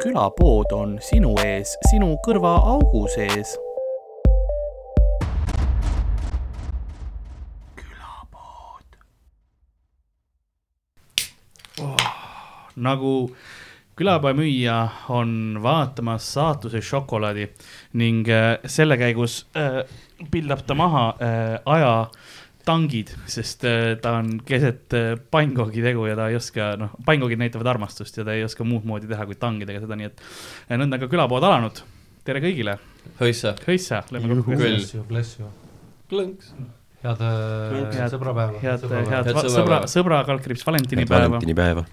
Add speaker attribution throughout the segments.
Speaker 1: külapood on sinu ees, sinu kõrvaaugu sees
Speaker 2: nagu külapäevamüüja on vaatamas saatuse šokolaadi ning äh, selle käigus äh, pildab ta maha äh, ajatangid , sest äh, ta on keset äh, pannkoogitegu ja ta ei oska , noh , pannkoogid näitavad armastust ja ta ei oska muud moodi teha kui tangidega seda , nii et äh, nõnda on ka külapood alanud . tere kõigile ,
Speaker 3: hõissa .
Speaker 2: hõissa , lähme kokku .
Speaker 3: Küll.
Speaker 4: bless you , bless you .
Speaker 3: klõnks .
Speaker 4: head äh,
Speaker 2: Head-
Speaker 4: sõbrapäeva .
Speaker 2: head , head
Speaker 3: Head
Speaker 2: va- sõbra
Speaker 3: sõbrapäeva. ,
Speaker 2: sõbra kalkriips valentinipäeva .
Speaker 5: valentinipäeva .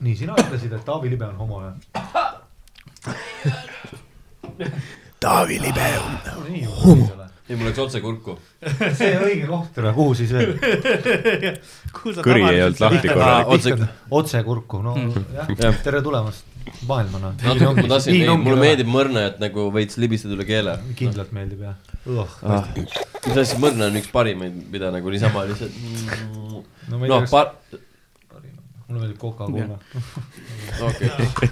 Speaker 4: nii , sina ütlesid , et Taavi Libe on homo jah ? Taavi Libe on homo .
Speaker 3: ei , mul läks otse kurku .
Speaker 4: see õige koht , kuhu siis veel ?
Speaker 5: kõri ei olnud lahti korralik .
Speaker 3: otse-
Speaker 4: otse kurku , no jah , tere tulemast maailma noh .
Speaker 3: natuke ma tahtsin , ei , mulle meeldib mõrna , et nagu veits libistada üle keele .
Speaker 4: kindlalt meeldib jah .
Speaker 3: mis asi , mõrna on üks parimaid , mida nagu niisama lihtsalt .
Speaker 4: no ma ei
Speaker 3: noh ,
Speaker 4: tea ,
Speaker 3: par- ,
Speaker 4: kas mulle meeldib Coca-Cola .
Speaker 3: okei okay. .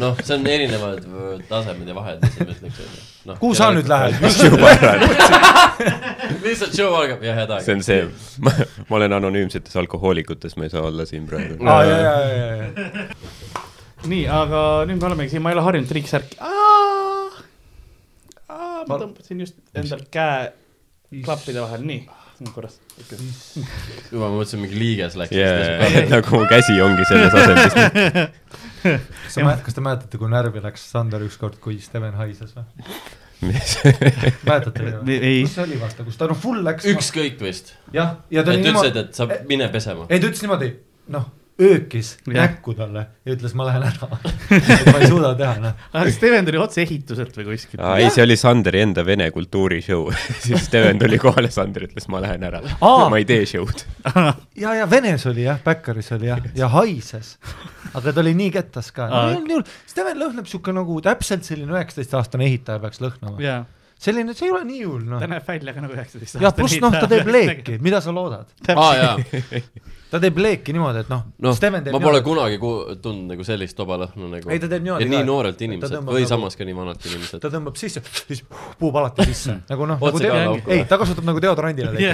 Speaker 3: noh , see on erinevad öö, tasemed ja vahed , mis ma ütleks . noh. No,
Speaker 4: kuhu sa nüüd ? lähed ?
Speaker 3: lihtsalt show algab ja head
Speaker 5: see
Speaker 3: aega .
Speaker 5: on see , ma , ma olen anonüümsetes alkohoolikutes , ma ei saa olla siin praegu .
Speaker 4: aa , ja , ja , ja , ja , ja .
Speaker 2: nii , aga nüüd me olemegi siin , ma ei ole harjunud triiksärki . ma
Speaker 4: Par-
Speaker 2: tõmbasin just endal käe klappide vahel , nii , on korras .
Speaker 3: juba ma mõtlesin , mingi liiges läks yeah. .
Speaker 5: jaa , nagu mu käsi ongi selles asendis .
Speaker 4: kas te mäletate , kas te mäletate , kui närvi läks Sander ükskord , kui Steven haises või ? mäletate
Speaker 2: Me- ei.
Speaker 4: kus see oli vaata , kus ta no full läks .
Speaker 3: ükskõik vist .
Speaker 4: jah , ja ta
Speaker 3: et
Speaker 4: oli
Speaker 3: ütlesid ,
Speaker 4: niimoodi ,
Speaker 3: et sa mine pesema .
Speaker 4: ei ta ütles niimoodi , noh , öökis
Speaker 2: Jah.
Speaker 4: näkku talle ja ütles , ma lähen ära . ma ei suuda teha , noh .
Speaker 2: aga Ah, Steven tuli otse ehituselt või kuskilt ?
Speaker 5: aa , ei , see oli Sanderi enda vene kultuuri show . siis Steven tuli kohale , Sander ütles , ma lähen ära . ma ei tee show'd .
Speaker 4: ja , ja Venes oli jah , Bäkkaris oli jah , ja haises . aga ta oli nii kettas ka
Speaker 2: Aa.
Speaker 4: no, . Steven lõhnab sihuke nagu täpselt selline üheksateistaastane ehitaja peaks lõhnama .
Speaker 2: jaa ,
Speaker 4: selline , see ei ole nii hull ,
Speaker 2: ta
Speaker 4: noh .
Speaker 2: näeb välja ka nagu üheksateist aastane .
Speaker 4: jah , pluss noh , ta teeb . leeki , mida sa loodad ?
Speaker 3: aa jaa ,
Speaker 4: ta teeb leeki niimoodi , et noh no, ,
Speaker 3: noh
Speaker 4: Steven , teeb
Speaker 3: ma pole kunagi ku- tundnud nagu sellist tobalõhnu nagu .
Speaker 4: Ei, ta teeb niimoodi
Speaker 3: ja nii
Speaker 4: ka, et
Speaker 3: noorelt
Speaker 4: ta
Speaker 3: inimeselt
Speaker 4: tõmbab
Speaker 3: või
Speaker 4: nagu-
Speaker 3: nagu... samas ka nii vanalt inimeselt
Speaker 4: ta . tõmbab sisse , siis puhub alati sisse nagu noh , nagu
Speaker 3: Hmm. Otse
Speaker 4: teo-
Speaker 3: kaelauku.
Speaker 4: ei , ta kasutab nagu deodorandina leeki ,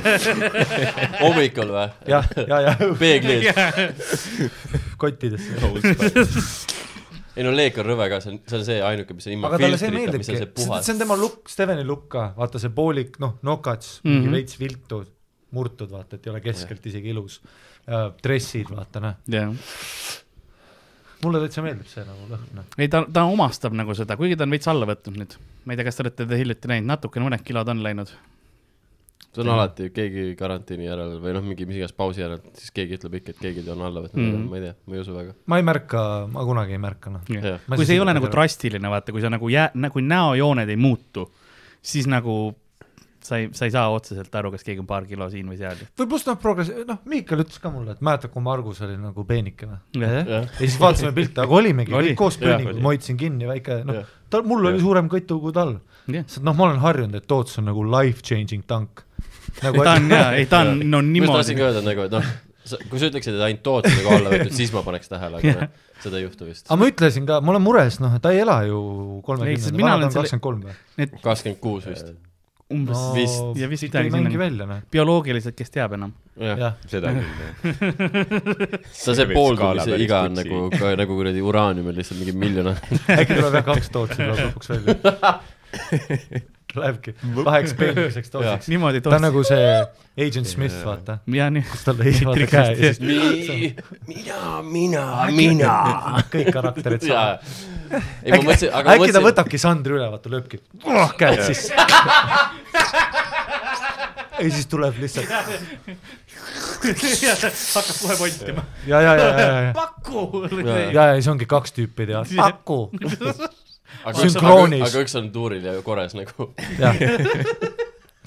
Speaker 3: hommikul või ?
Speaker 4: jah , ja , ja
Speaker 3: peegli ees .
Speaker 4: kottidesse .
Speaker 3: ei no leek on rõve ka , see on , see on see ainuke , mis on ilma
Speaker 4: aga talle see
Speaker 3: filtrita , mis on
Speaker 4: meeldibki , see
Speaker 3: see puhas
Speaker 4: see . on tema lukk , Steveni lukk ka , vaata see poolik , noh , nokats mm ,
Speaker 2: Mhm.
Speaker 4: -hmm. veits viltud , murtud , vaata , et ei ole keskelt isegi ilus . dressid , vaata noh ,
Speaker 2: jah ,
Speaker 4: mulle täitsa meeldib see nagu lõhn .
Speaker 2: ei ta , ta omastab nagu seda , kuigi ta on veits alla võtnud nüüd . ma ei tea , kas te olete teda hiljuti näinud , natukene mõned kilod on läinud .
Speaker 3: see on alati keegi karantiini järel või noh , mingi mis iganes pausi järel , siis keegi ütleb ikka , et keegi on alla võtnud mm ,
Speaker 2: Mhm.
Speaker 3: -hmm. ma ei tea , ma ei usu väga .
Speaker 4: ma ei märka , ma kunagi ei märka noh .
Speaker 3: Jah.
Speaker 4: Ma
Speaker 2: kui
Speaker 4: siis
Speaker 2: see ei ole
Speaker 4: ikkagi
Speaker 2: nagu
Speaker 4: arvan.
Speaker 2: drastiline , vaata , kui sa nagu jää- , nagu näojooned ei muutu , siis nagu sa ei , sa ei saa otseselt aru , kas keegi on paar kilo siin või seal .
Speaker 4: või pluss noh , progress , noh , Miikal ütles ka mulle , et mäletad , kui Margus oli nagu peenike või ?
Speaker 2: Jah.
Speaker 4: ja siis vaatasime pilte , aga olimegi
Speaker 2: Oli.
Speaker 4: kõik koos
Speaker 3: Jah,
Speaker 4: peenikul ,
Speaker 3: oli.
Speaker 4: ma hoidsin kinni väike , noh
Speaker 3: Jah. ,
Speaker 4: tal , mul oli
Speaker 3: Jah.
Speaker 4: suurem kõtu kui tal .
Speaker 2: jah ,
Speaker 4: sest noh , ma olen harjunud , et Toots on nagu life changing tank . nagu
Speaker 2: ta on jaa , ei ta on , no
Speaker 3: ma just tahtsin
Speaker 2: niimoodi
Speaker 3: ka . öelda nagu , et noh , kui sa ütleksid , et ainult Toots on nagu alla võetud , siis ma paneks tähele , aga
Speaker 2: Jah.
Speaker 3: noh, seda ei juhtu vist
Speaker 4: aga . ma ütlesin ka , ma olen mures , noh , ta ei ela ju
Speaker 2: Ei, sest
Speaker 4: kolmekümnendatel ,
Speaker 2: mina olen
Speaker 4: vana ta on
Speaker 2: selle-
Speaker 4: kakskümmend kolm või ?
Speaker 3: kakskümmend kuus vist .
Speaker 2: umbes
Speaker 3: No,
Speaker 2: vist ja vist
Speaker 4: ei
Speaker 2: midagi
Speaker 4: mängi
Speaker 2: sinna .
Speaker 4: välja , noh .
Speaker 2: bioloogiliselt , kes teab enam .
Speaker 3: jah ,
Speaker 4: jah ,
Speaker 5: seda küll , jah .
Speaker 3: sa see
Speaker 5: Veits
Speaker 3: pooldumise
Speaker 5: skaala
Speaker 3: iga
Speaker 5: päris
Speaker 3: on
Speaker 5: kutsi.
Speaker 3: nagu , nagu kuradi uraanium on lihtsalt mingi miljon aastat .
Speaker 4: äkki tuleb jah kaks Tootsi tuleb lõpuks välja . Lähebki kaheks peenikeseks Tootsiks .
Speaker 2: niimoodi
Speaker 4: ta on
Speaker 2: tootsin .
Speaker 4: nagu see Agent Smith , vaata .
Speaker 2: ja nii ,
Speaker 4: kus tal lõi vaata käe ja siis
Speaker 3: mina , mina , mina .
Speaker 4: kõik karakterid
Speaker 3: jaa
Speaker 4: saavad ..
Speaker 3: ei , ma mõtlesin , aga ma
Speaker 4: äkki ta
Speaker 3: mõtlesin ,
Speaker 4: võtabki Sandri üle , vaata lööbki oh, käed sisse . ja siis tuleb lihtsalt
Speaker 2: hakkab kohe pontima .
Speaker 4: ja , ja , ja , ja , ja ,
Speaker 2: paku .
Speaker 4: ja , ja siis ongi kaks tüüpi teavad , paku .
Speaker 3: aga üks-
Speaker 4: sünkroonis.
Speaker 3: aga üks on tuuril ja korras nagu .
Speaker 4: jah .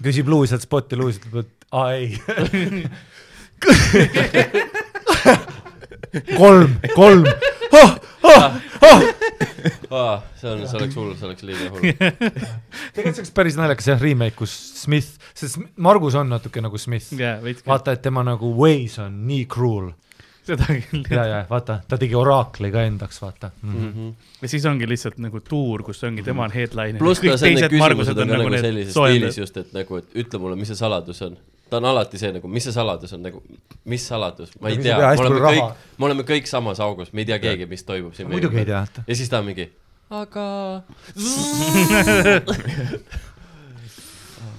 Speaker 4: küsib Luiselt spotti , Luis ütleb , et aa ei . kolm , kolm oh, , oh, oh.
Speaker 3: see on , see oleks hull , see oleks liiga hull .
Speaker 4: tegelikult see oleks päris naljakas jah , remake , kus Smith , sest Margus on natuke nagu Smith .
Speaker 2: jaa , veits .
Speaker 4: vaata , et tema nagu ways on nii cruel .
Speaker 2: seda küll ,
Speaker 4: ja , ja vaata , ta tegi oraakli ka endaks , vaata mm . -hmm.
Speaker 2: ja siis ongi lihtsalt nagu tuur , kus ongi tema on headline .
Speaker 3: pluss ka see , need küsimused on ka nagu sellises stiilis just , et nagu , et ütle mulle , mis see saladus on . ta on alati see nagu , mis see saladus on nagu , mis saladus , ma ei
Speaker 4: Mis-
Speaker 3: tea ,
Speaker 4: jaa,
Speaker 3: me
Speaker 4: hästi
Speaker 3: oleme
Speaker 4: palju raha.
Speaker 3: kõik , me oleme kõik samas augus , me ei tea keegi , mis toimub siin .
Speaker 4: muidugi ei tea , et
Speaker 3: ja siis ta on mingi , aga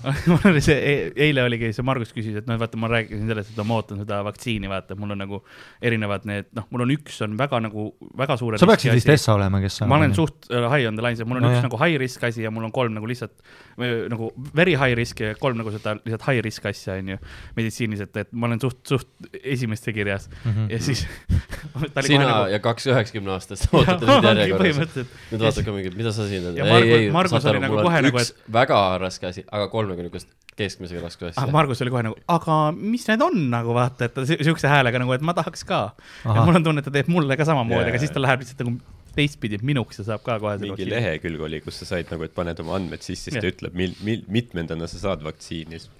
Speaker 2: mul oli see e , eile oligi see , Margus küsis , et noh , vaata , ma rääkisin sellest , et ma ootan seda vaktsiini , vaata , mul on nagu erinevad need , noh , mul on üks on väga nagu , väga suure .
Speaker 4: sa peaksid vist . Essa olema , kes
Speaker 2: ma olen . suht äh, high on the line , mul on
Speaker 4: No
Speaker 2: no, üks
Speaker 4: jah.
Speaker 2: jah. nagu high risk asi ja mul on kolm nagu lihtsalt või nagu very high risk ja kolm nagu seda lihtsalt high risk asja onju meditsiinis , et , et ma olen suht , suht esimeste kirjas mm
Speaker 4: Mhm.
Speaker 2: -hmm. ja siis . nagu
Speaker 3: sina ja kaks üheksakümne aastast ootate mind järjekorras .
Speaker 2: põhimõtteliselt
Speaker 3: nüüd vaatad ka mingi , mida sa siin oled
Speaker 2: Ja . Margus- Margus oli nagu kohe nagu,
Speaker 3: üks väga raske asi , aga kolm nagu niisugust keskmisega raske
Speaker 2: ah, .
Speaker 3: asja .
Speaker 2: Margus oli kohe nagu , aga mis need on nagu vaata , et ta si- siukse häälega nagu , et ma tahaks ka . ja
Speaker 4: Ahah.
Speaker 2: mul on tunne , et ta teeb mulle ka samamoodi
Speaker 5: Jaa.
Speaker 2: yeah. , aga siis ta läheb lihtsalt nagu teistpidi minuks ja saab ka kohe .
Speaker 5: mingi . lehekülg oli , kus sa said nagu , et paned oma andmed sisse , siis ta
Speaker 2: Jah.
Speaker 5: ütleb , mil- , mil- , mitmendana sa saad vaktsiini , siis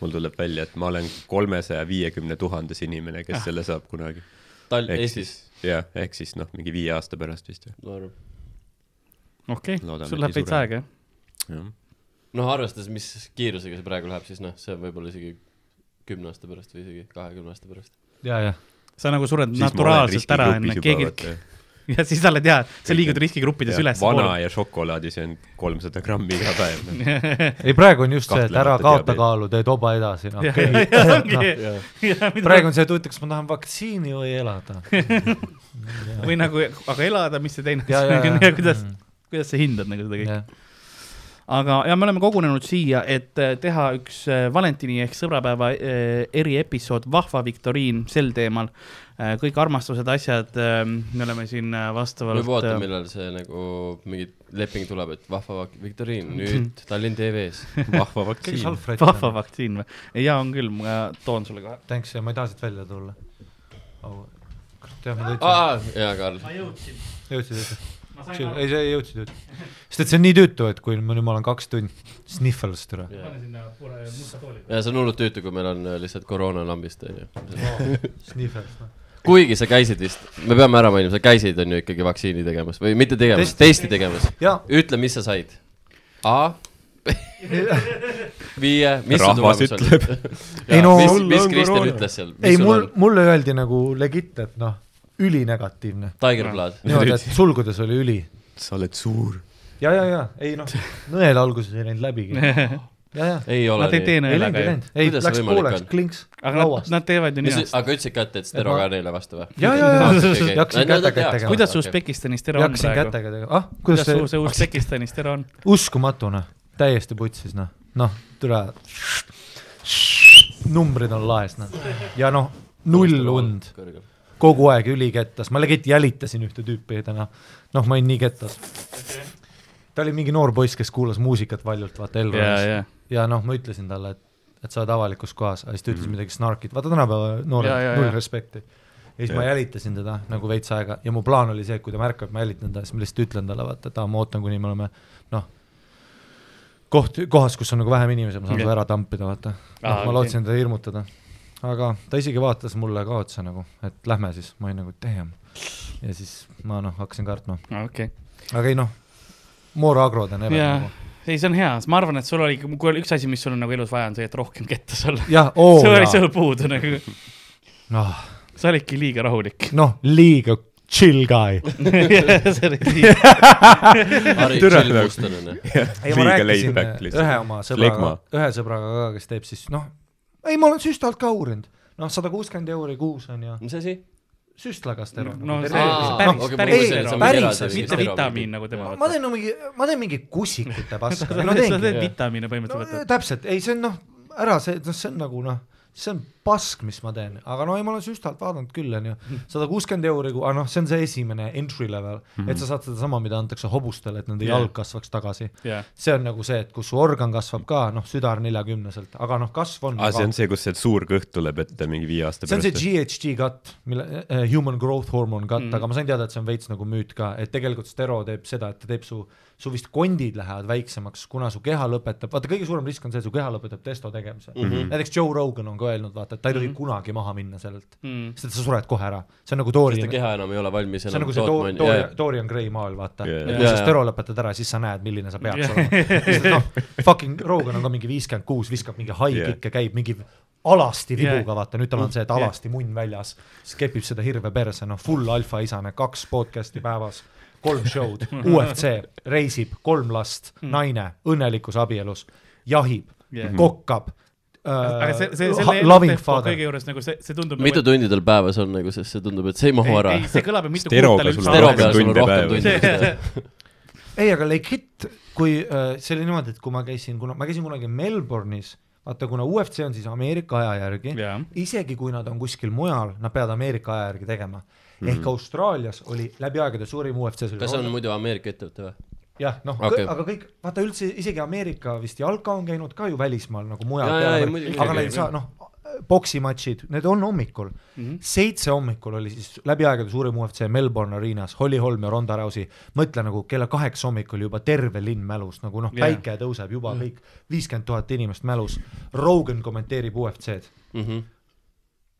Speaker 5: mul tuleb välja , et ma olen kolmesaja viiekümne tuhandes inimene , kes selle saab kunagi .
Speaker 3: Tall- ,
Speaker 5: ehk
Speaker 3: Eestis
Speaker 5: siis , jah , ehk siis noh , mingi viie aasta pärast vist või ?
Speaker 3: ma arvan .
Speaker 2: okei okay. ,
Speaker 5: Loodame,
Speaker 2: sul
Speaker 5: et
Speaker 2: läheb
Speaker 5: ei
Speaker 2: veits
Speaker 5: sure.
Speaker 2: aega jah ?
Speaker 5: jah .
Speaker 3: noh , arvestades , mis kiirusega see praegu läheb , siis noh , see on võib-olla isegi kümne aasta pärast või isegi kahekümne aasta pärast .
Speaker 4: ja , ja ,
Speaker 2: sa nagu sured naturaalselt ära enne keegi , ja siis sa oled jaa , sa liigud riskigruppides üles .
Speaker 5: vana ja šokolaadi , see on kolmsada grammi iga päev .
Speaker 4: ei praegu on just see , et ära
Speaker 5: Kahtlemata
Speaker 4: kaota
Speaker 5: diabeet.
Speaker 4: kaalu , tee toba edasi , noh .
Speaker 2: praegu
Speaker 4: praegu on see tunne , kas ma tahan vaktsiini või elada .
Speaker 2: või nagu , aga elada , mis see teine
Speaker 4: Ja,
Speaker 2: asi
Speaker 4: ja,
Speaker 2: on ,
Speaker 4: ja.
Speaker 2: kuidas , kuidas sa hindad nagu seda kõike ? aga , ja me oleme kogunenud siia , et eh, teha üks eh, Valentini ehk sõbrapäeva eh, eriepisood Vahva viktoriin sel teemal . kõik armastused , asjad , me oleme siin eh, vastavalt .
Speaker 3: võib oodata , millal see nagu mingi leping tuleb , et vahva vak- viktoriin nüüd Tallinn TV-s .
Speaker 5: vahva
Speaker 4: kes
Speaker 5: vaktsiin .
Speaker 4: Alfred
Speaker 2: vahva
Speaker 4: on ?
Speaker 2: vaktsiin või ? ja on küll , ma toon sulle kohe .
Speaker 4: Thanks ja ma ei taha siit välja tulla . kurat jah , ma tõitsin ,
Speaker 3: aa , jaa , Karl .
Speaker 4: jõudsid üldse . ei , see ei jõudsid üldse . sest et see on nii tüütu , et kui ma nüüd , ma olen kaks tundi snihvels türa .
Speaker 3: ja see on hullult tüütu , kui meil on äh, lihtsalt koroona lambist , onju .
Speaker 4: snihvels , noh .
Speaker 3: kuigi sa käisid vist , me peame ära mainima , sa käisid , onju , ikkagi vaktsiini tegemas või mitte tegemas ,
Speaker 4: Testi.
Speaker 3: testi tegemas .
Speaker 4: jaa ,
Speaker 3: ütle , mis sa said . A viie , mis su
Speaker 5: Rahvas
Speaker 3: tulemus oli
Speaker 5: ütleb. ?
Speaker 4: Ei no-
Speaker 3: mis ,
Speaker 4: Mul
Speaker 3: mis
Speaker 4: on
Speaker 3: Kristjan
Speaker 4: koroona.
Speaker 3: ütles seal ?
Speaker 4: ei mul , mulle öeldi nagu legit , et noh , ülinegatiivne .
Speaker 3: Tiger Blood .
Speaker 4: niimoodi , et sulgudes oli üli .
Speaker 5: sa oled suur .
Speaker 4: ja , ja , ja , ei noh , nõel alguses ei läinud läbigi . ja , ja ,
Speaker 3: ei ole
Speaker 2: Nad ei tee
Speaker 3: nii .
Speaker 4: ei
Speaker 2: nõelaga ju .
Speaker 4: läinud , ei läinud , ei
Speaker 3: Kuidas see
Speaker 4: läks
Speaker 3: võimalik
Speaker 4: pooleks
Speaker 3: on? ,
Speaker 4: klinks ,
Speaker 2: aga nad,
Speaker 4: lauast .
Speaker 2: nad teevad ju nii .
Speaker 3: aga ütlesid kätte , et
Speaker 4: Et
Speaker 3: stereo
Speaker 4: ma-
Speaker 3: ka neile vastu või ?
Speaker 4: ja , ja , ja , Jaksin kätega tegema.
Speaker 2: kuidas see Usbekistanis tere on
Speaker 4: jaksin
Speaker 2: praegu ?
Speaker 4: kätega tegema , ah ,
Speaker 2: kuidas
Speaker 4: kuidas
Speaker 2: see, see
Speaker 4: see ,
Speaker 2: Usbekistanis tere on ?
Speaker 4: uskumatu noh , täiesti putsis noh , noh , türa . numbrid on laes noh , ja noh , null und ,. kogu aeg ülikettas , ma legit jälitasin ühte tüüpi täna , noh , ma olin nii kettas . ta oli mingi noor poiss , kes kuulas muusikat valjult , vaata Elronis
Speaker 2: ja ,
Speaker 4: ja noh , ma ütlesin talle , et , et sa oled avalikus kohas , siis ta ütles
Speaker 2: Mhm.
Speaker 4: mm. midagi snarkit , vaata tänapäeva
Speaker 2: Ja, ja,
Speaker 4: noored , null
Speaker 2: ja.
Speaker 4: respekti . ja siis ma jälitasin teda nagu veits aega ja mu plaan oli see , et kui ta märkab , et ma jälitan teda , siis ma lihtsalt ütlen talle , vaata , et aa , ma ootan , kuni me oleme noh , koht , kohas , kus on nagu vähem inimesi , ma saan
Speaker 2: Okei.
Speaker 4: seda ära tampida , vaata .
Speaker 2: Aa,
Speaker 4: noh , ma lootsin teda hirmutada . aga ta isegi vaatas mulle ka otsa nagu , et lähme siis , ma olin nagu damn . ja siis ma noh , hakkasin kartma ,
Speaker 2: ja , okei .
Speaker 4: aga ei noh , more agrod on ever
Speaker 2: jaa
Speaker 4: nagu .,
Speaker 2: ei , see on hea , ma arvan , et sul oli , kui oli üks asi , mis sul on nagu elus vaja , on see , et rohkem kettas olla .
Speaker 4: jah , oo
Speaker 2: see oli
Speaker 4: jaa ,
Speaker 2: sul puudu nagu ,
Speaker 4: noh
Speaker 2: sa olidki liiga rahulik .
Speaker 4: noh , liiga chill guy .
Speaker 2: ja ,
Speaker 5: Türa-
Speaker 4: ei , ma
Speaker 5: liiga laid
Speaker 4: rääkisin
Speaker 5: back
Speaker 4: ühe
Speaker 5: lihtsalt .
Speaker 4: oma
Speaker 5: Flegma.
Speaker 4: sõbraga , ühe sõbraga ka , kes teeb siis noh , ei , ma olen süstalt ka uurinud , noh , sada kuuskümmend euri kuus on ju ,
Speaker 3: mis asi ?
Speaker 4: süstlaga stereo
Speaker 2: No see-
Speaker 3: aa,
Speaker 4: Noh,
Speaker 3: okei, ma
Speaker 4: päris-
Speaker 3: mõtlesin, et see on
Speaker 4: päris-
Speaker 3: eraldi mingi
Speaker 2: mitte
Speaker 3: stereo-
Speaker 2: vitamiin nagu tema
Speaker 4: ma . teen no mingi , ma teen mingi
Speaker 2: sa
Speaker 4: kusikute Noh, paska , no
Speaker 2: teed sa
Speaker 4: teengi ,
Speaker 2: teed
Speaker 3: jah.
Speaker 2: vitamiine
Speaker 4: no
Speaker 2: põhimõtteliselt .
Speaker 4: täpselt , ei , see on noh , ära see , noh , see on nagu noh , see on pask , mis ma teen , aga no ei , ma olen süstalt vaadanud küll , on ju , sada kuuskümmend euri , aga noh , see on see esimene entry level mm , -hmm. et sa saad sedasama , mida antakse hobustele , et nende
Speaker 2: Jaa.
Speaker 4: jalg kasvaks tagasi
Speaker 2: Jaa.
Speaker 4: see on nagu see , et kus su organ kasvab ka , noh , südar neljakümneselt , aga noh , kasv on .
Speaker 5: aa , Ah, see on see , kus see suur kõht tuleb ette mingi viie aasta
Speaker 4: see on see
Speaker 5: pärast .
Speaker 4: GHG cut , mille uh, , human growth hormone cut mm , -hmm. aga ma sain teada , et see on veits nagu müüt ka , et tegelikult stero teeb seda , et ta teeb su , su vist kondid lähevad väiksemaks , Mhm. kuna su keha lõpetab , vaata kõige suurem risk on see , et su keha lõpetab testo tegemise mm . -hmm. näiteks Joe Rogan on ka öelnud , vaata , et ta ei tohi mm -hmm. kunagi maha minna sellelt
Speaker 2: Mm.
Speaker 4: mm. , sest sa sured kohe ära , see on nagu
Speaker 3: sest ta
Speaker 4: Dorian ,
Speaker 3: keha enam ei ole valmis
Speaker 4: see on
Speaker 3: enam
Speaker 4: nagu see Dor-
Speaker 3: on ju.
Speaker 4: Dor-
Speaker 3: Jaa, ,
Speaker 4: Dorian Gray maal , vaata
Speaker 5: Jaa.
Speaker 4: yeah. . kui sa
Speaker 3: Jaa.
Speaker 4: Stero lõpetad ära , siis sa näed , milline sa pead
Speaker 2: Jah.
Speaker 4: yeah. olema . noh , fucking Rogan on ka mingi viiskümmend kuus , viskab mingi high
Speaker 5: Jah.
Speaker 4: kick'e , käib mingi alasti
Speaker 2: Jah.
Speaker 4: vibuga , vaata nüüd tal on see , et
Speaker 2: Jah.
Speaker 4: alasti munn väljas , siis kepib seda hirve perse , noh , full alfa isane , kaks podcast'i päevas , kolm show'd , UFC , reisib , kolm last ,
Speaker 2: Mm.
Speaker 4: naine , õnnelikus abielus , jahib
Speaker 2: Jah. ,
Speaker 4: kokkab .
Speaker 2: aga see , see , selle
Speaker 4: Äh, loving
Speaker 2: elutehva
Speaker 4: father
Speaker 2: kõige , juures nagu see , see tundub .
Speaker 3: mitu tundi tal päevas on nagu , sest see tundub , et see ei mahu ära
Speaker 2: ei ,. see kõlab , et mitu
Speaker 5: Steroga
Speaker 2: kuud tal
Speaker 5: sul
Speaker 2: üldse
Speaker 5: on
Speaker 3: Tero
Speaker 5: rohkem
Speaker 3: peal sul on
Speaker 5: tunde
Speaker 3: rohkem
Speaker 5: päevas.
Speaker 3: tunde .
Speaker 4: ei , aga legit , kui äh, see oli niimoodi , et kui ma käisin , kuna ma käisin kunagi Melbourne'is , vaata kuna UFC on siis Ameerika aja järgi
Speaker 2: Jaa.
Speaker 4: isegi kui nad on kuskil mujal , nad peavad Ameerika aja järgi tegema mm . -hmm. ehk Austraalias oli läbi aegade suurim UFC .
Speaker 3: kas see on muidu Ameerika ettevõte või ?
Speaker 4: jah , noh
Speaker 3: Okei.
Speaker 4: okay. , aga kõik , vaata üldse isegi Ameerika vist jalka on käinud ka ju välismaal nagu mujal
Speaker 3: Jaa, jaa, ei, muidugi, ,
Speaker 4: aga
Speaker 3: muidugi.
Speaker 4: nad ei saa , noh , poksimatšid , need on hommikul mm .
Speaker 3: Mhm.
Speaker 4: -hmm. seitse hommikul oli siis läbi aegade suurim UFC Melbourne Arenas , Holly Holm ja Ronda Rousey , mõtle nagu kella kaheksa hommikul juba terve linn mälus , nagu noh ,
Speaker 2: Jaa.
Speaker 4: päike tõuseb juba
Speaker 3: Mhm.
Speaker 4: kõik , viiskümmend tuhat inimest mälus , Rogan kommenteerib UFC-d
Speaker 3: Mhm,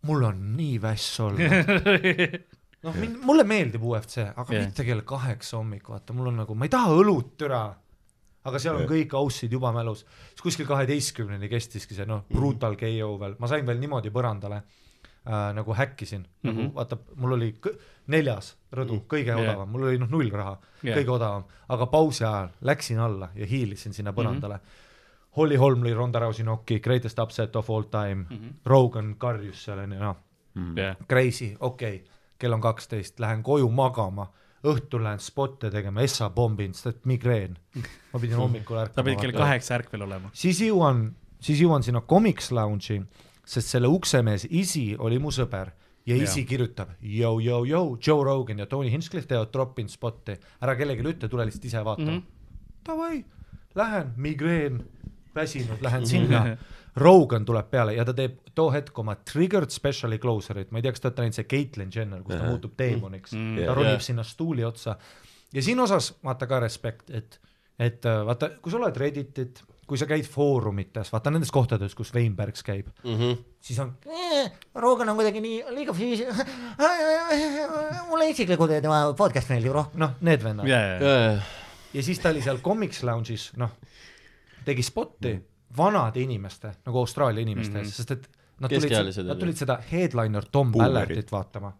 Speaker 4: mul on nii väss olla . noh , mulle meeldib UFC , aga
Speaker 2: Jah.
Speaker 4: yeah. mitte kell kaheksa hommik , vaata , mul on nagu , ma ei taha õlut türa . aga seal on kõik aussid juba mälus , siis kuskil kaheteistkümneni kestiski see noh ,
Speaker 2: Mhm.
Speaker 4: brutal KO veel , ma sain veel niimoodi põrandale äh, nagu häkkisin mm , -hmm. nagu vaata , mul oli kõ- neljas rõdu , kõige
Speaker 2: Mhm. Jah.
Speaker 4: odavam , mul oli noh , null raha
Speaker 2: Jah.
Speaker 4: yeah. , kõige odavam , aga pausi ajal läksin alla ja hiilisin sinna põrandale
Speaker 2: Mhm.
Speaker 4: mm . -hmm Holly Holm lõi Ronda Rousey nokki , greatest upset of all time mm ,
Speaker 2: Mhm.
Speaker 4: -hmm. Rogan karjus seal onju , noh
Speaker 2: Mm.
Speaker 3: Mm.
Speaker 2: jah ,
Speaker 4: crazy , okei okay. , kell on kaksteist , lähen koju magama , õhtul lähen spotte tegema , essa pombin , sest et migreen . ma pidin hommikul
Speaker 2: sa pidid kell
Speaker 4: ärkama .
Speaker 2: kaheksa ärkvel olema .
Speaker 4: siis jõuan , siis jõuan sinna Comics Lounge'i , sest selle uksemees isi oli mu sõber ja isi ja. kirjutab , yo , yo , yo , Joe Rogan ja Tony Hinchcliffe teevad drop-in spotti , ära kellelegi ütle , tule lihtsalt ise vaatama mm . -hmm. Davai , lähen , migreen , väsinud , lähen sinna . Rogan tuleb peale ja ta teeb too hetk oma triggered special'i closer'it , ma ei tea , kas te olete näinud see Caitlyn Jenner , kus ta muutub teemoniks mm , -hmm. ta ronib
Speaker 3: Jah.
Speaker 4: yeah. sinna stuuli otsa . ja siin osas vaata ka respekt , et , et äh, vaata , kui sa oled Redditit , kui sa käid foorumites , vaata nendes kohtades , kus Weinbergs käib ,
Speaker 3: mhm.
Speaker 4: siis on ,
Speaker 6: "Eh, Rogan on kuidagi nii liiga füüsi- , mulle isiklikult tema podcast meeldib rohkem .
Speaker 4: noh , need
Speaker 3: Mm.
Speaker 4: vennad yeah.
Speaker 2: jajah ,
Speaker 4: ja siis ta oli seal Comics Lounge'is , noh , tegi spotti vanade inimeste nagu Austraalia inimeste ees mm , -hmm. sest et nad tulid
Speaker 3: Keskealised , on
Speaker 4: nad
Speaker 3: ju.
Speaker 4: tulid seda headliner Tom
Speaker 5: Boomerid.
Speaker 4: Ballardit vaatama ,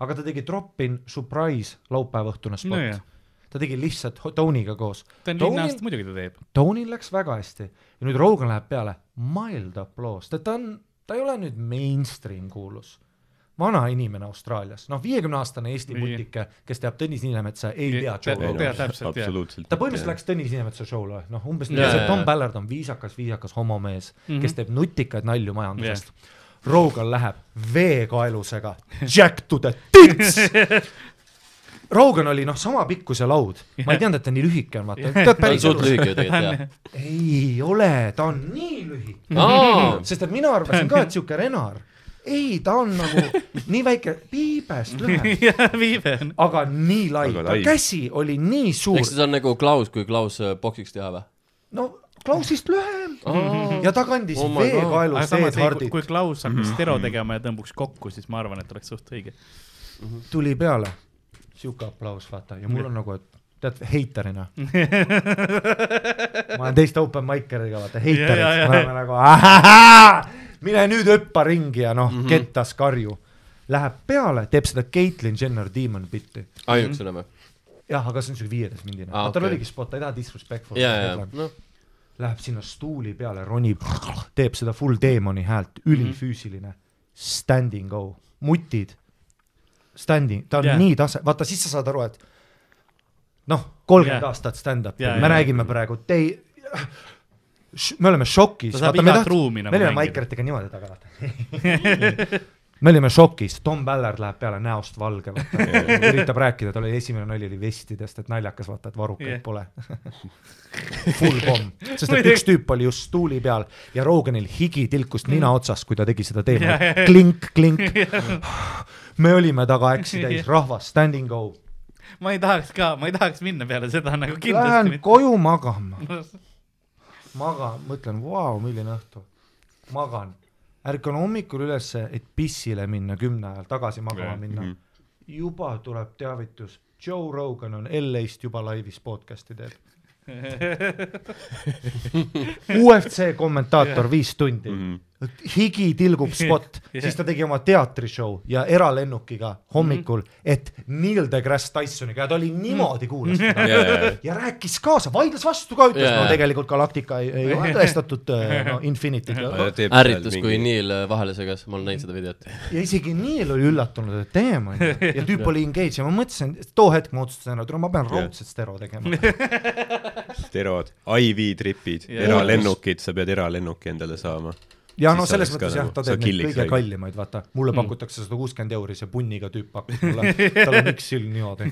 Speaker 4: aga ta tegi drop-in surprise laupäeva õhtune spot
Speaker 2: Nojah.
Speaker 4: no ta tegi lihtsalt ho- Tony'ga koos .
Speaker 2: ta on linnast , muidugi ta teeb .
Speaker 4: Tonyl läks väga hästi ja nüüd Rogan läheb peale , mild applause , ta on , ta ei ole nüüd mainstream kuulus . vana inimene Austraalias , noh , viiekümne aastane Eesti
Speaker 2: Nii.
Speaker 4: mutike , kes teab Tõnis Niinemetsa , ei
Speaker 2: Ei,
Speaker 4: tea
Speaker 2: tea-
Speaker 4: Joe Roganit .
Speaker 2: tea täpselt, jah.
Speaker 5: noh, absoluutselt .
Speaker 4: ta põhimõtteliselt läks Tõnis Niinemetsa show'le , noh umbes nii
Speaker 3: Jaa, ,
Speaker 4: see
Speaker 3: jaa, Mhm.
Speaker 4: Tom
Speaker 3: jaa.
Speaker 4: Ballard on viisakas , viisakas homomees mm , -hmm. kes teeb nutikaid nalju majandusest yeah. . Rogan läheb veekaelusega jack to the tits . Rogan oli noh , sama pikk kui see laud , ma ei teadnud , et ta nii lühike on , vaata , tead
Speaker 3: ta on
Speaker 4: päris
Speaker 3: suht
Speaker 4: elus .
Speaker 3: lühike ju tegelikult
Speaker 4: ei ole , ta on nii lühike ,
Speaker 3: jah .
Speaker 4: sest et mina arvasin ka , et sihuke Renar , ei , ta on nagu nii väike piibest lühem ,
Speaker 2: jah , viive on .
Speaker 4: aga nii lai
Speaker 5: Aga ,
Speaker 4: ta
Speaker 5: lai.
Speaker 4: käsi oli nii suur
Speaker 3: eks , see on nagu Klaus , kui Klaus äh, poksiks teha või ?
Speaker 4: no Klausist lühem ja ta kandis
Speaker 3: Oh
Speaker 4: oh
Speaker 3: my
Speaker 2: Mhm. aga
Speaker 4: veekaelus Ed
Speaker 2: samas ei, kui-
Speaker 4: Hardit ,
Speaker 2: kui Klaus
Speaker 3: Mm.
Speaker 2: hakkaks Stero tegema ja tõmbuks kokku , siis ma arvan , et oleks suht õige .
Speaker 4: tuli peale , sihuke aplaus , vaata , ja mul on nagu , et tead , heiterina . ma olen teiste open mic'idega , vaata , heiterid ,
Speaker 2: Ja, ja, ja.
Speaker 4: me oleme nagu ahahaa , mine nüüd hüppa ringi ja noh , kettas karju . Läheb peale , teeb seda Caitlyn Jenner Demon bitti .
Speaker 3: ainukesena või ?
Speaker 4: jah , aga see on siuke viieteist mindine
Speaker 3: Aa,
Speaker 4: ah, , tal
Speaker 3: okei.
Speaker 4: oligi spot , ta ei taha disrespectful .
Speaker 3: ja , ja , noh ,
Speaker 4: Läheb sinna stuuli peale , ronib , teeb seda full demoni häält , ülifüüsiline . Standing go , mutid , standing , ta on
Speaker 2: Jah.
Speaker 4: yeah. nii tase , vaata siis sa saad aru , et noh , kolmkümmend
Speaker 2: Jah.
Speaker 4: yeah. aastat stand-up'i
Speaker 2: Jah,
Speaker 4: yeah, , me
Speaker 2: jah.
Speaker 4: yeah. räägime praegu , te ei , me oleme šokis .
Speaker 2: Ta saab igat ruumi nagu
Speaker 4: me olime
Speaker 2: mängida.
Speaker 4: Maikeritega niimoodi taga , vaata . me olime šokis , Tom Ballard läheb peale näost valge , vaata , üritab rääkida , tal oli esimene nali oli vestidest , et naljakas , vaata , et varukaid
Speaker 2: Jah.
Speaker 4: yeah. pole full pomm , sest et üks tüüp oli just stuuli peal ja Roganil higi tilkus nina otsas , kui ta tegi seda teema , klink , klink . me olime taga äksi täis , rahvas , standing go ,
Speaker 2: ma ei tahaks ka , ma ei tahaks minna peale seda nagu kindlasti
Speaker 4: lähen
Speaker 2: mitte .
Speaker 4: koju magama , magan , mõtlen , vau , milline õhtu , magan ärkan hommikul ülesse , et pissile minna kümne ajal , tagasi magama
Speaker 5: Jah,
Speaker 4: minna mm .
Speaker 5: mhm.
Speaker 4: -hmm. juba tuleb teavitus , Joe Rogan on LA-st juba laivis podcast'i teeb . UFC kommentaator viis tundi mm ,
Speaker 5: Mhm.
Speaker 4: -hmm. higi tilgub spot yeah. , siis ta tegi oma teatrishow ja eralennukiga hommikul
Speaker 5: Mhm.
Speaker 4: mm , -hmm. et Neil deGrasse Tysoniga ja ta oli niimoodi kuulas teda
Speaker 5: Jaa, jaa, jaa.
Speaker 4: ja rääkis kaasa , vaidles vastu ka , ütles yeah. ,
Speaker 3: Jaa.
Speaker 4: no tegelikult Galactica ei, ei ole tõestatud äh, no, Infinity't ja,
Speaker 3: ärritus , kui . Neil äh, vahele segas , ma olen näinud seda videot .
Speaker 4: ja isegi Neil oli üllatunud , et teeme onju ja tüüp oli engage ja ma mõtlesin , too hetk ma otsustasin , et no ma pean raudselt stero tegema .
Speaker 5: terod , IV tripid ,
Speaker 2: Jaa.
Speaker 5: eralennukid , sa pead eralennuki endale saama .
Speaker 4: ja
Speaker 5: Siis
Speaker 4: no
Speaker 5: sa
Speaker 4: selles
Speaker 5: oleks ka
Speaker 4: mõttes jah ,
Speaker 5: nagu-
Speaker 4: ta
Speaker 5: sa
Speaker 4: teeb neid
Speaker 5: killiks Mm.
Speaker 4: kõige
Speaker 5: said.
Speaker 4: kallimaid , vaata , mulle pakutakse sada kuuskümmend euri , see punniga tüüp pakub mulle , tal on üks silm niimoodi .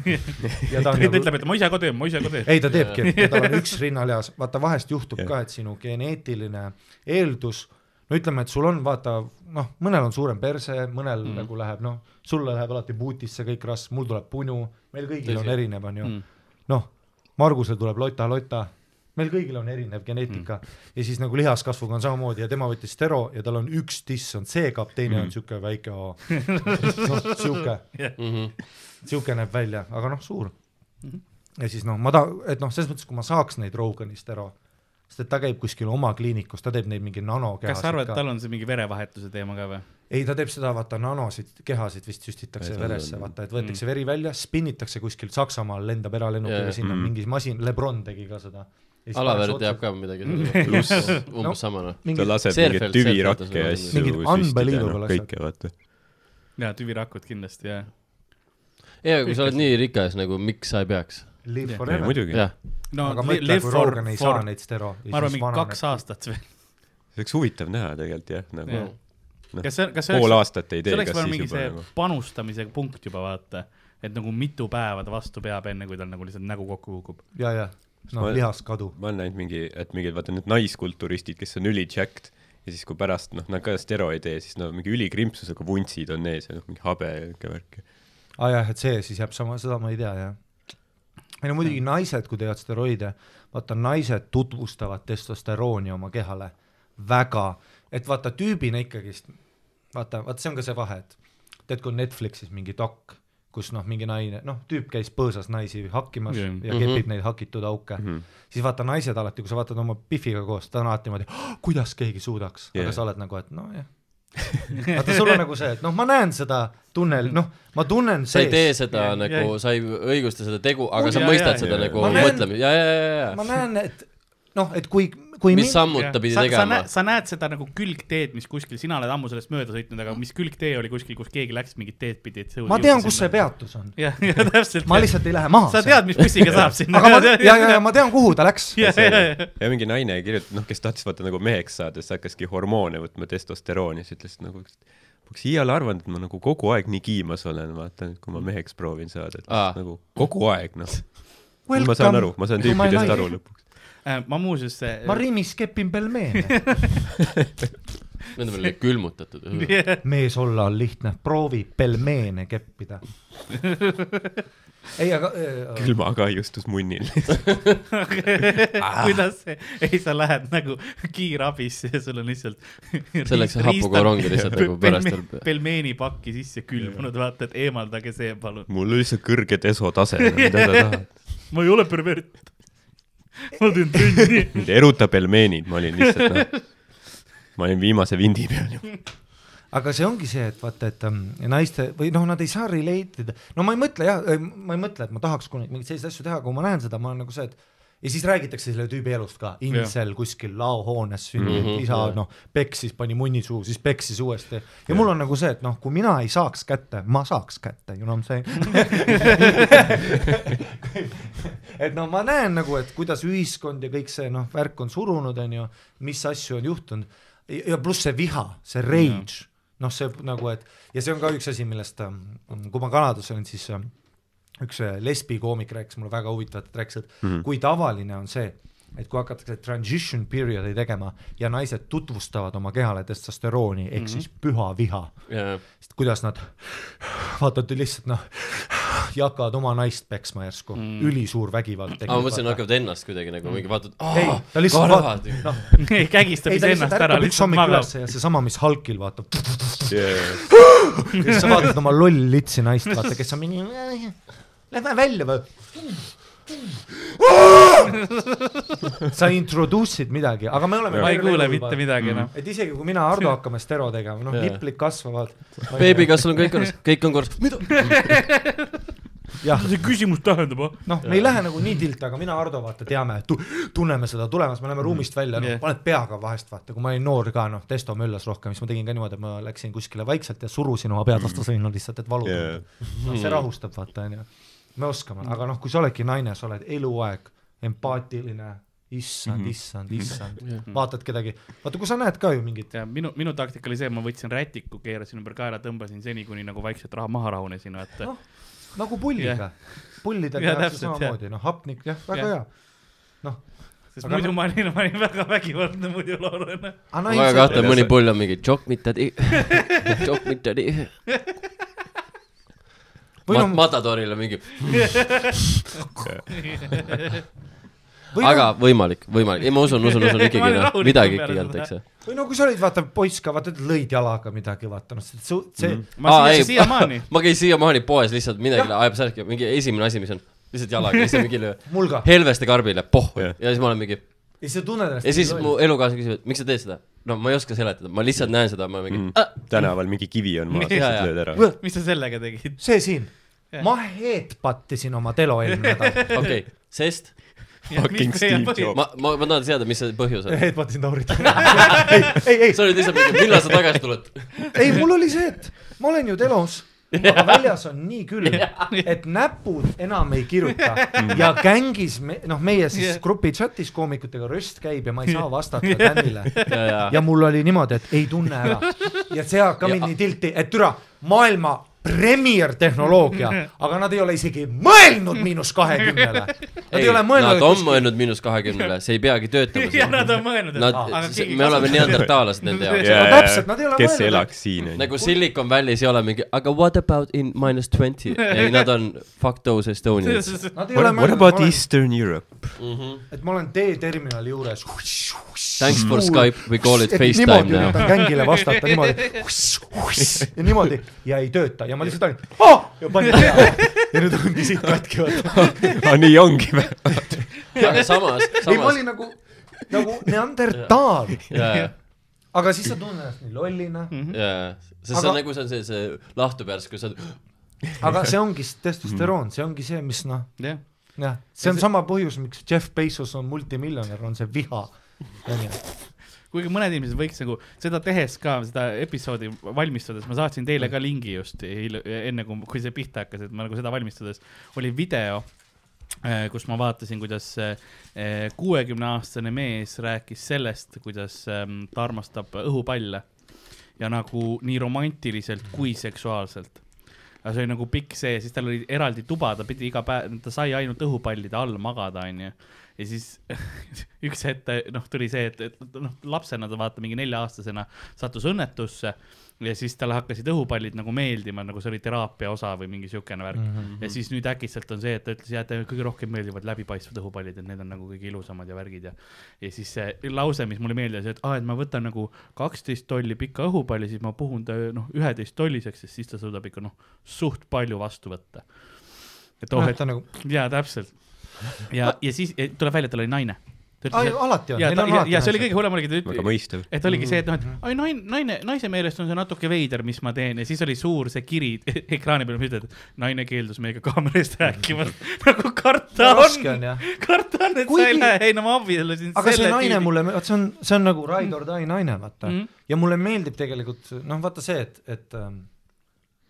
Speaker 4: ja ta
Speaker 2: ta
Speaker 4: on
Speaker 2: ütleb ,
Speaker 4: nagu ,
Speaker 2: et ma ise ka teen , ma ise ka teen .
Speaker 4: ei ta teebki , tal on üks rinnalihas , vaata vahest juhtub
Speaker 5: Jah.
Speaker 4: ka , et sinu geneetiline eeldus no ütleme , et sul on vaata noh , mõnel on suurem perse , mõnel mm. nagu läheb noh , sulle läheb alati puutisse kõik rasv , mul tuleb punu , meil kõigil on
Speaker 3: Tõsi.
Speaker 4: erinev , onju
Speaker 2: Mm.
Speaker 4: mm. . noh , Margusel tuleb lota-lota , meil kõigil on erinev geneetika mm. ja siis nagu lihaskasvuga on samamoodi ja tema võttis stero ja tal on üks diss on C-kapp , teine mm. on siuke väike O . noh , siuke ,
Speaker 5: Mhm.
Speaker 4: siuke näeb välja , aga noh , suur mm .
Speaker 2: Mhm.
Speaker 4: -hmm. ja siis noh , ma ta- , et noh , selles mõttes , kui ma saaks neid Rogani stero , sest et ta käib kuskil oma kliinikus , ta teeb neid mingi nanokehasid
Speaker 2: kas sa arvad , et tal on see mingi verevahetuse teema ka või ?
Speaker 4: ei , ta teeb seda , vaata nanosid , kehasid vist süstitakse
Speaker 5: Ei, tal
Speaker 4: veresse ,
Speaker 5: on-
Speaker 4: vaata , et võetakse mm. veri välja , spinnitakse kuskil Saksamaal , lendab eralennukiga
Speaker 3: Jaa,
Speaker 4: yeah.
Speaker 3: jaa.
Speaker 4: sinna
Speaker 5: Mm.
Speaker 4: mm. mingi masin , Lebron tegi ka seda .
Speaker 3: Alaver teab . ka midagi . umbes sama noh .
Speaker 5: ta
Speaker 4: mingi ,
Speaker 5: laseb
Speaker 3: Seerfeld-
Speaker 5: mingeid
Speaker 3: Seerfeld on
Speaker 5: tüvirakke
Speaker 3: sul
Speaker 5: ja
Speaker 3: olemas.
Speaker 5: asju
Speaker 4: Mingid
Speaker 5: süstida ,
Speaker 4: unbelievable
Speaker 5: noh
Speaker 4: asjad.
Speaker 5: kõike vaata .
Speaker 2: jaa , tüvirakud kindlasti , jaa .
Speaker 3: ja kui sa oled nii rikas nagu , miks sa ei peaks ?
Speaker 4: live
Speaker 5: ei
Speaker 4: forever .
Speaker 5: muidugi ,
Speaker 3: jah ,
Speaker 2: no
Speaker 4: aga
Speaker 2: li-
Speaker 4: mõtle ,
Speaker 2: live
Speaker 4: kui
Speaker 2: for ,
Speaker 4: Rogan ei saa
Speaker 2: for ,
Speaker 4: neid stero .
Speaker 2: ma arvan , mingi kaks . aastat veel .
Speaker 5: see oleks huvitav näha tegelikult jah , nagu
Speaker 2: Jah. kas see , kas see
Speaker 5: pool
Speaker 2: oleks ,
Speaker 5: aastat ei
Speaker 2: see
Speaker 5: tee ,
Speaker 2: oleks
Speaker 5: kas
Speaker 2: veel
Speaker 5: siis
Speaker 2: mingi
Speaker 5: juba
Speaker 2: see
Speaker 5: nagu .
Speaker 2: panustamise punkt juba , vaata . et nagu mitu päeva ta vastu peab , enne kui tal nagu lihtsalt nägu kokku kukub .
Speaker 4: ja , ja , noh
Speaker 5: Ma- ,
Speaker 4: lihaskadu .
Speaker 5: ma olen näinud mingi , et mingid , vaata need naiskulturistid , kes on üli-jacked ja siis , kui pärast noh , nad ka stero ei tee , siis nad mingi ülikrimpsusega vuntsid on ees ja noh , mingi habe ja niisugune värk .
Speaker 4: aa Ah jah , et see siis jääb sama , seda ma ei tea jah . ei no muidugi naised , kui teevad steroide , vaata naised tutvustavad testosterooni oma kehale väga , et vaata tüübina ikkagist , vaata , vaata see on ka see vahe , et tead , kui on Netflixis mingi dok , kus noh , mingi naine , noh , tüüp käis põõsas naisi hakkimas
Speaker 2: Jah.
Speaker 4: yeah. ja kepib mm
Speaker 3: Mhm.
Speaker 4: -hmm. neid hakitud auke mm , -hmm. siis vaata naised alati , kui sa vaatad oma Biffiga koos , ta on alati niimoodi , kuidas keegi suudaks yeah. ,
Speaker 5: Jah.
Speaker 4: aga sa oled nagu , et nojah vaata , sul on nagu see , et noh , ma näen seda tunnel , noh , ma tunnen
Speaker 3: sa ei tee
Speaker 4: sees ,
Speaker 3: seda
Speaker 2: Jah,
Speaker 3: nagu , sa ei õigusta seda tegu , aga sa
Speaker 2: Jaa, jaa,
Speaker 3: mõistad seda
Speaker 5: jaa.
Speaker 3: nagu
Speaker 4: Ma näen-
Speaker 3: mõtlemist , ja , ja , ja ,
Speaker 4: ma
Speaker 3: ja ,
Speaker 4: näen , et noh , et kui , kui
Speaker 3: mis sammud ta pidi
Speaker 2: sa, sa
Speaker 3: tegema
Speaker 2: näed ,? sa näed seda nagu külgteed , mis kuskil , sina oled ammu sellest mööda sõitnud , aga mis külgtee oli kuskil , kus keegi läks mingit teed pidi , et see
Speaker 4: ma tean , kus see . peatus on ,
Speaker 2: jah , ja täpselt .
Speaker 4: ma lihtsalt ei lähe maha .
Speaker 2: sa tead , mis bussiga saab sinna .
Speaker 4: aga ma , ja , ja , ja ma tean , kuhu ta läks .
Speaker 2: ja , ja , ja ,
Speaker 5: ja mingi naine kirjutab , noh , kes tahtis vaata nagu meheks saada , siis hakkaski hormoone võtma , testosterooni , siis ütles et nagu , ma oleks iial arvanud , et ma nagu kogu aeg nii kiimas olen , vaata , et kui ma meheks proovin saada , et
Speaker 3: Aa.
Speaker 5: nagu kogu aeg , noh . ma saan aru , ma saan tüüpidest aru . lõpuks .
Speaker 2: Äh, ma muuseas .
Speaker 4: ma Rimis kepin pelmeene .
Speaker 3: Need on veel külmutatud .
Speaker 4: mees olla on lihtne , proovi pelmeene keppida . ei , aga äh,
Speaker 5: külmakahjustus munnil .
Speaker 2: kuidas see , ei sa lähed nagu kiirabisse ja sul on lihtsalt .
Speaker 3: Selleks hapuga rongi lihtsalt nagu pärast on-
Speaker 2: pelmeenipakki sisse külmunud , vaata , et eemaldage see , palun .
Speaker 5: mul oli lihtsalt kõrge desotase , mida sa tahad .
Speaker 2: ma ei ole pervert . ma teen trenni .
Speaker 5: mind erutab pelmeenid , ma olin lihtsalt , noh , ma olin viimase vindi peal juba .
Speaker 4: aga see ongi see , et vaata , et ähm, naiste või noh , nad ei saa relate ida , no ma ei mõtle jah , ma ei mõtle , et ma tahaks kunagi mingeid selliseid asju teha , kui ma näen seda , ma olen nagu see , et ja siis räägitakse selle tüübi elust ka , insel kuskil laohoones sündinud mm -hmm, isa noh , peksis , pani munni suhu , siis peksis uuesti ja mul on nagu see , et noh , kui mina ei saaks kätte , ma saaks kätte , you know what I m saying . et no ma näen nagu , et kuidas ühiskond ja kõik see noh , värk on surunud , on ju , mis asju on juhtunud ja ja pluss see viha , see rage , noh , see nagu , et ja see on ka üks asi , millest ähm, kui ma Kanadas olin , siis ähm, üks äh, lesbikoomik rääkis mulle väga huvitavat , ta rääkis , et mm -hmm. kui tavaline on see , et kui hakatakse transition period'i tegema ja naised tutvustavad oma kehale testosterooni ehk mm -hmm. siis püha viha
Speaker 3: jaa ,
Speaker 4: sest kuidas nad , vaata , et lihtsalt noh , lahja hakkavad oma naist peksma järsku mm. , ülisuur vägivald
Speaker 3: aga ma mõtlesin , hakkavad ennast kuidagi nagu mingi vaatad .
Speaker 4: ei , ta lihtsalt vaatab , noh ,
Speaker 2: ei kägistab
Speaker 4: ei ta lihtsalt
Speaker 2: iseennast ära ,
Speaker 4: ärkab üks
Speaker 2: lihtsalt
Speaker 4: hommik
Speaker 2: magab
Speaker 4: ülesse ja seesama , mis Hulkil vaatab ,
Speaker 5: yeah. .
Speaker 4: ja siis sa vaatad oma loll litsi naist , vaata , kes on mingi , lähme välja või . sa introduce'id midagi , aga me oleme .
Speaker 2: ma ei kuule mitte . midagi noh. enam .
Speaker 4: et isegi kui mina , Ardo hakkame stero tegema , noh ,
Speaker 3: Jaa.
Speaker 4: niplik kasvavad .
Speaker 3: beebi , kas sul on kõik korras ? kõik on korras . mida ?
Speaker 4: jah ,
Speaker 2: see küsimus tähendab , ah ?
Speaker 4: noh , me ei lähe nagu nii tilt , aga mina , Ardo , vaata , teame , tunneme seda tulemas , me läheme ruumist välja , noh
Speaker 2: Jah. ,
Speaker 4: paned peaga vahest , vaata , kui ma olin noor ka , noh , testo möllas rohkem , siis ma tegin ka niimoodi , et ma läksin kuskile vaikselt ja surusin oma pead vastu sõinu lihtsalt , et valu
Speaker 5: Yeah.
Speaker 4: yeah. . no see rahustab , vaata onju . me oskame , aga noh , kui sa oledki naine , sa oled eluaeg empaatiline , issand , issand , issand , vaatad kedagi , vaata kui sa näed ka ju mingit ,
Speaker 2: ja minu , minu taktika oli see , ma võtsin rätiku , keerasin ümber kaela , tõmbasin seni , kuni nagu vaikselt raha maha rahunesin , vaata
Speaker 4: Noh, . nagu pulliga , pullidega
Speaker 2: Jah,
Speaker 4: tehakse
Speaker 2: täpselt,
Speaker 4: samamoodi , noh hapnik , jah , väga
Speaker 2: Jah.
Speaker 4: hea . noh ,
Speaker 2: sest
Speaker 4: aga
Speaker 2: muidu
Speaker 4: noh-
Speaker 2: ma olin , ma olin väga vägivaldne muidu noh. Laurena .
Speaker 4: aga
Speaker 3: ma väga
Speaker 4: naised ,
Speaker 3: kahtlen , mõni pull on mingi tšokk mitte tadi , tšokk mitte tadi .
Speaker 4: või noh ,
Speaker 3: Matadoril on mingi ,
Speaker 4: või
Speaker 3: aga
Speaker 4: noh ,
Speaker 3: võimalik , võimalik , ei ma usun , usun , usun
Speaker 2: Ma
Speaker 3: ikkagi
Speaker 2: olin
Speaker 3: noh ,
Speaker 2: rahulik
Speaker 3: midagi
Speaker 2: peale
Speaker 3: ikkagi
Speaker 2: seda.
Speaker 3: antakse .
Speaker 4: või no kui sa olid , vaata poiss ka , vaata lõid jalaga midagi , vaata noh , see , see ,
Speaker 3: Mhm.
Speaker 2: ma siia , siiamaani
Speaker 3: ma käin siiamaani poes lihtsalt midagi ajab särki , mingi esimene asi , mis on lihtsalt jalaga , lihtsalt mingi löö-
Speaker 4: mulga
Speaker 3: helveste karbile , pohhu
Speaker 5: Jah.
Speaker 3: ja siis ma olen mingi
Speaker 4: ja siis sa tunned ennast .
Speaker 3: ja siis mu elukaaslane küsib , et miks sa teed seda ? no ma ei oska seletada , ma lihtsalt näen seda , ma olen
Speaker 5: Mhm.
Speaker 3: mingi mm. ,
Speaker 5: tänaval mingi kivi on maas ,
Speaker 3: Jaa,
Speaker 5: lihtsalt
Speaker 3: jaa.
Speaker 5: lööd ära .
Speaker 2: mis sa sellega tegid ?
Speaker 4: see siin , ma headbuttisin oma telo eelmine nädal
Speaker 3: okei okay. , sest
Speaker 5: Fucking Steve Jobs.
Speaker 3: ma , ma , ma tahan teada , mis see põhjus on .
Speaker 4: headbuttisin Taurit . ei , ei , ei ,
Speaker 3: sa olid lihtsalt mingi , millal sa tagasi tuled ?
Speaker 4: ei , mul oli see , et ma olen ju telos , aga väljas on nii külm , et näpud enam ei kiruta ja gängis , noh , meie siis grupi chatis koomikutega röst käib ja ma ei saa vastata Tänile . ja mul oli niimoodi , et ei tunne ära ja see hakkab mind nii tilti , et türa , maailma premier tehnoloogia , aga nad ei ole isegi mõelnud miinus kahekümnele . Nad ei, ei ole mõelnud .
Speaker 3: nad on mõelnud miinus kahekümnele , see ei peagi töötama
Speaker 2: ja
Speaker 3: siin .
Speaker 2: nad on mõelnud , et
Speaker 3: Nad
Speaker 2: aga , keegi
Speaker 3: me
Speaker 2: kasutab
Speaker 3: oleme
Speaker 2: seda.
Speaker 3: neandertaallased nende jaoks
Speaker 5: Jaa,
Speaker 4: no
Speaker 5: jaa.
Speaker 4: täpselt, nad ei ole
Speaker 5: kes
Speaker 4: mõelnud,
Speaker 5: elaks siin , onju .
Speaker 3: nagu Silicon Valley's ei ole mingi , aga what about in minus twenty ? ei , nad on fuck those Estonians .
Speaker 4: Nad ei ole
Speaker 5: What
Speaker 4: mõelnud ,
Speaker 5: about Eastern Europe ?
Speaker 4: et ma olen teeterminali juures .
Speaker 3: Thanks for Skype , we call it
Speaker 4: niimoodi
Speaker 3: Facetime now .
Speaker 4: üritan gängile vastata niimoodi ja niimoodi ja ei tööta ja ma lihtsalt olin oh! ja panin peale ja nüüd ongi siit katki vaata .
Speaker 5: aa , Ah, nii ongi või ?
Speaker 3: aga samas ,
Speaker 4: ei , ma
Speaker 3: samas ,
Speaker 4: olin nagu , nagu neandertaal ,
Speaker 3: jaa ,
Speaker 4: aga siis sa tunned ennast nii lollina ,
Speaker 3: jaa , sest see
Speaker 4: Aga-
Speaker 3: on nagu , see on see , see lahtupärsk , kus sa oled
Speaker 4: aga see ongi s- testosteroon , see ongi see , mis noh ,
Speaker 2: jah ,
Speaker 4: jah , see on sama põhjus , miks Jeff Bezos on multimiljonär , on see viha .
Speaker 2: kuigi mõned inimesed võiks nagu seda tehes ka seda episoodi valmistudes , ma saatsin teile ka lingi just eile , enne kui , kui see pihta hakkas , et ma nagu seda valmistudes oli video , kus ma vaatasin , kuidas kuuekümne aastane mees rääkis sellest , kuidas ähm, ta armastab õhupalle ja nagu nii romantiliselt kui seksuaalselt aga see oli nagu pikk see , siis tal oli eraldi tuba , ta pidi iga päev , ta sai ainult õhupallide all magada , onju . ja siis üks hetk , noh , tuli see , et , et noh , lapsena ta vaata mingi nelja-aastasena sattus õnnetusse ja siis talle hakkasid õhupallid nagu meeldima , nagu see oli teraapia osa või mingi siukene värk mm . -hmm. ja siis nüüd äkitselt on see , et ta ütles , jah , et kõige rohkem meeldivad läbipaistvad õhupallid , et need on nagu kõige ilusamad ja värgid ja . ja siis see lause , mis mulle meeldis , et aa , et ma võtan nagu kaksteist tolli pika õhupalli , siis ma puhun ta noh , üheteist tolliseks , sest siis ta suudab ikka noh , suht palju vastu võtta . et oh , et
Speaker 4: ta nagu ,
Speaker 2: jaa , täpselt . ja , ja siis eh, tuleb välja , et tal oli naine .
Speaker 4: alati on ,
Speaker 2: ja ,
Speaker 4: neil on
Speaker 2: ja,
Speaker 4: alati
Speaker 2: ja see oli kõige hullem oligi , ta
Speaker 5: väga
Speaker 2: ütles ,
Speaker 5: mõistav .
Speaker 2: et oligi see , et noh ,
Speaker 4: Mhm.
Speaker 2: et ai naine , naine , naise meelest on see natuke veider , mis ma teen ja siis oli suur see kiri ekraani peal , mis ütleb , et naine keeldus meiega kaamera eest rääkimast . nagu karta
Speaker 4: raske
Speaker 2: on
Speaker 4: on , jah
Speaker 2: karta on , et sa
Speaker 4: Kuigi-
Speaker 2: ei lähe , ei no ma abiellusin .
Speaker 4: aga see naine . mulle , vot see on , see on nagu Ride or Die naine , vaata mm .
Speaker 2: Mhm.
Speaker 4: -hmm. ja mulle meeldib tegelikult noh , vaata see , et , et ähm,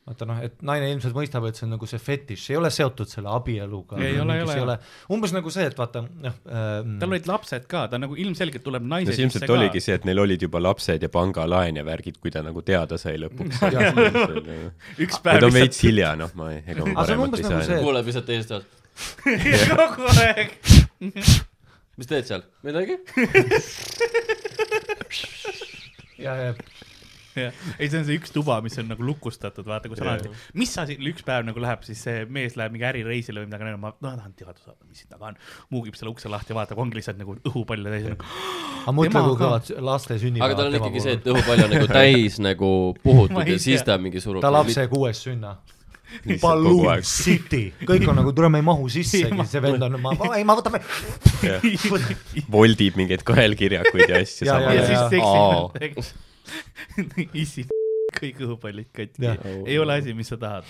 Speaker 4: vaata noh , et naine ilmselt mõistab , et see on nagu see fetiš , ei ole seotud selle abieluga .
Speaker 2: Ei ole, ei ole, jah.
Speaker 4: umbes nagu see , et vaata noh ähm,
Speaker 2: tal olid lapsed ka , ta nagu ilmselgelt tuleb naise
Speaker 5: no see ilmselt oligi . see , et neil olid juba lapsed ja pangalaen ja värgid , kui ta nagu teada sai lõpuks . Need
Speaker 2: üks päev
Speaker 5: on veits hilja , noh , ma , ega ma
Speaker 4: Aga see on
Speaker 5: paremat
Speaker 4: umbes
Speaker 5: ei
Speaker 4: nagu
Speaker 5: saa
Speaker 4: see-
Speaker 5: enam .
Speaker 3: kuuleb lihtsalt teisest otsast .
Speaker 2: lihtsalt kogu aeg .
Speaker 3: mis teed seal ? midagi ?
Speaker 4: ja , ja
Speaker 2: jah , ei , see on see üks tuba , mis on nagu lukustatud , vaata , kus alati , mis sa siin , üks päev nagu läheb , siis see mees läheb mingi ärireisile või midagi , ma no, tahan teada saada , mis siin taga on . muugib selle ukse lahti , vaatab , ongi lihtsalt nagu õhupalle täis nagu .
Speaker 4: aga mõtle ,
Speaker 2: Tema ka.
Speaker 4: kui kõvad laste sünnipäevad .
Speaker 3: aga tal on ikkagi see , et õhupall on nagu täis nagu
Speaker 2: Ma
Speaker 3: puhutud
Speaker 2: ei
Speaker 3: ja siis
Speaker 2: tea.
Speaker 3: ta mingi surub .
Speaker 4: ta lapse kuues sünna .
Speaker 5: Lihtsalt kogu
Speaker 4: Balloon
Speaker 5: aeg.
Speaker 4: City , kõik on nagu , tule , ma ei mahu sissegi , see vend on , ma ,
Speaker 6: ei , ma võtan ,
Speaker 5: voldib mingeid kaelkirjakuid ja asju
Speaker 4: Ja,
Speaker 5: samal
Speaker 2: ja
Speaker 5: ajal .
Speaker 2: siis
Speaker 3: Aa.
Speaker 2: seksid nendega . issi kõik õhupallid katki
Speaker 4: Jah. .
Speaker 2: ei ole asi , mis sa tahad .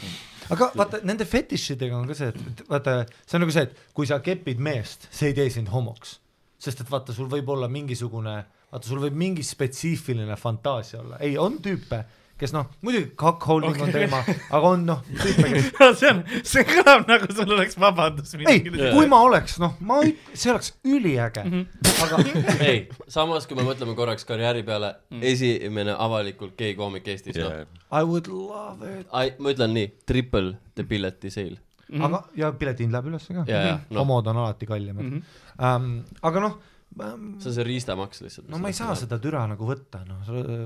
Speaker 4: aga vaata nende fetišidega on ka see , et , et vaata , see on nagu see , et kui sa kepid meest , see ei tee sind homoks . sest et vaata , sul võib olla mingisugune , vaata , sul võib mingi spetsiifiline fantaasia olla , ei , on tüüpe , kes noh , muidugi cockholding okay. on teema , aga on noh , tüüpe , kes
Speaker 2: no see on , see kõlab nagu sul oleks vabandus .
Speaker 4: ei , kui ma oleks , noh , ma , see oleks üliäge mm , -hmm. aga
Speaker 3: ei , samas kui me mõtleme korraks karjääri peale , esimene avalikult gei koomik Eestis , noh .
Speaker 4: I would love it ,
Speaker 3: ma ütlen nii , triple the pileti sale .
Speaker 4: aga ja piletihind läheb üles ka
Speaker 3: ja , ja , noh ,
Speaker 4: homod on alati kallimad mm . -hmm. Um, aga noh ,
Speaker 3: see on see riistamaks lihtsalt .
Speaker 4: no ma ei saa . seda türa nagu võtta , noh ,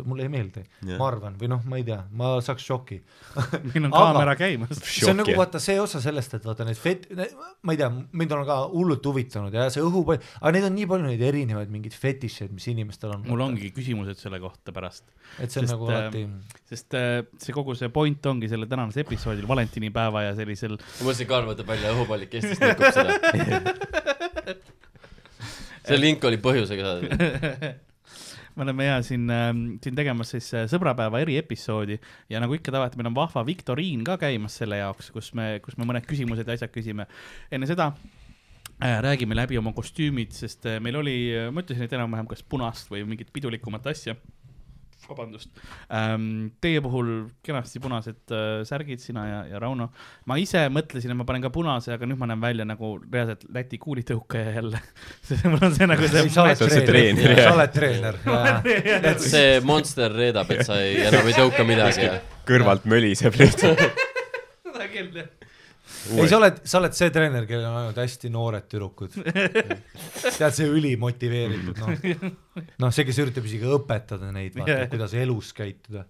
Speaker 4: mulle ei meeldi yeah. , ma arvan , või noh , ma ei tea , ma saaks šoki .
Speaker 2: meil on
Speaker 4: Aga-
Speaker 2: kaamera käimas .
Speaker 4: see on nagu vaata see osa sellest , et vaata need fet- , ma ei tea , mind on ka hullult huvitanud ja see õhupall , aga neid on nii palju neid erinevaid mingeid fetišeid , mis inimestel on .
Speaker 2: mul ongi küsimused selle kohta pärast ,
Speaker 4: et see on
Speaker 2: sest,
Speaker 4: nagu
Speaker 2: äh,
Speaker 4: alati ,
Speaker 2: sest äh, see kogu see point ongi selle tänasel episoodil valentinipäeva ja sellisel
Speaker 3: ma mõtlesin , Karl võtab välja õhupallik Eestis , rikub seda . see link oli põhjusega saadud .
Speaker 2: me oleme ja siin , siin tegemas siis äh, sõbrapäeva eriepisoodi ja nagu ikka tavaliselt meil on vahva viktoriin ka käimas selle jaoks , kus me , kus me mõned küsimused ja asjad küsime . enne seda äh, räägime läbi oma kostüümid , sest äh, meil oli , ma ütlesin , et enam-vähem kas punast või mingit pidulikumat asja . vabandust ähm, , teie puhul kenasti punased äh, särgid , sina ja , ja Rauno . ma ise mõtlesin , et ma panen ka punase , aga nüüd ma näen välja nagu reaalselt Läti kuulitõukaja jälle . mul on see nagu
Speaker 4: ei
Speaker 2: see .
Speaker 4: sa oled
Speaker 5: see on see
Speaker 4: treener ,
Speaker 5: treener,
Speaker 4: sa
Speaker 5: jah.
Speaker 4: oled treener .
Speaker 3: see monster reedab , et sa ei , enam ei tõuka midagi ja
Speaker 5: kõrvalt möliseb lihtsalt .
Speaker 4: ei , sa oled , sa oled see treener , kellel on ainult hästi noored tüdrukud . tead , see ülimotiveeritud , noh , noh , see , kes üritab isegi õpetada neid , vaata , kuidas elus käituda .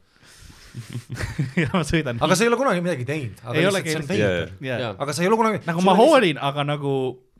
Speaker 2: ja ma sõidan .
Speaker 4: aga sa ei ole kunagi midagi teinud , aga
Speaker 2: Ei
Speaker 4: lihtsalt
Speaker 2: olegi
Speaker 4: see on
Speaker 2: elus-
Speaker 4: veider .
Speaker 2: yeah. .
Speaker 3: Jaa.
Speaker 4: aga sa ei ole kunagi .
Speaker 2: nagu ma . hoolin , aga nagu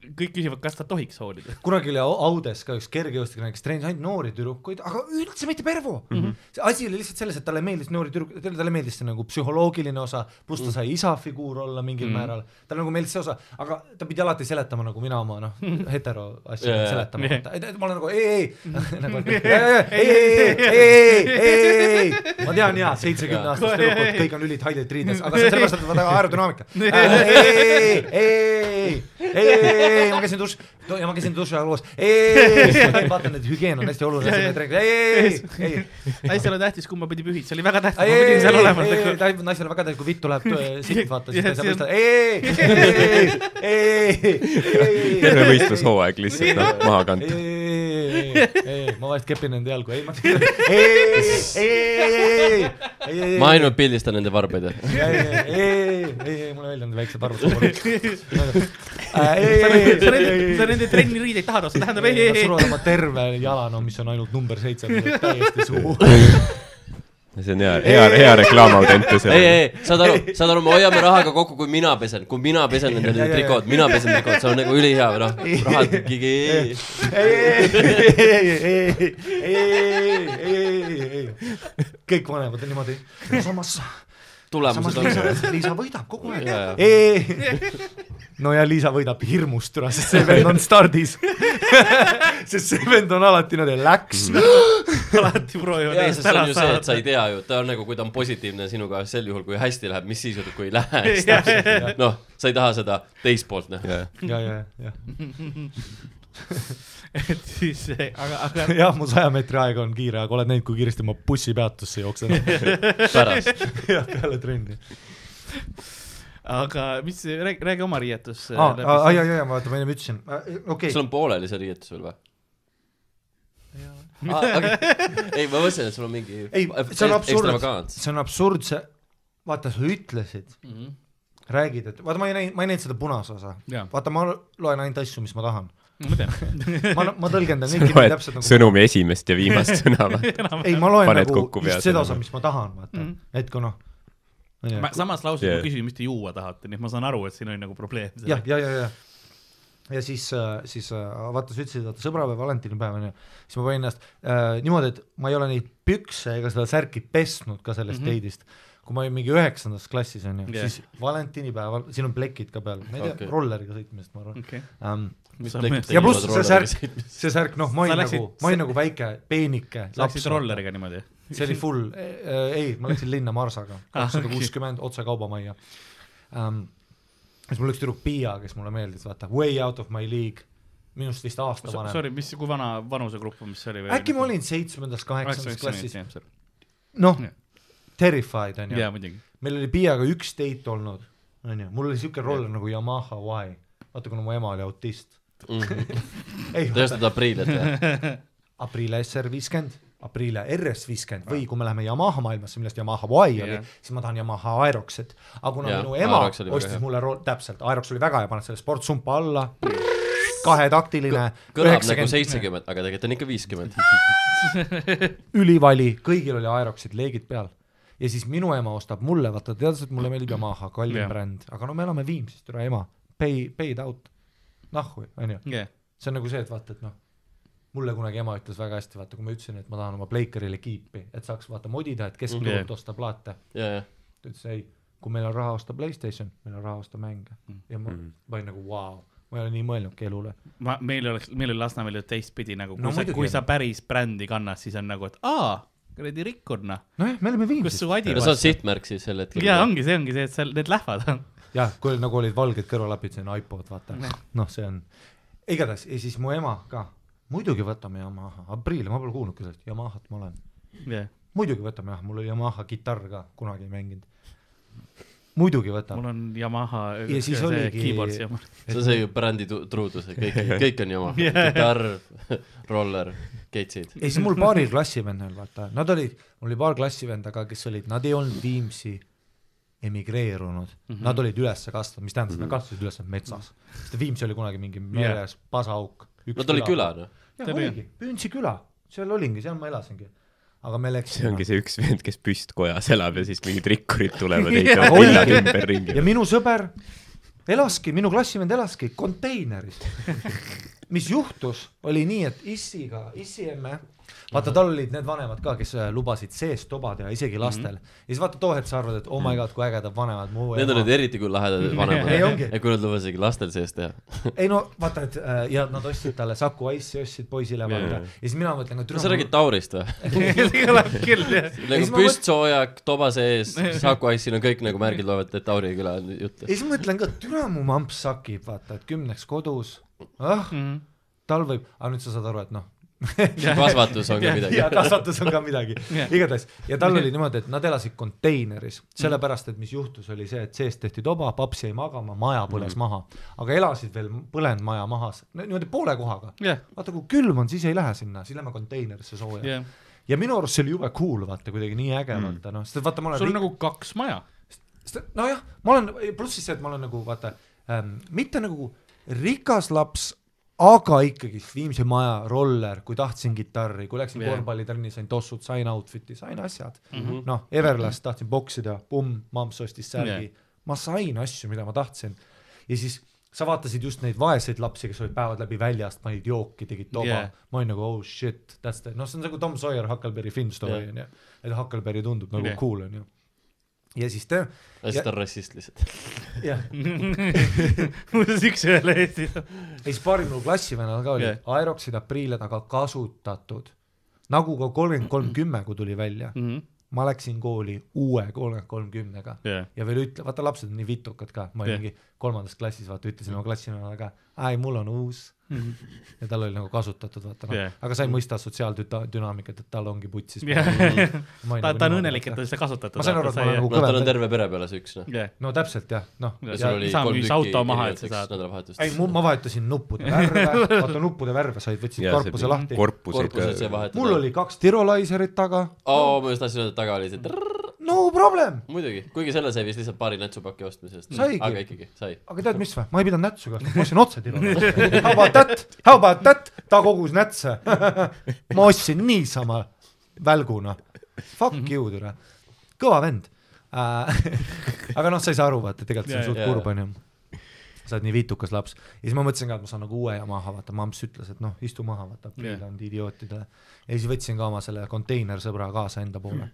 Speaker 2: kõik küsivad , kas ta tohiks hoolida .
Speaker 4: kunagi oli Au- Audes ka üks kergejõustikune , kes treenis ainult noori tüdrukuid , aga üldse mitte pervo mm . -hmm. see asi oli lihtsalt selles , et talle meeldis noori tüdrukuid , talle meeldis see nagu psühholoogiline osa , pluss ta sai isa figuur olla mingil mm -hmm. määral , talle nagu meeldis see osa , aga ta pidi alati seletama nagu mina oma noh , hetero asju yeah,
Speaker 3: Jajah.
Speaker 4: seletama
Speaker 2: Jah.
Speaker 4: yeah. , et , et ma olen nagu ei , ei , nagu et ei , ei , ei , ei , ei , ei , ei , ma tean jaa , seitsmekümne aastased tüdrukud , kõik on ülitight riides , aga see on sellepärast , et nad on väga aerodünaamika . ei , ei , ei , ei , ei , ei , ei , ma käisin duši , ja ma käisin duši ajal koos , ei , vaata need hügieen on hästi oluline , see me treenime , ei , ei , ei ,
Speaker 2: naisel on tähtis , kumba pidi pühid , see oli väga tähtis ,
Speaker 4: ei ,
Speaker 2: ma pidin seal olema . nagu-
Speaker 4: ei , ei , naisel on väga tähtis , kui vitt tuleb siit vaata , siis ta ei saa mõista , ei , ei , ei ,
Speaker 5: terve võistlushooaeg lihtsalt noh , maha kanda .
Speaker 4: ei , ei , ei , ei , ma vahest kepin nende jalgu , ei ma tean , ei , ei , ei , ei , ei , ei ,
Speaker 3: ma ainult pildistan nende varbaid .
Speaker 4: ei , ei , ei , ei , ei , mulle meeldivad väiksed arvud . ei , ei , ei ,
Speaker 2: sa nende ,
Speaker 4: ei ,
Speaker 2: sa
Speaker 4: ei ,
Speaker 2: nende trenni riideid tahad osta , tähendab ei ,
Speaker 4: ei ,
Speaker 2: ei ,
Speaker 4: sul
Speaker 2: ei .
Speaker 4: olema terve jala , no mis on ainult number seitse , täiesti suu .
Speaker 5: see on hea , hea , hea reklaam Audentesele .
Speaker 3: ei , ei , saad aru , saad aru , me hoiame rahaga kokku , kui mina pesen , kui mina pesen nendele trikood , mina pesen trikood , see on nagu ülihea , noh , rahad ikkagi .
Speaker 4: ei , ei , ei , ei , ei , ei , ei , ei , kõik vanemad on niimoodi , samas , samas
Speaker 3: tulemused on
Speaker 4: Liisa , Liisa võidab kogu aeg
Speaker 3: Jaa, jaa. .
Speaker 4: ei , no ja Liisa võidab hirmust ära , sest see vend on stardis . sest see vend on alati niimoodi läks
Speaker 3: Mm.
Speaker 2: alati proovivad
Speaker 3: jaa ,
Speaker 2: eest
Speaker 3: sest see
Speaker 2: ära
Speaker 3: on ju see , et sa ei
Speaker 2: saada .
Speaker 3: tea ju , ta on nagu , kui ta on positiivne sinuga sel juhul , kui hästi läheb , mis siis juhtub , kui ei lähe , eks
Speaker 2: Jah.
Speaker 3: ta , noh , sa ei taha seda teist poolt näha .
Speaker 4: ja , ja , ja ,
Speaker 2: et siis , aga , aga
Speaker 4: jah , mu saja meetri aeg on kiire , aga oled näinud , kui kiiresti ma bussipeatusse jooksen
Speaker 3: pärast ,
Speaker 4: jah , peale trenni .
Speaker 2: aga mis , räägi , räägi oma riietus . eh,
Speaker 4: aa , aa , Ah, ja , ja , ja vaata , ma enne ütlesin , okei
Speaker 3: sul on pooleli see riietus veel või ? ei , ma mõtlesin , et sul on mingi
Speaker 4: ei ,
Speaker 5: Äh,
Speaker 4: see on absurd ,
Speaker 3: ekstravagants .
Speaker 4: see on absurd , see , vaata , sa ütlesid mm , -hmm. räägid , et vaata , ma ei näinud , ma ei näinud seda punase osa
Speaker 2: Mhm. Jaa. ,
Speaker 4: vaata , ma loen ainult asju , mis ma tahan .
Speaker 2: ma tean ,
Speaker 4: ma , ma tõlgendan kõiki neid
Speaker 5: loed
Speaker 4: täpselt nagu ,
Speaker 5: sõnumi esimest ja viimast sõna , vaata .
Speaker 4: ei , ma loen
Speaker 5: paned
Speaker 4: nagu
Speaker 5: kokku pead
Speaker 4: just seda
Speaker 5: enam-vähem.
Speaker 4: osa , mis ma tahan , vaata mm. , et kui noh ,
Speaker 2: Mhm. ma
Speaker 4: jah ,
Speaker 2: samas lauses yeah.
Speaker 5: Yeah.
Speaker 2: ma küsin , mis te juua tahate , nii et ma saan aru , et siin oli nagu probleem .
Speaker 4: ja , ja , ja , ja ja siis , siis äh, vaata , sa ütlesid , vaata sõbrapäev , valentinipäev on ju , siis ma panin ennast äh, niimoodi , et ma ei ole neid pükse ega seda särki pesnud ka sellest mm
Speaker 2: Mhm.
Speaker 4: -hmm. date'ist , kui ma olin mingi üheksandas klassis on ju
Speaker 2: Jah.
Speaker 4: yeah. , siis valentinipäeval , siin on plekid ka peal , ma ei tea
Speaker 3: Okei.
Speaker 4: okay. , rolleriga sõitmisest ma arvan
Speaker 2: okei ,
Speaker 4: um, ,
Speaker 2: mis sa
Speaker 3: Plekk
Speaker 2: mees ,
Speaker 4: ja
Speaker 3: tegi
Speaker 4: pluss
Speaker 3: ilusa
Speaker 4: see
Speaker 3: rolleriga
Speaker 4: särk
Speaker 3: sõitmise. ,
Speaker 4: see särk , noh , ma olin
Speaker 2: Sa
Speaker 4: nagu
Speaker 2: läksid- ,
Speaker 4: ma olin nagu väike peenike laps
Speaker 2: läksid . rolleriga niimoodi ?
Speaker 4: see oli full , Äh, ei , ma läksin linna Marsaga ,
Speaker 2: Ah,
Speaker 4: kakssada
Speaker 2: okei.
Speaker 4: kuuskümmend otse kaubamajja um, . siis mul üks tüdruk Piia , kes mulle meeldis , vaata , way out of my league , minust vist aasta vanem .
Speaker 2: Sorry , äh, mis , kui vana vanusegrupp on , mis see oli ?
Speaker 4: äkki ma olin seitsmendas , kaheksandas klassis ,
Speaker 2: jaa ,
Speaker 4: noh
Speaker 2: Jah. ,
Speaker 4: terrified on ju ,
Speaker 2: muidugi .
Speaker 4: meil oli Piiaga üks date olnud , on ju , mul oli siuke roller nagu Yamaha Y , vaata kuna mu ema oli autist ,
Speaker 3: Mhm.
Speaker 4: ei ,
Speaker 3: tõestad aprillit jah ?
Speaker 4: Aprilia SR viiskümmend , Aprilia RS viiskümmend või kui me läheme Yamaha maailmasse , millest Yamaha Y oli
Speaker 2: Jah. ,
Speaker 4: siis ma tahan Yamaha Aeroxit . aga kuna
Speaker 3: Jah,
Speaker 4: ja, minu ema
Speaker 3: Aerox oli väga
Speaker 4: ostis
Speaker 3: hea.
Speaker 4: mulle ro- , täpselt , Aerox oli väga hea , paned selle sportsumpa alla , kahetaktiline ,
Speaker 3: kõlab nagu
Speaker 4: üheksakümmend ,
Speaker 3: seitsekümmend , aga tegelikult on ikka viiskümmend .
Speaker 4: ülivali , kõigil oli Aeroxid leegid peal . ja siis minu ema ostab mulle , vaata ta teadis , et mulle meeldib Yamaha , kallim
Speaker 2: Jah.
Speaker 4: yeah. bränd , aga no me elame Viimsis , türa ema , pay , paid out , nahhu , onju .
Speaker 2: jah ,
Speaker 4: see on nagu see , et vaata , et noh , mulle kunagi ema ütles väga hästi , vaata , kui ma ütlesin , et ma tahan oma Pleikarile kiipi , et saaks vaata modida , et kes
Speaker 3: Mhm.
Speaker 4: turult osta plaate ,
Speaker 3: ja , ja ,
Speaker 4: ta ütles ei , kui meil on raha osta Playstation , meil on raha osta mänge ja ma, ma olin nagu vau wow, , ma ei ole nii mõelnudki elule .
Speaker 2: ma , meil oleks , meil oli Lasnamäel ju teistpidi nagu , kui
Speaker 4: No
Speaker 2: no, sa ,
Speaker 4: muidugi
Speaker 2: kui
Speaker 4: on.
Speaker 2: sa päris brändi kannad , siis on nagu , et aa , kuradi rikkurna ,
Speaker 4: nojah , me olime
Speaker 2: kus
Speaker 4: Viimsis
Speaker 2: su adi
Speaker 3: no sa oled sihtmärk siis sel hetkel .
Speaker 2: jaa , ongi , see ongi see , et seal need lähevad .
Speaker 4: jah , kui oli- nagu olid valged kõrvalapid , see on iPod , vaata , noh , see on , igatahes ja siis mu ema ka , muidugi võtame Yamaha , Aprilia , ma pole kuulnudki sellest , Yamahat ma olen
Speaker 2: jah ,
Speaker 4: muidugi võtame jah , mul oli Yamaha kitarr ka , kunagi ei mänginud . muidugi võtame .
Speaker 2: mul on Yamaha .
Speaker 4: Ja siis oligi-
Speaker 2: keyboard siia .
Speaker 3: see on see ju brändi tu- truudus , kõik , kõik on jama , kitarr , roller , keitsid .
Speaker 4: ei , siis mul paaril klassivennal , vaata , nad olid , mul oli paar klassivenda ka , kes olid , nad ei olnud Viimsi emigreerunud mm , -hmm. nad olid üles kasvanud , mis tähendab mm , -hmm. nad kasvasid üles metsas , sest Viimsi oli kunagi mingi meres yeah. pasauk .
Speaker 3: Nad olid küla . noh ,
Speaker 4: jah ,
Speaker 2: Tõbi.
Speaker 4: oligi , Püntsi küla , seal olingi , seal ma elasingi , aga me
Speaker 5: see
Speaker 4: läksime .
Speaker 5: ongi see üks vend , kes püstkojas elab ja siis mingid rikkurid tulevad ,
Speaker 4: Aga
Speaker 5: heitavad villa
Speaker 4: oligi.
Speaker 5: ümberringi
Speaker 4: ja . minu sõber elaski , minu klassivend elaski konteineris . mis juhtus , oli nii , et issiga , issi emme , vaata tal olid need vanemad ka , kes äh, lubasid sees toba teha
Speaker 3: Mhm.
Speaker 4: isegi lastel mm . -hmm. ja siis vaata too hetk sa arvad , et oh my god , kui ägedad vanemad mu
Speaker 3: need olid eriti kui lahedad
Speaker 4: Ei,
Speaker 3: vanemad
Speaker 4: ongi. ,
Speaker 3: kui nad lubasid isegi lastel sees teha .
Speaker 4: ei no vaata , et äh, ja nad ostsid talle Saku Ice'i ostsid poisile vaata ja siis mina mõtlen , et
Speaker 3: kas sa räägid Taurist või ?
Speaker 2: see kõlab küll , jah .
Speaker 3: nagu
Speaker 4: siis ma mõt-
Speaker 3: püstsoojak , toba sees , Saku Ice'il on kõik nagu märgid loevad , et Tauri küla on jutt
Speaker 4: ja . siis mõtlen ka , türa mu mamps sakib , vaata , et kümneks kodus , ah , tal võib , aga nüüd sa saad aru , et noh ,
Speaker 3: kasvatus on ka midagi
Speaker 4: ja . kasvatus on ka midagi
Speaker 2: Jah.
Speaker 4: yeah. , igatahes ja tal oli niimoodi , et nad elasid konteineris , sellepärast et mis juhtus , oli see , et seest tehti toba , paps jäi magama , maja põles
Speaker 2: Mhm.
Speaker 4: mm. maha , aga elasid veel põlenud maja mahas , niimoodi poole kohaga .
Speaker 2: jah ,
Speaker 4: vaata , kui külm on , siis ei lähe sinna , siis lähme konteinerisse sooja yeah. .
Speaker 2: jah .
Speaker 4: ja minu arust see oli jube cool , vaata kuidagi nii äge mm. , vaata noh , sest et vaata , ma olen
Speaker 2: sul on nagu kaks maja .
Speaker 4: sest nojah , ma olen , pluss siis see , et ma olen nagu vaata ähm, , mitte nagu rikas laps , aga ikkagi Viimsi maja , roller , kui tahtsin kitarri , kui läksin
Speaker 2: Jah. Mhm.
Speaker 4: yeah. korvpallitrenni , sain tossud , sain outfit'i , sain asjad mm -hmm. . noh , Everlast tahtsin boksida , pumm , mamps ostis särgi yeah. , ma sain asju , mida ma tahtsin . ja siis sa vaatasid just neid vaeseid lapsi , kes olid päevad läbi väljas , panid jooki , tegid toba
Speaker 2: Jah.
Speaker 4: yeah. , ma olin nagu oh shit , that's the , noh , see on nagu Tom Sawyer Huckleberry Finn story
Speaker 3: Jah.
Speaker 4: onju yeah. , et Huckleberry tundub nagu
Speaker 2: Jah.
Speaker 4: yeah. cool onju . ja siis ta ,
Speaker 3: ja siis ta on rassist lihtsalt .
Speaker 4: jah
Speaker 2: muuseas , üks-ühele Eestis .
Speaker 4: ei , siis paari minu klassivennal ka olid
Speaker 2: Jah.
Speaker 4: yeah. Aeroxid Aprilid , aga kasutatud . nagu ka kolmkümmend kolm kümme , kui tuli välja ,
Speaker 2: Mm. Mhm,
Speaker 4: ma läksin kooli uue kolmkümmend kolm kümnega
Speaker 2: Jah.
Speaker 4: ja veel ütle , vaata lapsed on nii vitukad ka , ma
Speaker 2: Jah.
Speaker 4: olin mingi kolmandas klassis , vaata ütlesin oma klassivennale ka , aa ei , mul on uus . ja tal oli nagu kasutatud , vaata
Speaker 2: Jah.
Speaker 4: noh , aga sa ei mõista sotsiaaldünaamikat , et tal ongi putsis .
Speaker 2: ta , ta on õnnelik , et ta seda kasutada
Speaker 4: Ma saan aru, et ma olen
Speaker 3: no tal on terve pere peale see üks noh .
Speaker 2: jah ,
Speaker 4: no täpselt jah , noh .
Speaker 2: Ja
Speaker 3: sul oli
Speaker 2: isa
Speaker 3: kolm
Speaker 2: müüs
Speaker 3: tükki
Speaker 2: auto maha, et sa
Speaker 3: erinevateks
Speaker 2: saad-
Speaker 3: nädalavahetusteks .
Speaker 4: ei , ma vahetasin nuppude värve , vaata nuppude värve said , võtsid korpuse lahti .
Speaker 5: korpused
Speaker 3: korpused sai
Speaker 5: ka .
Speaker 3: vahetada .
Speaker 4: mul oli kaks tirolaiserit taga
Speaker 3: oo , ma just tahtsin öelda , et taga oli see trrrr ,
Speaker 4: no problem ,
Speaker 3: muidugi , kuigi selle sai vist lihtsalt paari nätsupaki ostmisest .
Speaker 4: Saigi.
Speaker 3: aga ikkagi sai .
Speaker 4: aga tead mis või , ma ei pidanud nätsu kasutama , ma ostsin otse Tirost . How about that , how about that , ta kogus nätse . ma ostsin niisama välguna . Fuck you , türa . kõva vend äh, . aga noh , sa ei saa aru , vaata , tegelikult see
Speaker 2: Jaa,
Speaker 4: on suht
Speaker 3: jaa.
Speaker 4: kurb , onju . sa oled nii viitukas laps . ja siis ma mõtlesin ka , et ma saan nagu uue ja maha , vaata , mamps ütles , et noh , istu maha , vaata ,
Speaker 2: Jah.
Speaker 4: aprill on idiootidele . ja siis võtsin ka oma selle konteinersõbra kaasa enda poole .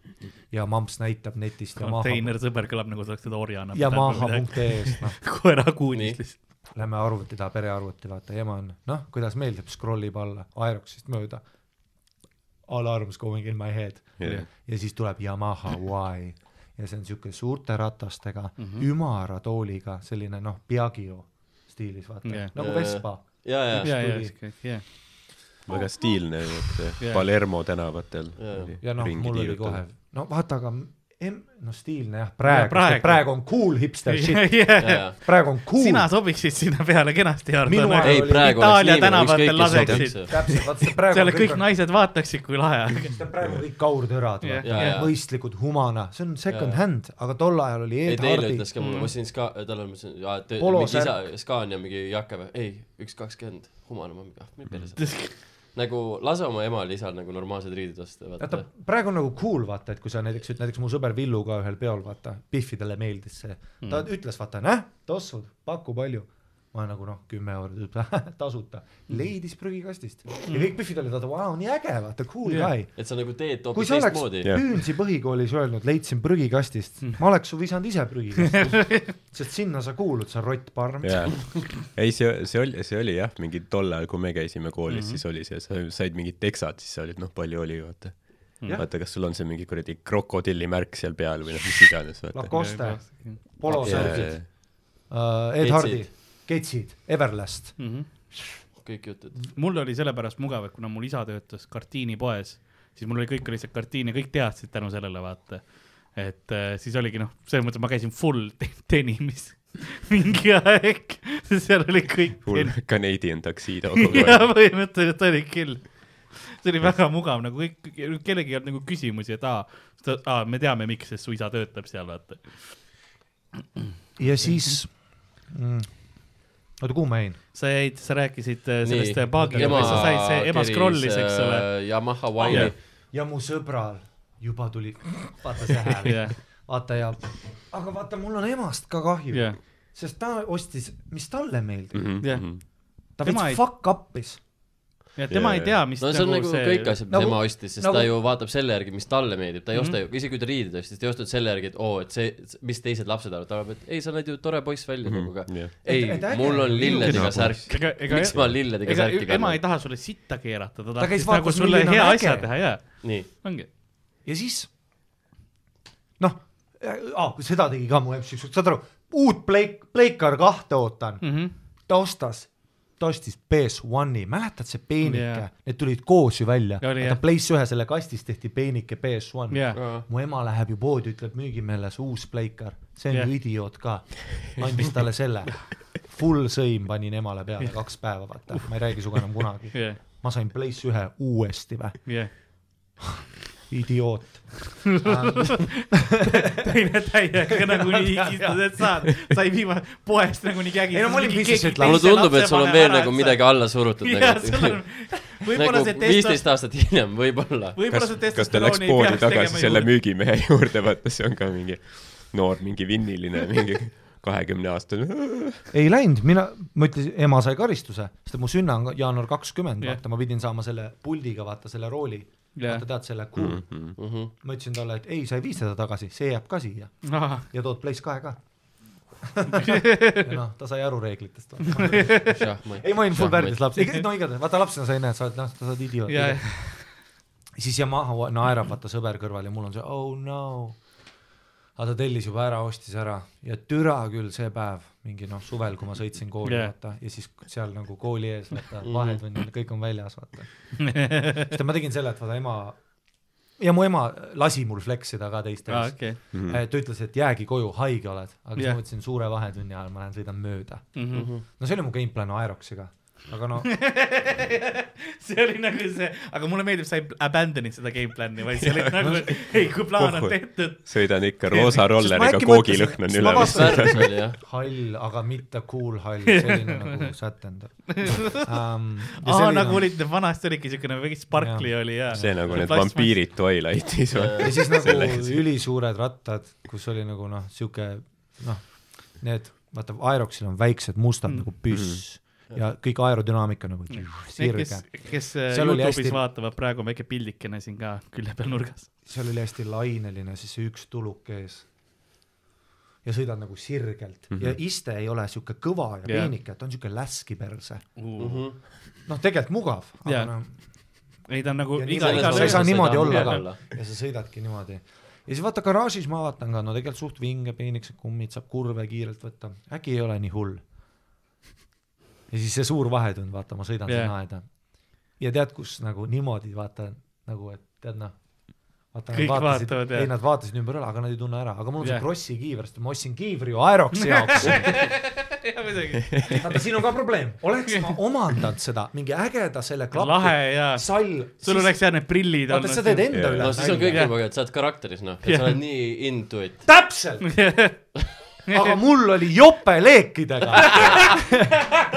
Speaker 4: ja mamps näitab netist ja maha .
Speaker 2: konteinersõber kõlab nagu sa oleks teda orjana .
Speaker 4: ja maha.ee-st , noh .
Speaker 2: koerakuunist
Speaker 3: Nii.
Speaker 2: lihtsalt .
Speaker 4: Lähme arvuti taha , perearvuti vaata , ema on , noh , kuidas meeldib , scroll ib alla Aeroxist mööda . Alarms going in my head
Speaker 5: Jah.
Speaker 4: ja siis tuleb Yamaha Y ja see on siuke suurte ratastega mm , -hmm. ümara tooliga , selline noh , Piaggio stiilis vaata
Speaker 2: Jah.
Speaker 4: yeah. , nagu Vespa .
Speaker 3: ja , ja ,
Speaker 2: ja , ja
Speaker 4: tuli. ,
Speaker 2: ja ,
Speaker 5: väga stiilne , et
Speaker 2: Jaa.
Speaker 5: Palermo tänavatel
Speaker 3: Jaa.
Speaker 5: oli
Speaker 4: ja noh ,
Speaker 5: ringi
Speaker 4: mul oli
Speaker 5: tiirutada.
Speaker 4: kohe , no vaata , aga em- , no stiilne jah , praegu,
Speaker 2: praegu.
Speaker 4: praegu. , praegu on cool hipster shit ,
Speaker 2: ja , ja .
Speaker 3: ja .
Speaker 4: praegu on cool .
Speaker 2: sina sobiksid sinna peale kenasti , Nagu
Speaker 4: Minu
Speaker 2: Hardo .
Speaker 4: arv-
Speaker 3: ei , praegu
Speaker 2: Itaalia
Speaker 3: oleks niimoodi ,
Speaker 2: tänavatel
Speaker 3: ükskõik kes
Speaker 2: laseksid.
Speaker 3: sobib .
Speaker 4: täpselt , vaata see praegu
Speaker 2: seal kõik naised vaataksid , kui lahe .
Speaker 4: see on praegu kõik kaurtörad
Speaker 2: Jah.
Speaker 4: yeah. ,
Speaker 3: ja , ja .
Speaker 4: mõistlikud humana , see on second
Speaker 3: Jaa.
Speaker 4: hand , aga tol ajal oli
Speaker 3: ei ,
Speaker 4: Ed
Speaker 3: teile
Speaker 4: Hardy
Speaker 3: ütles , ka
Speaker 2: Mm.
Speaker 3: mulle , ma ostsin ska- , talle ma ütlesin , aa , et
Speaker 4: Polo
Speaker 3: mingi isa
Speaker 4: särk. ,
Speaker 3: Scania mingi jake või , ei , üks kakskümmend , humana , ma mingi , ah , mine perse . nagu lase oma emal-isal nagu normaalsed riided osta ,
Speaker 4: vaata
Speaker 3: vaata .
Speaker 4: praegu on nagu cool vaata , et kui sa näiteks , näiteks mu sõber Villu ka ühel peol vaata , Biffidele meeldis see ,
Speaker 3: Hmm.
Speaker 4: ta mm. ütles vaata , näh , tossud , paku palju . ma olen nagu noh , kümme eurot tasuta ,
Speaker 3: Hmm.
Speaker 4: leidis prügikastist ja kõik Biffid olid vaata , vau , nii äge , vaata , cool
Speaker 2: Jah.
Speaker 4: guy .
Speaker 3: et sa nagu teed
Speaker 4: kui
Speaker 3: hoopis
Speaker 4: sa oleks
Speaker 3: teistmoodi . Hmm.
Speaker 5: Jah.
Speaker 4: Püünsi põhikoolis öelnud , leidsin prügikastist , ma oleks su visanud ise prügikastist , sest sinna sa kuulud , sa rottparm .
Speaker 5: jaa , ei see , see oli , see oli jah , mingi tol ajal , kui me käisime koolis mm , -hmm. siis oli see , sa said mingid teksad , siis sa olid noh , palju oli vaata mm .
Speaker 4: Jah.
Speaker 5: -hmm. vaata , kas sul on see mingi kuradi krokodilli märk seal peal või noh , mis iganes vaata .
Speaker 4: Lacoste , polosärgid , äh, Ed
Speaker 3: Ketsid.
Speaker 4: Hardy , ketsid , Everlast .
Speaker 3: kõik jutud .
Speaker 2: Mhm. mul oli sellepärast mugav , et kuna mul isa töötas kartiinipoes , siis mul oli kõik oli see kartiin ja kõik teadsid tänu sellele , vaata . et äh, siis oligi noh , selles mõttes ma käisin full te- denimis mingi aeg , seal oli kõik .
Speaker 5: Full Canadian tuxedo kogu
Speaker 2: ja
Speaker 5: aeg .
Speaker 2: põhimõtteliselt oli küll . see oli väga mugav , nagu kõik , kellelgi ei olnud nagu küsimusi , et aa , aa , me teame , miks , sest su isa töötab seal , vaata .
Speaker 4: ja siis mm, , oota kuhu ma jäin ?
Speaker 2: sa jäid , sa rääkisid äh, sellest äh, baagiga , mis sa said , see ema scroll'is , eks
Speaker 3: äh,
Speaker 2: ole .
Speaker 3: Yamaha Wine'i
Speaker 5: Jah.
Speaker 4: ja mu sõbral juba tuli , vaata see hääl
Speaker 2: Jah.
Speaker 4: vaata ja , aga vaata , mul on emast ka kahju
Speaker 2: jah ,
Speaker 4: sest ta ostis , mis talle meeldib mm ,
Speaker 5: Mhm,
Speaker 2: Jah.
Speaker 4: -hmm. ta
Speaker 2: Tema
Speaker 4: veits
Speaker 2: ei-
Speaker 4: ei... fuck up'is .
Speaker 2: ja tema ei tea , mis
Speaker 3: no see on nagu see... kõik asjad , mis
Speaker 4: Nagu-
Speaker 3: ema ostis , sest
Speaker 4: nagu-
Speaker 3: nagu... ta ju vaatab selle järgi , mis talle meeldib , ta ei osta ju , isegi kui ta riided ostis , ta ei ostnud selle järgi , et oo , et see , mis teised lapsed arvavad , ta arvab , et ei , sa näed ju tore poiss välja mm -hmm. nagu
Speaker 5: jah.
Speaker 3: ka . ei
Speaker 4: Et- et äge. ,
Speaker 3: mul on lilledega
Speaker 5: Kena
Speaker 3: särk .
Speaker 2: ega , ega
Speaker 3: miks ma lilledega
Speaker 2: ega
Speaker 3: särki
Speaker 2: ema ei
Speaker 3: kannan ?
Speaker 2: taha sulle sitta keerata , ta
Speaker 4: käis
Speaker 2: tahtis
Speaker 4: vaatas,
Speaker 2: nagu sulle
Speaker 4: milline on
Speaker 2: hea
Speaker 4: äge.
Speaker 2: asja teha ja
Speaker 3: nii ,
Speaker 2: ongi .
Speaker 4: ja siis , noh äh, , seda tegi ka mu emps , saad aru , uut Blake , Blake'ar kahte ootan mm ,
Speaker 2: Mhm.
Speaker 4: -hmm. ta ostas ta ostis PS1-i , mäletad see peenike
Speaker 2: Jaa.
Speaker 4: yeah. , need tulid koos ju välja ,
Speaker 2: Oli, jah.
Speaker 4: vaata Play's ühe selle kastis tehti peenike PS1
Speaker 2: Jah.
Speaker 4: mu ema läheb ju poodi , ütleb müügimehele , see uus pleikar , see on
Speaker 2: Jah.
Speaker 4: yeah. ju idioot ka . andis talle selle , full sõim panin emale peale kaks päeva , vaata , ma ei räägi sinuga enam kunagi .
Speaker 2: jah ,
Speaker 4: ma sain Play's ühe uuesti või ,
Speaker 2: jah .
Speaker 4: idioot .
Speaker 2: teine täiega nagunii higistad , et saad , sai viimane poest nagu nagunii kägid .
Speaker 4: Ei no ma olin pissis, et
Speaker 3: mulle tundub , et sul on veel nagu midagi alla surutud
Speaker 2: jah , sul
Speaker 3: nagu
Speaker 2: on , võib-olla
Speaker 3: nagu
Speaker 2: see
Speaker 3: viisteist
Speaker 2: testo- , aastat .
Speaker 3: aastat hiljem , võib-olla .
Speaker 2: võib-olla
Speaker 5: kas
Speaker 2: see ,
Speaker 5: kas ta läks
Speaker 2: testosterooni ei
Speaker 5: poodi
Speaker 2: peaks
Speaker 5: tagasi
Speaker 2: tegema
Speaker 5: selle
Speaker 2: juurde.
Speaker 5: müügimehe juurde , vaata see on ka mingi noor mingi vinniline , mingi kahekümne aastane .
Speaker 4: ei läinud , mina , ma ütlesin , ema sai karistuse , sest et mu sünna on ka- jaanuar kakskümmend
Speaker 2: Jah.
Speaker 4: yeah. , vaata , ma pidin saama selle puldiga , vaata selle rooli
Speaker 2: Jah. Mhm.
Speaker 4: yeah. , vaata tead selle kuu mm . -hmm. ma ütlesin talle , et ei , sa ei vii seda tagasi , see jääb ka siia
Speaker 2: Ahah,
Speaker 4: ja tood Play's kahe ka . noh , ta sai aru reeglitest ei , ma olin full värdis laps , no igatahes , vaata lapsena sa ei näe , sa oled noh , sa oled idioot
Speaker 2: ja , ja
Speaker 4: yeah. ., siis Yamaha naerab , vaata sõber kõrval ja mul on see oh no . aga ta tellis juba ära , ostis ära ja türa küll see päev , mingi noh , suvel , kui ma sõitsin kooli
Speaker 2: Jah. Mhm.
Speaker 4: yeah. , vaata , ja siis seal nagu kooli ees , vaata , vahetunnil kõik on väljas , vaata . sest ma tegin selle , et vaata ema ja mu ema lasi mul fleksida ka teiste
Speaker 2: aa ,
Speaker 4: ees .
Speaker 2: Ah, okei .
Speaker 4: ta ütles , et jäägi koju , haige oled , aga siis
Speaker 2: Jah.
Speaker 4: ma mõtlesin , suure vahetunni ajal ma lähen sõidan mööda
Speaker 2: Mhm.
Speaker 4: no see oli mu game plan Aeroxiga . aga no
Speaker 2: see oli nagu see , aga mulle meeldib , sa ei abandon'id seda game plan'i , vaid see oli nagu , ei kui plaan on
Speaker 5: Pohhu.
Speaker 2: tehtud ,
Speaker 5: sõidan ikka roosa rolleriga ,
Speaker 4: äkki
Speaker 5: koogilõhn on
Speaker 4: mõtlesin-
Speaker 5: üleval
Speaker 4: siis . ma
Speaker 3: värvis oli jah .
Speaker 4: hall , aga mitte cool hall , selline nagu sätendab um, .
Speaker 2: aa nagu . olid , vanasti oligi siukene mingi sparkli oli ja .
Speaker 5: see nagu need . vampiirid Twilightis või
Speaker 4: ja ? siis nagu
Speaker 5: Selleks.
Speaker 4: ülisuured rattad , kus oli nagu noh , sihuke noh , need , vaata Aeroxil on väiksed mustad mm. nagu püss mm. ja kõik aerodünaamika nagu
Speaker 2: Need ,
Speaker 4: sirge
Speaker 2: kes , kes äh,
Speaker 4: Seal oli
Speaker 2: Youtube'is hästi...
Speaker 4: hästi-
Speaker 2: vaatavad , praegu on väike pildikene siin ka külje peal nurgas .
Speaker 4: seal oli hästi laineline , siis see üks tuluk ees ja sõidad nagu sirgelt mm -hmm. ja iste ei ole sihuke kõva
Speaker 2: Jah.
Speaker 4: ja peenike , et on sihuke läski perse .
Speaker 2: ei ,
Speaker 4: noh , tegelikult mugav , aga
Speaker 2: Jah.
Speaker 4: yeah. noh ,
Speaker 2: ta on nagu
Speaker 4: ja
Speaker 2: iga ,
Speaker 4: niimoodi
Speaker 2: iga
Speaker 4: sa ei saa
Speaker 3: sa ei
Speaker 4: niimoodi
Speaker 3: saa
Speaker 4: olla
Speaker 3: niimoodi
Speaker 4: ka
Speaker 3: olla.
Speaker 4: ja sa sõidadki niimoodi . ja siis vaata garaažis ma vaatan ka , no tegelikult suht vinge , peenikesed kummid , saab kurve kiirelt võtta , äkki ei ole nii hull . ja siis see suur vahetund , vaata , ma sõidan
Speaker 2: Jah.
Speaker 4: yeah. sinna aeda . ja tead , kus nagu niimoodi vaata nagu , et tead noh , vaata
Speaker 2: Kõik
Speaker 4: nad vaatasid
Speaker 2: vaatavad, , jah.
Speaker 4: ei nad vaatasid ümber üle , aga nad ei tunne ära , aga mul on
Speaker 2: Jah.
Speaker 4: see Krossi kiiver , sest ma ostsin kiivri ju Aeroxi jaoks . vaata , siin on ka probleem , oleks ma omandanud seda mingi ägeda selle klapi ,
Speaker 2: lahe ja
Speaker 4: sall .
Speaker 2: sul oleks jah need prillid
Speaker 4: vaata , siis sa teed enda
Speaker 5: Jaa.
Speaker 4: üle
Speaker 3: no siis on kõik
Speaker 2: Jah.
Speaker 3: juba , et sa oled karakteris noh , et
Speaker 2: Jah.
Speaker 3: sa oled nii into it .
Speaker 4: täpselt , aga mul oli jope leekidega .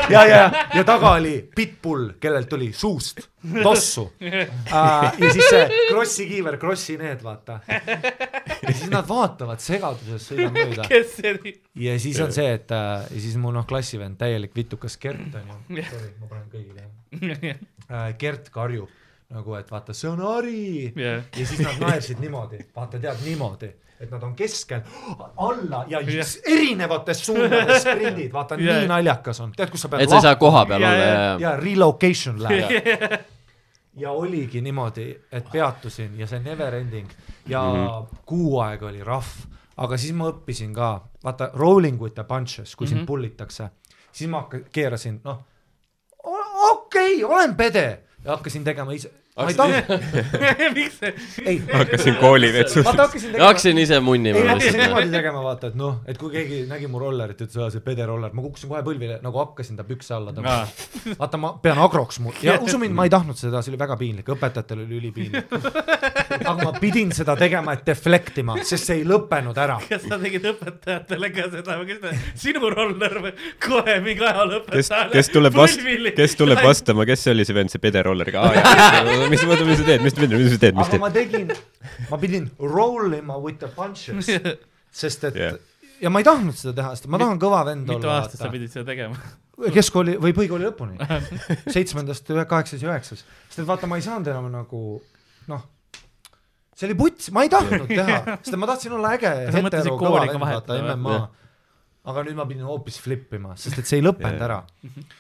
Speaker 4: ja , ja , ja taga oli pitbull , kellel tuli suust tossu uh, . ja siis see Krossi kiiver , Krossi need , vaata . ja siis nad vaatavad segaduses , sõidan mööda .
Speaker 2: kes see oli ?
Speaker 4: ja siis on see , et äh, ja siis mu noh , klassivend , täielik vitukas Kert on ju . sorry , ma panen kõigile äh, . Kert karjub nagu , et vaata , see on Ari
Speaker 2: Jah.
Speaker 4: ja siis nad naersid niimoodi , vaata tead niimoodi , et nad on keskel , alla ja
Speaker 2: Jah.
Speaker 4: yeah. erinevates suundades sprindid , vaata
Speaker 2: Jah.
Speaker 4: yeah. nii naljakas on , tead , kus sa pead
Speaker 3: et sa ei saa koha peal
Speaker 2: Jaa,
Speaker 3: olla
Speaker 2: jaa.
Speaker 3: ja , ja ,
Speaker 4: ja relocation läheb . ja oligi niimoodi , et peatusin ja see never ending ja kuu aega oli rough , aga siis ma õppisin ka , vaata rolling with the punches , kui sind pullitakse , siis ma hakka- keerasin , noh , okei okay, , olen pede ja hakkasin tegema ise , ma ei tahtnud ,
Speaker 2: miks see ?
Speaker 4: ei ,
Speaker 5: hakkasin koolivetsus .
Speaker 4: vaata hakkasin
Speaker 3: ja
Speaker 4: tegema
Speaker 3: hakkasin ise munnima
Speaker 4: ei , ma hakkasin
Speaker 3: lihtsalt .
Speaker 4: niimoodi tegema , vaata , et noh , et kui keegi nägi mu rollerit , ütles , aa see pede roller , ma kukkusin kohe põlvile , nagu hakkasin ta pükse alla
Speaker 2: Aa.
Speaker 4: tõmbama . vaata , ma pean agroks mu- ja usu mind , ma ei tahtnud seda , see oli väga piinlik , õpetajatel oli ülipiinlik . aga ma pidin seda tegema , et deflect ima , sest see ei lõppenud ära .
Speaker 2: kas sa tegid õpetajatele ka seda või kas ta , sinu roller või kohe mingi
Speaker 5: kes
Speaker 2: ajalooõpetajale ?,
Speaker 5: kes tuleb vastu , kes tuleb ? vastama , kes see oli see vend , see pederolleriga , aa jaa , mis , oota , mis sa teed , mis sa teed , mis sa teed , mis
Speaker 4: aga
Speaker 5: sa
Speaker 4: ma tegin , ma pidin roll ima with the punches , sest et
Speaker 5: Jah.
Speaker 4: ja ma ei tahtnud seda teha , sest ma tahan kõva vend
Speaker 2: mitu
Speaker 4: olla .
Speaker 2: aastat sa pidid seda tegema ?
Speaker 4: keskkooli või põhikooli lõpuni , seitsmendast ühe- kaheksas ja üheksas , sest et vaata , ma ei saanud enam nagu noh , see oli puts , ma ei tahtnud teha , sest et ma tahtsin olla äge
Speaker 2: Kas sa mõtlesid
Speaker 4: hetero
Speaker 2: kooli
Speaker 4: kõva
Speaker 2: ka
Speaker 4: vend , vaata
Speaker 2: vahetada või?
Speaker 4: MMA . aga nüüd ma pidin hoopis flip ima , sest et see ei lõppenud ära .
Speaker 2: Mhm.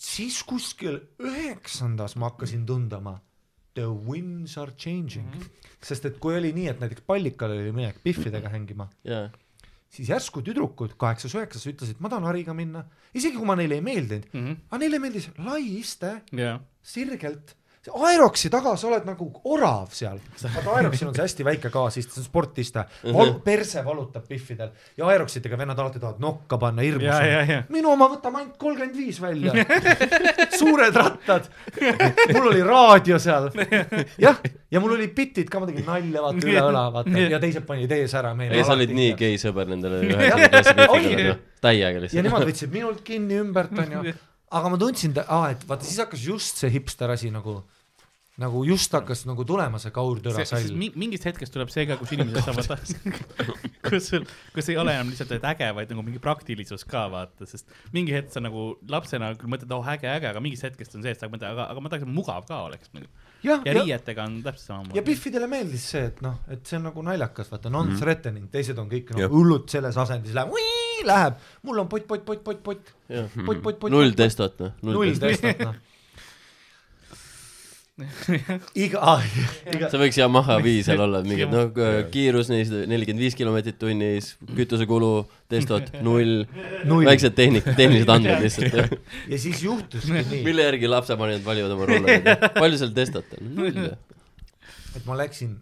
Speaker 4: siis kuskil üheksandas ma hakkasin tundma the winds are changing ,
Speaker 2: Mhm.
Speaker 4: sest et kui oli nii , et näiteks pallikal oli minek pihvidega hängima , siis järsku tüdrukud kaheksas-üheksas ütlesid , ma tahan hariga minna , isegi kui ma neile ei meeldinud mm ,
Speaker 2: Mhm.
Speaker 4: -hmm. aga neile meeldis lai iste ,
Speaker 2: jah ,
Speaker 4: sirgelt . Aeroksi taga sa oled nagu orav seal , vaata Aeroksil on see hästi väike kaasiste , see on sportiste
Speaker 2: Mhm.
Speaker 4: Val , perse valutab pihvidel ja Aeroksitega vennad alati tahavad nokka panna ,
Speaker 2: ja , ja ,
Speaker 4: hirmus .
Speaker 2: ja .
Speaker 4: minu oma võtame ainult kolmkümmend viis välja , suured rattad , mul oli raadio seal , jah , ja mul olid bitid ka , ma tegin nalja , vaata üle õla , vaata ja teised panid ees ära .
Speaker 3: ei , sa olid nii gei sõber nendele üheksanda klassi
Speaker 4: Oli.
Speaker 3: pikkadele , noh, täiega
Speaker 4: ja nemad
Speaker 3: lihtsalt .
Speaker 4: võtsid minult kinni ümbert , onju . aga ma tundsin , aa , et vaata , siis hakkas just see hipster asi nagu , nagu just hakkas nagu tulema see kaurtüra
Speaker 2: sest
Speaker 4: sall .
Speaker 2: mi- mingist hetkest tuleb see ka , kus inimesed saavad , kus sul , kus ei ole enam lihtsalt , et äge , vaid nagu mingi praktilisus ka vaata , sest mingi hetk sa nagu lapsena küll mõtled , oh äge , äge , aga mingist hetkest on see , et sa mõtled , aga , aga ma tahaks , et mugav ka oleks . ja
Speaker 4: jah , ja ,
Speaker 2: riietega on täpselt
Speaker 4: ja
Speaker 2: samamoodi .
Speaker 4: Biffidele meeldis see , et noh , et see on nagu naljakas , vaata non-threatening , teised on kõik
Speaker 5: Jah.
Speaker 4: noh hullud selles asendis , läheb , läheb , mul on pott , pott , pott , pott , pott , pott , pott , pott .
Speaker 3: null testot noh , null
Speaker 4: null
Speaker 3: testot .
Speaker 4: testot , noh . iga , iga ,
Speaker 3: sa võiks Yamaha viisel olla mingi ,
Speaker 2: Jah.
Speaker 3: noh , kiirus neist nelikümmend viis kilomeetrit tunnis , kütusekulu , testot null,
Speaker 4: Null.
Speaker 3: null. , väiksed tehnik- , tehnilised andmed lihtsalt ,
Speaker 4: ja siis juhtuski nii ,
Speaker 3: mille järgi lapsevanemad valivad oma rollerid , palju seal testot on ? null .
Speaker 4: et ma läksin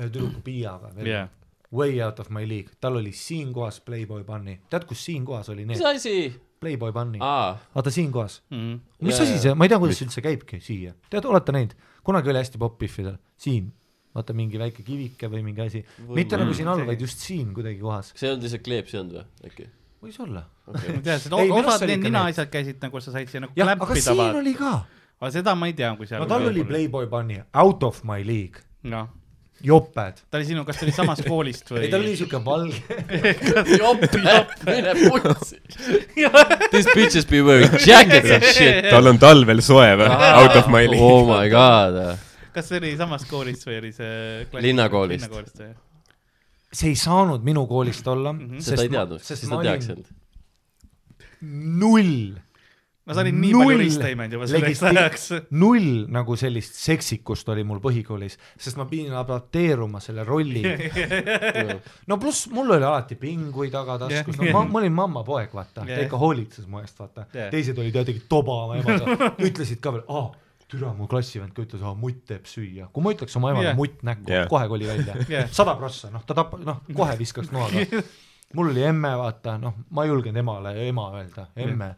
Speaker 4: ühe tüdruku Piiaga veel
Speaker 2: jah ,
Speaker 4: way out of my league , tal oli siinkohas Playboy bunny , tead , kus siinkohas oli need
Speaker 3: mis asi ?
Speaker 4: Playboy Bunny .
Speaker 3: aa ,
Speaker 4: vaata siinkohas .
Speaker 2: mm. .
Speaker 4: mis
Speaker 3: Jaa,
Speaker 4: asi
Speaker 3: jaa.
Speaker 4: see , ma ei tea , kuidas see üldse käibki siia . tead , olete näinud , kunagi oli hästi popp-pihvidel , siin , vaata mingi väike kivike või mingi asi , mitte nagu siin all , vaid just siin kuidagi kohas .
Speaker 3: kas see ei olnud lihtsalt kleeps ei olnud või äkki ?
Speaker 4: võis olla .
Speaker 2: ma tean , seda
Speaker 4: Ei, minu arust
Speaker 2: osad
Speaker 4: oli
Speaker 2: need
Speaker 4: ikka
Speaker 2: ninaasjad käisid nagu sa said sinna nagu
Speaker 4: jah , aga
Speaker 2: klämpida
Speaker 4: siin
Speaker 2: vaata oli... ,
Speaker 4: oli ka .
Speaker 2: aga seda ma ei tea , kui seal
Speaker 4: no tal oli . Playboy Bunny , out of my league ,
Speaker 2: noh ,
Speaker 4: joped .
Speaker 2: ta oli sinu , kas ta oli samast koolist või
Speaker 4: ei , tal oli siuke valge ,
Speaker 3: jopp , mine putsi . These bitches be wearing jackets and shit .
Speaker 5: tal on talvel soe või ? Out of my league .
Speaker 3: Oh my god .
Speaker 2: kas see oli samast koolist või oli see ?
Speaker 3: Linnakoolist.
Speaker 2: linnakoolist või ?
Speaker 4: see ei saanud minu koolist olla ,
Speaker 3: seda ei teadnud ,
Speaker 4: sest
Speaker 3: siis
Speaker 4: ma
Speaker 3: ta teaks
Speaker 4: olin
Speaker 3: end .
Speaker 4: null
Speaker 2: ma sain nii palju risteimend juba selleks
Speaker 4: legisti-
Speaker 2: ajaks .
Speaker 4: null nagu sellist seksikust oli mul põhikoolis , sest ma pidin adapteeruma selle rolli . no pluss mul oli alati pinguid tagataskus , no ma, ma olin mammapoeg , vaata yeah. ,
Speaker 2: Jah.
Speaker 4: ta ikka hoolitses mu eest , vaata
Speaker 2: Jah.
Speaker 4: yeah. . teised olid ja tegid toba oma emaga , ütlesid ka veel , aa , türa mu klassivend ka ütles , aa mutt teeb süüa . kui ma ütleks oma emale
Speaker 2: Jah.
Speaker 4: yeah. mutt näkku
Speaker 5: Jah.
Speaker 4: yeah. , kohe koli välja
Speaker 2: Jah. .
Speaker 4: sada prossa , noh ta tapab , noh kohe viskaks noaga . mul oli emme , vaata , noh , ma ei julgenud emale ema öelda , emme ,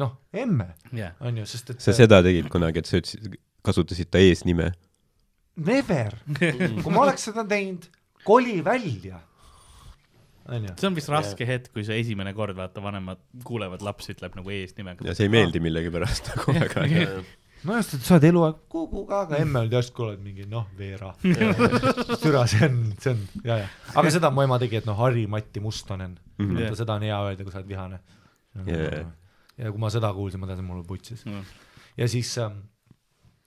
Speaker 4: noh emme ,
Speaker 2: jah ,
Speaker 4: on ju , sest et
Speaker 5: sa seda tegid kunagi , et sa ütlesid , kasutasid ta eesnime .
Speaker 4: never , kui ma oleks seda teinud , koli välja . onju ,
Speaker 2: see on vist raske hetk , kui see esimene kord , vaata , vanemad kuulevad , laps ütleb nagu eesnimega .
Speaker 5: ja see ei meeldi millegipärast nagu väga .
Speaker 4: no just , et sa oled eluaeg Kuku ka , aga emme oli järsku oled mingi noh , Veera . türa , see on , see on , ja , ja , aga seda mu ema tegi , et noh , Harri-Matti Mustonen mm ,
Speaker 5: Mhm.
Speaker 4: -hmm. seda on hea öelda , kui sa oled vihane nagu-
Speaker 5: Jajah.
Speaker 4: ja kui ma seda kuulsin , ma teadsin , mul putsis
Speaker 2: Mm.
Speaker 4: ja siis ähm,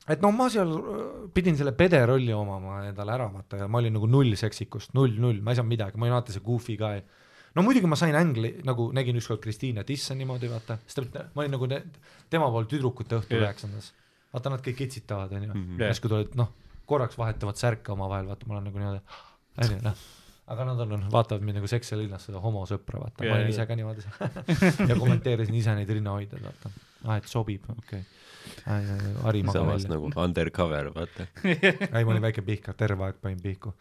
Speaker 4: et noh , ma seal äh, pidin selle pede rolli omama endale ära vaata ja ma olin nagu null seksikust , null , null , ma ei saanud midagi , ma olin alati see goofy guy . no muidugi ma sain ängli , nagu nägin ükskord Kristiine Tisse niimoodi vaata , sest et ma olin nagu ne, tema pool tüdrukute õhtul
Speaker 2: Jah.
Speaker 4: üheksandas yeah. . vaata nad kõik kitsitavad onju
Speaker 5: Mhm. ,
Speaker 2: Jah.
Speaker 4: järsku tulevad noh , korraks vahetavad särke omavahel , vaata ma olen nagu niimoodi , onju noh aga nad on , vaatavad mind nagu Seksel linnas seda homosõpra , vaata , ma
Speaker 2: Jah,
Speaker 4: olin
Speaker 2: jah.
Speaker 4: ise ka niimoodi ja kommenteerisin ise neid rinnahoidjaid , vaata . aa , et sobib , okei okay. . Ari magab
Speaker 5: samas
Speaker 4: välja .
Speaker 5: nagu undercover , vaata .
Speaker 4: ei , ma olin väike pihkar , terve aeg panin pihku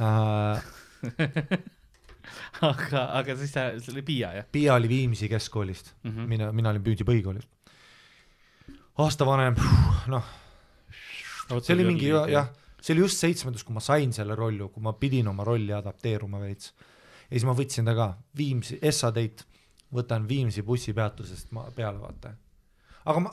Speaker 4: uh, .
Speaker 2: aga , aga siis sa , see oli Piia jah ?
Speaker 4: Piia oli Viimsi keskkoolist mm , -hmm. mina , mina olin Püüdi põhikoolist . aasta vanem , noh , see oli mingi jah ja, , see oli just seitsmendas , kui ma sain selle rolli , kui ma pidin oma rolli adapteeruma veits . ja siis ma võtsin ta ka Viimsi , Essa-Teit , võtan Viimsi bussipeatusest ma peale , vaata . aga ma ,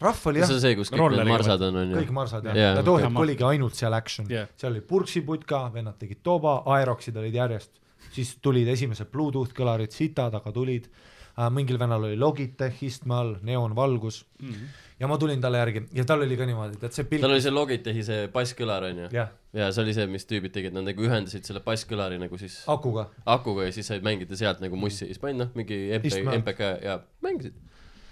Speaker 4: rahv oli jah
Speaker 3: see on see , kus kõik need
Speaker 2: Rolleriga
Speaker 3: marsad on , on ju
Speaker 4: kõik . marsad jah
Speaker 3: Jaa.
Speaker 4: yeah, , ja too
Speaker 2: Jaa,
Speaker 4: hetk
Speaker 2: ma-
Speaker 4: oligi ainult seal action
Speaker 2: Jah.
Speaker 4: yeah. , seal oli purksiputka , vennad tegid toba , aeroksid olid järjest , siis tulid esimesed Bluetooth kõlarid , sitad aga tulid äh, , mingil vennal oli Logitech istme all , neoonvalgus mm -hmm. ja ma tulin talle järgi ja tal oli ka niimoodi , tead see
Speaker 3: tal
Speaker 4: pilk ,
Speaker 3: oli see Logitechi see basskõlar , on ju .
Speaker 4: jah ,
Speaker 3: ja see oli see , mis tüübid tegid , nad nagu ühendasid selle basskõlari nagu siis
Speaker 4: akuga ,
Speaker 3: akuga ja siis said mängida sealt nagu mussi , siis panid noh , mingi MP
Speaker 4: Istme. ,
Speaker 3: MPK ja mängisid .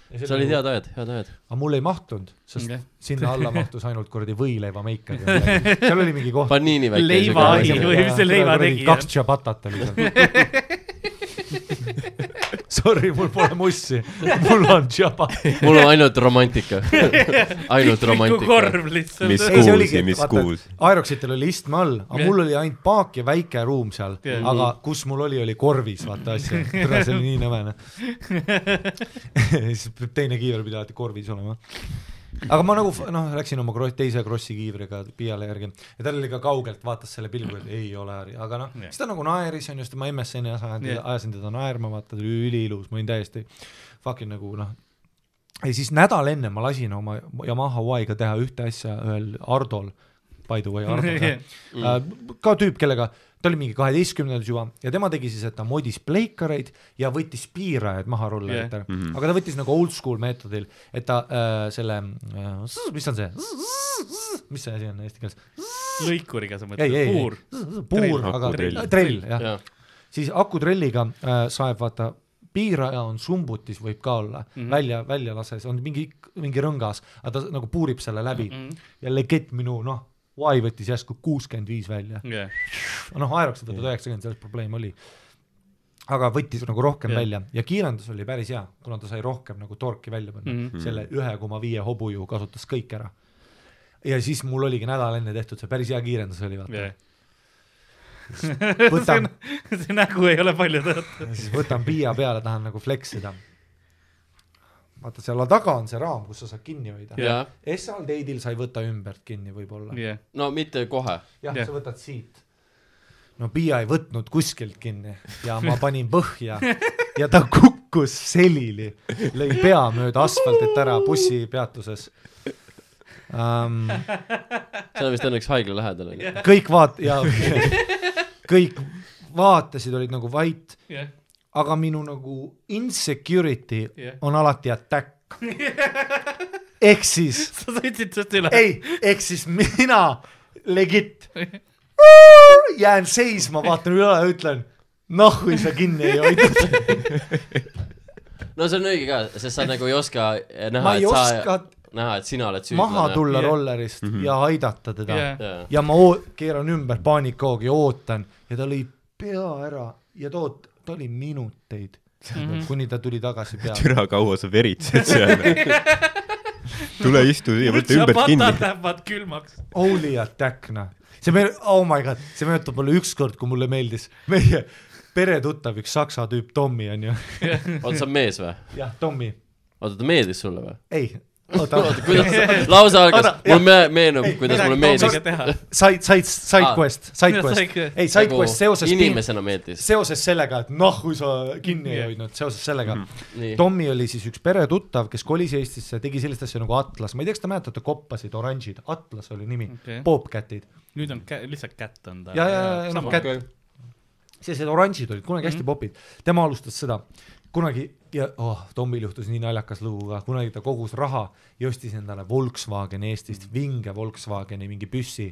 Speaker 3: see olid head ajad , head ajad .
Speaker 4: aga mul ei mahtunud , sest
Speaker 2: Jah.
Speaker 4: yeah. sinna alla mahtus ainult kuradi võileiva meiker , seal oli mingi koht .
Speaker 3: Panini väike .
Speaker 2: Leiva ai või mis see leiva tegi ?
Speaker 4: kaks tšabatat oli seal . Sorry , mul pole mussi , mul on tšabat .
Speaker 3: mul on ainult romantika . ainult romantika .
Speaker 2: korv lihtsalt .
Speaker 5: Mis-
Speaker 4: ei , see
Speaker 5: Kuusi,
Speaker 4: oligi ,
Speaker 5: mis
Speaker 4: et
Speaker 5: kuus?
Speaker 4: vaata , Aeroxitel oli istme all , aga
Speaker 2: Jah.
Speaker 4: mul oli ainult paak ja väike ruum seal ,
Speaker 2: Jah.
Speaker 4: aga kus mul oli , oli korvis , vaata asja , tere , see oli nii nõmene siis peab teine kiiver pidi alati korvis olema . aga ma nagu f- noh , läksin oma kro- teise krossi kiivriga Piiale järgi ja tal oli ka kaugelt , vaatas selle pilgu , et ei ole Harri , aga noh ,
Speaker 2: Jah.
Speaker 4: siis ta nagu naeris , onju , sest ma MSN-i ajasin
Speaker 2: Jah.
Speaker 4: teda , ajasin teda naerma , vaata , ta oli üliilus , ma olin täiesti fucking nagu noh ja siis nädal enne ma lasin oma Yamaha Y-ga teha ühte asja ühel Ardol , by the way , Ardol jah Äh, ka tüüp , kellega , ta oli mingi kaheteistkümnendas juba ja tema tegi siis , et ta modis pleikareid ja võttis piirajad maha rolleritele yeah. ,
Speaker 5: Mhm.
Speaker 4: aga ta võttis nagu oldschool meetodil , et ta äh, selle äh, , mis on see , mis see asi on eesti keeles ,
Speaker 2: lõikuriga sa
Speaker 4: ei , ei
Speaker 2: mõtled ,, puur .
Speaker 4: ei , puur , aga
Speaker 5: Akutrell.
Speaker 4: trell , jah ,
Speaker 3: jah ,
Speaker 4: siis akutrelliga äh, saeb vaata , piiraja on sumbutis , võib ka olla mm ,
Speaker 2: Mhm.
Speaker 4: -hmm. välja , välja lases , on mingi , mingi rõngas , aga ta nagu puurib selle läbi
Speaker 2: Mhm.
Speaker 4: mm -hmm. ja legit minu noh , Y võttis järsku kuuskümmend viis välja .
Speaker 2: Mhm.
Speaker 4: noh , Aerox võtad üheksakümmend , selles probleem oli . aga võttis nagu rohkem
Speaker 2: Jah.
Speaker 4: yeah. välja ja kiirendus oli päris hea , kuna ta sai rohkem nagu torki välja panna mm ,
Speaker 2: Mhm.
Speaker 4: -hmm. selle ühe koma viie hobuju kasutas kõik ära . ja siis mul oligi nädal enne tehtud see päris hea kiirendus oli , vaata yeah. . võtan ,
Speaker 2: see nägu ei ole palju tõotav .
Speaker 4: siis võtan PIA peale , tahan nagu flex ida . vaata seal taga on see raam , kus sa saad kinni hoida .
Speaker 3: jah ,
Speaker 4: esmal date'il sa ei võta ümbert kinni võib-olla .
Speaker 2: jah ,
Speaker 3: no mitte kohe .
Speaker 4: jah
Speaker 2: Jah.
Speaker 4: ja. , sa võtad siit . no Piia ei võtnud kuskilt kinni ja ma panin põhja ja ta kukkus selili , lõi pea mööda asfaltit ära bussipeatuses um, .
Speaker 3: see on vist õnneks haigla lähedal onju .
Speaker 4: kõik vaat- ja kõik vaatasid , olid nagu vait ,
Speaker 2: jah ,
Speaker 4: aga minu nagu insecurity
Speaker 2: Jah.
Speaker 4: on alati attack . ehk siis
Speaker 2: sa sõitsid sealt üle .
Speaker 4: ei , ehk siis mina legit jään seisma , vaatan üle ja ütlen , noh , kui sa kinni ei hoidnud .
Speaker 3: no see on õige ka , sest sa nagu ei oska näha
Speaker 4: ma , ei
Speaker 3: et sa
Speaker 4: oska
Speaker 3: näha , et sina oled
Speaker 4: maha
Speaker 3: süüdlane .
Speaker 4: tulla
Speaker 2: Jah.
Speaker 4: rollerist
Speaker 5: Mhm.
Speaker 4: ja aidata teda
Speaker 2: jah ,
Speaker 3: jaa ,
Speaker 4: ja ma oo- keeran ümber paanikahoogi , ootan ja ta lõi pea ära ja ta oot- , ta oli minuteid
Speaker 2: Mhm. ,
Speaker 4: kuni ta tuli tagasi peale .
Speaker 5: türa , kaua sa veritsed seal ? tule istu siia , võta ümbert kinni .
Speaker 2: lähevad külmaks .
Speaker 4: Holy attack noh , see me- , oh my god , see meenutab mulle ükskord , kui mulle meeldis meie peretuttav , üks saksa tüüp , Tommy onju ,
Speaker 3: oota sa oled mees või ?
Speaker 4: jah , Tommy
Speaker 3: oota , ta meeldis sulle või ?
Speaker 4: ei , oota
Speaker 3: oota , kuidas , lause algas
Speaker 4: Oota, , jah.
Speaker 3: mul me- meenub , kuidas
Speaker 2: midagi
Speaker 3: mulle meeldis
Speaker 2: Tommiga . teha .
Speaker 4: side , side , side
Speaker 3: Aa. Nagu
Speaker 4: quest , side
Speaker 2: Mida
Speaker 4: quest
Speaker 2: side , quest?
Speaker 4: ei side quest seoses ,
Speaker 3: inimesena meeldis ,
Speaker 4: seoses sellega , et noh , kui sa kinni ei
Speaker 2: Jah.
Speaker 4: hoidnud , seoses sellega mm. .
Speaker 3: nii .
Speaker 4: Tommy oli siis üks peretuttav , kes kolis Eestisse , tegi sellist asja nagu Atlas , ma ei tea , kas te mäletate koppasid , oranžid , Atlas oli nimi
Speaker 2: Okei.
Speaker 4: okay. , popkätid .
Speaker 2: nüüd on kä- , lihtsalt kätt on ta .
Speaker 4: ja , ja , ja noh , kätt , sellised oranžid olid kunagi hästi mm -hmm. popid , tema alustas seda kunagi ja oh, Tommil juhtus nii naljakas lugu ka , kunagi ta kogus raha ja ostis endale Volkswageni Eestist , vinge Volkswageni mingi püssi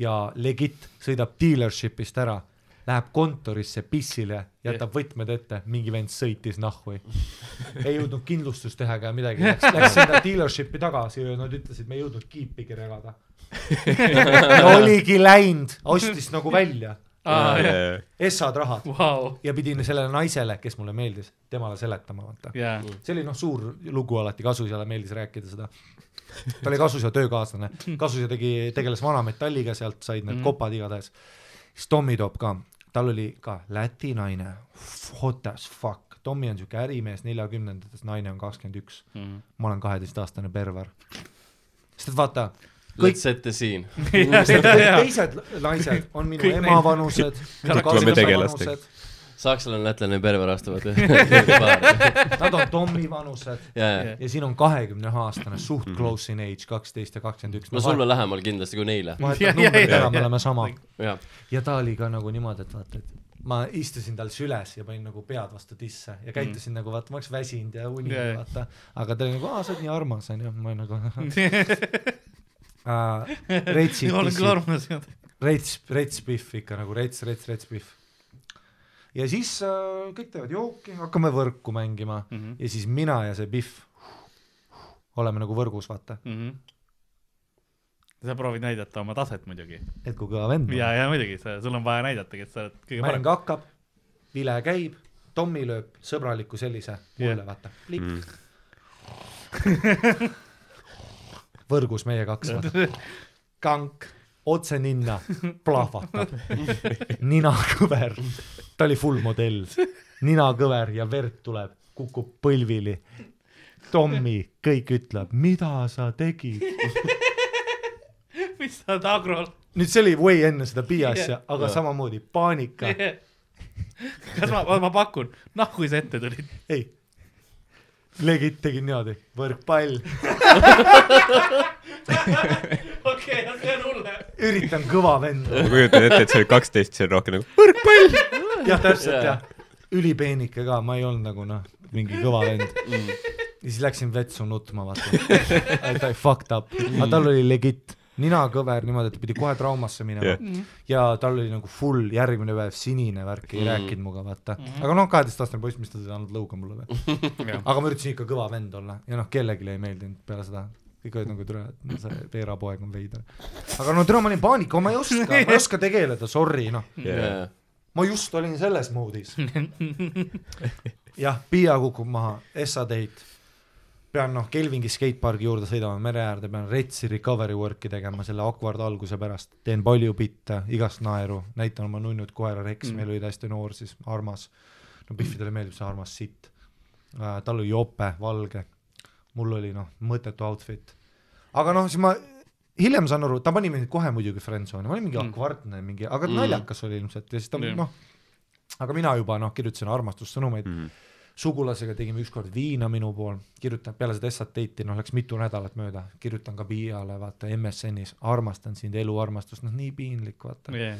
Speaker 4: ja legit sõidab dealership'ist ära , läheb kontorisse pissile , jätab võtmed ette , mingi vend sõitis nahhu . ei jõudnud kindlustust teha ega midagi , läks, läks sinna dealership'i tagasi ja nad ütlesid , me ei jõudnud kiipigi regada . oligi läinud , ostis nagu välja ,
Speaker 2: aa , jah ,
Speaker 4: essad rahad
Speaker 2: vau ,
Speaker 4: ja pidin sellele naisele , kes mulle meeldis , temale seletama , vaata .
Speaker 2: jaa .
Speaker 4: see oli noh , suur lugu alati , Kasusjale meeldis rääkida seda . ta oli Kasusja töökaaslane , Kasusja tegi , tegeles vanametalliga , sealt said
Speaker 5: Mhm.
Speaker 4: need kopad igatahes . siis Tommy toob ka , tal oli ka läti naine , hot as fuck , Tommy on siuke ärimees neljakümnendates , naine on kakskümmend üks .
Speaker 5: Mhm.
Speaker 4: ma olen kaheteistaastane perver . sest et vaata , kõik
Speaker 3: Let's set the scene .
Speaker 4: Kõik teised naised on minu
Speaker 2: Kõik
Speaker 4: ema vanused , minu
Speaker 5: Kõik tuleme
Speaker 4: kaaslase
Speaker 5: tegelastega.
Speaker 4: vanused ,
Speaker 3: sakslane , lätlane , perver astuvad ühe .
Speaker 4: nad on Tommy vanused
Speaker 3: jajah ,
Speaker 4: ja siin on kahekümne ühe aastane suht close in age , kaksteist ja kakskümmend üks .
Speaker 3: Mhm. no sulle lähemal kindlasti kui neile .
Speaker 2: Jah,
Speaker 4: vahetad
Speaker 2: jah,
Speaker 4: numbrid
Speaker 2: jah,
Speaker 4: ära , me
Speaker 2: jah.
Speaker 4: oleme sama .
Speaker 3: jah ,
Speaker 4: ja ta oli ka nagu niimoodi , et vaata , et ma istusin tal süles ja panin nagu pead vastu tisse ja käitusin mm. nagu vaata , ma oleks väsinud ja uni
Speaker 2: Jajah.
Speaker 4: yeah. vaata , aga ta oli nagu , aa , sa oled nii armas onju , ma nagu äh, . Reitsi
Speaker 2: ma olen küll armas .
Speaker 4: rets , retspihv ikka nagu rets , rets , retspihv . ja siis äh, kõik teevad jooki , hakkame võrku mängima mm -hmm. ja siis mina ja see pihv oleme nagu võrgus , vaata ,
Speaker 2: Mhm. sa proovid näidata oma taset muidugi .
Speaker 4: et kui kõva vend
Speaker 2: ja , ja muidugi , sa , sul on vaja näidatagi , et sa oled kõige
Speaker 4: mäng
Speaker 2: parem .
Speaker 4: hakkab , vile käib , Tommy lööb sõbraliku sellise mulle , vaata , plikk mm. . võrgus meie kaks , vaata , kank otse ninna , plahvatab , ninakõver , ta oli full modell , ninakõver ja verd tuleb , kukub põlvili . Tommy , kõik ütleb , mida sa tegid
Speaker 2: mis sa oled agrol ?
Speaker 4: nüüd see oli way enne seda Piia asja , aga samamoodi paanika ,
Speaker 2: kas ma , ma pakun , nahku sa ette tulid .
Speaker 4: ei , legit tegin niimoodi , võrkpall ,
Speaker 2: okei , see on hullem .
Speaker 4: üritan kõva vend olla ,
Speaker 5: ma kujutan ette , et see oli kaksteist , see on rohkem nagu ,
Speaker 4: jah , täpselt jah , ülipeenike ka , ma ei olnud nagu noh , mingi kõva vend mm. . ja siis läksin vetsu nutma , vaata , ta oli fucked up , aga tal oli legit ninakõver niimoodi , et ta pidi kohe traumasse minema
Speaker 5: Jah.
Speaker 4: yeah. ja tal oli nagu full järgmine päev sinine värk , ei mm. rääkinud muga , vaata , aga noh , kaheteistaastane poiss , mis ta sai andnud lõuga mulle või ? aga ma üritasin ikka kõva vend olla ja noh , kellelegi ei meeldinud peale seda , kõik olid nagu türa , et no see Veera poeg on veider . aga no türa , ma olin paanika , ma ei oska , ma ei oska tegeleda , sorry noh ,
Speaker 3: jajah .
Speaker 4: ma just olin selles moodis . jah , Piia kukub maha , Essa teid , pean noh , Kelvingi skatepargi juurde sõidama mere äärde , pean retsi recovery work'i tegema selle awkward alguse pärast , teen palju bitte , igast naeru , näitan oma nunnud koera Rex mm. , meil olid hästi noor siis , armas . no Biffidele meeldib see armas sitt . tal oli Äh, jope , valge , mul oli noh, mõttetu outfit . aga noh , siis ma hiljem saan aru , ta pani mind kohe muidugi friendzone'i , ma olin mingi
Speaker 2: Mm.
Speaker 4: akvardne mingi , aga
Speaker 3: Mm.
Speaker 4: naljakas oli ilmselt ja siis ta
Speaker 2: Jah.
Speaker 4: noh , aga mina juba noh , kirjutasin armastussõnumeid mm. , sugulasega tegime ükskord viina minu pool , kirjutan peale seda SAT date'i , noh läks mitu nädalat mööda , kirjutan ka Piiale , vaata MSN-is , armastan sind , eluarmastus , noh nii piinlik , vaata yeah. .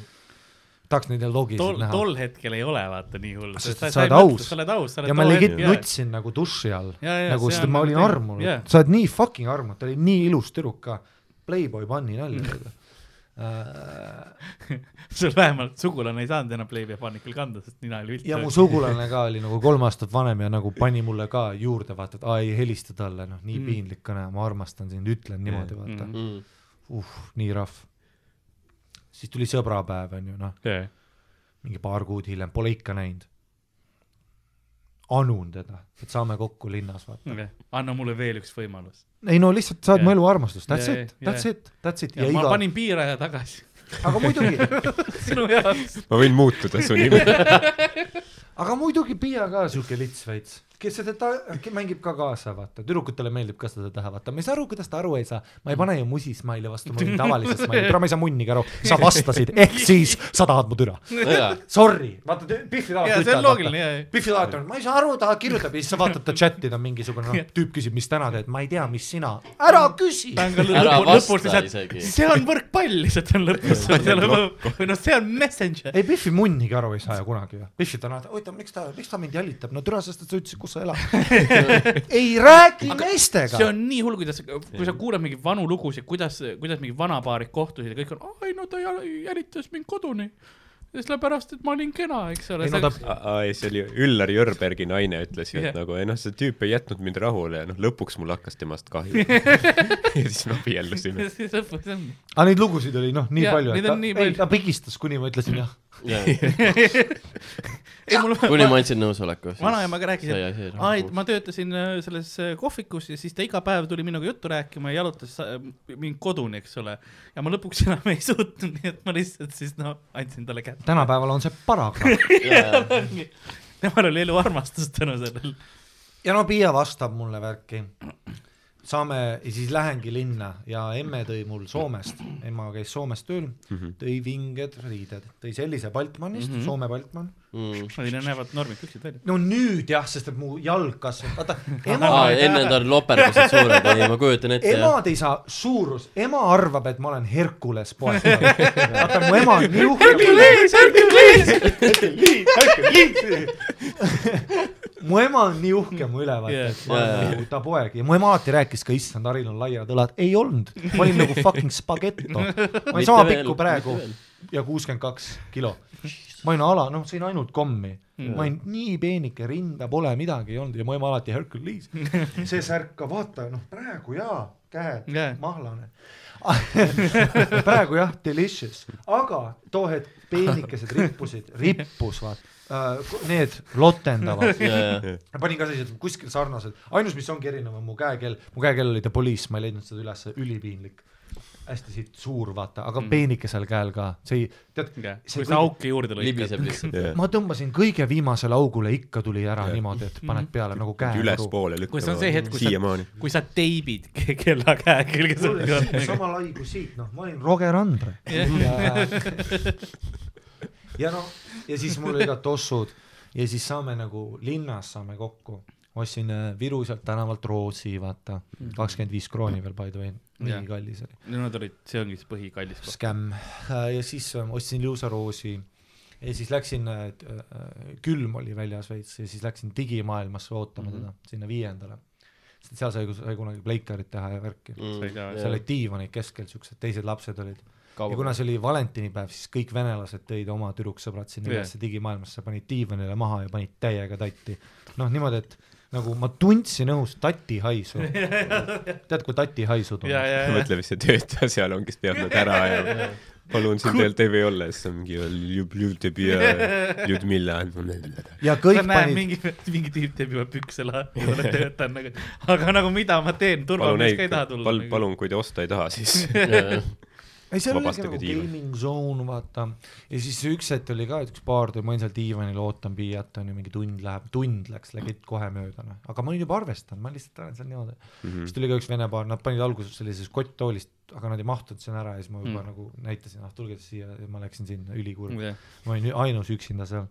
Speaker 4: tahaks neid logisid
Speaker 2: tol ,
Speaker 4: näha
Speaker 2: tol hetkel ei ole vaata nii hull .
Speaker 4: Sest et sa oled aus.
Speaker 2: sa oled aus , sa oled
Speaker 4: ja ma legit
Speaker 2: jah.
Speaker 4: nutsin nagu duši all ,
Speaker 2: Jaa, jaa,
Speaker 4: nagu
Speaker 2: see
Speaker 4: sest
Speaker 2: on
Speaker 4: ma
Speaker 2: nagu
Speaker 4: olin
Speaker 2: teine-
Speaker 4: armunud
Speaker 2: jaa.
Speaker 4: yeah. , sa oled nii fucking armunud , ta oli nii ilus tüdruk ka , Playboy panni nalja Äh, mm. .
Speaker 2: sul vähemalt sugulane ei saanud enam Playboy Panicul kanda , sest nina oli vilt .
Speaker 4: ja mu sugulane ka oli nagu kolm aastat vanem ja nagu pani mulle ka juurde vaata , et aa ei helista talle , noh nii
Speaker 2: Mm.
Speaker 4: mm. piinlik kõne , ma armastan sind , ütlen niimoodi vaata mm. ,
Speaker 3: mm. .
Speaker 4: uh nii rahv . siis tuli sõbrapäev onju noh ,
Speaker 2: yeah. .
Speaker 4: mingi paar kuud hiljem , pole ikka näinud . anun teda , et saame kokku linnas vaata .
Speaker 2: Okay. anna mulle veel üks võimalus .
Speaker 4: ei no lihtsalt sa oled
Speaker 2: Jah.
Speaker 4: mu elu armastus , that's
Speaker 2: Jah,
Speaker 4: it , that's
Speaker 2: jah.
Speaker 4: it , that's it
Speaker 2: ja
Speaker 4: ja
Speaker 2: ma
Speaker 4: iga
Speaker 2: iga... , panin piiraja tagasi
Speaker 4: aga muidugi ,
Speaker 2: sinu jaoks .
Speaker 5: ma võin muutuda su nime .
Speaker 4: aga muidugi Piia ka siuke lits veits , kes seda ta- , mängib ka kaasa , vaata , tüdrukutele meeldib ka seda teha , vaata , ma ei saa aru , kuidas ta aru ei saa , ma ei pane ju musi smile'i vastu , ma olin tavalises smile'i , täna ma ei saa munnigi aru , sa vastasid , ehk siis sa tahad mu türa .
Speaker 3: nojah ,
Speaker 4: Sorry , vaata tü- Pihvi
Speaker 2: Jaa,
Speaker 4: tahab
Speaker 2: see on loogiline, jaa, jaa.
Speaker 4: Pihvi tahab , ma ei saa aru , ta kirjutab ja siis sa vaatad ta chati , ta on mingisugune noh , tüüp küsib , mis täna teed , ma ei tea , mis sina , ära küsi .
Speaker 2: ta on ka
Speaker 3: Ära
Speaker 2: lõpu ,
Speaker 3: vasta
Speaker 2: lõpus lihtsalt ,
Speaker 3: isegi.
Speaker 2: see on võrkpall lihtsalt on lõpus , või noh , see on messenger .
Speaker 4: ei , Pihvi munnigi aru ei saa ju kunagi ju . Pihvi ta on , oota , miks ta , miks ta mind jälitab , no türa , sest et sa ütlesid , kus sa elad . ei räägi meestega
Speaker 2: see . on nii hull , kuidas , kui sa kuuled mingeid vanu lugusid , kuidas , kuidas mingi vanapaarid kohtusid ja kõik on , ai no ta jäl- jälitas mind koduni . sellepärast , et ma olin kena , eks ole .
Speaker 4: ei no ta ,
Speaker 5: ei , see oli Üllar Jörbergi naine ütles ju ,
Speaker 2: Jah.
Speaker 5: et nagu , ei noh , see tüüp ei jätnud mind rahule ja noh , lõpuks mul hakkas temast kahju . ja siis me abiellusime .
Speaker 2: siis lõpus on .
Speaker 4: aga neid lugusid oli noh , nii
Speaker 2: Jaa,
Speaker 4: palju ,
Speaker 2: neid
Speaker 4: et
Speaker 2: on
Speaker 4: ta,
Speaker 2: nii
Speaker 4: ei,
Speaker 2: palju.
Speaker 4: ta pigistas , kuni ma ütlesin jah .
Speaker 2: ei mul
Speaker 3: kuni ma andsin nõusoleku .
Speaker 2: vanaemaga rääkisin , et aa , et ma töötasin äh, selles äh, kohvikus ja siis ta iga päev tuli minuga juttu rääkima ja jalutas äh, mind koduni , eks ole . ja ma lõpuks enam ei suutnud , nii et ma lihtsalt siis noh , andsin talle kätte .
Speaker 4: tänapäeval on see paragrahv
Speaker 2: temal oli eluarmastus tänu sellele .
Speaker 4: ja no Piia vastab mulle värki . saame ja siis lähengi linna ja emme tõi mul Soomest , ema käis Soomes tööl ,
Speaker 3: Mhm.
Speaker 4: tõi vinged riided , tõi sellise Baltmanist mm , -hmm. Soome Baltman .
Speaker 3: Mm.
Speaker 2: Neil näevad normid püksid välja .
Speaker 4: no nüüd jah , sest et mu jalg kasvab , vaata ema
Speaker 3: aa , enne ta oli loperduselt suured , ei ma kujutan ette jah .
Speaker 4: emad ei saa suurus , ema arvab , et ma olen Herkules poes . vaata mu ema on nii uhke . mu ema on nii uhke mu üle , vaata , et ma
Speaker 3: Yeah.
Speaker 4: olen nagu ta poeg ja mu ema alati rääkis ka , issand , Haril on laiad õlad , ei olnud , ma olin nagu fucking spagetto . ma olin
Speaker 3: Mitte
Speaker 4: sama
Speaker 3: veel,
Speaker 4: pikku
Speaker 3: mitte
Speaker 4: praegu
Speaker 3: veel.
Speaker 4: ja kuuskümmend kaks kilo . ma olin ala , noh , sõin ainult kommi , ma olin nii peenike , rinda pole midagi ei olnud ja mu ema alati Hercules . see särk ka , vaata , noh , praegu jaa , käed
Speaker 2: Jaa.
Speaker 4: yeah. , mahlane . praegu jah , delicious , aga too hetk peenikesed rippusid , rippus vaata uh, , need lotendavad ma panin ka sellised kuskil sarnased , ainus , mis ongi erinev , on mu käekell , mu käekell oli The Police , ma ei leidnud seda ülesse , ülipiinlik . hästi siit suur , vaata , aga mm. peenikesel käel ka , see ei , tead yeah. , see
Speaker 2: Mhm. kui sa
Speaker 4: kõik,
Speaker 2: auke juurde lõikad .
Speaker 3: libiseb lihtsalt .
Speaker 4: ma tõmbasin kõige viimasele augule , ikka tuli ära yeah. niimoodi , et paned
Speaker 2: Mhm.
Speaker 4: peale nagu käe .
Speaker 5: ülespoole lükkama .
Speaker 2: kui see on see hetk , kui sa
Speaker 5: siiamaani .,
Speaker 2: kui sa teibid ke- kella käe külge sulge .
Speaker 4: sama lai kui siit , noh , ma olin Roger Andre ja, ja noh , ja siis mul olid ka tossud ja siis saame nagu linnas saame kokku , ostsin äh, Viru sealt tänavalt roosi , vaata , kakskümmend viis krooni veel by the way , nii
Speaker 2: Jah.
Speaker 4: kallis oli ,
Speaker 2: no nad olid , see ongi see põhikallis koht .
Speaker 4: skämm ja siis äh, ostsin liusaroosi ja siis läksin , äh, külm oli väljas veits ja siis läksin digimaailmasse ootama mm -hmm. teda sinna viiendale , sest seal sai, sai kunagi pleikarit teha ja
Speaker 3: Mm.
Speaker 4: värki seal olid diivanid keskel , siuksed teised lapsed olid . ja kuna see oli valentinipäev , siis kõik venelased tõid oma tüdruksõbrad sinna
Speaker 2: Jah.
Speaker 4: yeah. ülesse digimaailmasse , panid diivanile maha ja panid täiega tatti . noh , niimoodi , et nagu ma tundsin õhus tati haisu . tead , kui tati haisu
Speaker 2: ja ,
Speaker 4: tunned ?
Speaker 2: ja , ja .
Speaker 5: mõtle , mis see töötaja seal on , kes peab nad ära ajama . palun sind veel teil ei ole , siis on mingi Ljub- Ljubtebi ja Ljudmilla .
Speaker 4: ja kõik
Speaker 2: ma näen
Speaker 4: panid ,
Speaker 2: mingi , mingi tüüp teeb juba pükse lahti , ta töötab nagu , aga nagu mida ma teen ,
Speaker 5: palun
Speaker 2: turvamees
Speaker 5: ei
Speaker 2: ka ei taha , tulla nagu-
Speaker 5: palun ,. palun , kui te osta ei taha , siis
Speaker 4: ei , seal oligi
Speaker 5: vabastage
Speaker 4: nagu
Speaker 5: tiiva .
Speaker 4: gaming zone , vaata . ja siis üks hetk oli ka , et üks paar tuli , ma olin seal diivanil , ootan piiat , onju , mingi tund läheb , tund läks legit kohe mööda , noh . aga ma olin juba arvestanud , ma lihtsalt olen seal niimoodi mm .
Speaker 2: Mhm.
Speaker 4: -hmm. siis tuli ka üks vene paar , nad panid alguses sellises kotttoolist , aga nad ei mahtunud sinna ära ja siis ma
Speaker 2: Mhm.
Speaker 4: juba mm. nagu näitasin , ah tulge siia ja ma läksin sinna , ülikurb
Speaker 2: Jah.
Speaker 4: yeah. . ma olin ainus üksinda seal .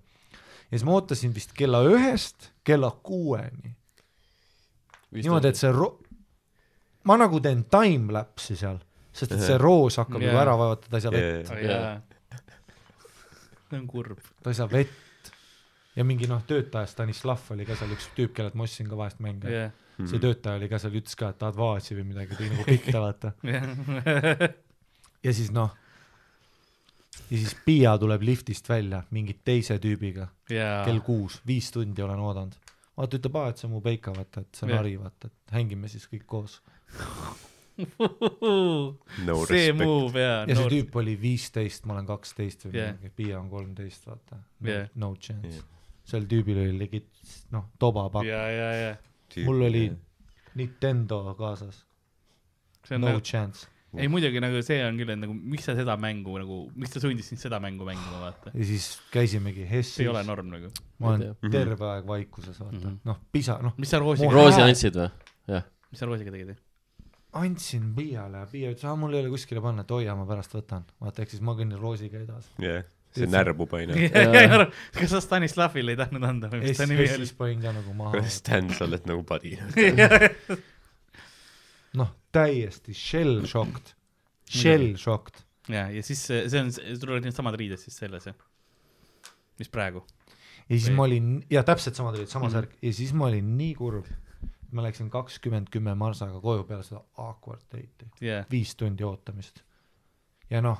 Speaker 4: ja siis ma ootasin vist kella ühest kella kuueni . niimoodi , et see ro- , ma nagu teen time-lapse'i seal , sest et see roos hakkab
Speaker 2: Jaa.
Speaker 4: juba ära vaevata , ta ei saa vett .
Speaker 2: jaa . see on kurb .
Speaker 4: ta ei saa vett ja mingi noh , töötaja Stanislav oli ka seal üks tüüp , kellelt ma ostsin ka vahest mänge yeah. .
Speaker 2: jah ,
Speaker 4: see töötaja oli ka seal , ütles ka , et tahad vaatsi või midagi , tõi nagu pitta , vaata .
Speaker 2: jah .
Speaker 4: ja siis noh , ja siis Piia tuleb liftist välja mingi teise tüübiga
Speaker 2: jaa .
Speaker 4: kell kuus , viis tundi olen oodanud . vaata , ütleb , aa , et see on mu peika , vaata , et see on
Speaker 2: Jah.
Speaker 4: Harri , vaata , et hängime siis kõik koos .
Speaker 5: No
Speaker 2: see
Speaker 5: respect.
Speaker 2: move jaa .
Speaker 4: ja see tüüp oli viisteist , ma olen kaksteist või
Speaker 2: Jah.
Speaker 4: midagi yeah. , Piia on kolmteist , vaata no, .
Speaker 2: Jah.
Speaker 4: no chance
Speaker 5: Jah.
Speaker 4: yeah. . sel tüübil oli legit , noh , tobapakk .
Speaker 2: jaa , jaa , jaa .
Speaker 4: mul oli Nintendo kaasas ,
Speaker 2: see on
Speaker 4: no
Speaker 2: nagu ,
Speaker 4: chance .
Speaker 2: ei muidugi nagu see on küll , et nagu miks sa seda mängu nagu , miks ta sundis sind seda mängu mängima , vaata .
Speaker 4: ja siis käisimegi
Speaker 2: see ei ole
Speaker 4: Hessis ,
Speaker 2: norm nagu .
Speaker 4: ma olen
Speaker 3: Ei
Speaker 4: terve aeg vaikuses , vaata
Speaker 2: Mhm. ,
Speaker 4: noh , pisa , noh ,
Speaker 2: mis sa roosiga ,
Speaker 4: Roos-
Speaker 3: roosi andsid või ? jah ,
Speaker 2: mis sa roosiga tegid ?
Speaker 4: andsin Piiale ja Piia ütles , aa , mul ei ole kuskile panna , et hoia , ma pärast võtan . vaata , ehk siis ma kõnnin roosiga edasi .
Speaker 5: jah , see närbub aina .
Speaker 2: kas sa Stanislavile ei tahtnud anda või mis ta nimi oli
Speaker 4: Hessis ? panin ka nagu maha ,
Speaker 5: Stan , sa oled nagu padi .
Speaker 4: noh , täiesti shell-shocked , shell-shocked .
Speaker 2: ja , ja siis see see on , sul olid needsamad riided siis selles jah ? mis praegu ?
Speaker 4: ja siis
Speaker 2: Või- Mhm.
Speaker 4: ma olin , ja täpselt samad olid , sama särk , ja siis ma olin nii kurb , ma läksin kakskümmend kümme marsaga koju peale seda awkward date'i .
Speaker 2: jah ,
Speaker 4: viis tundi ootamist . ja noh ,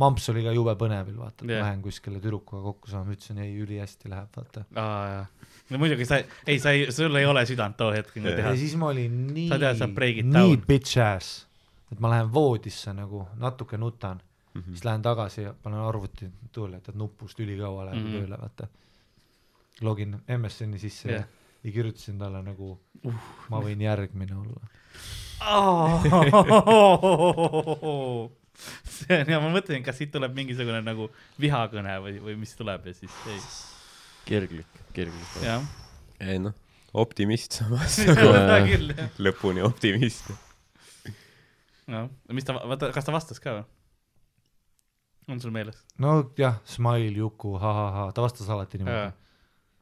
Speaker 4: Mamps oli ka jube põnevil , vaata , et
Speaker 2: Jah.
Speaker 4: ma lähen kuskile tüdrukuga kokku saama , ütlesin ei , ülihästi läheb , vaata .
Speaker 2: aa , no muidugi sa , ei , sa ei , sul ei ole südant too hetk nagu
Speaker 4: ja
Speaker 2: teha .
Speaker 4: siis ma olin nii
Speaker 2: Sa tead, sa , break'id
Speaker 4: nii
Speaker 2: down.
Speaker 4: bitch ass , et ma lähen voodisse nagu natuke nutan mm ,
Speaker 2: Mhm.
Speaker 4: -hmm. siis lähen tagasi ja panen arvuti tuule , et nupust ülikaua läheb mm
Speaker 2: Mhm.
Speaker 4: -hmm. tööle , vaata . login MSN-i sisse
Speaker 2: Jah.
Speaker 4: yeah. ja kirjutasin talle nagu uh, , ma võin järgmine olla .
Speaker 2: see on ja ma mõtlen , kas siit tuleb mingisugune nagu vihakõne või , või mis tuleb ja siis ei ,
Speaker 3: kirglik , kirglik .
Speaker 2: jah .
Speaker 5: ei noh , optimist samas ,
Speaker 4: Äh,
Speaker 2: seda küll jah ,
Speaker 5: lõpuni optimist .
Speaker 2: jah . mis ta , vaata , kas ta vastas ka või ? on sul meeles ?
Speaker 4: nojah , smile , Juku , ha-ha-ha , ta vastas alati niimoodi .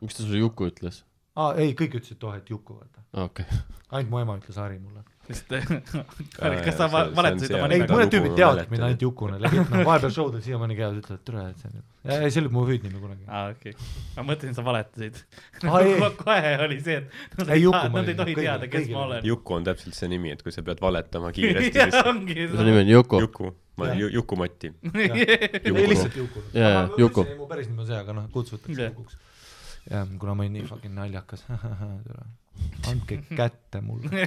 Speaker 3: mis ta sulle Juku ütles ?
Speaker 4: aa , ei , kõik ütlesid tohe , et Juku , vaata .
Speaker 3: okei ,
Speaker 4: ainult mu ema ütles Harri mulle .
Speaker 2: sest kas sa va-
Speaker 5: see-
Speaker 2: valetasid
Speaker 5: see on
Speaker 2: oma
Speaker 5: see-
Speaker 4: ei ,
Speaker 5: Väga
Speaker 2: nimega ?
Speaker 4: mõned
Speaker 5: lugu
Speaker 4: tüübid
Speaker 5: ma
Speaker 4: teavad
Speaker 5: mäletan,
Speaker 4: mind ainult
Speaker 5: et-
Speaker 4: Jukuna , legit , noh , vahepeal show'd on siiamaani käivad , ütlevad , et tere , et see on , ei , see oli mu hüüdnimi kunagi .
Speaker 2: aa , okei , ma mõtlesin , sa valetasid .
Speaker 4: Aa, ei.
Speaker 2: kohe oli see , et nad
Speaker 4: Ei,
Speaker 2: ei
Speaker 4: Juku
Speaker 2: taha- nad
Speaker 4: ma
Speaker 2: ei
Speaker 4: olin,
Speaker 2: tohi
Speaker 4: kõigil-
Speaker 2: teada , kes
Speaker 4: kõigil
Speaker 2: ma
Speaker 4: oli.
Speaker 2: olen .
Speaker 5: Juku on täpselt see nimi , et kui sa pead valetama kiiresti ,
Speaker 2: jah ,
Speaker 5: siis
Speaker 2: ongi .
Speaker 3: ta nimi on Juku .
Speaker 5: Juku , ma olen Ju- Juku Mati .
Speaker 4: ei , lihtsalt Jukuna .
Speaker 3: Jaa, jaa, Juku.
Speaker 4: mu päris nimi on see , aga noh ,
Speaker 2: Jah.
Speaker 4: kutsutakse Jukuks . jah , kuna ma olin nii fucking naljakas , andke kätte mulle .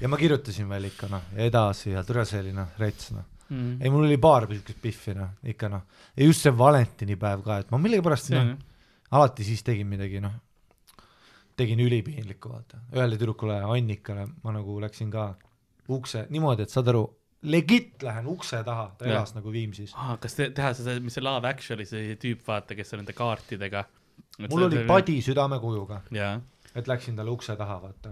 Speaker 4: ja ma kirjutasin veel ikka noh , edasi ja tere , see oli noh , rets noh . ei , mul oli paar siukest pihvi noh , ikka noh , ja just see valentinipäev ka , et ma millegipärast noh , alati siis tegin midagi noh , tegin ülipiinlikku vaata , ühele tüdrukule Annikale ma nagu läksin ka ukse niimoodi , et saad aru , legit lähen ukse taha , ta
Speaker 2: Jah.
Speaker 4: elas nagu Viimsis .
Speaker 2: aa , kas te teha seda , mis see Love Actually see tüüp , vaata , kes on nende kaartidega .
Speaker 4: mul oli . padi südamekujuga ,
Speaker 2: jaa ,
Speaker 4: et läksin talle ukse taha vaata .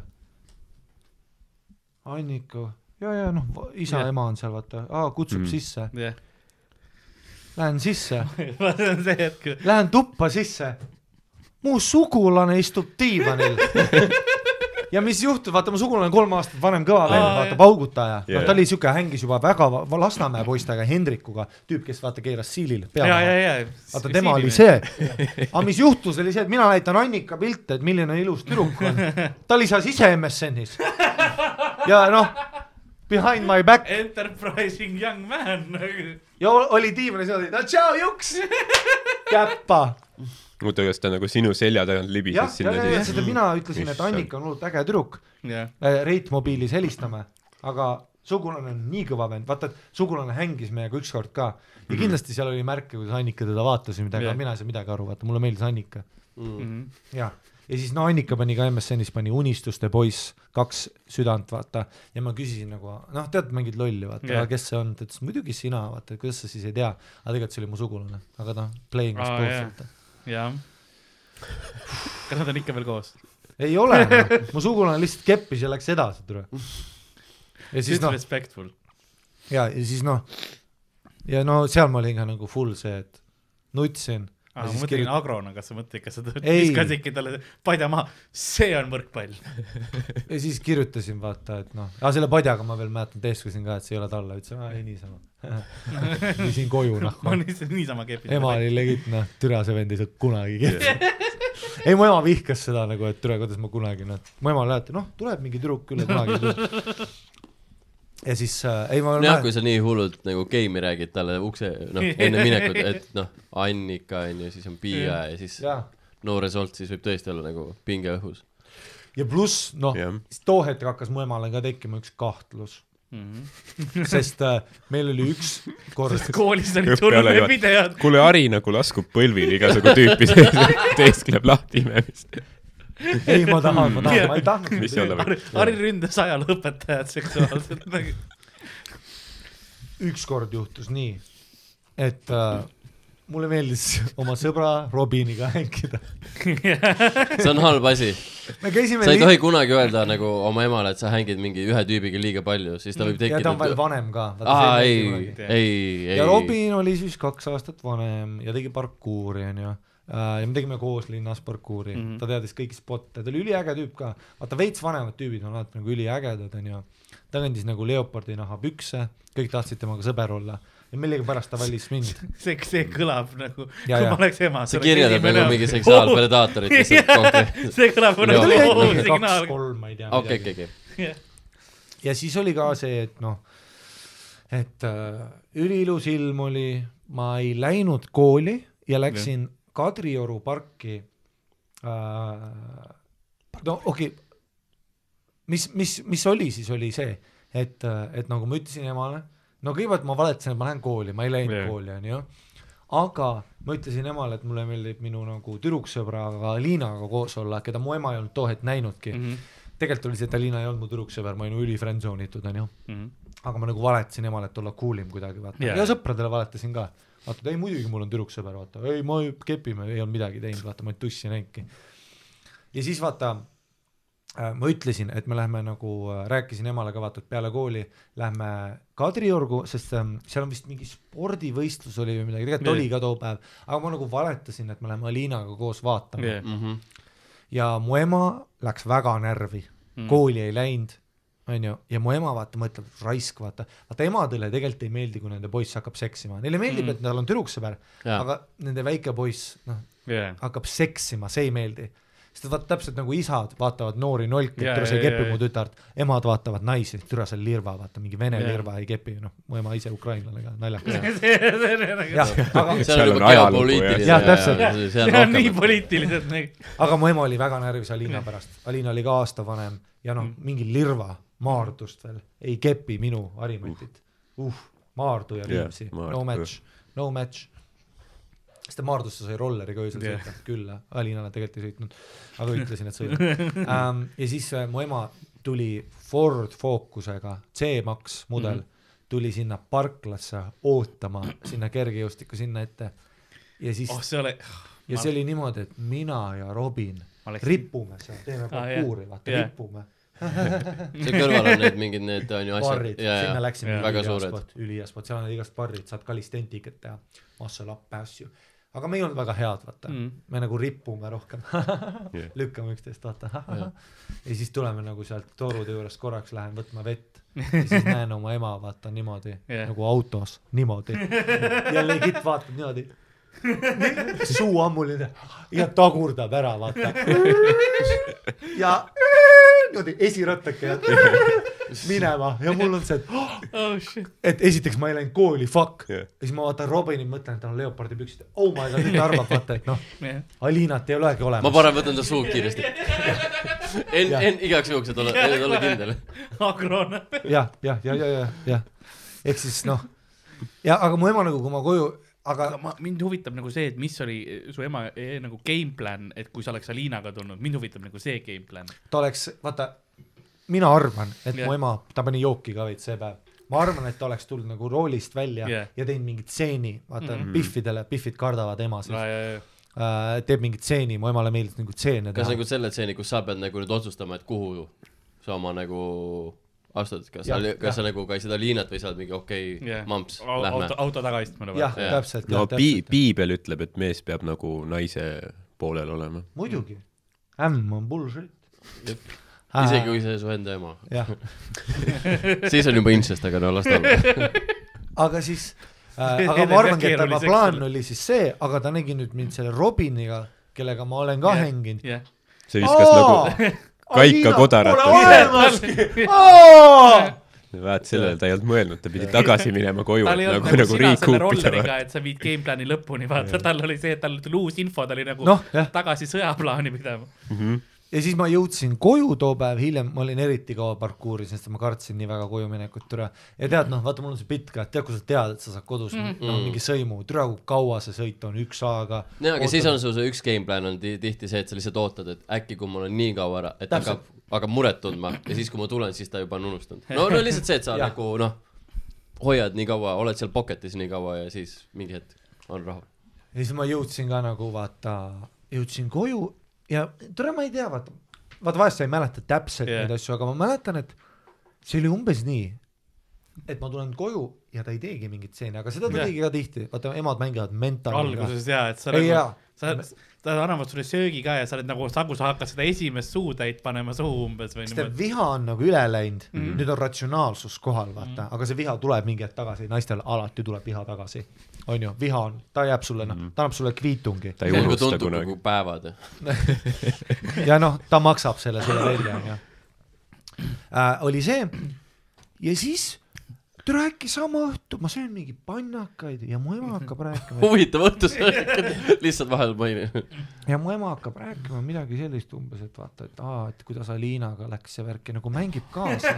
Speaker 4: Annika , ja , ja noh , isa
Speaker 2: Jah. ,
Speaker 4: ema on seal vaata , aa kutsub
Speaker 5: Mm.
Speaker 4: mm. sisse ,
Speaker 2: jah .
Speaker 4: lähen sisse ,
Speaker 2: see on see hetk ,
Speaker 4: lähen tuppa sisse , mu sugulane istub diivanil ja mis juhtub , vaata mu sugulane on kolm aastat vanem kõva vend ,
Speaker 2: Aa,
Speaker 4: vaata
Speaker 2: jah.
Speaker 4: paugutaja yeah. ,
Speaker 5: Jajah.
Speaker 4: no ta oli siuke , hängis juba väga va- va- Lasnamäe poistega , Hendrikuga , tüüp , kes vaata keeras siilile pea
Speaker 2: ja , ja ,
Speaker 4: maha .
Speaker 2: ja .
Speaker 4: vaata tema oli . see , aga mis juhtus , oli see , et mina näitan Annika pilte , et milline ilus tüdruk on , ta lisas ise MSN-is ja noh , behind my back
Speaker 2: Enterprising young man .
Speaker 4: ja o- oli diivanis , oli no tšau Juks , käppa
Speaker 5: oota , kas ta nagu sinu selja tagant
Speaker 4: jah ,
Speaker 5: libises
Speaker 4: ja ,
Speaker 5: sinna
Speaker 4: ja , ja seda mina ütlesin , et
Speaker 5: Issand.
Speaker 4: Annika on hullult äge tüdruk ,
Speaker 2: jah ,
Speaker 4: Reit mobiilis helistame , aga sugulane on nii kõva vend , vaata , et sugulane hängis meiega ükskord ka ja kindlasti seal oli märke , kuidas Annika teda vaatas ja midagi ,
Speaker 2: Jah. Mhm.
Speaker 4: aga mina ei saa midagi aru , vaata , mulle meeldis Annika , jah . ja siis no Annika pani ka MSN-is pani Unistuste poiss , kaks südant , vaata . ja ma küsisin nagu , noh , tead mingit lolli , vaata
Speaker 2: Jah.
Speaker 4: yeah. , kes see on , ta ütles muidugi sina , vaata , kuidas sa siis ei tea . aga tegelikult see oli mu sugulane , aga noh , playing
Speaker 2: Aa,
Speaker 4: us
Speaker 2: jah.
Speaker 4: both , vaata .
Speaker 2: jah . kas nad on ikka veel koos ?
Speaker 4: ei ole no. , mu sugulane lihtsalt keppis ja läks edasi , tule . ja siis
Speaker 2: siis
Speaker 4: noh ,
Speaker 2: respectful .
Speaker 4: ja , ja siis noh , ja no seal ma olin ka nagu full see , et nutsin .
Speaker 2: Ah, ma mõtlen kirjut... . agrona , kas sa mõtled , kas sa tõid-
Speaker 4: Ei.
Speaker 2: viskasid ikka talle padja maha , see on võrkpall .
Speaker 4: ja siis kirjutasin , vaata , et noh , aga selle padjaga ma veel mäletan , teeskasin ka , et see ei ole talle , ütlesin , aa ei niisama . viisin koju
Speaker 2: ma
Speaker 4: noh .
Speaker 2: lihtsalt niisama kepitan .
Speaker 4: ema oli legitne , türa see vend ei saa kunagi kirjutada . ei , mu ema vihkas seda nagu , et türa , kuidas ma kunagi noh , mu ema alati , noh , tuleb mingi tüdruk küll ja kunagi ei tule . ja siis äh, , ei ma .
Speaker 3: nojah , kui sa nii hullult nagu geimi räägid talle ukse , noh , enne minekut , et noh , Annika on ju , siis on Piia ja siis
Speaker 4: jaa ,
Speaker 3: noores olnud , siis võib tõesti olla nagu pinge õhus .
Speaker 4: ja pluss noh
Speaker 5: Jah. ,
Speaker 4: too hetk hakkas mu emale ka tekkima üks kahtlus mm .
Speaker 3: Mhm.
Speaker 4: -hmm. sest äh, meil oli üks kord
Speaker 2: koolis oli
Speaker 5: Õppe
Speaker 2: turvaline
Speaker 5: alajad-
Speaker 2: video ,
Speaker 5: kuule , hari nagu laskub põlvil igasugu tüüpi sees , teeskleb lahti imemist .
Speaker 4: ei , ma tahan , ma tahan , ma ei tahtnud .
Speaker 5: Mis ei ole või-
Speaker 2: Harri ründas ajalooõpetajad seksuaalselt nagu. .
Speaker 4: ükskord juhtus nii , et äh, mulle meeldis oma sõbra Robiniga hängida .
Speaker 3: see on halb asi ,
Speaker 4: me käisime
Speaker 3: sa ei tohi kunagi öelda nagu oma emale , et sa hängid mingi ühe tüübiga liiga palju , siis ta võib
Speaker 4: Mm. ja ta on veel
Speaker 3: tekkida .
Speaker 4: vanem ka .
Speaker 3: aa , ei , ei , ei .
Speaker 4: ja Robin oli siis kaks aastat vanem ja tegi parkuuri , onju . ja me tegime koos linnas parkuuri mm ,
Speaker 3: Mhm.
Speaker 4: -hmm. ta teadis kõiki spotte , ta oli üliäge tüüp ka . vaata veits vanemad tüübid on alati nagu üliägedad , onju . ta kandis nagu leopardi naha pükse , kõik tahtsid temaga sõber olla ja millegipärast ta valis mind .
Speaker 2: see , see kõlab nagu , kui
Speaker 4: Ja, ja.
Speaker 2: ma oleks ema .
Speaker 3: sa kirjeldad nagu mingi seksuaalpredaatorit lihtsalt konkreetselt .
Speaker 2: see kõlab
Speaker 3: Need
Speaker 2: nagu
Speaker 3: oli
Speaker 2: oo,
Speaker 3: ainult mingi
Speaker 2: signaal .
Speaker 4: kaks-kolm , ma ei tea .
Speaker 3: okei , okei , okei .
Speaker 4: ja siis oli ka see , et noh , et äh, üliilus ilm oli , ma ei läinud kooli ja läksin Kadrioru parki äh, . no okei okay. , mis , mis , mis oli siis , oli see , et , et nagu ma ütlesin emale , no kõigepealt ma valetasin , et ma lähen kooli , ma ei läinud
Speaker 5: Jah.
Speaker 4: kooli , onju aga ma ütlesin emale , et mulle meeldib minu nagu tüdruksõbraga Liinaga koos olla , keda mu ema ei olnud too hetk näinudki mm . -hmm. tegelikult oli see , et Liina ei olnud mu tüdruksõber , ma olin üli friendzone itud , onju . aga ma nagu valetasin emale , et olla cool im kuidagi , vaata
Speaker 2: Jaa.
Speaker 4: yeah. . ja sõpradele valetasin ka . vaata , et ei muidugi mul on tüdruksõber , vaata , ei ma ju- kepime , ei olnud midagi teinud , vaata , ma ei tussi näinudki . ja siis vaata , ma ütlesin , et me lähme nagu , rääkisin emale ka vaata , et peale kooli lähme Kadriorgu , sest ähm, seal on vist mingi spordivõistlus oli või midagi , tegelikult
Speaker 2: Nii.
Speaker 4: oli ka too päev , aga ma nagu valetasin , et me läheme Aliinaga koos vaatama yeah.
Speaker 3: Mhm.
Speaker 4: ja mu ema läks väga närvi mm. , kooli ei läinud onju , ja mu ema vaata mõtleb , raisk vaata , vaata emadele tegelikult ei meeldi , kui nende poiss hakkab seksima , neile meeldib mm. , et tal on tüdruksõber ,
Speaker 3: Jaa.
Speaker 4: aga nende väike poiss , noh , hakkab seksima , see ei meeldi . sest vaata täpselt nagu isad vaatavad noori nolke ,
Speaker 2: Jaa,
Speaker 4: et türa see ei
Speaker 2: jaa,
Speaker 4: kepi
Speaker 2: jaa,
Speaker 4: mu
Speaker 2: jaa.
Speaker 4: tütart , emad vaatavad naisi , türa see on lirva , vaata mingi vene
Speaker 2: Jaa.
Speaker 4: yeah. lirva ei kepi , noh , mu ema ise ukrainlane ka , naljakas .
Speaker 2: see
Speaker 4: jah , aga ,
Speaker 3: seal on
Speaker 5: on
Speaker 3: juba
Speaker 5: ajalugu,
Speaker 3: geopoliitiline .
Speaker 4: jah. Jah, täpselt.
Speaker 2: on nii . poliitiliselt nagu .
Speaker 4: aga mu ema oli väga närvis Alina pärast , Alina oli ka aasta vanem ja noh , mingi lirva maardust veel ei kepi minu harimatit . uh , Maardu ja
Speaker 5: Jah,
Speaker 4: Viimsi yeah, ,
Speaker 5: Maardu.
Speaker 4: no match , no match . sest Maardusse sai rolleriga öösel
Speaker 2: Jah.
Speaker 4: yeah. sõita , küll , Alinale tegelikult ei sõitnud , aga ütlesin , et sõidan um, . ja siis äh, mu ema tuli Ford Focusega , C-Max mudel mm , -hmm. tuli sinna parklasse ootama , sinna kergejõustiku sinna ette ja siis
Speaker 2: oh , see ole ,
Speaker 4: ja
Speaker 2: Ma-
Speaker 4: see oli niimoodi , et mina ja Robin
Speaker 2: oleks-
Speaker 4: ripume seal , teeme parkuuri , vaata
Speaker 2: Ah, jah.
Speaker 4: ripume .
Speaker 3: seal kõrval on need mingid need on ju
Speaker 4: barrid ,
Speaker 3: asjad ,
Speaker 4: sinna läksime .
Speaker 3: väga suured .
Speaker 4: ülihea spot , seal on igast barrid , saad kalistentikat teha , massalappe , asju . aga me ei olnud väga head , vaata mm. , me nagu ripume rohkem
Speaker 5: Jah. ,
Speaker 4: lükkame üksteist , vaata ja siis tuleme nagu sealt torude juurest korraks lähen võtma vett ja siis näen oma ema , vaata niimoodi
Speaker 2: Jah.
Speaker 4: yeah. nagu autos , niimoodi ja legit vaatab niimoodi suu ammuline ja tagurdab ära , vaata . ja niimoodi esirattake ja minema ja mul on see , et ,
Speaker 2: oh shit .
Speaker 4: et esiteks ma ei läinud kooli , fuck
Speaker 5: Jah.
Speaker 4: yeah. . ja siis ma vaatan Robinit , mõtlen , et tal on leopardi püksid , oh my god , nüüd ta arvab , vaata , et noh , Alinat ei olegi
Speaker 3: ma
Speaker 4: olemas .
Speaker 3: parem võtan ta suud kiiresti . En- , en- igaks juhuks , et olla , et olla kindel .
Speaker 2: agrona .
Speaker 4: jah , jah , ja , ja , ja , jah . ehk siis noh , ja aga mu ema nagu , kui ma koju , aga
Speaker 2: aga ma , mind huvitab nagu see , et mis oli eh, su ema eh, nagu game plan , et kui sa oleks Alinaga tulnud , mind huvitab nagu see game plan .
Speaker 4: ta oleks , vaata , mina arvan , et
Speaker 2: Jah.
Speaker 4: mu ema , ta pani jooki ka veits see päev . ma arvan , et ta oleks tulnud nagu roolist välja
Speaker 2: Jah.
Speaker 4: ja teinud mingi tseeni , vaata mm -hmm. Biffidele , Biffid kardavad ema siis
Speaker 2: Ah,
Speaker 4: äh, ,
Speaker 2: jah ,
Speaker 4: teeb mingi tseeni , mu emale meeldis nagu tseene
Speaker 3: kas
Speaker 4: teha
Speaker 3: nagu . selle stseeni , kus sa pead nagu nüüd otsustama , et kuhu sa oma nagu astud , kas sa
Speaker 4: Jah, , jah.
Speaker 3: kas sa nagu kaitsed Aliinat või sa oled mingi okei okay, , mamps , lähme
Speaker 2: auto ,. auto tagaistmele
Speaker 4: jah ,
Speaker 2: või ?
Speaker 3: jah.
Speaker 4: täpselt .
Speaker 5: no pii- , piibel ütleb , et mees peab nagu naise poolel olema .
Speaker 4: muidugi , ämm on bullshit .
Speaker 3: isegi kui see su enda ema ,
Speaker 4: jah ,
Speaker 3: siis on juba incest , aga no las ta olla .
Speaker 4: aga siis äh, , aga
Speaker 2: Ei,
Speaker 4: ma
Speaker 2: ei,
Speaker 4: arvangi , et
Speaker 2: keeruliseks
Speaker 4: tema plaan
Speaker 2: sulle.
Speaker 4: oli siis see , aga ta nägi nüüd mind selle Robiniga , kellega ma olen ka hänginud .
Speaker 2: jah ,
Speaker 5: see viskas nagu , kaika kodarat-
Speaker 4: Pole olemaski , aa
Speaker 5: vaat sellele ta ei olnud mõelnud , ta pidi tagasi minema koju ,
Speaker 2: tal ei
Speaker 5: nagu ,
Speaker 2: olnud
Speaker 5: nagu, nagu
Speaker 2: sina
Speaker 5: riik
Speaker 2: selle
Speaker 5: hukkis
Speaker 2: rolleriga , et sa viid game plan'i lõpuni , vaata , tal oli see , et tal tuli uus info , ta oli nagu
Speaker 4: Noh, jah.
Speaker 2: tagasi sõjaplaani pidama .
Speaker 4: ja siis ma jõudsin koju too päev hiljem , ma olin eriti kaua parkuuris , sest ma kartsin nii väga koju minekut türa . ja tead noh , vaata mul on see bitt ka , et tead , kui sa tead , et sa saad kodus mm. no, mingi sõimu , türa kui kaua see sõit on , üks A-ga .
Speaker 3: no aga siis on sul see üks game plan on ti- tihti see , et sa lihtsalt ootad , et äkki kui mul on nii kaua ära , et
Speaker 4: Täpselt.
Speaker 3: hakkab , hakkab muret tundma ja siis , kui ma tulen , siis ta juba on unustanud . no , no lihtsalt see , et sa
Speaker 4: Jah.
Speaker 3: nagu noh , hoiad nii kaua , oled seal pocket'is nii kaua ja siis mingi hetk on rahu .
Speaker 4: ja siis ma jõudsin ka nagu vaata , jõudsin koju ja türa ma ei tea , vaata , vaata vahest sa ei mäleta täpselt
Speaker 2: Jah.
Speaker 4: yeah. neid asju , aga ma mäletan , et see oli umbes nii , et ma tulen koju ja ta ei teegi mingit stseeni , aga seda ta
Speaker 2: Jah.
Speaker 4: yeah. tegi ka tihti , vaata emad mängivad mentali .
Speaker 2: alguses ja , et sa
Speaker 4: Ei,
Speaker 2: nagu
Speaker 4: jaa. ,
Speaker 2: sa , ta annavad sulle söögi ka ja sa oled nagu , nagu sa hakkad seda esimest suutäit panema suhu umbes või
Speaker 4: sest et
Speaker 2: niimoodi . Mhm.
Speaker 4: viha on nagu üle läinud mm , -hmm. nüüd on ratsionaalsus kohal , vaata mm , -hmm. aga see viha tuleb mingi hetk tagasi , naistel alati tuleb viha tagasi . on ju , viha on , ta jääb sulle
Speaker 2: Mhm.
Speaker 4: mm , -hmm. ta annab sulle kviitungi
Speaker 5: ta ei
Speaker 3: nagu
Speaker 5: unusta
Speaker 3: tundub
Speaker 5: kunagi
Speaker 3: nagu . päevad .
Speaker 4: ja noh , ta maksab selle sulle välja , on ju äh, . oli see ja siis tule äkki sama õhtu , ma söön mingi pannakaid ja mu ema hakkab rääkima ,
Speaker 3: huvitav õhtus , lihtsalt vahel mainin .
Speaker 4: ja mu ema hakkab rääkima midagi sellist umbes , et vaata , et aa , et kuidas Aliinaga läks see värk ja nagu mängib kaasa .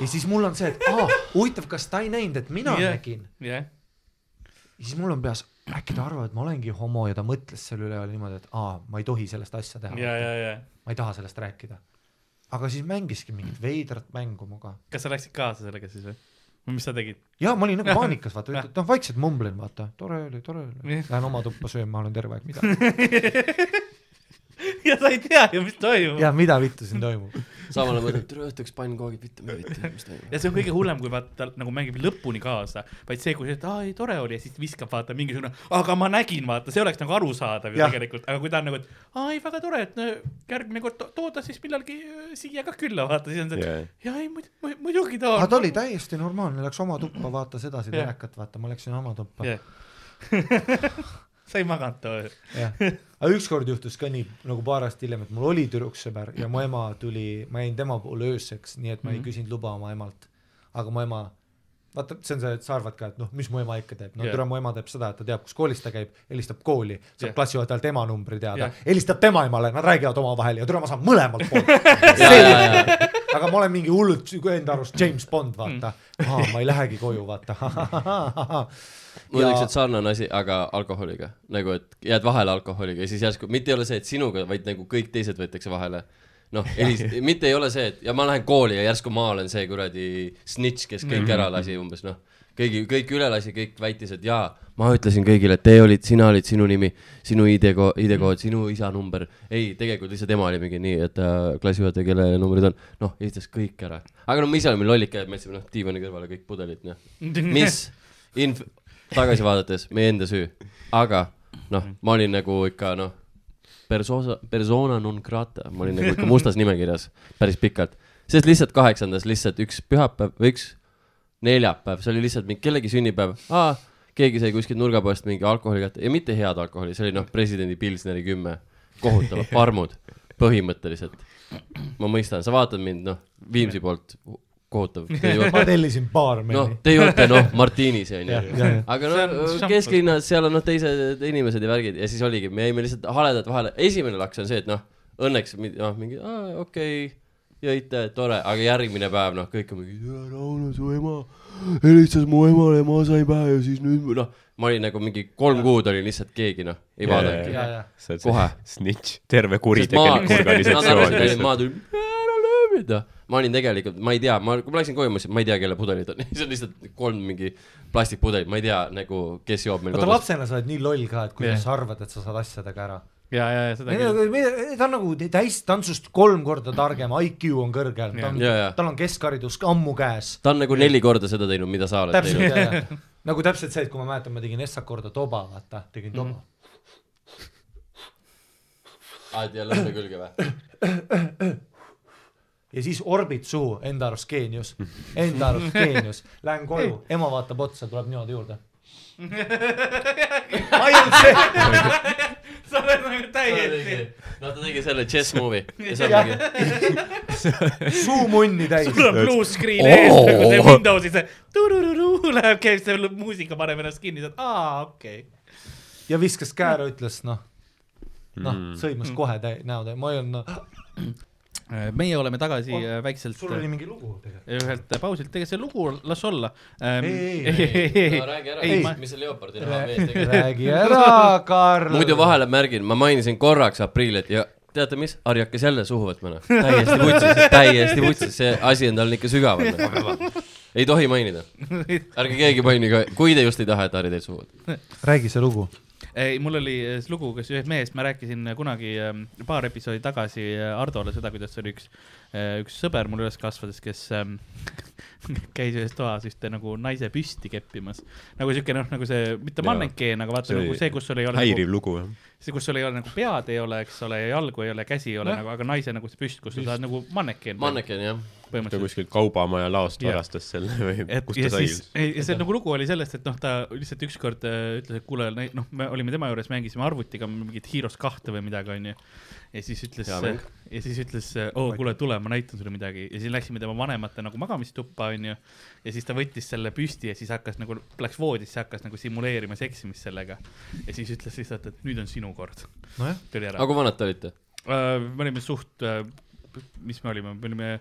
Speaker 4: ja siis mul on see , et aa , huvitav , kas ta ei näinud , et mina
Speaker 2: Jah.
Speaker 4: yeah. nägin
Speaker 2: jah ,
Speaker 4: ja siis mul on peas , äkki ta arvab , et ma olengi homo ja ta mõtles selle üle oli niimoodi , et aa , ma ei tohi sellest asja
Speaker 2: ja ,
Speaker 4: teha ,
Speaker 2: ja , ja .
Speaker 4: ma ei taha sellest rääkida . aga siis mängiski mingit veidrat mängu minuga .
Speaker 2: kas sa läksid kaasa sellega siis või ? või mis sa tegid ?
Speaker 4: ja ma olin nagu paanikas , vaata , et noh , vaikselt mumblen , vaata , tore oli , tore oli ,
Speaker 2: Jah.
Speaker 4: lähen oma tuppa sööma , olen terve aeg , mida ,
Speaker 2: ja sa ei tea ju , mis toimub .
Speaker 4: ja mida vittu siin toimub .
Speaker 3: samal ajal mõtled , tere õhtuks pannkoogid , vittu , mida vittu , mis toimub .
Speaker 2: ja see on kõige hullem , kui vaata , ta nagu mängib lõpuni kaasa , vaid see , kui sa ütled , aa ei tore oli ja siis viskab vaata mingisugune , aga ma nägin , vaata , see oleks nagu arusaadav ju
Speaker 4: Jah.
Speaker 2: tegelikult , aga kui ta on nagu , et aa ei väga tore , et no, järgmine kord to- tooda siis millalgi öö, siia ka külla , vaata , siis on see
Speaker 5: Jaa.
Speaker 2: yeah. , ja ei muid- mu- muidugi toon .
Speaker 4: aga ta oli täiesti normaalne , läks oma tuppa , vaatas edasi
Speaker 2: Jah.
Speaker 4: telekat , vaata , ma läksin oma tuppa ,
Speaker 2: yeah. sa ei maganud too öö .
Speaker 4: jah . aga ükskord juhtus ka nii , nagu paar aastat hiljem , et mul oli tüdruksõber ja mu ema tuli , ma jäin tema poole ööseks , nii et ma
Speaker 2: Mhm.
Speaker 4: ei küsinud luba oma emalt . aga mu ema , vaata , see on see , et sa arvad ka , et noh , mis mu ema ikka teeb , no
Speaker 2: Jah.
Speaker 4: yeah. türa , mu ema teeb seda , et ta teab , kus koolis ta käib , helistab kooli , saab
Speaker 2: Jah.
Speaker 4: yeah. klassijuhatajalt ema numbri teada
Speaker 2: Jah.
Speaker 4: yeah. , helistab tema emale , nad räägivad omavahel ja türa , ma saan mõlemalt poolt .
Speaker 3: ja , ja , ja ,
Speaker 4: aga ma olen mingi hullult enda arust James Bond , vaata .
Speaker 2: Mm.
Speaker 4: aa , ma ei lähegi koju , vaata .
Speaker 3: muideks , et sarnane asi , aga alkoholiga nagu , et jääd vahele alkoholiga ja siis järsku mitte ei ole see , et sinuga , vaid nagu kõik teised võetakse vahele . noh , mitte ei ole see , et ja ma lähen kooli ja järsku ma olen see kuradi snitš , kes kõik ära lasi umbes noh , kõigi , kõik üle lasi , kõik väitis , et jaa , ma ütlesin kõigile , et te olid , sina olid , sinu nimi , sinu ID-kood , ID-kood , sinu isa number . ei , tegelikult lihtsalt ema oli mingi nii , et äh, klassijuhataja , kelle numbrid on , noh , esitas kõik ära . aga no me ise olime lollid käed , me jätsime noh , diivani kõrvale kõik pudelid , noh . mis inf- , tagasi vaadates meie enda süü , aga noh , ma olin nagu ikka noh , persona , persona non grata , ma olin nagu ikka mustas nimekirjas päris pikalt , sest lihtsalt kaheksandas lihtsalt üks pühapäev või üks neljapäev , see oli lihtsalt mingi kellegi sünnipäev , aa , keegi sai kuskilt nurgapoest mingi alkoholi kätte ja mitte head alkoholi , see oli noh , presidendi Pilsneri kümme , kohutavad parmud , põhimõtteliselt . ma mõistan , sa vaatad mind noh , Viimsi poolt kohutav , te ei ole ,
Speaker 4: ma tellisin baarmeni
Speaker 3: noh , te ei ole noh , Martinis on
Speaker 4: Jah,
Speaker 3: ju
Speaker 4: jah, jah.
Speaker 3: aga
Speaker 2: See on
Speaker 3: noh ,
Speaker 2: šampus.
Speaker 3: kesklinnas , seal on noh , teised inimesed ja värgid ja siis oligi , me jäime lihtsalt haledalt vahele , esimene laks on see , et noh , õnneks mi- noh , mingi aa, okei okay. , jõite , tore , aga järgmine päev noh , kõik on mingi , Rauno , su ema helistas mu emale , ma sain pähe ja siis nüüd noh , ma olin nagu mingi kolm kuud olin lihtsalt keegi noh , ei vaadanudki .
Speaker 4: Jaa, jaa.
Speaker 5: sa oled
Speaker 3: Kohe.
Speaker 5: see snitš , terve
Speaker 3: Sest ma-
Speaker 5: kuritegelik
Speaker 3: Nad arvasid, et ma
Speaker 5: organisatsioon .
Speaker 3: tulin , ära löö mind , noh . ma olin tegelikult , ma ei tea , ma , kui ma läksin koju , ma ütlesin , ma ei tea , kelle pudelid on , see on lihtsalt kolm mingi plastikpudelit , ma ei tea nagu , kes joob meil
Speaker 4: vaata
Speaker 3: kodus .
Speaker 4: lapsena sa oled nii loll ka , et
Speaker 2: Jah.
Speaker 4: kuidas yeah. sa arvad , et sa saad asjadega ära .
Speaker 2: ja , ja , ja seda küll .
Speaker 4: ta on nagu täis tantsust kolm korda targem , IQ on kõrgel , ta on
Speaker 3: Jah. Jaa, jaa. ,
Speaker 4: tal on keskharidus ammu käes .
Speaker 3: ta on nagu neli korda seda teinud , mida sa oled
Speaker 4: täpselt ,
Speaker 3: teinud .
Speaker 4: jaa , jaa . nagu täpselt see , et kui ma mäletan , ma tegin Essak korda toba , vaata , tegin toba mm . -hmm.
Speaker 3: aa , Ah, et jälle selle külge või ?
Speaker 4: ja siis orbid suhu , enda arust geenius , enda arust geenius . Lähen koju , ema vaatab otsa , tuleb niimoodi juurde . ainult see ,
Speaker 2: nagu sa oled nagu täiesti .
Speaker 3: no ta tegi selle chess move'i ja see on
Speaker 4: Jah.
Speaker 3: mingi ,
Speaker 4: suu munni täis .
Speaker 2: sul on bluuskriin ees nagu see Windowsi see turururu läheb , käib see muusika paneb ennast kinni , saad aa okei okay. .
Speaker 4: ja viskas käe ära , ütles noh , noh , sõimas kohe täi- , näo täi- , ma ei olnud noh ,
Speaker 2: meie oleme tagasi äh, väikselt äh,
Speaker 4: sul oli mingi lugu tegelikult .
Speaker 2: ühelt pausilt , ega see lugu las olla .
Speaker 4: Ei,
Speaker 3: no räägi ära ,
Speaker 2: ei ,
Speaker 3: mis
Speaker 2: ma ,
Speaker 3: mis see leopardil raha mees tegi .
Speaker 4: räägi ära , Karl .
Speaker 3: muidu . vahele märgin , ma mainisin korraks apriilit ja teate mis , Harri hakkas jälle suhu võtma , noh . täiesti vutsis , täiesti vutsis , see asi on tal ikka sügaval . ei tohi mainida . ärge keegi mainige , kui te just ei taha , et Harri teid suhu võtab .
Speaker 4: räägi see lugu .
Speaker 2: ei , mul oli äh, see lugu , kes ühest mehest , ma rääkisin kunagi ähm, paar episoodi tagasi äh, Hardole seda , kuidas oli üks , üks sõber mul üles kasvades , kes ähm, käis ühes toas ühte nagu naise püsti keppimas . nagu siuke noh , nagu see , mitte
Speaker 5: Jaa.
Speaker 2: mannekeen , aga vaata
Speaker 5: See
Speaker 2: nagu
Speaker 5: oli
Speaker 2: see , kus sul ei ole .
Speaker 5: häiriv lugu jah .
Speaker 2: see , kus sul ei ole nagu pead ei ole , eks ole , jalgu ei ole , käsi ei ole
Speaker 4: Jah.
Speaker 2: nagu , aga naise nagu see püst , kus sa saad nagu mannekeen .
Speaker 3: manneken jah ,
Speaker 5: ta
Speaker 2: põhimõtteliselt .
Speaker 5: kuskilt kaubamaja laost
Speaker 2: Jah.
Speaker 5: varastas selle või
Speaker 2: et
Speaker 5: kust
Speaker 2: ja
Speaker 5: ta sai
Speaker 2: siis
Speaker 5: üldse ?,
Speaker 2: ja see nagu lugu oli sellest , et noh , ta lihtsalt ükskord äh, ütles , et kuule , noh , me olime tema juures , mängisime arvutiga mingit Heroes kahte või midagi , onju . ja siis ütles
Speaker 3: Hea mäng. ,
Speaker 2: ja siis ütles , oo , kuule , tule , ma näitan sulle midagi ja siis läksime tema vanemate nagu magamistuppa , onju . ja siis ta võttis selle püsti ja siis hakkas nagu , läks voodisse , hakkas nagu simuleerima seksimist sellega . ja siis ütles lihtsalt , et nüüd on sinu kord .
Speaker 4: nojah ,
Speaker 2: tuli ära
Speaker 3: aga . kui vanad te olite ?
Speaker 2: Äh, me olime suht , mis me olime , me olime ,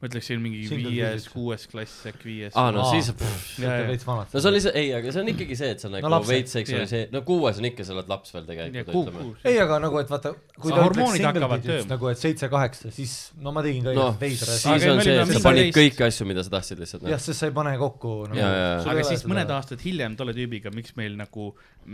Speaker 2: ma ütleksin mingi
Speaker 4: Single
Speaker 2: viies
Speaker 4: digit. ,
Speaker 2: kuues klass , äkki viies .
Speaker 3: aa , Ah, no
Speaker 4: Aa.
Speaker 3: siis ,
Speaker 4: sa
Speaker 2: Jaa, jaa.
Speaker 4: oled veits vanalt .
Speaker 3: no see on lihtsalt , ei , aga see on ikkagi see , et sa nagu
Speaker 4: laps-
Speaker 3: veits seksuaalise , no kuues on ikka , sa oled laps veel tegelikult , ütleme .
Speaker 2: kuus .
Speaker 4: ei , aga nagu , et vaata , kui
Speaker 2: Aga
Speaker 4: ta
Speaker 2: hormoonid
Speaker 4: ütleks single
Speaker 2: hakkavad
Speaker 4: digits
Speaker 2: tööle.
Speaker 4: nagu , et seitse-kaheksa , siis no ma tegin ka
Speaker 3: noh ,
Speaker 4: igast veidra
Speaker 3: siis
Speaker 4: asju .
Speaker 2: Aga
Speaker 3: on
Speaker 2: me
Speaker 3: see ,
Speaker 2: olime
Speaker 3: et sa panid
Speaker 2: 15.
Speaker 3: kõiki asju , mida sa tahtsid lihtsalt . noh.
Speaker 4: jah , sest sa ei pane kokku nagu,
Speaker 3: Jaa, jaa, jaa.
Speaker 4: sul ei
Speaker 2: aga
Speaker 4: ole
Speaker 2: siis
Speaker 4: seda-
Speaker 2: mõned aastad hiljem tolle tüübiga , miks meil nagu ,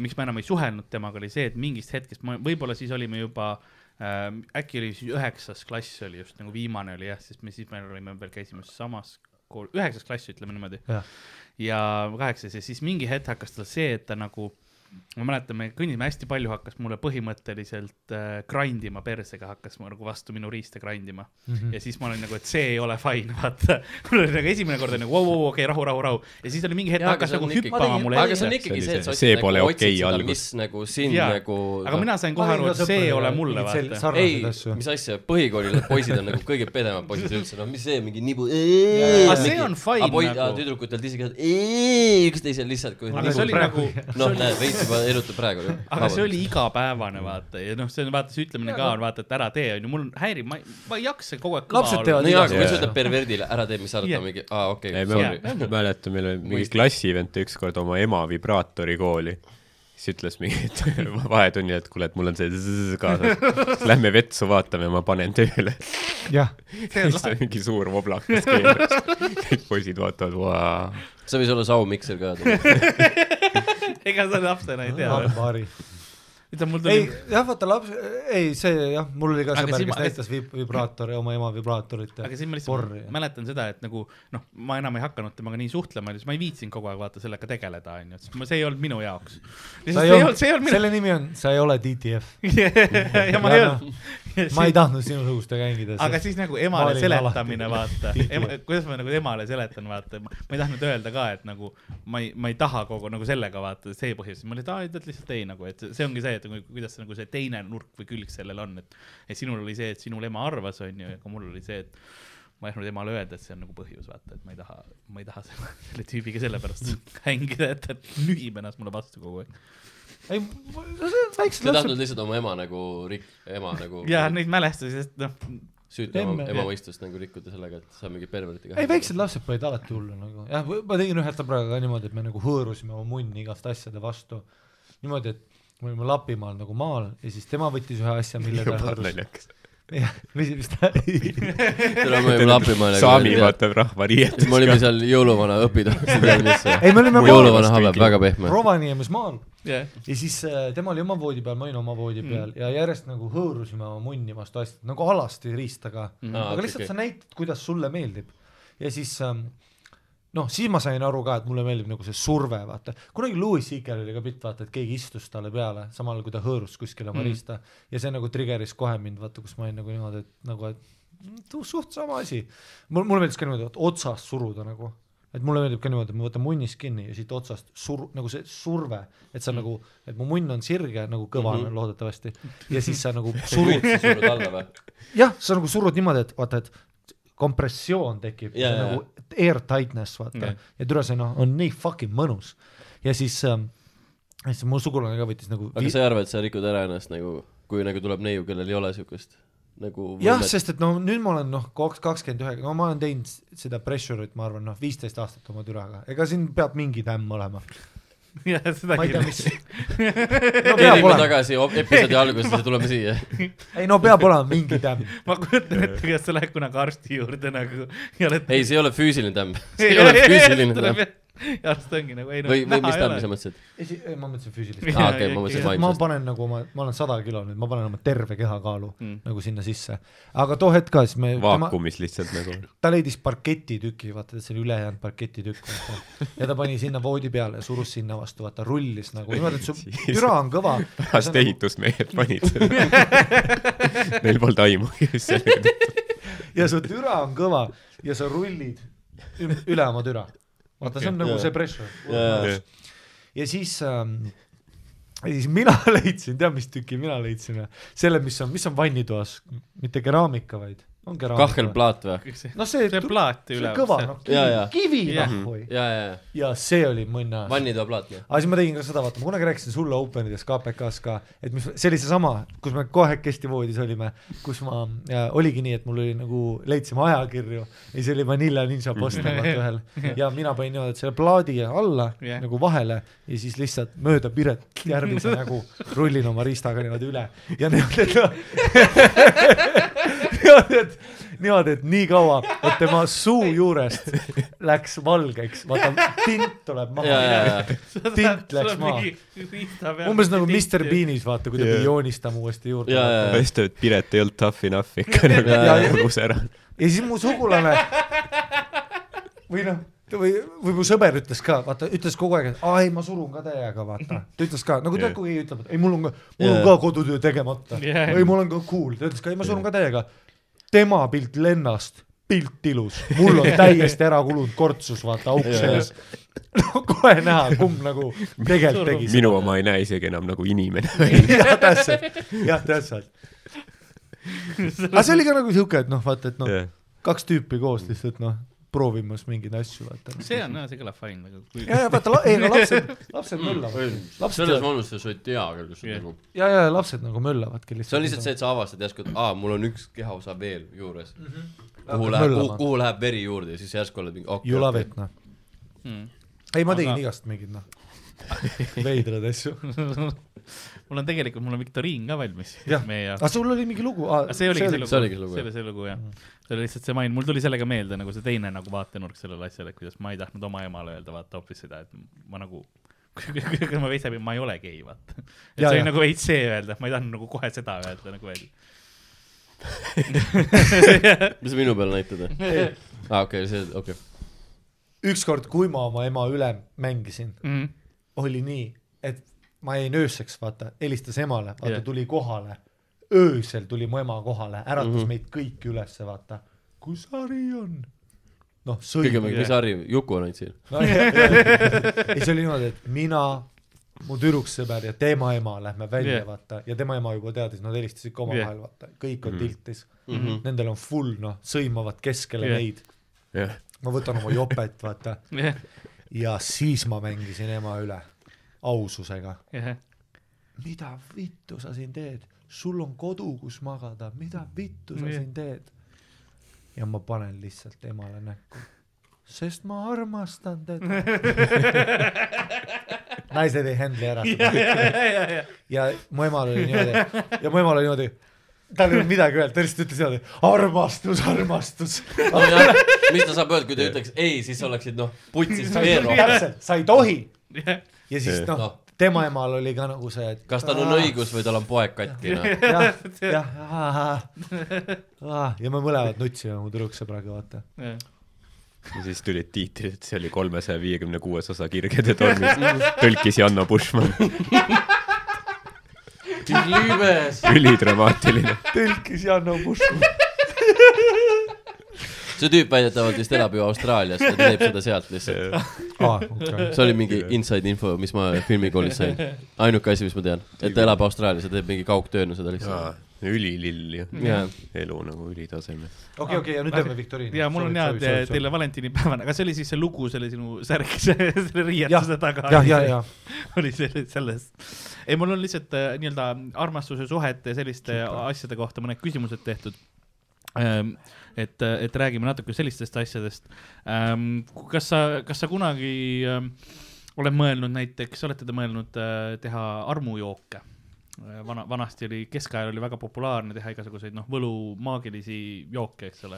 Speaker 2: miks me enam ei suhelnud temaga , oli see , et mingist hetkest ma , võib-olla siis olime juba äh, , äkki oli siis üheksas klass oli just nagu viimane oli jah , sest me siis me olime veel , käisime samas kool , üheksas klass , ütleme niimoodi .
Speaker 4: Jah.
Speaker 2: ja kaheksas ja siis mingi hetk hakkas tal see , et ta nagu , ma mäletan , me kõndisime hästi palju , hakkas mulle põhimõtteliselt äh, grind ima persega , hakkas mu nagu vastu minu riista grind ima mm .
Speaker 4: Mhm.
Speaker 2: -hmm. ja siis ma olin nagu , et see ei ole fine , vaata . mul oli nagu esimene kord oli nagu vau , vau , okei , rahu , rahu , rahu . ja siis oli mingi hetk
Speaker 3: Jaa,
Speaker 2: hakkas
Speaker 3: aga see
Speaker 2: nagu
Speaker 3: on ikkagi-
Speaker 2: hüppama mulle
Speaker 3: aga see on ikkagi see ,
Speaker 5: See oli
Speaker 3: et sa
Speaker 5: see-
Speaker 3: otsid
Speaker 5: see pole
Speaker 3: nagu ,
Speaker 5: okei
Speaker 3: otsid seda ,
Speaker 5: algus.
Speaker 3: mis nagu sind
Speaker 2: Jaa.
Speaker 3: nagu .
Speaker 2: aga mina sain kohe
Speaker 4: Ma
Speaker 2: aru ,
Speaker 4: olin
Speaker 2: et
Speaker 4: ka
Speaker 2: see ei
Speaker 4: sõpradega
Speaker 2: ole mulle ,
Speaker 4: mingid sel-
Speaker 2: vaata .
Speaker 4: sarnased
Speaker 3: ei
Speaker 4: asju. ,
Speaker 3: mis asja , põhikoolil poisid on nagu kõige pedemad poisid üldse , no mis see mingi nibu .
Speaker 2: Aga see on fine nagu.
Speaker 3: tüdrukutelt isegi , et üksteisel lihtsalt .
Speaker 2: aga see oli nagu ,
Speaker 3: noh , näed , veits juba erutab praegu .
Speaker 2: aga see oli igapäevane ,
Speaker 3: nagu
Speaker 2: vaata , ja noh , see on vaata , see ütlemine ka on vaata , et ära tee , on ju , mul häirib , ma ei , ma ei jaksa kogu aeg
Speaker 4: Lapsed teevad
Speaker 3: no jaa , aga kui
Speaker 5: Jaa.
Speaker 3: sa ütled perverdile , ära tee , mis sa arvad , ta
Speaker 2: Jah.
Speaker 3: on mingi , aa okei
Speaker 5: ei ,
Speaker 2: Sorry.
Speaker 5: ma mäletan , meil oli mingi klassivend tõi ükskord oma ema vibraatori kooli , siis ütles mingi vahetunnil , et kuule , et mul on see zzz kaasas , lähme vetsu vaatame , ma panen tööle .
Speaker 4: jah ,
Speaker 5: siis ta mingi suur voblakas keeras , kõik poisid vaatavad , vau .
Speaker 3: see võis olla saumikser ka .
Speaker 2: ega sa lapsena ei tea .
Speaker 4: hambari .
Speaker 2: ütleme , mul
Speaker 4: ei
Speaker 2: tuli ,
Speaker 4: jah , vaata laps , ei see jah , mul oli ka
Speaker 2: Aga
Speaker 4: sõber ,
Speaker 2: siin
Speaker 4: kes
Speaker 2: ma-
Speaker 4: näitas vib- , vibraatori , oma ema vibraatorit
Speaker 2: aga siis ma
Speaker 4: ja
Speaker 2: lihtsalt
Speaker 4: porri .
Speaker 2: mäletan seda , et nagu noh , ma enam ei hakanud temaga nii suhtlema , siis ma ei viitsinud kogu aeg vaata sellega tegeleda , onju , sest ma- see ei olnud minu jaoks . see ei olnud , see ei olnud
Speaker 4: selle nimi on , sa ei ole DTF .
Speaker 2: minu . ja ma ei
Speaker 4: Jaa,
Speaker 2: olnud .
Speaker 4: ma ei tahtnud sinusugustega hängida .
Speaker 2: aga siis nagu
Speaker 4: Ma
Speaker 2: emale
Speaker 4: olin
Speaker 2: seletamine ,
Speaker 4: alati-
Speaker 2: vaata , kuidas ma nagu emale seletan , vaata , ma ma ei tahtnud öelda ka , et nagu ma ei , ma ei taha kogu nagu sellega vaata , see põhjus , ma olin , et aa , et lihtsalt ei nagu , et see- see ongi see , et nagu, kuidas nagu see teine nurk või külg sellel on , et , et sinul oli see , et sinul ema arvas , onju , aga mul oli see , et ma ei tahtnud emale öelda , et see on nagu põhjus , vaata , et ma ei taha , ma ei taha selle, selle tüübiga sellepärast hängida , et ta nühib ennast mulle vastu kogu aeg .
Speaker 4: ei , väiksed
Speaker 3: sa ei
Speaker 4: lapsed
Speaker 3: tahtnud lihtsalt oma ema nagu , ema nagu .
Speaker 2: ja neid mälestusi , sest noh ,
Speaker 3: süüdi oma
Speaker 4: Emme.
Speaker 3: ema mõistust nagu rikkuda sellega , et sa mingi pervertiga .
Speaker 4: ei , väiksed lapsed panid alati hullu nagu , jah , ma tegin ühe sõbraga ka niimoodi , et me nagu hõõrusime oma munni igast asjade vastu . niimoodi , et me olime Lapimaal nagu maal ja siis tema võttis ühe asja , mille ta
Speaker 5: juba
Speaker 4: hõõrus .
Speaker 5: naljakas .
Speaker 4: jah , mis , mis ta ,
Speaker 3: täna me olime Lapimaal
Speaker 5: Saami . vaatab rahvarietes
Speaker 3: me olime seal jõuluvana õpitoas , ei tea mis
Speaker 4: ei , me olime maal ,
Speaker 3: jõuluvana habeb väga pehme .
Speaker 4: Rovaniemes maal
Speaker 2: jah ,
Speaker 4: ja siis äh, tema oli oma voodi peal , ma olin oma voodi peal mm. ja järjest nagu hõõrusime oma munni vastu asjad , nagu alasti riistaga
Speaker 3: Aa,
Speaker 4: mm. , aga
Speaker 3: okei,
Speaker 4: okay, lihtsalt
Speaker 3: okei.
Speaker 4: okay. sa näitad , kuidas sulle meeldib . ja siis ähm, noh , siis ma sain aru ka , et mulle meeldib nagu see surve , vaata , kunagi Louis CK-l oli ka bitt , vaata , et keegi istus talle peale , samal ajal kui ta hõõrus kuskil oma mm. riista ja see nagu trigeris kohe mind , vaata , kus ma olin nagu niimoodi , et nagu , et mm, tu- suht sama asi . mul , mulle meeldis ka niimoodi , et otsast suruda nagu et mulle meeldib ka niimoodi , et ma võtan munnist kinni ja siit otsast sur- , nagu see surve , et sa mm. nagu , et mu munn on sirge nagu kõvane mm -hmm. loodetavasti ja siis sa nagu surud ,
Speaker 3: surud alla või ?
Speaker 4: jah , sa nagu surud niimoodi , et vaata , et kompressioon tekib
Speaker 3: Jaa,
Speaker 4: yeah,
Speaker 3: jaa,
Speaker 4: nagu air tightness vaata yeah. ja türa see noh , on nii fucking mõnus ja siis ähm, ja siis mu sugulane ka võttis nagu
Speaker 3: aga sa ei arva , et sa rikud ära ennast nagu , kui nagu tuleb neiu , kellel ei ole siukest nagu
Speaker 4: jah ,. sest et no nüüd ma olen noh , kaks , kakskümmend üheksa , no ma olen teinud s- seda pressure'it , ma arvan noh , viisteist aastat oma türaga , ega siin peab mingi tämm olema .
Speaker 2: jah , seda
Speaker 4: ma ei tea ,
Speaker 2: kindlasti .
Speaker 4: mis . no peab
Speaker 3: kerime
Speaker 4: olema ,
Speaker 3: tagasi op- episoodi algusesse , tuleme siia .
Speaker 4: ei no peab olema mingi tämm .
Speaker 2: ma kujutan ette , kuidas sa lähed kunagi arsti juurde nagu ja oled .
Speaker 3: ei , see ei ole füüsiline tämb , see ei ole füüsiline tämb .
Speaker 2: ja arst ongi nagu ei no .
Speaker 3: või , või mis tämbi sa mõtlesid ?
Speaker 4: ei , ei ma mõtlesin füüsilist .
Speaker 3: aa , okei , ma mõtlesin
Speaker 4: ma
Speaker 3: vaimsust .
Speaker 4: panen nagu oma , ma olen sada kilo nüüd , ma panen oma terve kehakaalu mm.
Speaker 2: Mm.
Speaker 4: nagu sinna sisse , aga too hetk ka siis me , tema ,
Speaker 5: vaakumis lihtsalt nagu .
Speaker 4: ta leidis parketitüki , vaata see oli ülejäänud parketitükk ja ta pani sinna voodi peale ja surus sinna vastu , vaata rullis nagu niimoodi , et su
Speaker 5: Jesus.
Speaker 4: türa on kõva . nagu-
Speaker 5: pärast ehitusmehed panid selle . Neil polnud aimu , mis sellega teha .
Speaker 4: ja su türa on kõva ja sa rullid üm- üle oma türa . vaata , see on nagu
Speaker 3: Jaa.
Speaker 4: see pressure .
Speaker 3: jaa ,
Speaker 4: ja siis ähm, , ja siis mina leidsin , tead mis tüki mina leidsin või ? selle , mis on , mis on vannitoas , mitte keraamika , vaid on keraamika .
Speaker 3: kahkelplaat või ?
Speaker 4: noh , see,
Speaker 2: see plaat
Speaker 4: see
Speaker 2: üle .
Speaker 4: kõva noh ,
Speaker 3: Jaa, jaa.
Speaker 4: kivi
Speaker 2: Jah.
Speaker 4: nahhoi .
Speaker 3: jaa , jaa ,
Speaker 4: ja see oli mõnna .
Speaker 3: vannitoa plaat või ?
Speaker 4: aga siis ma tegin ka seda , vaata ma kunagi rääkisin sulle Openides KPK-s ka , et mis , see oli seesama , kus me kahekesti voodis olime , kus ma , oligi nii , et mul oli nagu , leidsime ajakirju ja siis oli Vanilla Ninja poster vaata ühel ja mina panin niimoodi , et selle plaadi alla yeah.
Speaker 2: Jah.
Speaker 4: nagu vahele ja siis lihtsalt mööda Piret Järvise nägu rullin oma riistaga niimoodi üle ja niimoodi , et noh , niimoodi , et niimoodi , et nii kaua , et tema suu juurest läks valgeks , vaata tint tuleb
Speaker 3: jaa ,
Speaker 4: maha
Speaker 3: jaa , jaa .
Speaker 4: Tint noh, läks maha. . umbes nagu Mr Beanis , vaata , kui ta
Speaker 5: Jaa.
Speaker 4: pidi joonistama uuesti juurde
Speaker 3: Jaa, jaa.
Speaker 5: ma just , et Piret ei olnud tough enough ikka nagu
Speaker 3: Jaa, jaa.
Speaker 5: murus ära .
Speaker 4: ja siis mu sugulane või noh , või , või mu sõber ütles ka , vaata , ütles kogu aeg , et aa ei , ma surun ka täiega , vaata . ta ütles ka , nagu tead , kui keegi ütleb , et ei , mul on ka , mul on
Speaker 3: Jaa.
Speaker 4: ka kodutöö tegemata .
Speaker 2: Jaa.
Speaker 4: ei , ma olen ka cool , ta ütles ka , ei , ma surun ka täiega . tema pilt lennast , pilt ilus , mul on täiesti ära kulunud kortsus , vaata , auk sees . no kohe näha , kumb nagu tegelikult tegi seda .
Speaker 5: minu oma ei näe isegi enam nagu inimene .
Speaker 4: jah , täpselt , jah , täpselt . aga see oli ka nagu siuke , et noh , vaata , et noh
Speaker 5: Jah.
Speaker 4: yeah. , kaks tüüpi koos lihtsalt noh , proovimas mingeid asju , vaata . noh.
Speaker 2: see on , see kõlab fine nagu .
Speaker 4: ja , ja vaata , ei no lapsed , lapsed möllavad . lapsed
Speaker 3: selles , vanuses sa ei tea küll , kus on
Speaker 2: Jah.
Speaker 3: nagu .
Speaker 4: ja , ja lapsed nagu möllavadki lihtsalt .
Speaker 3: see on lihtsalt see , et sa avastad järsku , et aa , mul on üks kehaosa veel juures . kuhu
Speaker 4: Mhm. Hakkad
Speaker 3: läheb ,
Speaker 4: möllama.
Speaker 3: kuhu läheb veri juurde ja siis järsku oled mingi okei .
Speaker 4: You love it , noh .
Speaker 2: Mm.
Speaker 4: ei , ma tegin
Speaker 2: Aga-
Speaker 4: igast mingeid , noh , veidraid asju .
Speaker 2: mul on tegelikult , mul on viktoriin ka valmis .
Speaker 4: Jah.
Speaker 2: meie jaoks .
Speaker 4: aga sul oli mingi lugu ah,
Speaker 2: Aga see oligi see lugu ,
Speaker 3: see oligi see
Speaker 2: see
Speaker 3: lugu, jah.
Speaker 2: oli see lugu jah , see oli lihtsalt see main , mul tuli sellega meelde nagu see teine nagu vaatenurk sellele asjale , et kuidas ma ei tahtnud oma emale öelda vaata hoopis seda , et ma nagu kui ma veits läbi , ma ei ole gei , vaata . et
Speaker 4: Jaa,
Speaker 2: see
Speaker 4: jaa.
Speaker 2: oli nagu veits see öelda , ma ei tahtnud nagu kohe seda öelda nagu veel .
Speaker 3: mis sa minu peale näitad või ? aa , okei , see , okei .
Speaker 4: ükskord , kui ma oma ema üle mängisin ,
Speaker 2: Mhm.
Speaker 4: oli nii , et ma jäin ööseks , vaata , helistas emale , vaata yeah.
Speaker 2: Jah.
Speaker 4: tuli kohale . öösel tuli mu ema kohale , äratas
Speaker 2: Mhm.
Speaker 4: mm -hmm. meid kõiki ülesse , vaata . kus Ari on ? noh ,
Speaker 3: kõige
Speaker 4: sõim .
Speaker 3: mingi , mis Harri , Juku on ainult siin .
Speaker 4: No, jah, jah. ei , see oli niimoodi , et mina , mu tüdruksõber ja tema ema lähme välja yeah.
Speaker 2: Jah. ,
Speaker 4: vaata , ja tema ema juba teadis , nad helistasid ka omavahel , vaata , kõik on
Speaker 2: Mhm.
Speaker 4: mm -hmm. tiltis mm . -hmm. Nendel on full , noh , sõimavad keskele yeah.
Speaker 2: Jah.
Speaker 4: neid .
Speaker 5: jah ,
Speaker 4: ma võtan oma jopet , vaata , ja siis ma mängisin ema üle aususega mida vittu sa siin teed , sul on kodu , kus magada , mida vittu sa
Speaker 2: Nii.
Speaker 4: siin teed ? ja ma panen lihtsalt emale näkku , sest ma armastan teda . naised ei handle'i ära seda . ja mu emal oli niimoodi ja mu emal oli niimoodi , tal ei olnud midagi öelda , ta lihtsalt ütles niimoodi armastus , armastus .
Speaker 3: mis ta saab öelda , kui ta ütleks ei , siis oleksid noh , putsis Veero .
Speaker 4: täpselt , sa ei tohi
Speaker 2: Jah.
Speaker 4: ja siis
Speaker 3: Noh.
Speaker 4: noh , tema emal oli ka nagu see , et
Speaker 3: kas tal on õigus või tal on poeg katki , noh .
Speaker 4: jah , jah , ja me mõlemad nutsime mu tüdruksõbraga , vaata .
Speaker 5: ja siis tulid tiitrid , see oli kolmesaja viiekümne kuues osa Kirgede tormist , tõlkis Janno Bushman ,
Speaker 3: libes .
Speaker 5: ülidramaatiline .
Speaker 4: tõlkis Janno Puškov .
Speaker 3: see tüüp väidetavalt vist elab ju Austraalias , ta teeb seda sealt lihtsalt .
Speaker 4: aa , Ah, okei .
Speaker 3: see oli mingi inside info , mis ma filmikoolis sain . ainuke asi , mis ma tean , et ta elab Austraalias ja teeb mingi kaugtööna seda lihtsalt .
Speaker 5: ülilill ju
Speaker 3: Jah. ,
Speaker 5: elu nagu ülitasemel .
Speaker 4: okei , okei , ja nüüd teeme viktoriini .
Speaker 2: ja mul on hea , et teile . valentinipäevane , aga see oli siis see lugu selle sinu särk , selle riietuse taga .
Speaker 4: jah , ja , ja .
Speaker 2: oli selle , sellest . ei , mul on lihtsalt äh, nii-öelda armastuse suhete ja selliste asjade kohta mõned küsimused tehtud . et , et räägime natuke sellistest asjadest . kas sa , kas sa kunagi ähm, oled mõelnud näiteks , olete te mõelnud äh, teha armujooke ? vana , vanasti oli , keskajal oli väga populaarne teha igasuguseid noh , võlu maagilisi jooke , eks ole .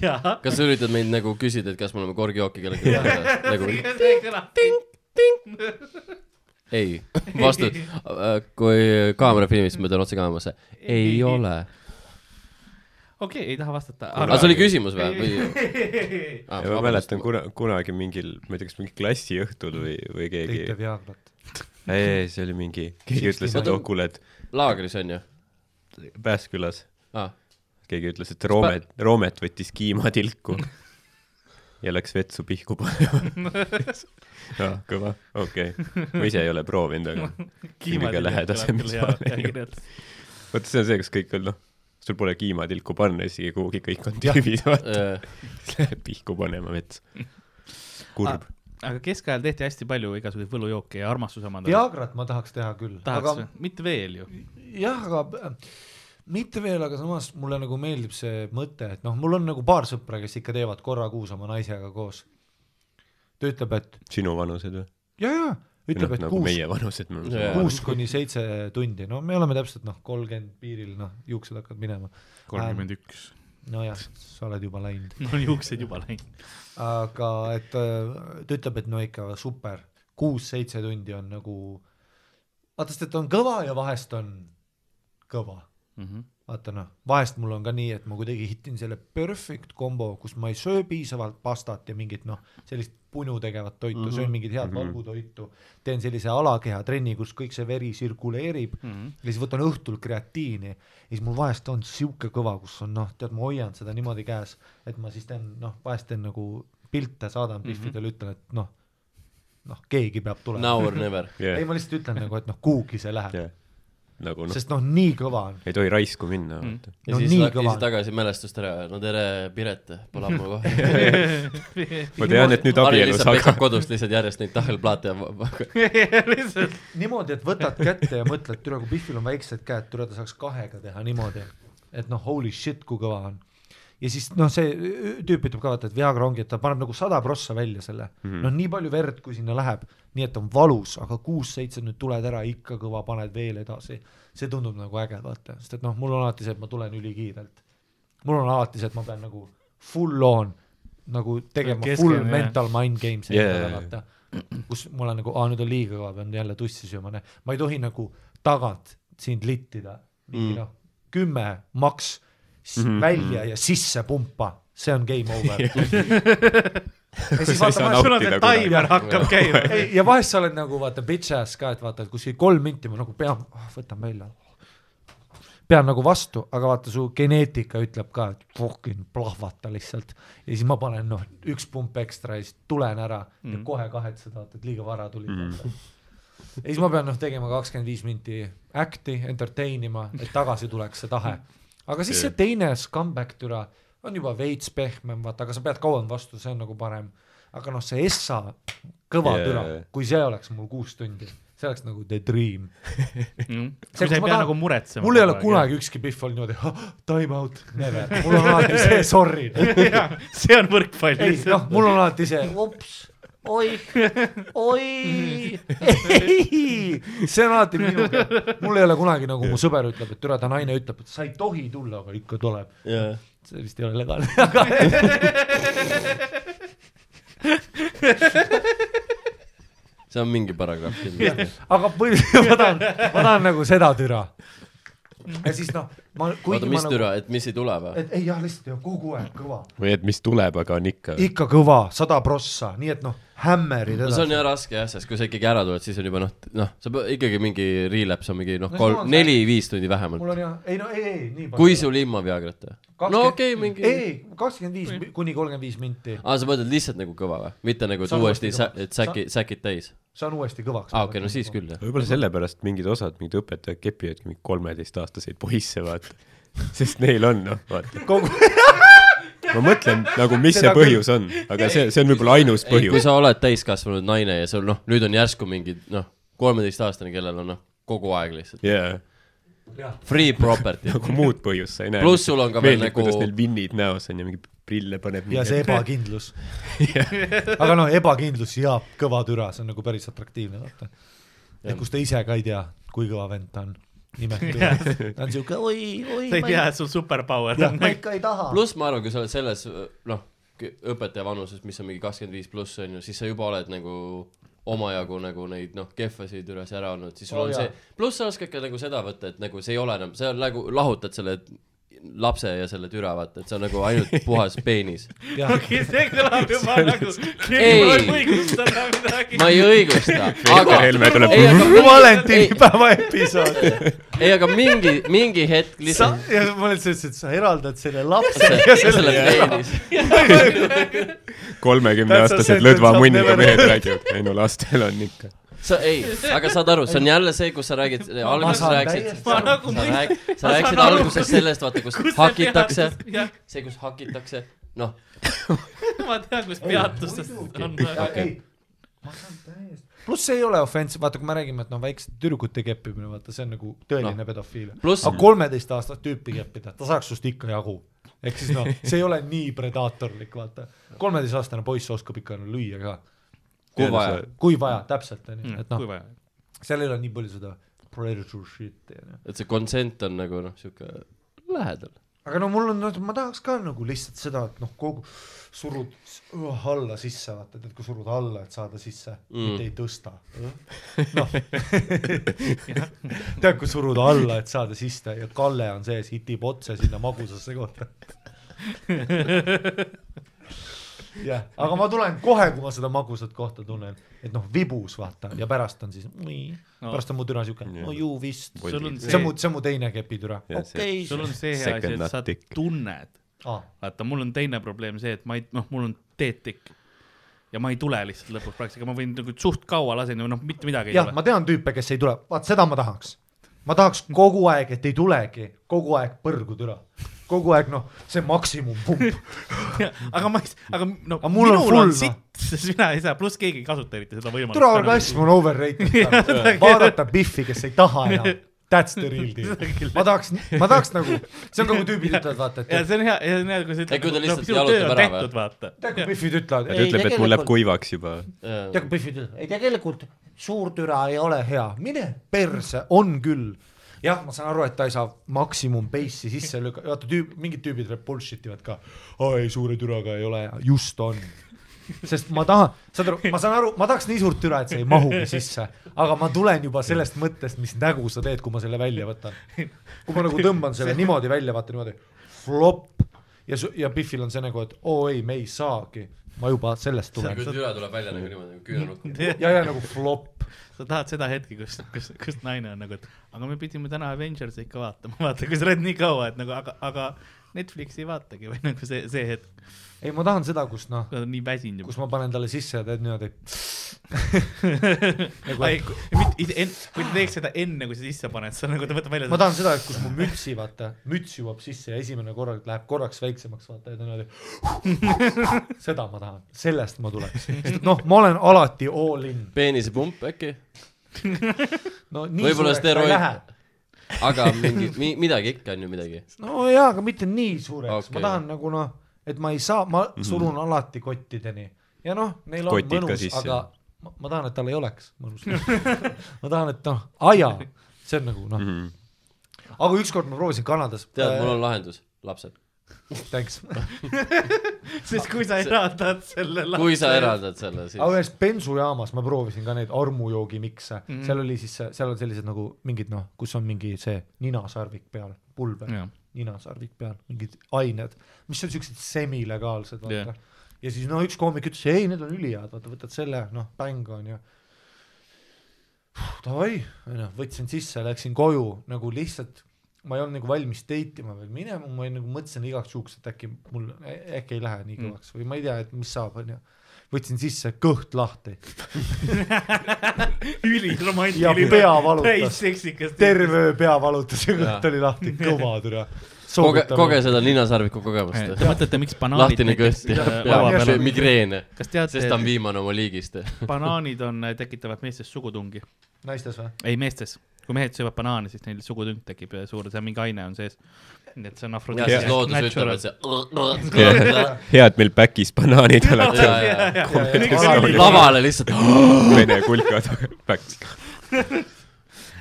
Speaker 2: jaa .
Speaker 3: kas sa üritad mind nagu küsida , et kas me oleme korgjooki kellelegi andnud ? nagu
Speaker 2: see kõlab ting .
Speaker 3: ei , vastus , kui kaamera filmis , ma ütlen otse kaamerasse , ei ole .
Speaker 2: okei , ei taha vastata .
Speaker 3: aga see oli küsimus või , või ? Ah,
Speaker 5: ja ma mäletan . kuna , kunagi mingil , ma ei tea , kas mingi klassiõhtul või , või keegi
Speaker 4: tõite , Viagrat .
Speaker 5: ei , ei , see oli mingi , keegi ütles , et oh kuule , et
Speaker 3: laagris on ju
Speaker 5: Pääskülas
Speaker 3: ah. ?
Speaker 5: keegi ütles , et Roomet , Roomet võttis kiimatilku ja läks vetsu pihku panema . jaa , kõva , okei okay. . ma ise ei ole proovinud , aga kõige lähedasem, mis ma olen ju. vot see on see , kus kõik on noh , sul pole kiimatilku panna isegi kuhugi , kõik on tüvis , vaata , siis lähed pihku panema vetsu .
Speaker 4: Ah.
Speaker 5: kurb .
Speaker 2: aga keskajal tehti hästi palju igasuguseid võlujooke ja armastuse omandamist ja,
Speaker 4: Viagrat ma tahaks teha küll ,
Speaker 2: tahaks
Speaker 4: aga
Speaker 2: aga... , mitte veel ju .
Speaker 4: jah , aga äh, mitte veel , aga samas mulle nagu meeldib see mõte , et noh , mul on nagu paar sõpra , kes ikka teevad korra kuus oma naisega koos . ta ütleb , et
Speaker 5: sinu vanused või ?
Speaker 4: ja , ja , ütleb , et
Speaker 5: nagu
Speaker 4: kuus
Speaker 5: meie vanused , me
Speaker 3: Jaa.
Speaker 5: oleme .
Speaker 4: kuus kuni seitse tundi , no me oleme täpselt noh , kolmkümmend piiril noh , juuksed hakkavad minema .
Speaker 2: kolmkümmend üks .
Speaker 4: nojah , sa oled juba läinud ,
Speaker 2: mul on juuksed juba läinud .
Speaker 4: aga et äh, ta ütleb , et no ikka super , kuus-seitse tundi on nagu , vaata sest , et on kõva ja vahest on kõva vaata noh , vahest mul on ka nii , et ma kuidagi hitin selle perfect combo , kus ma ei söö piisavalt pastat ja mingit noh , sellist punu tegevat toitu mm , -hmm. söön mingit head mm -hmm. valgutoitu , teen sellise alakehatrenni , kus kõik see veri tsirkuleerib mm -hmm. ja siis võtan õhtul kreatiini ja siis mul vahest on sihuke kõva , kus on noh , tead , ma hoian seda niimoodi käes , et ma siis teen noh , vahest teen nagu pilte , saadan briifidele mm , -hmm. ütlen , et noh , noh , keegi peab tulema
Speaker 3: Now or never .
Speaker 4: ei , ma lihtsalt ütlen nagu , et noh , kuhugi see läheb yeah. ,
Speaker 5: nagu noh ,
Speaker 4: sest noh , nii kõva on .
Speaker 5: ei tohi raisku minna , vaata .
Speaker 3: ja
Speaker 4: No
Speaker 3: siis
Speaker 4: nii
Speaker 3: la- ja
Speaker 4: kõva.
Speaker 3: siis tagasi mälestust ära , no tere , Piret , pole ammu kohe .
Speaker 4: Mm.
Speaker 5: ma tean , et nüüd abielus ,
Speaker 3: Mari-Liisa
Speaker 5: aga
Speaker 3: peksab kodust lihtsalt järjest neid tahelplaate ja va- va-
Speaker 2: lihtsalt .
Speaker 4: niimoodi , et võtad kätte ja mõtled , türa kui Biffil on väiksed käed , türa ta saaks kahega teha niimoodi , et noh , holy shit , kui kõva on . ja siis noh , see ü- tüüp ütleb ka vaata , et Viagra ongi , et ta paneb nagu sada prossa välja selle mm -hmm. , noh nii palju verd , kui sinna läheb , nii et on valus , aga kuus-seitse nüüd tuled ära , ikka kõva , paned veel edasi . see tundub nagu äge , vaata , sest et noh , mul on alati see , et ma tulen ülikiirelt . mul on alati see , et ma pean nagu full on nagu tegema
Speaker 2: Keskel,
Speaker 4: full
Speaker 2: jah.
Speaker 4: mental mind game see
Speaker 5: Yeah,
Speaker 4: yeah, endale
Speaker 5: yeah,
Speaker 4: vaata , kus ma olen nagu , aa nüüd on liiga kõva , pean jälle tussi sööma , näe , ma ei tohi nagu tagant sind littida ,
Speaker 5: Mm.
Speaker 4: mingi noh , kümme maks s-
Speaker 5: Mhm.
Speaker 4: välja ja sisse pumpa , see on game over .
Speaker 5: sa ei saa
Speaker 2: sul on see
Speaker 5: nautida kunagi .
Speaker 2: taimer hakkab käima .
Speaker 4: ei , ja vahest sa oled nagu vaata bitch ass ka , et vaata , et kuskil kolm minti ma nagu pean , võtan välja . pean nagu vastu , aga vaata su geneetika ütleb ka , et fucking plahvata lihtsalt . ja siis ma panen noh , üks pump ekstra ja siis tulen ära mm. ja kohe kahetsed , vaata , et liiga vara tulid mm. . ja siis ma pean noh tegema kakskümmend viis minti act'i , entertain ima , et tagasi tuleks see tahe . aga siis see teine comeback türa on juba veits pehmem , vaata , aga sa pead kauem vastu , see on nagu parem . aga noh , see essa kõva
Speaker 5: Jaa,
Speaker 4: türa
Speaker 5: jaa, jaa.
Speaker 4: kui see oleks mul kuus tundi , see oleks nagu the dream .
Speaker 2: sa ei pea nagu muretsema .
Speaker 4: mul ei ole kunagi . ükski pihv olnud niimoodi "Ah, time out , never , mul on alati see sorry .
Speaker 2: see on võrkpall
Speaker 4: ei noh , mul on alati see ,
Speaker 6: ups , oih , oih ,
Speaker 4: see on alati minuga , mul ei ole kunagi nagu mu sõber ütleb , et türa ta naine ütleb , et sa ei tohi tulla , aga ikka tuleb .
Speaker 3: jaa .
Speaker 4: see vist ei ole legaalne , aga
Speaker 3: see on mingi paragrahv kindlasti .
Speaker 4: aga põhi- ma tahan , ma tahan nagu seda türa . ja siis noh , ma ,
Speaker 3: oota ,
Speaker 4: kuigi ma
Speaker 3: mis
Speaker 4: nagu ,
Speaker 3: türa , et mis ei tule või ?
Speaker 4: et ei jah , lihtsalt jah, kogu aeg kõva ,
Speaker 5: või et mis tuleb , aga on ikka .
Speaker 4: ikka kõva , sada prossa , nii et noh , hämmerid
Speaker 3: no see on
Speaker 4: edasi .
Speaker 3: jah raske jah , sest kui sa ikkagi ära tuled , siis on juba noh , noh , sa pead ikkagi mingi relapse on mingi noh
Speaker 4: No ,
Speaker 3: kolm
Speaker 4: sul , on see-
Speaker 3: neli-viis tundi
Speaker 4: mul
Speaker 3: vähemalt .
Speaker 4: on jah , ei no ei , ei nii
Speaker 3: kui . sul ilma Viagrata ? no okei , mingi .
Speaker 4: ei , kakskümmend viis kuni kolmkümmend viis minti ,
Speaker 3: aa , sa mõtled lihtsalt nagu kõva või ? mitte nagu , et
Speaker 4: Saan
Speaker 3: uuesti
Speaker 4: uuesti
Speaker 3: sa- ,
Speaker 4: kõvaks.
Speaker 3: et säki , säkid täis ?
Speaker 4: saan uuesti kõvaks .
Speaker 3: aa , okei , no siis küll jah .
Speaker 5: võib-olla sellepärast mingid osad , mingid õpetajad kepivadki mingi kolmeteistaastaseid poisse , vaata . sest neil on , noh , vaata .
Speaker 4: kogu ,
Speaker 5: ma mõtlen nagu , mis see
Speaker 4: Seda küll.
Speaker 5: põhjus on , aga see , see on võib-olla ainus
Speaker 3: ei , kui
Speaker 5: põhjus .
Speaker 3: sa oled täiskasvanud naine ja sul noh , nüüd on järsku mingi noh , kolmeteistaastane , kellel on noh , kogu aeg lihtsalt
Speaker 5: jaa ,
Speaker 3: free property .
Speaker 5: nagu muud põhjust sa ei näe .
Speaker 3: Pluss sul on ka veel
Speaker 5: meeldib ,
Speaker 3: nagu-
Speaker 5: kuidas neil vinnid näos on ja mingi prille paneb .
Speaker 4: ja see . ebakindlus . aga noh , ebakindlus ja kõva türa , see on nagu päris atraktiivne , vaata . et kus ta ise ka ei tea , kui kõva vend ta on . nimelt , ta on siuke ,
Speaker 6: oih , oih
Speaker 2: sa , ei tea , et sul superpower
Speaker 4: Jah.
Speaker 2: on .
Speaker 6: ma ikka ei
Speaker 4: Ah.
Speaker 6: taha .
Speaker 3: pluss ma arvan , kui sa oled selles noh , õpetaja vanuses , mis on mingi kakskümmend viis pluss on ju , siis sa juba oled nagu omajagu nagu neid noh , kehvasid üles ära olnud , siis sul
Speaker 4: Oo,
Speaker 3: on
Speaker 4: jaa.
Speaker 3: see , pluss sa oskad ka nagu seda võtta , et nagu see ei ole enam , sa nagu lahutad selle lapse ja selle türa vaata , et see on nagu ainult puhas peenis .
Speaker 4: jah ,
Speaker 2: okei , see kõlab juba nagu ,
Speaker 3: Ei.
Speaker 2: keegi võib õigustada midagi .
Speaker 3: ma ei õigusta , aga
Speaker 5: Peeter Helme tuleb
Speaker 3: ei , aga valentini .
Speaker 4: valentinipäeva episood .
Speaker 3: ei , aga mingi , mingi hetk
Speaker 4: sa
Speaker 3: lihtsalt ,,
Speaker 4: ja ma olen selles , et sa eraldad selle lapse ja
Speaker 3: selle
Speaker 4: selle ,
Speaker 3: peenis ,
Speaker 4: That's a
Speaker 5: kolmekümneaastased
Speaker 4: sentence I've
Speaker 5: lõdvamunniga
Speaker 4: never
Speaker 5: mehed
Speaker 4: heard.
Speaker 5: räägivad , ei no lastel on ikka .
Speaker 3: sa ei , aga saad aru , see on jälle see , kus sa räägid , alguses
Speaker 4: saan
Speaker 3: rääkisid
Speaker 4: täiesti ,
Speaker 2: ma nagu
Speaker 3: sa
Speaker 2: mõistan ,
Speaker 3: rääk- , sa
Speaker 2: ma
Speaker 3: rääkisid
Speaker 2: saan aru,
Speaker 3: alguses
Speaker 2: kus-
Speaker 3: sellest , vaata , kus hakitakse ,. see , kus hakitakse , noh ,
Speaker 2: ma tean , kus peatustes on . nagu-
Speaker 4: ei , ma saan täiesti , pluss see ei ole offensive , vaata kui me räägime , et noh , väikeste tüdrukute keppimine , vaata see on nagu tõeline
Speaker 3: Noh.
Speaker 4: no. pedofiilia .
Speaker 3: Pluss-
Speaker 4: aga kolmeteist aastast tüüpi keppida , ta saaks sust ikka jagu . ehk siis noh , see ei ole nii predaatorlik , vaata . kolmeteistaastane poiss oskab ikka no, lüüa ka ,
Speaker 3: kui vaja .
Speaker 4: kui vaja , täpselt on ju , et
Speaker 2: kui
Speaker 4: noh ,
Speaker 2: vaja .
Speaker 4: seal ei ole nii palju seda predator shit'i on ju .
Speaker 3: et see consent on nagu noh , sihuke lähedal .
Speaker 4: aga no mul on , ma tahaks ka nagu lihtsalt seda , et noh , kogu surud s- õh, alla sisse , vaata , tead kui surud alla , et saada sisse mm. , mitte ei tõsta . noh , tead kui surud alla , et saada sisse ja Kalle on sees , hitib otse sinna magusasse kohta . jah , aga ma tulen kohe , kui ma seda magusat kohta tunnen , et noh , vibus vaata ja pärast on siis ,
Speaker 2: No.
Speaker 4: pärast on mu türa siuke , no ju vist .
Speaker 2: sul on
Speaker 4: see on mu ,
Speaker 2: see ,
Speaker 4: see on mu teine kepitüra .
Speaker 6: okei ,
Speaker 2: sul on see hea asi ,
Speaker 5: Second
Speaker 2: et sa
Speaker 5: nut dick.
Speaker 2: tunned .
Speaker 4: aa ,
Speaker 2: vaata , mul on teine probleem see , et ma ei , noh , mul on teetikk . ja ma ei tule lihtsalt lõpuks praktiliselt , ma võin nagu suht kaua lasen ja noh , mitte midagi ei
Speaker 4: jah ,
Speaker 2: tule .
Speaker 4: ma tean tüüpe , kes ei tule , vaat seda ma tahaks . ma tahaks kogu aeg , et ei tulegi , kogu aeg põrgu türa , kogu aeg noh , see maksimumpump ,
Speaker 2: aga ma , aga no
Speaker 4: Aga mul on
Speaker 2: minul on
Speaker 4: full, noh.
Speaker 2: sitt , sest mina ei saa , pluss keegi ei kasuta eriti seda võimalust .
Speaker 4: türa orgasm on overrated , vaadata Biffi , kes ei taha enam . That's the real deal
Speaker 2: Seda küll. ,
Speaker 4: ma tahaks , ma tahaks nagu , see on nagu tüübid ütlevad , vaata ,
Speaker 2: ja
Speaker 4: et
Speaker 2: see on hea , see on hea , kui sa
Speaker 3: Ei,
Speaker 2: ütled
Speaker 3: kui ta lihtsalt
Speaker 2: sinu
Speaker 3: jalutab
Speaker 2: töö on
Speaker 3: ära või?
Speaker 2: tehtud , vaata .
Speaker 4: tead kui Biffid ütlevad ,
Speaker 5: ta
Speaker 4: ei ,
Speaker 5: ütleb , et mul läheb
Speaker 6: tegelikult-
Speaker 5: kuivaks juba .
Speaker 4: tead kui Biffid ütlevad ,
Speaker 6: ei tegelikult
Speaker 4: suur türa ei ole hea , mine perse , on küll . jah , ma saan aru , et ta ei saa maksimum base'i sisse lükata , vaata tüüp , mingid tüübid veel bullshit ivad ka . aa ei , suure türaga ei ole hea , just on . sest ma tahan , saad aru , ma saan aru , ma tahaks nii suurt türa , et see ei mahugi sisse , aga ma tulen juba sellest mõttest , mis nägu sa teed , kui ma selle välja võtan . kui ma nagu tõmban selle niimoodi välja , vaata niimoodi , flop ja , ja Biffil on see nagu , et oo ei , me ei saagi , ma juba sellest
Speaker 3: kui
Speaker 4: tulen
Speaker 3: türa tuleb välja nagu niimoodi , küünarukku .
Speaker 4: ja , ja nagu flop
Speaker 2: sa tahad seda hetke , kus , kus , kus naine on nagu , et aga me pidime täna Avengersi ikka vaatama , vaata , kui sa oled nii kaua , et nagu , aga , aga Netflixi ei vaatagi või nagu see , see hetk ,
Speaker 4: ei , ma tahan seda , kus noh ,
Speaker 2: kui sa oled nii väsinud
Speaker 4: kus
Speaker 2: juba .
Speaker 4: ma panen talle sisse ja teed niimoodi . Nagu-
Speaker 2: ei , kui ta teeks seda enne , kui sa sisse paned , sa nagu , ta võtab välja .
Speaker 4: ma tahan seda , et kus mu mütsi , vaata , müts jõuab sisse ja esimene korra läheb korraks väiksemaks , vaata ja ta niimoodi . seda ma tahan , sellest ma tuleks , sest et noh , ma olen alati all in .
Speaker 3: peenisepump äkki ?
Speaker 4: no nii
Speaker 3: Võib-olla
Speaker 4: suureks ta ei
Speaker 3: steroid-
Speaker 4: lähe .
Speaker 3: aga mingi mi, , midagi ikka on ju midagi .
Speaker 4: no jaa , aga mitte nii suureks okay. ,
Speaker 3: Okei.
Speaker 4: ma tahan nagu noh , et ma ei saa , ma surun mm -hmm. alati kottideni ja noh , neil on
Speaker 5: Kotid ka
Speaker 4: Kotid mõnus ,
Speaker 5: sisse.
Speaker 4: aga ma, ma tahan , et tal ei oleks mõnus . ma tahan , et noh , aja , see on nagu noh mm , -hmm. aga ükskord ma proovisin Kanadas .
Speaker 3: tead , mul on lahendus , lapsed .
Speaker 4: Thanks ,
Speaker 2: sest kui sa eraldad selle
Speaker 3: kui sa . eraldad selle ,
Speaker 4: aga
Speaker 3: siis
Speaker 4: ühes bensujaamas ma proovisin ka neid armujoogimikse mm , -hmm. seal oli siis , seal on sellised nagu mingid noh , kus on mingi see ninasarvik peal , pulber
Speaker 2: Jah.
Speaker 4: ninasarvik peal , mingid ained , mis on siuksed semilegaalsed , vaata
Speaker 2: Jah.
Speaker 4: yeah. . ja siis no üks koomik ütles , ei , need on ülihead , vaata võtad selle , noh , bäng on ju . Davai , onju , võtsin sisse , läksin koju nagu lihtsalt , ma ei olnud nagu valmis date ima veel minema , ma olin nagu mõtlesin igaks juhuks , et äkki mul , äkki ei lähe nii
Speaker 3: Mm.
Speaker 4: kõvaks või ma ei tea , et mis saab , onju . võtsin sisse , kõht lahti , Ja
Speaker 2: üliromantiline .
Speaker 4: pea valutas.
Speaker 2: täis seksikas .
Speaker 4: terve öö pea valutas ja
Speaker 3: Jaa.
Speaker 4: kõht oli lahti , kõva türa .
Speaker 3: koge , koge seda ninasarviku kogemust
Speaker 2: Te . mõtlete , miks banaanid
Speaker 3: lahtine
Speaker 2: näiteks
Speaker 3: kõht ja
Speaker 2: äh,
Speaker 4: Jaa,
Speaker 2: laua peal
Speaker 4: jaa,
Speaker 3: peale
Speaker 4: see-
Speaker 2: on ?
Speaker 3: migreene ,
Speaker 2: kas teate ,
Speaker 3: sest ta on
Speaker 2: et
Speaker 3: viimane oma liigist .
Speaker 2: banaanid on , tekitavad meestes sugutungi ?
Speaker 4: naistes või ?
Speaker 2: ei , meestes . kui mehed söövad banaani , siis neil sugutung tekib äh, suur , seal mingi aine on sees . nii et see on
Speaker 3: ja siis loodus ütleb , et
Speaker 2: afrodisiak .
Speaker 3: see
Speaker 5: hea , et meil päkis banaanid alati on .
Speaker 3: lavale lihtsalt ,
Speaker 5: Vene kulkad päks .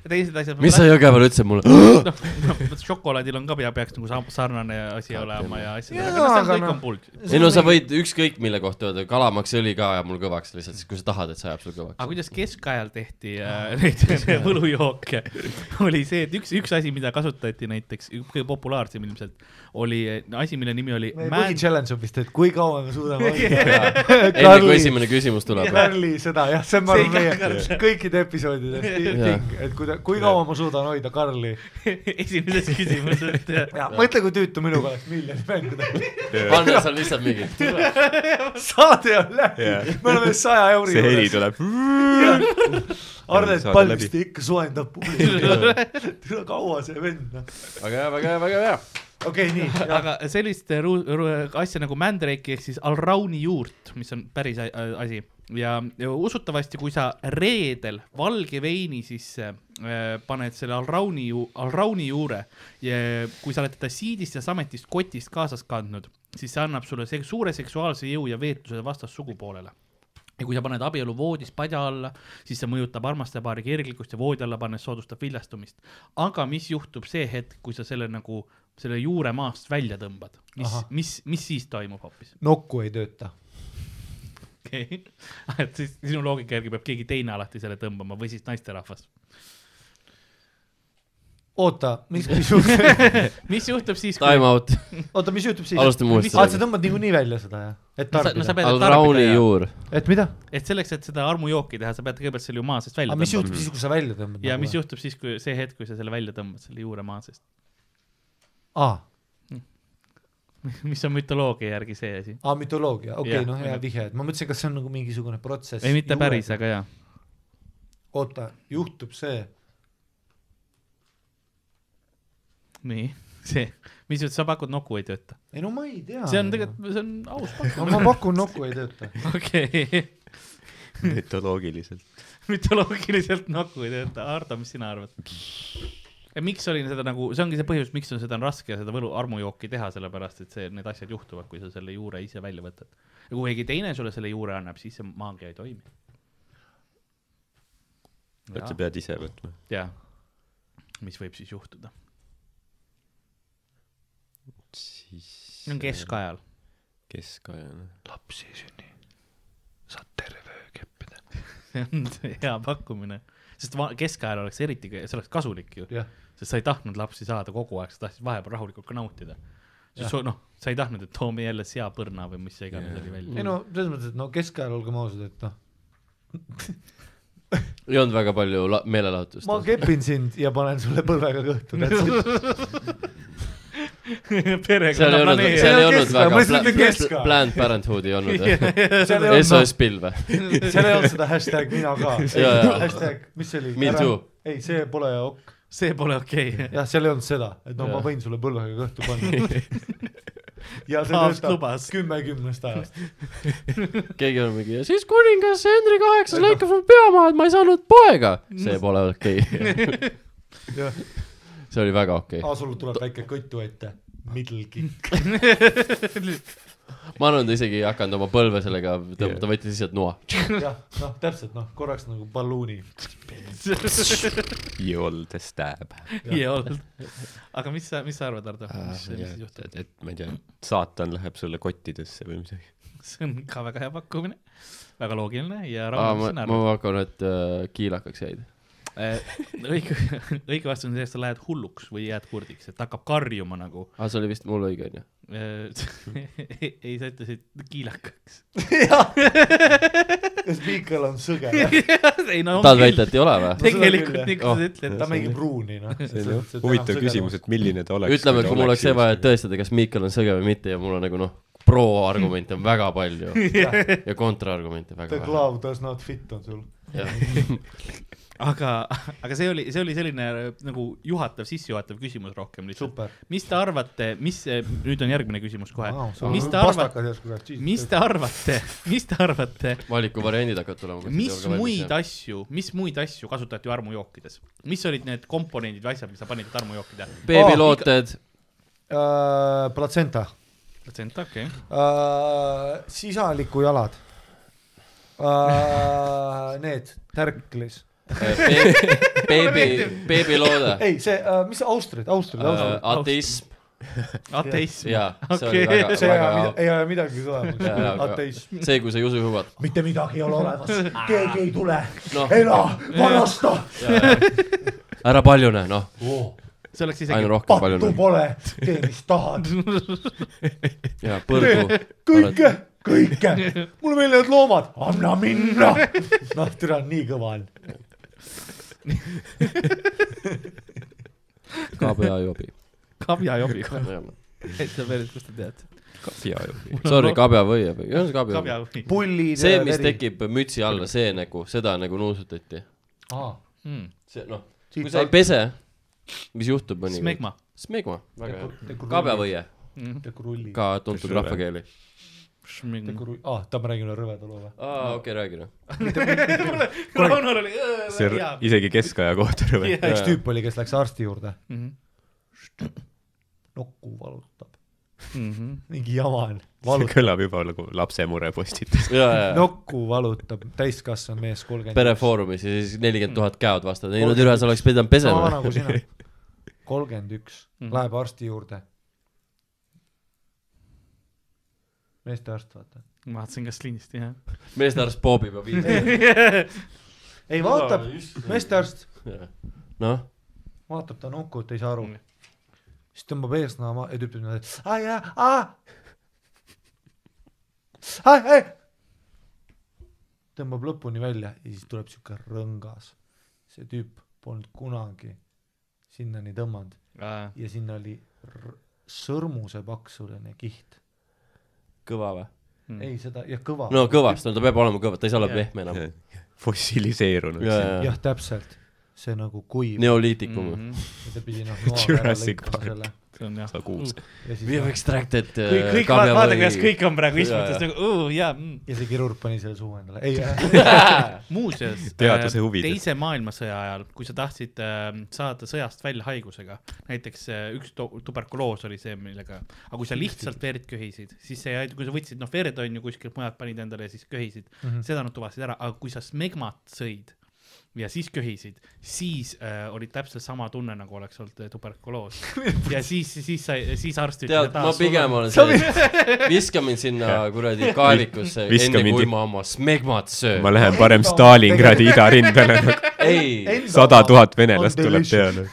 Speaker 2: teised asjad .
Speaker 3: mis sa Jõgeval ütlesid mulle ?
Speaker 2: noh, šokolaadil on ka pea , peaks nagu sa- sarnane asi olema ja asjadega ,
Speaker 4: Jaa,
Speaker 2: aga noh ,
Speaker 4: aga
Speaker 2: see kõik
Speaker 4: noh.
Speaker 2: on pulk .
Speaker 3: ei no sa võid ükskõik mille kohta öelda , kalamaks-õli ka ajab mul kõvaks lihtsalt , siis kui sa tahad , et see ajab sul kõvaks .
Speaker 2: aga kuidas keskajal tehti äh, neid võlujooke , oli see , et üks , üks asi , mida kasutati näiteks , kõige populaarsem ilmselt , oli äh, asi , mille nimi oli
Speaker 4: meie
Speaker 2: man-
Speaker 4: põhi-challenge on vist , et kui kaua me suudame hoida .
Speaker 3: enne kui esimene küsimus tuleb .
Speaker 4: Karli seda jah , see on ma
Speaker 2: See
Speaker 4: arvan
Speaker 2: iga
Speaker 4: meie kõikide episoodide ting , et kui , kui kaua ma suudan hoida Karli .
Speaker 2: esimeses küsimuses , et
Speaker 4: ja mõtle , kui tüütu minuga oleks miljoni mängida .
Speaker 3: panna seal lihtsalt mingi ,
Speaker 4: saade on läbi
Speaker 5: Jah. ,
Speaker 4: me oleme saja euri
Speaker 5: see heli
Speaker 4: juures .
Speaker 5: tuleb .
Speaker 4: Arlet
Speaker 5: saade
Speaker 4: Palmiste ikka soojendab publikut . tule kaua see vend noh .
Speaker 3: väga hea , väga hea , väga hea .
Speaker 4: okei , nii ,
Speaker 2: aga sellist ru- ru- asja nagu mandreiki ehk siis alrauni juurt , mis on päris a- a- asi ja, ja usutavasti , kui sa reedel valge veini sisse äh, paned selle alrauni , alrauni juure ja kui sa oled teda siidist ja sametist kotist kaasas kandnud , siis see annab sulle se suure seksuaalse jõu ja veetuse vastassugupoolele ja kui sa paned abielu voodis padja alla , siis see mõjutab armastajapaari kirglikkust ja voodi alla pannes soodustab viljastumist . aga mis juhtub see hetk , kui sa selle nagu , selle juure maast välja tõmbad , mis
Speaker 4: Ahah. ,
Speaker 2: mis , mis siis toimub hoopis ?
Speaker 4: nokku ei tööta .
Speaker 2: okei , et siis sinu loogika järgi peab keegi teine alati selle tõmbama või siis naisterahvas .
Speaker 4: oota , mis , mis juhtub ,
Speaker 2: mis juhtub siis , kui
Speaker 3: Time out ,
Speaker 4: oota , mis juhtub siis ?
Speaker 3: alustame
Speaker 4: aa , sa
Speaker 3: uuesti .
Speaker 4: tõmbad niikuinii välja seda jah ? et
Speaker 2: sa, no, sa
Speaker 4: tarbida .
Speaker 2: pead
Speaker 3: Alrauni
Speaker 2: tarbida ja ,
Speaker 3: juur .
Speaker 4: et mida ?
Speaker 2: et selleks , et seda armujooki teha , sa pead kõigepealt selle ju maa seest välja
Speaker 4: aga mis
Speaker 2: tõmbama
Speaker 4: juhtub siis , kui sa välja tõmbad ?
Speaker 2: ja mis ? juhtub siis , kui see hetk , kui sa selle välja tõmbad , selle juure maa seest ,
Speaker 4: aa
Speaker 2: mis on mütoloogia järgi see asi .
Speaker 4: aa , Ah, mütoloogia , okei
Speaker 2: Jah,
Speaker 4: okay, , noh , hea
Speaker 2: jah.
Speaker 4: vihje , et ma mõtlesin , kas see on nagu mingisugune protsess .
Speaker 2: ei , mitte päris ,. aga jaa .
Speaker 4: oota , juhtub see ,
Speaker 2: nii , see , mis jutt , sa pakud noku ei tööta ,
Speaker 4: ei no ma ei tea .
Speaker 2: see on . tegelikult , see on aus
Speaker 4: no
Speaker 2: pakkumine ,
Speaker 4: ma pakun nokku ei tööta .
Speaker 2: okei ,
Speaker 5: mütoloogiliselt .
Speaker 2: mütoloogiliselt noku ei tööta , Ardo , mis sina arvad ? ja miks oli seda nagu , see ongi see põhjus , miks on seda on raske seda võlu , armujooki teha , sellepärast et see , need asjad juhtuvad , kui sa selle juure ise välja võtad . ja kui keegi teine sulle selle juure annab , siis see maagia ei toimi .
Speaker 5: et sa pead ise võtma .
Speaker 2: jaa , mis võib siis juhtuda ,
Speaker 5: siis
Speaker 2: see on keskajal .
Speaker 5: keskajana .
Speaker 2: see on hea pakkumine , sest va- keskajal oleks eriti , see oleks kasulik ju ,
Speaker 4: jah ,
Speaker 2: sest sa ei tahtnud lapsi saada kogu aeg , sa tahtsid vahepeal rahulikult ka nautida . noh , sa ei tahtnud , et toome jälle seapõrna või mis see iganes oli välja
Speaker 4: ei . no selles mõttes , et no keskajal olgem ausad , et noh ,
Speaker 3: ei olnud väga palju la- meelelahutust .
Speaker 4: ma kepin sind ja panen sulle põlvega kõhtu .
Speaker 3: seal ei olnud ,
Speaker 4: See
Speaker 3: seal
Speaker 4: on
Speaker 3: ei olnud
Speaker 4: keskaja, ma lihtsalt ütlen
Speaker 3: väga
Speaker 4: keskaja. ,
Speaker 3: Planned Parenthood'i ei olnud ,
Speaker 4: seal ei
Speaker 3: SOS
Speaker 4: olnud ,
Speaker 3: pilv või ?
Speaker 4: seal ei olnud seda hashtag mina ka .
Speaker 3: Jaa, jaa.
Speaker 4: hashtag , mis see oli ?
Speaker 3: Me too. .
Speaker 4: ei , see pole ok ,
Speaker 2: see pole okei okay. .
Speaker 4: jah , seal ei olnud seda , et no
Speaker 3: Jah.
Speaker 4: ma võin sulle põlvega kõhtu panna . ja see
Speaker 2: Paavst
Speaker 4: töötab
Speaker 2: lubas.
Speaker 4: kümme kümnest ajast .
Speaker 3: keegi on mingi ja siis kuningas Henry Kaheksas lõikas mu pea maha , et ma ei saanud poega . see pole okei okay. . see oli väga okei okay. .
Speaker 4: aa , sul tuleb väike kõtu ette . Middle kick .
Speaker 3: ma arvan , ta isegi ei hakanud oma põlve sellega , ta, ta võttis lihtsalt noa .
Speaker 4: jah , noh , täpselt noh , korraks nagu balluuni .
Speaker 5: You all the stab .
Speaker 2: ei olnud . aga mis sa , mis sa arvad , Ardo ,
Speaker 3: Ah,
Speaker 2: mis , mis juhtub ?
Speaker 5: et , et ma ei tea , saatan läheb sulle kottidesse või midagi .
Speaker 2: see on ka väga hea pakkumine , väga loogiline ja
Speaker 3: Ah,
Speaker 2: rahulik
Speaker 3: ma ,
Speaker 2: stsenaarium
Speaker 3: ma . pakun , et äh, kiilakaks jäid .
Speaker 2: Eh, õige , õige vastus on see , et sa lähed hulluks või jääd kurdiks , et hakkab karjuma nagu .
Speaker 3: aa , see oli vist mul õige , onju .
Speaker 2: ei , sa ütlesid kiilakaks .
Speaker 4: kas Miikal on sõge ?
Speaker 2: ei no
Speaker 3: tahad väita , et ei ole või ?
Speaker 2: tegelikult
Speaker 4: No seda küll,
Speaker 2: nii , kui
Speaker 3: jah.
Speaker 2: sa ütled
Speaker 4: ta . mängib ruuni , noh .
Speaker 5: huvitav küsimus , et milline ta oleks .
Speaker 3: ütleme , et kui mul oleks vaja . tõestada , kas Miikal on sõge või mitte ja mul on nagu noh , pro-argumente on väga palju ja kontraargumente
Speaker 4: The
Speaker 3: väga vähe .
Speaker 4: glove does not fit on sul .
Speaker 2: aga , aga see oli , see oli selline nagu juhatav , sissejuhatav küsimus rohkem lihtsalt .
Speaker 4: super .
Speaker 2: mis te arvate , mis , nüüd on järgmine küsimus kohe . mis te arvate ,
Speaker 4: arvate
Speaker 2: mis te arvate , mis te arvate ,
Speaker 3: valikuvariandid hakkavad tulema .
Speaker 2: mis muid ? asju , mis muid asju kasutati armujookides ? mis olid need komponendid või asjad , mis sa panid armujookide ?
Speaker 3: beebilooted ,
Speaker 4: uh, ? platsenta
Speaker 2: protsent , okei okay. .
Speaker 4: uh, , sisalikujalad uh, , need tärklis .
Speaker 3: Äh, beebi , beebiloode ,
Speaker 4: ei , see uh, , mis austrid , austrid , austrid uh, .
Speaker 3: Äh, ateism
Speaker 2: ateism .
Speaker 3: ja see oli
Speaker 2: Okei.
Speaker 3: väga ,
Speaker 4: see ei
Speaker 3: väga
Speaker 4: ole , ei ole midagi tulemas
Speaker 3: Jaa, . aga-
Speaker 4: ateism .
Speaker 3: see , kui sa ei usu juhuvat .
Speaker 4: mitte midagi ei ole olemas ,
Speaker 3: Ah.
Speaker 4: keegi ei tule
Speaker 3: Noh. ,
Speaker 4: ela , varasta ,
Speaker 3: ära paljune , noh ,
Speaker 2: see oleks isegi
Speaker 3: aina rohkem
Speaker 4: pattu
Speaker 3: paljune
Speaker 4: pole , tee mis tahad ,
Speaker 3: ja põrgu .
Speaker 4: kõike , kõike , mulle meeldivad loomad , anna minna . noh , türa on nii kõva on .
Speaker 3: kabjajobi .
Speaker 2: kabjajobi kohe . täitsa päris , kust te teate ?
Speaker 5: kapjajobi .
Speaker 3: Sorry , kabjavõiev , ei olnud kabjajobi .
Speaker 2: kabjajobi .
Speaker 4: pullid .
Speaker 3: see , mis . tekib mütsi alla , see nagu , seda nagu nuusutati . see noh , kui sa ei pese , mis juhtub mõnikord ?
Speaker 2: smegma .
Speaker 3: smegma , väga hea .
Speaker 4: kabjavõi .
Speaker 3: kabjavõie ,
Speaker 4: tekurulli .
Speaker 3: ka tuntud rahvakeeli .
Speaker 2: smegma .
Speaker 4: tekurulli , aa , tahab ma räägin üle rõveda loo või ?
Speaker 3: aa , okei , räägi noh .
Speaker 2: Raunol oli .
Speaker 5: see r- isegi keskaja kohta rõve .
Speaker 2: Jah.
Speaker 4: üks tüüp oli , kes läks arsti juurde ,
Speaker 3: Mhm.
Speaker 2: see
Speaker 4: nokku valutab ,
Speaker 3: Mhm.
Speaker 4: mingi jama on ,
Speaker 5: see
Speaker 4: valutab ,
Speaker 5: kõlab juba nagu lapse murepostitus .
Speaker 3: ja , ja ,
Speaker 4: nokku valutab , täiskasvanud mees , kolmkümmend .
Speaker 3: perefoorumis ja siis nelikümmend tuhat käod vastavad , ei no türa , sa oleks pidanud
Speaker 4: sama
Speaker 3: pesema
Speaker 4: vana . kui sina , kolmkümmend üks ,
Speaker 2: Mhm.
Speaker 4: läheb arsti juurde . meestearst , vaata .
Speaker 2: ma vaatasin ka Slinist , jah .
Speaker 3: meestearst poobib ja viib .
Speaker 4: ei , vaatab , meestearst
Speaker 3: noh ,
Speaker 4: vaatab ta nokut , ei saa aru
Speaker 2: Mhm. .
Speaker 4: siis tõmbab eesnaa maha ja tüüp ütleb , et aa jaa , aa . ai , ai . tõmbab lõpuni välja ja siis tuleb siuke rõngas . see tüüp polnud kunagi sinnani tõmmanud ja sinna oli r- sõrmuse paksuline kiht .
Speaker 3: kõva või ?
Speaker 2: Mm.
Speaker 4: ei , seda ja kõva
Speaker 3: no kõvast , no ta peab olema kõva , ta ei saa olla
Speaker 2: Jah.
Speaker 3: pehme noh. enam .
Speaker 5: fossiliseerunud .
Speaker 3: ja , ja , ja
Speaker 4: jah , täpselt , see nagu kuiv ja
Speaker 3: neoliitikum .
Speaker 2: Mhm.
Speaker 4: ta pidi noh
Speaker 5: Jurassic Park.
Speaker 2: see on jah .
Speaker 5: sa kuulsid .
Speaker 4: ja
Speaker 3: We have
Speaker 4: siis
Speaker 3: extracted
Speaker 2: kõik ,
Speaker 3: uh,
Speaker 2: kõik , vaadake , kuidas kõik on praegu istmutes nagu , jaa .
Speaker 4: ja see kirurg pani selle suu endale , ei äh, jah
Speaker 2: muuseas ,
Speaker 5: Teaduse huvides.
Speaker 2: teise maailmasõja ajal , kui sa tahtsid äh, saada sõjast välja haigusega , näiteks äh, üks tu- tuberkuloos oli see , millega , aga kui sa lihtsalt verd köhisid , siis see , kui sa võtsid noh , verd on ju kuskilt mujalt panid endale ja siis köhisid mm ,
Speaker 4: Mhm.
Speaker 2: -hmm. seda nad tuvastasid ära , aga kui sa smegmat sõid ja siis köhisid , siis äh, oli täpselt sama tunne , nagu oleks olnud äh, tuberkuloos ja siis , siis sai , siis arst
Speaker 3: tead , ma pigem olen
Speaker 2: see .
Speaker 3: see , viska mind sinna kuradi kaevikusse ,
Speaker 5: Viska
Speaker 3: enne
Speaker 5: mind
Speaker 3: kui
Speaker 5: i-
Speaker 3: ma oma smegmat
Speaker 5: ma
Speaker 3: söön .
Speaker 5: lähen parem Stalingradi idarindele nagu .
Speaker 3: ei ,
Speaker 5: sada tuhat venelast tuleb . peale .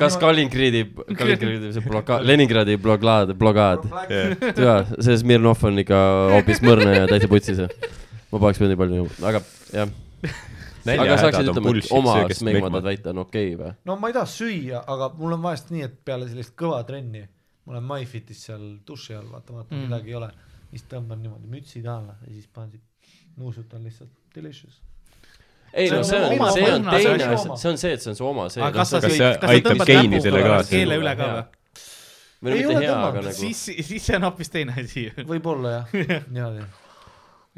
Speaker 3: kas Kaliningradi , Kaliningradi see blokaad , Leningradi blokaad , blokaad , jaa , see Smirnov on ikka hoopis mõrne ja täitsa putsis . ma paneks veel nii palju juurde , aga jah . aga saaksid ütlema , et oma smegmatad väita on okei okay, või ?
Speaker 4: no ma ei taha süüa , aga mul on vahest nii , et peale sellist kõva trenni , ma olen MyFitis seal duši all , vaata , vaata
Speaker 2: Mm.
Speaker 4: mm. midagi ei ole , siis tõmban niimoodi mütsi taha alla ja siis panen siit , nuusutan lihtsalt delicious .
Speaker 3: ei no see on , see on teine asi , see on see , et see on su oma , see .
Speaker 2: aga kas sa
Speaker 5: kas
Speaker 2: sõid ,
Speaker 5: see
Speaker 2: kas sa
Speaker 5: aitab
Speaker 2: tõmbad
Speaker 5: geenidele
Speaker 2: näpuga
Speaker 5: kaasa?
Speaker 2: keele üle ka või ?
Speaker 3: või no
Speaker 4: Ei
Speaker 3: mitte
Speaker 4: ole
Speaker 3: hea , aga
Speaker 4: tõmmanud.
Speaker 3: nagu ,
Speaker 2: siis , siis see on hoopis teine asi ju .
Speaker 4: võib-olla jah , ja , ja .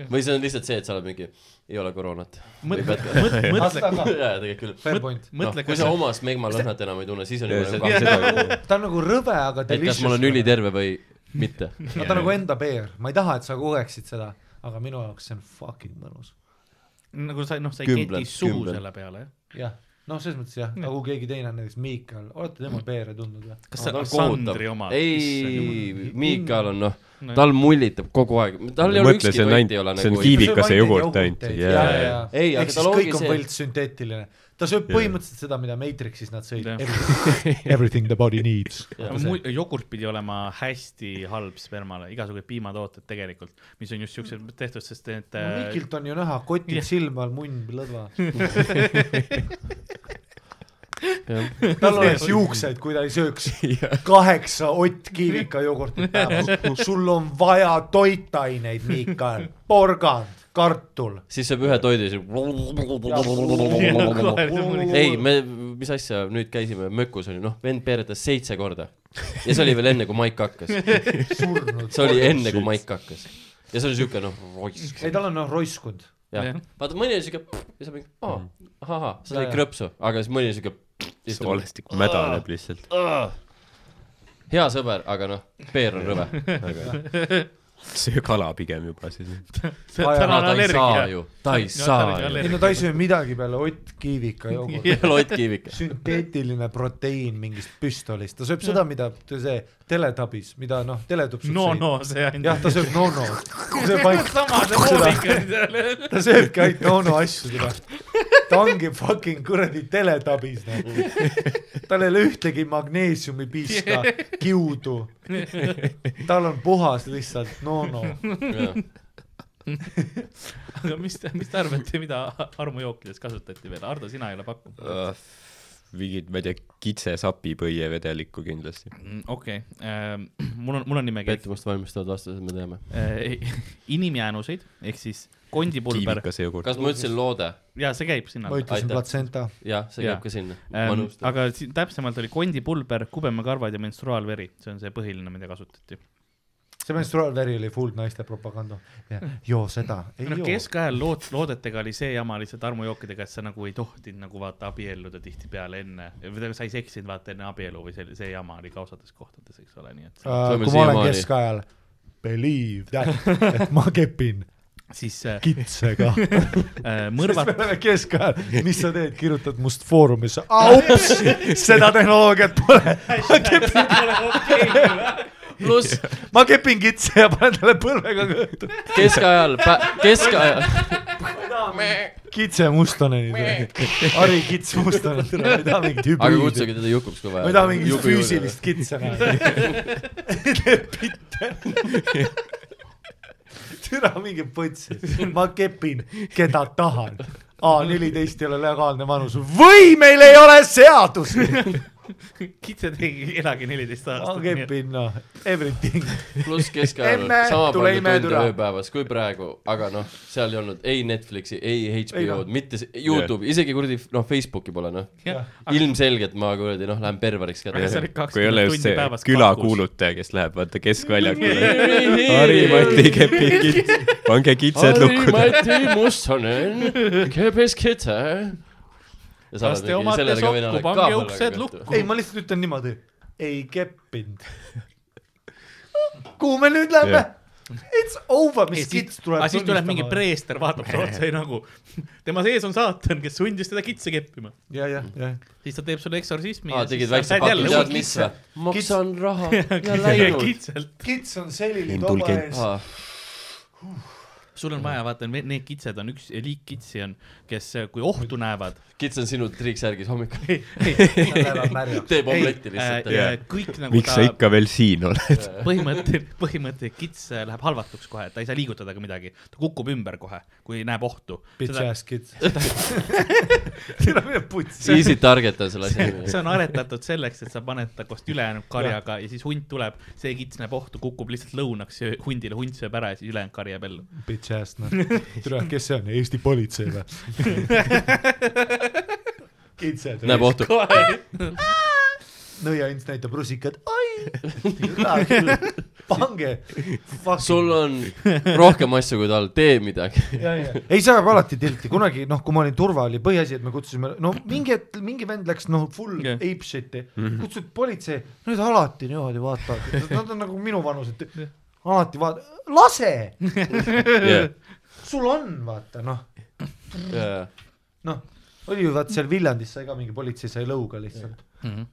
Speaker 3: või see on lihtsalt see , et sa oled mingi , ei ole koroonat .
Speaker 2: mõtle , mõtle , mõtle ,
Speaker 3: jaa , tegelikult küll .
Speaker 4: Fair
Speaker 2: Mõt-
Speaker 4: point .
Speaker 2: mõtle ,
Speaker 3: kui
Speaker 2: kas
Speaker 3: sa omast megmalõhnat enam ei tunne , siis on
Speaker 5: Ja
Speaker 3: juba
Speaker 5: see-
Speaker 3: nagu kaks seda ,
Speaker 4: ta on nagu rõve , aga
Speaker 3: et kas
Speaker 4: delicious .
Speaker 3: ma olen üliterve või mitte .
Speaker 4: no ta on nagu enda peer , ma ei taha , et sa kogeksid seda , aga minu jaoks see on fucking mõnus .
Speaker 2: nagu sa noh , sa ei
Speaker 3: Kümblen,
Speaker 2: keti suhu
Speaker 3: kümblen.
Speaker 2: selle peale jah .
Speaker 4: jah , noh , selles mõttes jah , aga kui keegi teine on näiteks Miikal , olete tema peere tundnud või ?
Speaker 2: kas see on Sandri oma ?
Speaker 3: ei , Miikal on noh ,
Speaker 2: No
Speaker 3: tal mullitab kogu aeg , tal ei ole
Speaker 5: mõtle ,
Speaker 3: ükski
Speaker 5: see on
Speaker 3: toit ei ole
Speaker 5: ainult , see on
Speaker 3: nagu .
Speaker 5: kiivikas ja jogurt ainult . jaa ,
Speaker 3: Ei, aga
Speaker 4: ehk
Speaker 3: tal
Speaker 4: siis
Speaker 3: ongi
Speaker 4: kõik on
Speaker 3: see-
Speaker 4: võltssünteetiline . ta sööb põhimõtteliselt seda , mida Matrixis nad sõid
Speaker 2: Jah. .
Speaker 4: Everything the body needs .
Speaker 2: jogurt pidi olema hästi halb spermale , igasugused piimatooted tegelikult , mis on just siuksed tehtud , sest et äh,
Speaker 4: Mikilt on ju näha , kotid
Speaker 2: jah.
Speaker 4: silma all , munn lõdva .
Speaker 3: Jah.
Speaker 4: tal oleks juuksed , kui ta ei sööks kaheksa Ott Kiivika jogurtit päevas . sul on vaja toitaineid , Miikal , porgand , kartul .
Speaker 3: siis saab ühe toidu ja siis . ei , me , mis asja , nüüd käisime mökus oli , noh , vend peeretas seitse korda . ja see oli veel enne , kui Maik hakkas .
Speaker 4: surnud .
Speaker 3: see oli enne , kui Maik hakkas . ja see on siuke noh , roisk .
Speaker 4: ei , tal on noh roiskund .
Speaker 3: jah
Speaker 2: Jah. ,
Speaker 3: vaata mõni on siuke ja sa mingi , aa , ahah , sa
Speaker 4: Mm. Jaa,
Speaker 3: said
Speaker 4: jaa.
Speaker 3: krõpsu , aga siis mõni on siuke .
Speaker 5: see valestik mädaneb lihtsalt .
Speaker 3: hea sõber , aga noh , peer on rõve .
Speaker 5: söö kala pigem juba siis .
Speaker 2: tal
Speaker 3: ta
Speaker 2: on
Speaker 3: ei saa
Speaker 2: allergia .
Speaker 3: ju , ta ei saa ju .
Speaker 4: ei no ta ei söö midagi peale Ott Kiivika jogurtit .
Speaker 3: Lott Kiivik .
Speaker 4: sünteetiline proteiin mingist püstolist , ta sööb seda , mida t- see teletabis , mida noh , teletupsud
Speaker 2: no
Speaker 4: sõid.
Speaker 2: no see
Speaker 4: jah ,
Speaker 2: ainult .
Speaker 4: ta sööb no-no , ta sööb ainult ,
Speaker 2: sama see loomik on seal .
Speaker 4: ta sööbki ainult no-no asju seda . ta ongi fucking kuradi teletabis nagu . tal ei ole ühtegi magneesiumi piiska , kiudu . tal on puhas lihtsalt no-no .
Speaker 2: aga mis , mis te arvate , mida armujookides kasutati veel ? Ardo , sina ei ole pakkunud .
Speaker 4: Ah,
Speaker 5: mingid , ma ei tea , kitsesapipõie vedelikku kindlasti .
Speaker 2: Mm, okei , mul on , mul on nimekiri .
Speaker 3: pettumust valmistavad vastused me teame .
Speaker 2: inimjäänuseid ehk siis kondipulber
Speaker 5: kiivikas ja jogurt .
Speaker 3: kas ma ütlesin loode ?
Speaker 2: ja see käib sinna
Speaker 4: ma ütlesin
Speaker 3: Aitäh.
Speaker 4: platsenta .
Speaker 3: jah , see
Speaker 2: Jaa.
Speaker 3: käib ka sinna . ma
Speaker 2: ähm, .
Speaker 3: nõustun .
Speaker 2: aga siin täpsemalt oli kondipulber , kubemekarvad ja menstruaalveri , see on see põhiline , mida kasutati .
Speaker 4: see menstruaalveri oli full naiste propaganda . joo seda , ei
Speaker 2: no
Speaker 4: joo .
Speaker 2: noh, keskajal lood , loodetega oli see jama lihtsalt armujookidega , et sa nagu ei tohtinud nagu vaata abielluda tihtipeale enne , või tähendab , sa ei seksinud vaata enne abielu või see , see jama oli ka osades kohtades , eks ole , nii et
Speaker 4: Äh,
Speaker 3: Saame
Speaker 4: kui ma olen
Speaker 3: siiamaani.
Speaker 4: keskajal , believe that , et ma kepin
Speaker 2: siis äh,
Speaker 4: kitsega .
Speaker 2: äh,
Speaker 4: siis me
Speaker 2: mõrvat ,
Speaker 4: oleme keskajal , mis sa teed , kirjutad must foorumisse , aups , seda tehnoloogiat pole , ma kepin ,
Speaker 3: pluss
Speaker 4: ma kepin kitse ja panen talle põlvega kõhtu .
Speaker 3: keskajal , keskajal ,
Speaker 4: kitse mustoneni tule , Ari Kits mustoneni tule , ma ei taha mingit
Speaker 3: aga
Speaker 4: hübriidi
Speaker 3: kutsuge , teda Jukuks kui vaja .
Speaker 4: ma ei taha mingit füüsilist kitse näha . teeb pitte . türa mingi põtsi , ma kepin , keda tahan . A neliteist ei ole legaalne vanus või meil ei ole seadusi
Speaker 2: kitse tegi , elage neliteist
Speaker 4: ma
Speaker 2: aastat .
Speaker 4: kepin noh , everything .
Speaker 3: pluss keskajal
Speaker 4: Emme,
Speaker 3: sama
Speaker 4: tule
Speaker 3: palju
Speaker 4: ime
Speaker 3: tunde
Speaker 4: türa.
Speaker 3: ööpäevas kui praegu , aga noh , seal ei olnud ei Netflixi , ei
Speaker 4: Ei noh.
Speaker 3: HBO-d , mitte s- Youtube'i , isegi kuradi noh , Facebooki pole noh . ilmselgelt ma kuradi noh , lähen perveriks ka
Speaker 2: Aga see oli
Speaker 3: tegelikult .
Speaker 2: kakskümmend
Speaker 5: kui ei ole
Speaker 2: tundi
Speaker 5: just see
Speaker 2: päevas kakus.
Speaker 5: külakuulutaja , kes läheb vaata keskväljakule . Harri-Mati kepib kitse , pange kitsed lukku .
Speaker 3: Mati Mustonen , kepes kitse .
Speaker 2: Kas te omate sokku? Pange uksed lukku.
Speaker 4: ei , ma lihtsalt ütlen niimoodi , ei keppinud . kuhu me nüüd lähme
Speaker 5: Jah. ?
Speaker 4: It's over , mis kits tuleb .
Speaker 2: aga siis tuleb mingi . preester , vaatab sulle otsa ja nagu tema sees on saatan , kes sundis teda kitse keppima .
Speaker 4: ja , ja , ja .
Speaker 2: siis ta teeb sulle eksorsismi .
Speaker 3: aa , tegid väikse pakki , tead mis või ? maksan raha ja läinud .
Speaker 2: kitsalt ,
Speaker 4: kits on selili toba
Speaker 5: Indulgent.
Speaker 4: ees .
Speaker 3: aa ,
Speaker 2: sul on vaja , vaata , need kitsed on üks liik kitsi on , kes , kui ohtu näevad ,
Speaker 3: kits on sinu triiksärgis hommikul . teeb
Speaker 2: ei
Speaker 3: omletti , lihtsalt .
Speaker 2: äh, kõik nagu
Speaker 5: miks
Speaker 2: ta
Speaker 5: sa ikka veel siin oled ?
Speaker 2: põhimõte , põhimõte , kits äh, läheb halvatuks kohe , ta ei saa liigutada ka midagi , ta kukub ümber kohe , kui näeb ohtu .
Speaker 4: Bitch
Speaker 2: see
Speaker 4: ass kits . tule meie putsi .
Speaker 3: Easy target on selle asja nimi .
Speaker 2: on aretatud selleks , et sa paned ta koos ülejäänud karjaga ja siis hunt tuleb , see kits näeb ohtu , kukub lihtsalt lõunaks söö- hundile , hunt sööb ära ja siis ülejäänud kari jääb ellu .
Speaker 4: Bitch ass noh , tule , kes see on , Eesti politsei või ? kitsed .
Speaker 3: näeb ohtu .
Speaker 4: nõiaints näitab rusikat , oi pange .
Speaker 3: sul on rohkem asju kui tal , tee midagi .
Speaker 4: ei , see ajab alati tilti , kunagi noh , kui ma olin turva , oli põhiasi , et me kutsusime , no mingi hetk , mingi vend läks noh , full
Speaker 2: Jah.
Speaker 4: yeah. ape shit'i ,
Speaker 3: Mhm.
Speaker 4: kutsusid politsei , need alati niimoodi vaatavad , nad on nagu minuvanused , alati vaata , lase ,
Speaker 5: yeah. .
Speaker 4: sul on vaata noh , noh , oli ju vaata seal Viljandis sai ka mingi politsei sai lõuga lihtsalt . ma olen
Speaker 3: Mhm.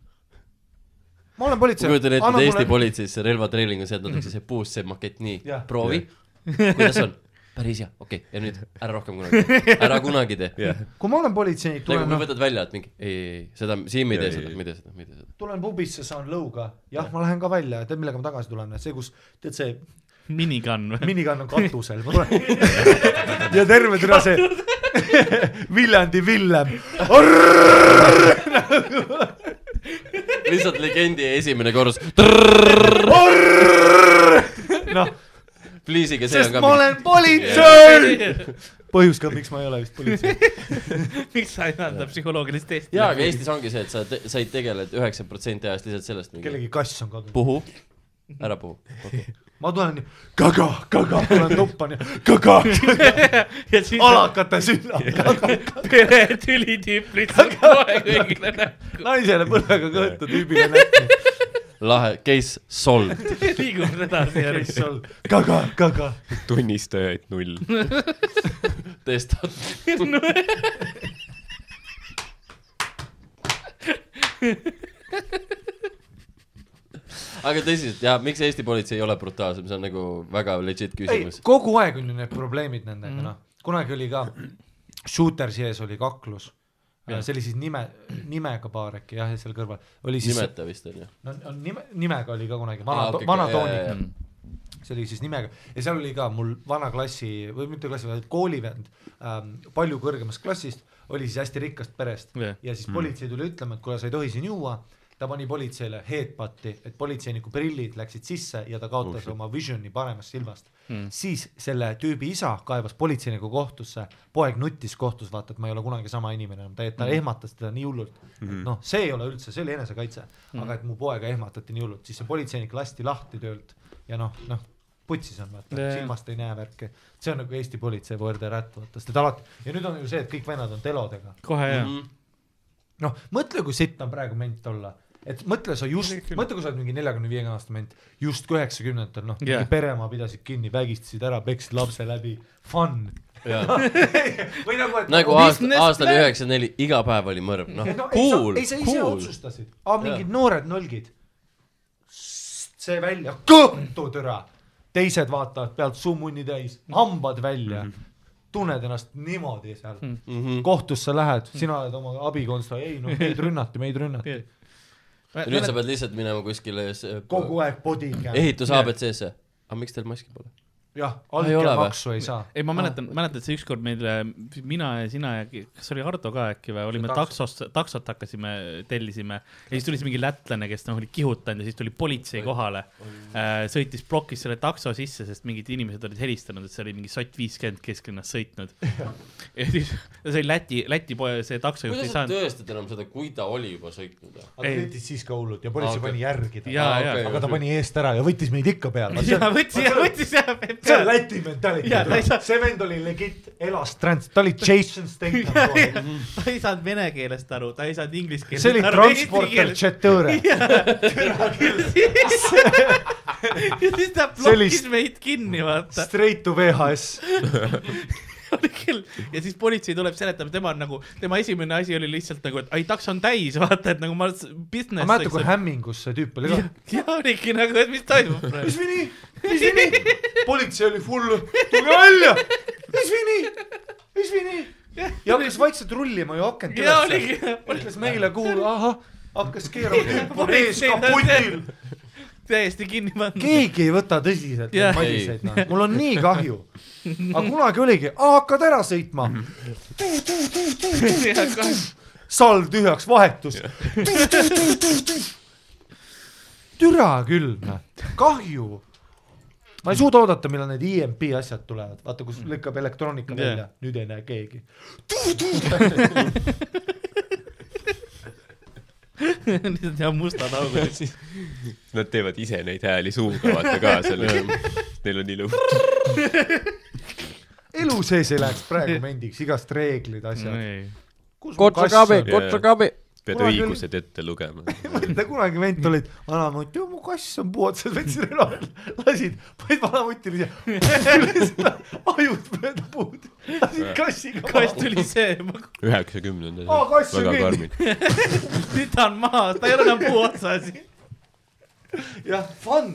Speaker 3: ma
Speaker 4: politsei .
Speaker 3: kujutan ette , et Eesti politseis see relvatreening on see , et nad ütlesid , see puust , see makett nii
Speaker 4: Jah. ,
Speaker 3: proovi , kuidas on , päris hea , okei okay. , ja nüüd ära rohkem kunagi , ära kunagi tee .
Speaker 5: Yeah.
Speaker 4: kui ma olen politseinik ,
Speaker 3: nagu
Speaker 4: tulen
Speaker 3: kui
Speaker 4: noh ,
Speaker 3: võtad välja , et mingi ei , ei , ei , seda , siin me ei tee
Speaker 5: Ei,
Speaker 3: seda ,
Speaker 5: ei,
Speaker 3: me ei tee seda , me ei tee seda .
Speaker 4: tulen pubisse , saan lõuga , jah , ma lähen ka välja , tead millega ma tagasi tulen , see kus , tead see
Speaker 2: minigun või ?
Speaker 4: minigun on katusel , ma tulen ja terve türa see Viljandi Villem ,
Speaker 3: lihtsalt legendi esimene korrus ,
Speaker 4: noh ,
Speaker 3: pliisiga see on
Speaker 4: sest
Speaker 3: ka
Speaker 4: ma
Speaker 3: mingi-
Speaker 4: olen politsei . põhjus ka , miks ma ei ole vist politsei .
Speaker 2: miks sa ei anda psühholoogilist testi ?
Speaker 3: jaa , aga Nagu Eestis ongi see , et sa , sa ei tegele üheksakümmend protsenti ajast lihtsalt sellest mingi
Speaker 4: kellegi kass on kadunud .
Speaker 3: puhu , ära puhu okay. .
Speaker 4: ma tulen nii , kaga , kaga , tulen tuppa nii , kaga ,
Speaker 2: ja siis
Speaker 4: alakate sülla ,
Speaker 2: peretüli tipp lihtsalt kohe kõigile näkku
Speaker 4: naisele põlvega kõhtu tüübile näkku ,
Speaker 3: lahe , case solved .
Speaker 2: liigub edasi ja
Speaker 4: mis sul , kaga , kaga .
Speaker 5: tunnistajaid null .
Speaker 3: testad . aga tõsiselt jah , miks Eesti politsei ei ole brutaalsem , see on nagu väga legit
Speaker 4: ei
Speaker 3: küsimus ,.
Speaker 4: kogu aeg on ju need probleemid nendega , noh , kunagi oli ka , Shooter sees oli kaklus , see oli siis nime , nimega paar äkki jah , ja seal kõrval oli siis ,
Speaker 3: nimeta vist onju .
Speaker 4: no on nime , nimega oli ka kunagi , vana , okay, vana toonik , Mm. see oli siis nimega ja seal oli ka mul vana klassi või mitte klassi , vaid koolivend ähm, , palju kõrgemast klassist , oli siis hästi rikkast perest
Speaker 2: Jah.
Speaker 4: ja siis politsei tuli ütlema , et kuule , sa ei tohi siin juua ta pani politseile headbut'i , et politseiniku prillid läksid sisse ja ta kaotas oma vision'i paremast silmast mm. . siis selle tüübi isa kaebas politseiniku kohtusse , poeg nuttis kohtus , vaata , et ma ei ole kunagi sama inimene enam , ta , ta mm. ehmatas teda nii hullult mm. . noh , see ei ole üldse , see oli enesekaitse mm. , aga et mu poega ehmatati nii hullult , siis see politseinik lasti lahti töölt ja noh , noh putsis on vaata
Speaker 2: Jajah.
Speaker 4: yeah. , silmast ei näe värki , see on nagu Eesti politsei word ja rätt vaata , sest et alati ja nüüd on ju see , et kõik vennad on telodega ,
Speaker 2: kohe jah .
Speaker 4: noh , mõtle , kui sitt on praegu ment olla , et mõtle , sa just , mõtle , kui sa oled mingi neljakümne viiekümne aasta ment , just üheksakümnendatel , noh
Speaker 2: Jah.
Speaker 4: yeah. , peremaa pidasid kinni , vägistasid ära , peksid lapse läbi , fun . või nagu , et
Speaker 3: nagu
Speaker 4: Oh,
Speaker 3: aasta , aastal üheksakümmend neli , iga päev oli mõrv , noh
Speaker 4: no, ,
Speaker 3: cool ,
Speaker 4: ei sa , ei sa ise cool.
Speaker 3: cool .
Speaker 4: otsustasid , aa mingid noored nolgid . see välja , kõhtu türa , teised vaatavad pealt suu munni täis , hambad välja mm ,
Speaker 3: Mhm.
Speaker 4: -hmm. tunned ennast niimoodi seal
Speaker 2: Mhm.
Speaker 4: mm . -hmm. kohtusse lähed , sina oled oma abikonsta , ei no meid rünnati , meid rünnati ,
Speaker 3: ja nüüd sa pead lihtsalt minema kuskile äh, s-
Speaker 4: kogu aeg body cam ,
Speaker 3: ehitus abc-sse . aga miks teil maski pole ?
Speaker 4: jah ,
Speaker 3: Ei ole või?
Speaker 4: allkäemaksu ei saa .
Speaker 2: ei , ma mäletan , mäletan , et see ükskord meil , mina ja sina ja ke- kas oli Ardo ka äkki või , olime
Speaker 4: takso.
Speaker 2: taksost , taksot hakkasime , tellisime ja siis tuli siis mingi lätlane , kes noh oli kihutanud ja siis tuli politsei kohale . sõitis plokis selle takso sisse , sest mingid inimesed olid helistanud , et see oli mingi sott viiskümmend kesklinnas sõitnud . ja siis see oli Läti , Läti poe , see taksojuht ei
Speaker 3: kuidas sa
Speaker 2: saanud .
Speaker 3: tõestad enam seda , kui ta oli juba sõitnud ?
Speaker 4: aga
Speaker 2: Ei.
Speaker 4: sõitis siis ka hullult ja politsei
Speaker 3: Aa,
Speaker 4: pani järgi
Speaker 2: Jaa,
Speaker 4: teda
Speaker 2: jaa. ,
Speaker 4: aga ta pani eest ära ja võttis meid ikka peale .
Speaker 2: ja võttis , võttis ja .
Speaker 4: see on Läti
Speaker 2: Jaa, ta ei saa-
Speaker 4: mentaliteet , see vend oli legit , elas trans- , ta oli Jason Statham .
Speaker 2: ta ei saanud vene keelest aru , ta ei saanud inglise keelest
Speaker 4: see oli transporter Chetõõre ,
Speaker 2: ja siis ta
Speaker 4: See oli
Speaker 2: plokkis meid kinni , vaata .
Speaker 4: straight to VHS .
Speaker 2: oli küll . ja siis politsei tuleb seletama , tema on nagu , tema esimene asi oli lihtsalt nagu , et ai , taks on täis , vaata , et nagu ma s-
Speaker 4: ma
Speaker 2: business .
Speaker 4: mäletan , kui hämmingus see tüüp oli ka .
Speaker 2: ja oligi nagu , et mis toimub praegu .
Speaker 4: mis vini , mis vini , politsei oli full , tulge välja , mis vini , mis vini . ja hakkas vaikselt rullima ju akent
Speaker 2: ja
Speaker 4: üles ,
Speaker 2: oligi .
Speaker 4: ütles meile , kuule , ahah , hakkas keerama , mees
Speaker 2: Politsei-
Speaker 4: kaputil .
Speaker 2: täiesti kinni pandud .
Speaker 4: keegi ei võta tõsiselt
Speaker 2: Jah.
Speaker 4: neid madiseid , noh , mul on nii kahju . aga kunagi oligi , hakkad ära sõitma , salv tühjaks vahetus . türa küll , noh , kahju . ma ei suuda oodata , millal need EMP asjad tulevad , vaata kus lükkab elektroonika
Speaker 2: Jah.
Speaker 4: välja , nüüd ei näe keegi .
Speaker 2: lihtsalt jah , mustad augud .
Speaker 5: Nad teevad ise neid hääli suuga , vaata ka seal . Neil on ilus .
Speaker 4: elu sees ei läheks praegu mendiks , igast reeglid , asjad .
Speaker 3: kotsakabi ,
Speaker 5: Jaa.
Speaker 3: kotsakabi .
Speaker 5: pead
Speaker 4: Kunagi oli-
Speaker 5: õigused ette lugema .
Speaker 4: mõtle , kunagi vend olid , vanamutt , joo mu kass on puuotsas , võtsid ära , lasid , panid vanamutile siia , ajud mööda puud , lasid kassiga
Speaker 2: kass
Speaker 4: maha .
Speaker 2: tuli see , ma
Speaker 5: üheksakümnendad
Speaker 4: Aa, kass on
Speaker 5: väga
Speaker 4: kinni.
Speaker 5: karmid .
Speaker 2: titan maha , ta ei ole enam puu otsas .
Speaker 4: jah , fun .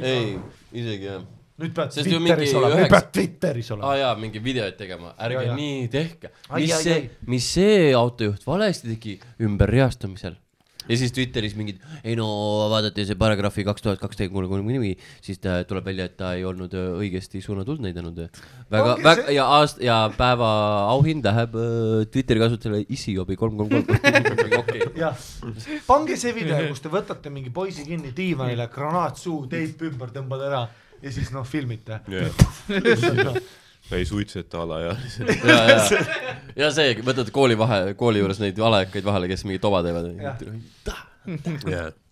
Speaker 3: ei , isegi jah .
Speaker 4: nüüd pead
Speaker 3: Sest ju
Speaker 4: Twitteris
Speaker 3: mingi
Speaker 4: olema , nüüd
Speaker 3: üheksa-
Speaker 4: pead Twitteris
Speaker 3: aa
Speaker 4: olema .
Speaker 3: jaa , mingeid videoid tegema , ärge
Speaker 4: Jaa, jaa.
Speaker 3: nii tehke .
Speaker 4: Ai,
Speaker 3: mis
Speaker 4: ai,
Speaker 3: see
Speaker 4: ai. ,
Speaker 3: mis see autojuht valesti tegi ümberreastamisel ? ja siis Twitteris mingid , ei no vaadati see paragrahvi kaks tuhat kaksteist kolm kolm nimi , siis ta tuleb välja , et ta ei olnud öö, õigesti suunatult näidanud . äh. väga ,
Speaker 4: Ongi
Speaker 3: väga
Speaker 4: see-
Speaker 3: ja aast- ja päeva auhind läheb öö, Twitteri kasutajale issiobi kolm kolm kolm . okei .
Speaker 4: jah , pange see video , kus te võtate mingi poisi kinni diivanile , granaat suhu , teip ümber tõmbad ära ja siis noh , filmite .
Speaker 5: ta ei suitseta alaealised .
Speaker 3: ja , ja , ja see , võtad kooli vahe , kooli juures neid valekaid vahele , kes mingi toba teevad .
Speaker 4: Jah.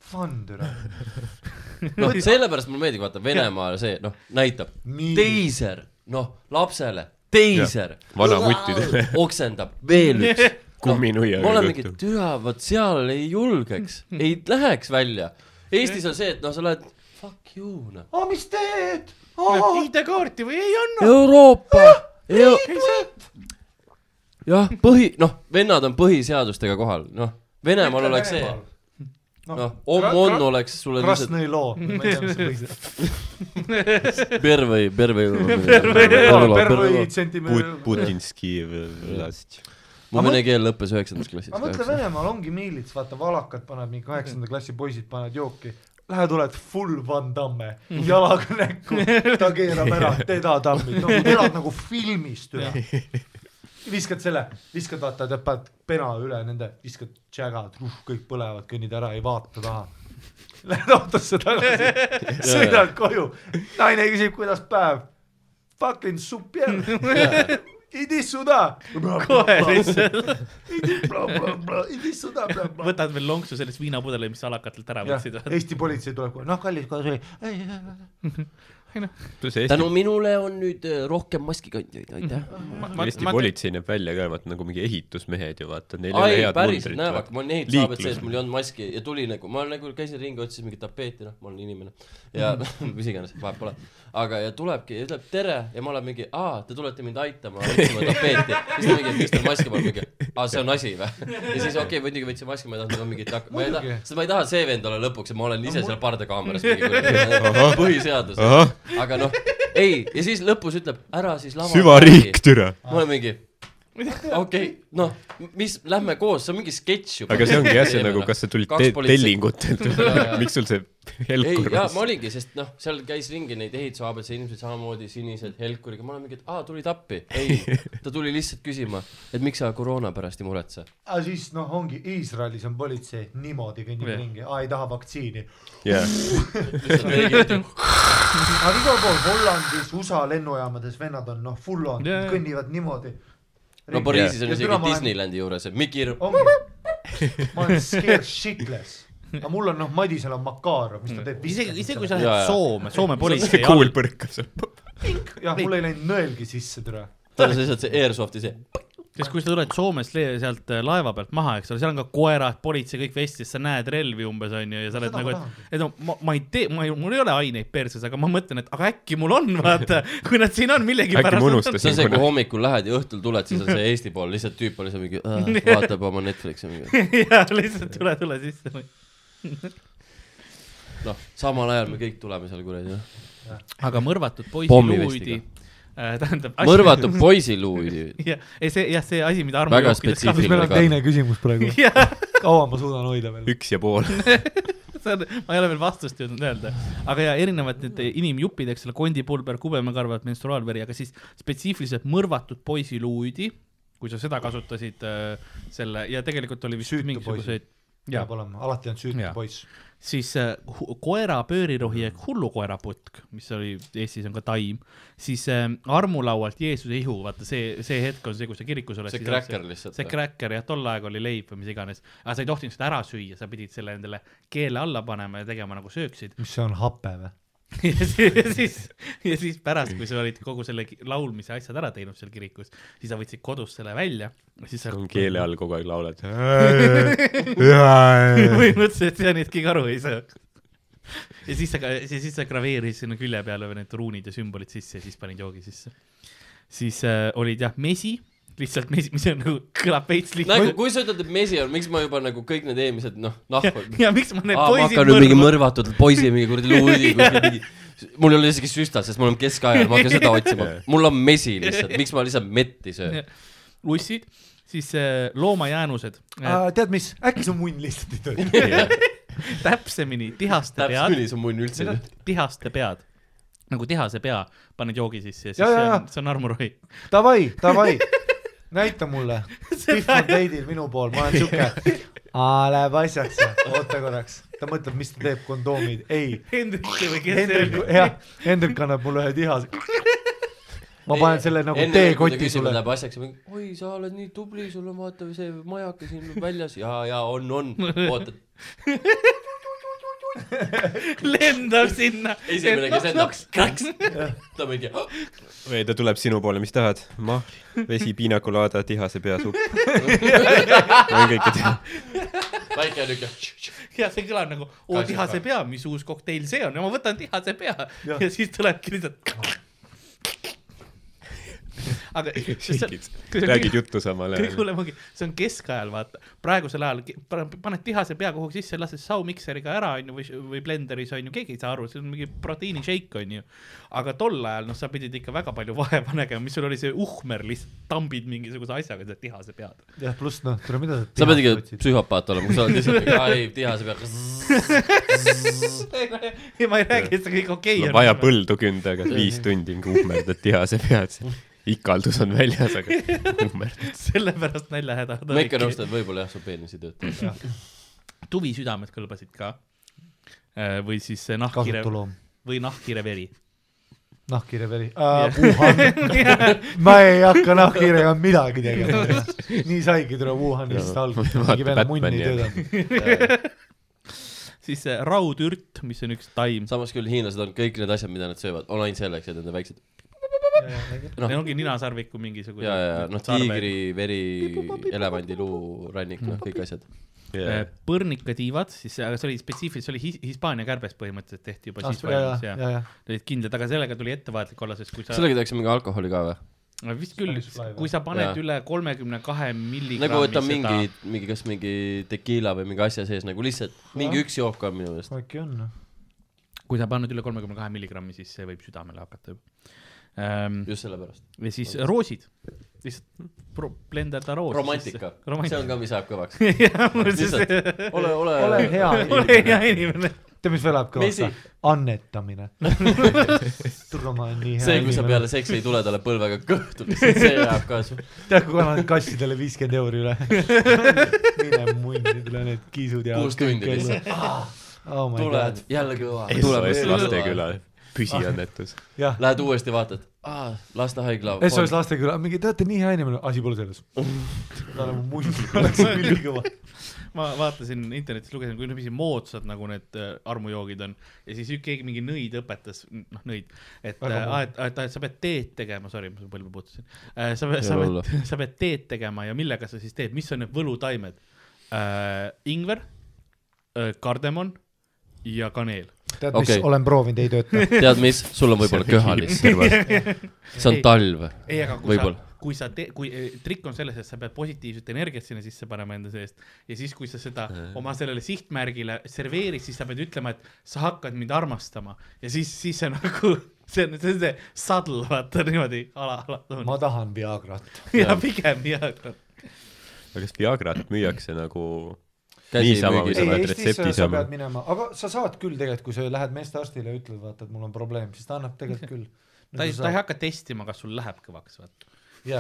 Speaker 4: fun türa .
Speaker 3: noh , sellepärast mulle meeldib , vaata Venemaal see , noh , näitab
Speaker 4: Nii.
Speaker 3: teiser , noh , lapsele teiser ,
Speaker 5: vanamuttidele
Speaker 3: oksendab veel üks .
Speaker 5: kumminuiaga
Speaker 3: ma olen
Speaker 5: kõhtu.
Speaker 3: mingi , türa , vot seal ei julgeks , ei läheks välja . Eestis on see , et noh , sa lähed fuck you noh .
Speaker 4: aa , mis teed ?
Speaker 2: ID-kaarti või ei anna ?
Speaker 3: Euroopa Eu... . jah , põhi , noh , vennad on põhiseadustega kohal , noh , Venemaal oleks see , noh , on oleks sulle lihtsalt
Speaker 4: Krasnõi loo , ma ei tea , mis see võis olla .
Speaker 3: pervõi , pervõi .
Speaker 4: Pervõi
Speaker 3: mu
Speaker 4: tsentimeetri
Speaker 5: Put- , Putinski v- vlast .
Speaker 3: vene keel lõppes üheksandas klassis .
Speaker 4: aga mõtle , Venemaal ongi miilits , vaata valakad panevad mingi kaheksanda klassi poisid panevad jooki , lähed oled full Van Damme ,
Speaker 2: Mm.
Speaker 4: jalaga näkku , ta keerab ära , teda tammid , no elad nagu filmist üle . viskad selle , viskad vaata , tead , paned pena üle nende , viskad tšägad , kõik põlevad , kõnnid ära , ei vaata taha . Lähed autosse tagasi , sõidad koju , naine küsib , kuidas päev . Fucking super , idi suda .
Speaker 2: kohe lihtsalt
Speaker 4: idi suda .
Speaker 2: võtad veel lonksu sellest viinapudeli , mis sa alakatelt ära võtsid .
Speaker 4: Eesti politsei tuleb kohe , noh , kallis , kuidas oli ?
Speaker 5: Eesti
Speaker 3: tänu minule on nüüd eh, rohkem maskikandjaid ,
Speaker 4: Mhm.
Speaker 3: aitäh .
Speaker 5: Eesti politsei näeb välja ka , vaata nagu mingi ehitusmehed ju vaata , neil ei ole
Speaker 3: ai ,
Speaker 5: head
Speaker 3: päriselt
Speaker 5: mundrit .
Speaker 3: näevad , ma olin ehitusaabet sees , mul ei olnud maski ja tuli nagu , ma nagu käisin ringi , otsisin mingit tapeeti , noh , ma olen inimene ja
Speaker 5: Mhm.
Speaker 3: mis iganes , vahet pole . aga , ja tulebki ja ütleb tere ja ma olen mingi , aa , te tulete mind aitama otsima tapeeti . siis ta mingi , miks teil maski pole , mingi , aa , see on asi või ? ja siis okei okay, , muidugi võtsin maski , ma ei tahtnud ka mingit hak- , ma ei taha
Speaker 4: Muidugi. ,
Speaker 3: sest ma ei taha , et see vend olla lõpuks ja ma olen ise seal pardakaameras mingi kuradi põhiseadus . aga noh , ei , ja siis lõpus ütleb , ära siis lava .
Speaker 5: süvariik , türa .
Speaker 3: ma olen mingi , okei okay, , noh , mis , lähme koos , see on mingi sketš noh, juba .
Speaker 5: aga see ongi jah , see nagu , kas sa tulid te- , tellingutelt
Speaker 3: Jaa, jaa.
Speaker 5: või miks sul see
Speaker 3: ei
Speaker 5: helkur ,
Speaker 3: jaa , ma olingi , sest noh , seal käis ringi neid ehituse abc inimesed samamoodi sinised helkuriga , ma olen mingi , et aa , tulid appi . ei , ta tuli lihtsalt küsima , et miks sa koroona pärast ei muretse .
Speaker 4: aga siis noh , ongi Iisraelis on politsei niimoodi kõnnib
Speaker 2: Jah.
Speaker 4: ringi , aa ei taha vaktsiini .
Speaker 5: jaa ,
Speaker 4: aga igal pool Hollandis , USA lennujaamades vennad on noh , full on
Speaker 2: Jaa, jaa. ,
Speaker 4: kõnnivad niimoodi .
Speaker 3: no Pariisis on
Speaker 4: Ja
Speaker 3: isegi
Speaker 4: türa, ma olen-
Speaker 3: Disneylandi juures , et Mikki Hirv ,
Speaker 4: ongi , ma olen scared shitless , aga mul on noh , Madisel on Makarov , mis ta teeb .
Speaker 2: isegi , isegi kui sa
Speaker 3: Jaa,
Speaker 2: lähed
Speaker 3: jaa.
Speaker 2: Soome , Soome politsei .
Speaker 5: kuul põrkab seal .
Speaker 4: jah , mul ei läinud nõelgi sisse türa .
Speaker 3: tal on lihtsalt see Airsofti see .
Speaker 2: siis kui sa tuled Soomest le- sealt äh, laeva pealt maha , eks ole , seal on ka koerad , politsei , kõik vestis , sa näed relvi umbes onju ja sa oled
Speaker 4: Seda
Speaker 2: nagu ,
Speaker 4: ma
Speaker 2: et et no ma , ma ei tee , ma ei , mul ei ole aineid perses , aga ma mõtlen , et aga äkki mul on , vaata , kui nad siin on millegipärast .
Speaker 5: Äkki ma unustasin.
Speaker 3: see on see , kui hommikul lähed ja õhtul tuled , siis on see Eesti pool , lihtsalt tüüp on lihtsalt mingi , vaatab oma Netflixi mingi .
Speaker 2: ja lihtsalt tule , tule sisse .
Speaker 3: noh , samal ajal me kõik tuleme seal kuradi noh ,
Speaker 2: aga mõrvatud poiss
Speaker 3: Pommivestiga.
Speaker 2: luudi äh, , tähendab .
Speaker 3: mõrvatud . poisiluudi .
Speaker 2: jah , ei see , jah , see asi , mida Armo .
Speaker 3: Väga spetsiifiline.
Speaker 4: kas meil on
Speaker 3: Millega?
Speaker 4: teine küsimus praegu ?
Speaker 2: jah ,
Speaker 4: kaua ma suudan hoida veel ?
Speaker 5: üks ja pool .
Speaker 2: see on , ma ei ole veel vastust jõudnud öelda , aga ja erinevad need inimjupid , eks ole , kondipulber , kubemekarvad , menstruaalveri , aga siis spetsiifiliselt mõrvatud poisiluudi , kui sa seda kasutasid äh, selle ja tegelikult oli vist
Speaker 4: Süütu
Speaker 2: mingisuguseid , Jaa.
Speaker 4: peab olema , alati on süütu
Speaker 2: Jaa.
Speaker 4: poiss .
Speaker 2: siis äh, hu- koera pöörirohi ehk hullukoeraputk , mis oli Eestis on ka taim , siis äh, armulaualt Jeesuse ihu , vaata see , see hetk on see , kui sa kirikus oled .
Speaker 3: See cracker lihtsalt
Speaker 2: see
Speaker 3: või?
Speaker 2: cracker jah , tol ajal oli leib või mis iganes , aga sa ei tohtinud seda ära süüa , sa pidid selle endale keele alla panema ja tegema nagu sööksid .
Speaker 4: mis see on , hape või ?
Speaker 2: ja si- ja siis , ja siis pärast , kui sa olid kogu selle ki- laulmise asjad ära teinud seal kirikus , siis sa võtsid kodus selle välja , siis sa
Speaker 5: on keele all kogu aeg laulad .
Speaker 2: Äh. põhimõtteliselt seda nüüd keegi aru ei saa . ja siis sa , siis sa graveerisid sinna külje peale veel need ruunid ja sümbolid sisse ja siis panid joogi sisse . siis äh, olid jah , mesi , lihtsalt mesi , mis on nagu kõlab veits
Speaker 3: nagu
Speaker 2: lihtsalt .
Speaker 3: kui sa ütled , et mesi on , miks ma juba nagu kõik need eelmised noh ,
Speaker 2: ja,
Speaker 3: nahku .
Speaker 2: ja miks ma need
Speaker 3: aa , ma hakkan
Speaker 2: poisid
Speaker 3: nüüd mingi
Speaker 2: mõrvan ,
Speaker 3: mõrvatud poisi mingi kuradi luudi kuskil mingi , mul ei ole isegi süsta , sest mul on keskajal , ma hakkan seda otsima . mul on mesi lihtsalt , miks ma lihtsalt metti söön
Speaker 2: Jah. ? ussid , siis äh, loomajäänused äh, ,
Speaker 4: tead mis , äkki su munn lihtsalt ei tööta ?
Speaker 2: täpsemini tihaste
Speaker 3: täpselt
Speaker 2: pead ,
Speaker 3: nii , see on munn üldse .
Speaker 2: tihaste pead nagu tihase pea paned joogi sisse ja siis
Speaker 4: Ja,
Speaker 2: ja,
Speaker 4: ja,
Speaker 2: ja,
Speaker 4: ja.
Speaker 2: see on armurohi .
Speaker 4: Davai , davai , näita mulle . Pihv on teidil minu pool , ma olen siuke . aa , läheb asjaks , oota korraks . ta mõtleb , mis ta teeb , kondoomid , ei .
Speaker 2: Hendrik või kes see
Speaker 4: Hendrik ,
Speaker 2: oli ?
Speaker 4: jah , Hendrik annab mulle ühe tihase . ma panen selle nagu teekotti
Speaker 3: sulle .
Speaker 4: sulle .
Speaker 3: Läheb asjaks , oi , sa oled nii tubli , sul on vaata see majake siin väljas ja , ja on , on , oota .
Speaker 2: lendab sinna . noh,
Speaker 3: esimene , kes endab , kraks , ta mingi ,
Speaker 5: või ta tuleb sinu poole , mis tahad ? mahl , vesi , piinakulaada , tihase peasupp . on kõike teha .
Speaker 3: väike niuke .
Speaker 2: ja see kõlab nagu , oo
Speaker 3: Kaasa-
Speaker 2: tihase pea , mis uus kokteil see on ja ma võtan tihase pea ja, ja siis tulebki lihtsalt . aga
Speaker 5: räägid juttu samal
Speaker 2: kõige
Speaker 5: ajal .
Speaker 2: hullem ongi , see on keskajal , vaata , praegusel ajal ki- pa- paned tihase pea kuhugi sisse , lased saumikseriga ära , onju , või , või blenderis onju , keegi ei saa aru , see on mingi proteiinishake onju . aga tol ajal , noh , sa pidid ikka väga palju vaeva nägema , mis sul oli see uhmer , lihtsalt tambid mingisuguse asjaga seda tihase pead .
Speaker 4: jah , pluss noh , tule , mida
Speaker 3: sa
Speaker 4: sa
Speaker 3: pead ikka . psühhopaat olema , kui sa oled lihtsalt , aa ei , tihase peal .
Speaker 2: ei , ma ei räägi , et see kõik okei
Speaker 5: no vaja põldu künda , aga viis tundi nagu uhmerdad tihase pead . ikaldus on väljas , aga uhmerdad .
Speaker 2: sellepärast näljahäda .
Speaker 3: ma ikka . nõustun , võib-olla jah , su peenis ei tööta .
Speaker 2: tuvisüdamed kõlbasid ka . või siis see nahkhiire
Speaker 4: kasutu loom ,
Speaker 2: või nahkhiireveri .
Speaker 4: nahkhiireveri uh, . Wuhan , ma ei hakka nahkhiirega midagi tegema . nii saigi , tule Wuhanist
Speaker 5: Jaa.
Speaker 4: algus ,
Speaker 5: Vaata
Speaker 4: mingi vene munn ei
Speaker 5: Batmani
Speaker 4: töötanud .
Speaker 2: siis see raudürt , mis on üks taim .
Speaker 3: samas küll hiinlased on kõik need asjad , mida nad söövad , on ainult selleks , et nende väiksed Noh.
Speaker 2: Neil ongi ninasarviku mingisugune .
Speaker 3: ja , ja noh , tiigri , veri , elevandi luu , rannik , noh , kõik asjad .
Speaker 2: Äh, põrnikatiivad , siis , aga see oli spetsiifiliselt , see oli his, Hispaania kärbes põhimõtteliselt tehti juba siis
Speaker 4: ja ,
Speaker 2: valmis
Speaker 4: ja ,
Speaker 2: ja
Speaker 4: ja ,
Speaker 2: olid kindlad , aga sellega tuli ettevaatlik olla , sest kui sa ,
Speaker 3: sellega tehakse mingi alkoholi ka või ?
Speaker 2: vist küll
Speaker 4: Spanish , fly või?
Speaker 2: kui sa paned
Speaker 3: Jaa.
Speaker 2: üle kolmekümne kahe milligrammi
Speaker 3: nagu , et on mingi , mingi , kas mingi tekiila või mingi asja sees nagu lihtsalt mingi üks jook on minu meelest .
Speaker 4: äkki on . noh.
Speaker 2: kui sa paned üle kolmekümne kahe milligrammi , siis see võib südamele hakata juba ähm, .
Speaker 3: just sellepärast .
Speaker 2: ja siis roosid , lihtsalt hm, pro- blendada roos .
Speaker 3: romantika , see on . ka , mis ajab kõvaks .
Speaker 2: ole
Speaker 3: lihtsalt ole , ole ,
Speaker 4: ole hea .
Speaker 2: hea inimene .
Speaker 4: tead , mis veel läheb kõvasti
Speaker 3: Mesi. ?
Speaker 4: annetamine . tule , ma olen nii hea .
Speaker 3: see , kui sa peale . seksi ei tule talle põlvega kõhtu , see ajab ka su .
Speaker 4: tead , kui annan kassidele viiskümmend euri üle . mine munni , tule need kiisud ja .
Speaker 3: Kuus tundi lihtsalt. .
Speaker 4: Oh my
Speaker 3: tuled
Speaker 4: god ,
Speaker 3: jälle kõva .
Speaker 5: SOS Lasteküla . püsiannetus .
Speaker 4: jah .
Speaker 3: Lähed uuesti vaatad , aa , lastehaigla .
Speaker 4: SOS Lasteküla , mingi te olete nii hea inimene , asi pole selles . ta on nagu munni , oleks ülikõva .
Speaker 2: ma vaatasin internetist , lugesin , kui mis moodsad nagu need äh, armujoogid on ja siis ük- keegi mingi nõid õpetas , noh nõid , et
Speaker 4: Väga
Speaker 2: äh,
Speaker 4: moodne.
Speaker 2: et , et , et sa pead teed tegema , sorry , ma su põlve puutusin äh, . sa pead ,
Speaker 3: Ei
Speaker 2: sa
Speaker 3: ole
Speaker 2: pead , sa pead teed tegema ja millega sa siis teed , mis on need võlutaimed äh, ? ingver äh, , kardemon ja kaneel .
Speaker 4: tead , mis
Speaker 3: Okei.
Speaker 4: okay. olen proovinud , ei tööta .
Speaker 3: tead mis , sul on võib-olla köha lihtsalt . see on talv .
Speaker 2: ei , aga kui
Speaker 3: Võib-olla.
Speaker 2: sa , kui sa tee , kui eh, trikk on selles , et sa pead positiivset energiat sinna sisse panema enda seest ja siis , kui sa seda oma sellele sihtmärgile serveerid , siis sa pead ütlema , et sa hakkad mind armastama ja siis , siis see nagu , see on , see on see subtle , vaata niimoodi ala , ala .
Speaker 4: ma tahan Viagrat .
Speaker 2: ja pigem ja .
Speaker 5: aga kas Viagrat müüakse nagu Niisama või
Speaker 3: käsimüügis
Speaker 5: sa
Speaker 4: ei , Eestis
Speaker 5: pead
Speaker 4: äh,
Speaker 5: retsepti
Speaker 4: sa, sa
Speaker 5: saama.
Speaker 4: pead minema , aga sa saad küll tegelikult , kui sa lähed meestearstile ja ütled , vaata , et mul on probleem , siis ta annab tegelikult küll . Nagu
Speaker 2: ta ei , ta ei hakka testima , kas sul läheb kõvaks , vaata .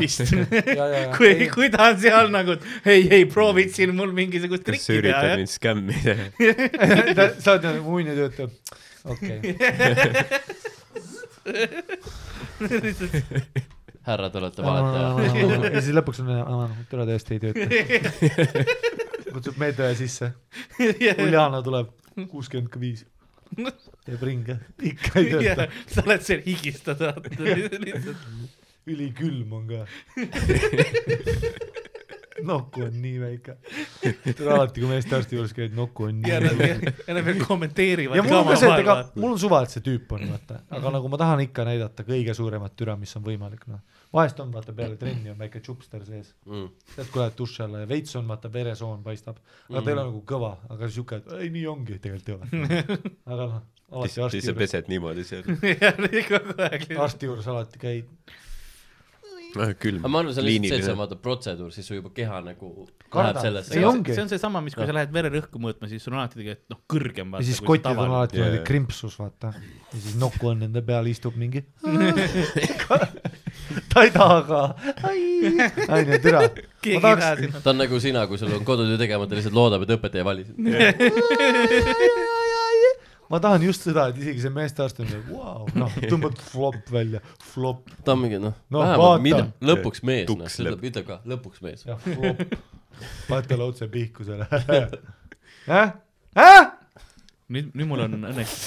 Speaker 2: vist .
Speaker 4: ja, ja, ja.
Speaker 2: kui , kui ta on seal nagu , et hei , hei , proovid siin mul mingisugust
Speaker 5: kas
Speaker 2: trikki
Speaker 5: sa
Speaker 2: teha
Speaker 5: üritad , mind skämmida ?
Speaker 4: sa oled nagu muine töötaja . okei okay. ,
Speaker 3: härra , te olete valetaja .
Speaker 4: ja siis lõpuks on , türa tõesti ei tööta . kutsub meedöö sisse ,
Speaker 2: jah ?
Speaker 4: Uljana tuleb , kuuskümmend ka viis . teeb ringe , ikka ei tööta ,
Speaker 2: sa oled seal higistada , lihtsalt
Speaker 4: ülikülm on ka . nokku on nii väike . tule alati , kui meestearsti juures käid , nokku on nii
Speaker 2: ja
Speaker 4: väike
Speaker 2: nad , ja nad veel kommenteerivad .
Speaker 4: ja mul on ka see , et ega mul on suva , et see tüüp on , vaata , aga nagu ma tahan ikka näidata kõige suuremat türa , mis on võimalik , noh . vahest on , vaata peale trenni on väike tšupster sees ,
Speaker 5: Mm.
Speaker 4: tead , kui lähed duši alla ja veits on , vaata veresoon paistab , aga
Speaker 5: Mm.
Speaker 4: ta ei ole nagu kõva , aga siuke , et ei , nii ongi , tegelikult ei ole . aga noh , alati
Speaker 5: siis
Speaker 4: arsti
Speaker 5: sa
Speaker 4: juures ,
Speaker 5: pesed niimoodi seal .
Speaker 2: kogu aeg .
Speaker 4: arsti juures alati käid ,
Speaker 5: Ah, külm .
Speaker 3: aga ma arvan , see on lihtsalt see , et see on vaata protseduur , siis su juba keha nagu
Speaker 4: Kardab.
Speaker 3: läheb sellesse .
Speaker 4: Ei
Speaker 2: see on
Speaker 4: ongi.
Speaker 2: see on seesama , mis kui sa lähed vererõhku mõõtma , siis sul on alati tegelikult noh , kõrgem .
Speaker 4: ja siis kotid on alati
Speaker 5: Jaa,
Speaker 4: niimoodi
Speaker 5: jaa.
Speaker 4: krimpsus , vaata . ja siis nokku on nende peal , istub mingi . ta ei taha ka , onju , türa .
Speaker 2: keegi ei
Speaker 4: ma tahaks
Speaker 2: näe sinna .
Speaker 3: ta on nagu sina , kui sul on kodutöö tegemata , lihtsalt loodab , et õpetaja valis .
Speaker 4: ma tahan just seda , et isegi see meestearst on nagu vau , noh , tõmbad flop välja , flop ,
Speaker 3: ta on mingi noh
Speaker 4: No
Speaker 3: no, ,
Speaker 4: vaata.
Speaker 3: vähemalt mida , lõpuks mees , noh ,
Speaker 5: Tuks
Speaker 3: ütleb
Speaker 5: lööb. ,
Speaker 3: ütleb ka , lõpuks mees .
Speaker 4: jah , flop . panete laudse pihku selle . jah , jah ,
Speaker 2: nüüd , nüüd mul on õnneks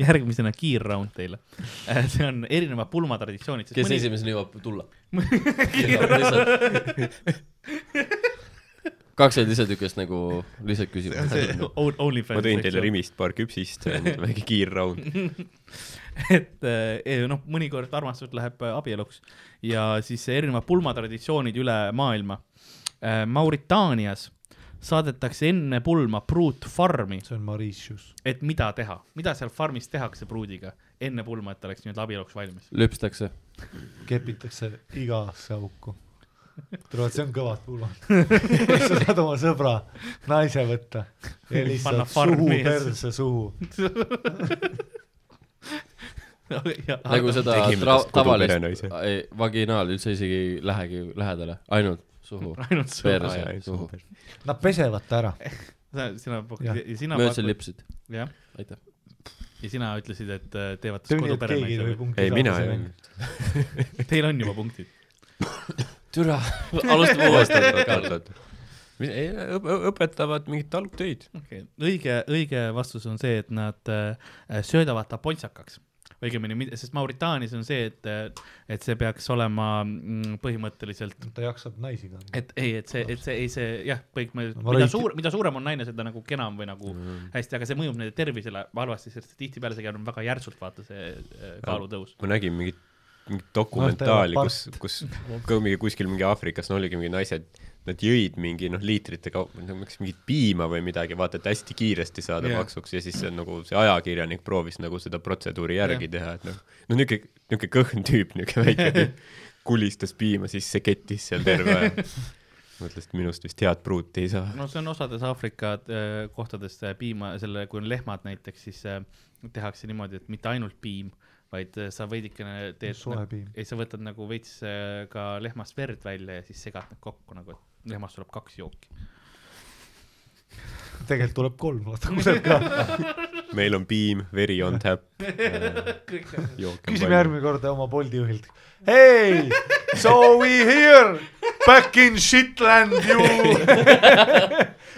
Speaker 2: järgmisena kiirround teile . see on erinevad pulmatraditsioonid .
Speaker 3: kes mõni... esimesena jõuab tulla Lihtsalt- kaks olid lihtsalt niisugust nagu lihtsalt küsimus .
Speaker 2: Onlyfans .
Speaker 5: ma tõin teile . Rimist paar küpsist , väike kiirraund .
Speaker 2: et eh, noh , mõnikord armastus läheb eh, abieluks ja siis erinevad pulmatraditsioonid üle maailma . Mauritaanias saadetakse enne pulma pruut farmi ,
Speaker 4: see on Mauritius .
Speaker 2: et mida teha , mida seal farmis tehakse pruudiga enne pulma , et ta oleks nii-öelda abieluks valmis .
Speaker 3: lüpstakse .
Speaker 4: kepitakse igasse auku . tulevad , see on kõvad pulmad . kus sa saad oma sõbra naise võtta ja
Speaker 2: Panna
Speaker 4: lihtsalt suhu
Speaker 2: farmi ja siis-
Speaker 4: perse suhu .
Speaker 2: Ah,
Speaker 3: nagu seda
Speaker 5: Tegime
Speaker 3: tra-
Speaker 5: tast
Speaker 3: tavalist
Speaker 5: koduperenaise. ,
Speaker 3: ei , vaginaal üldse isegi ei lähegi lähedale , ainult suhu .
Speaker 2: ainult sõber .
Speaker 3: perse , suhu .
Speaker 4: Nad pesevad ta ära .
Speaker 2: sina ,
Speaker 4: Jah.
Speaker 2: sina .
Speaker 3: mööda lipsid ,
Speaker 2: jah ,
Speaker 3: aitäh .
Speaker 2: ja sina ütlesid , et äh, teevad siis
Speaker 4: keegi ei tohi
Speaker 2: koduperenaise .
Speaker 4: punkti
Speaker 5: ei , mina ei
Speaker 4: saada .
Speaker 5: olnud .
Speaker 2: Teil on juba punktid .
Speaker 3: türa , alustame uuesti .
Speaker 5: ei , õpetavad mingit algtöid .
Speaker 2: okay. . õige , õige vastus on see , et nad äh, söödavad ta pontsakaks . õigemini , sest Mauritaanias on see , et , et see peaks olema mm, põhimõtteliselt ,
Speaker 4: ta jaksab naisi ka .
Speaker 2: et ei , et see , et see , ei see jah , põhimõtteliselt ,
Speaker 4: Ma
Speaker 2: mida
Speaker 4: rõikin-
Speaker 2: suur , mida suurem on naine , seda nagu kenam või nagu mm. hästi , aga see mõjub nende tervisele halvasti , sest tihtipeale see käib väga järsult , vaata see äh, kaalutõus .
Speaker 5: ma nägin mingit , mingit dokumentaali ,
Speaker 4: Noh,
Speaker 5: kus , kus ka mingi kuskil mingi Aafrikas , no oligi mingi naised , nad jõid mingi noh , liitrite kaupa , kas mingit piima või midagi , vaata , et hästi kiiresti saada
Speaker 2: Jah.
Speaker 5: yeah. maksuks ja siis see on nagu see ajakirjanik proovis nagu seda protseduuri järgi yeah. teha , et noh , no niisugune , niisugune kõhn tüüp , niisugune väike tüüp kulistas piima sisse , kettis seal terve aja . mõtles , et minust vist head pruuti ei saa .
Speaker 2: no see on osades Aafrika äh, kohtades äh, piima , selle , kui on lehmad näiteks , siis äh, tehakse niimoodi , et mitte ainult piim , vaid äh, sa veidikene teed .
Speaker 4: Soe piim.
Speaker 2: ei , sa võtad nagu veits äh, ka lehmast verd välja ja siis segad need kokku nagu , et lehmast tuleb kaks jooki .
Speaker 4: tegelikult tuleb kolm , vaata , kuseb ka .
Speaker 5: meil on piim , veri on täpp . Äh,
Speaker 4: küsime järgmine kord oma Bolti juhilt . hei , so we here back in shitland you .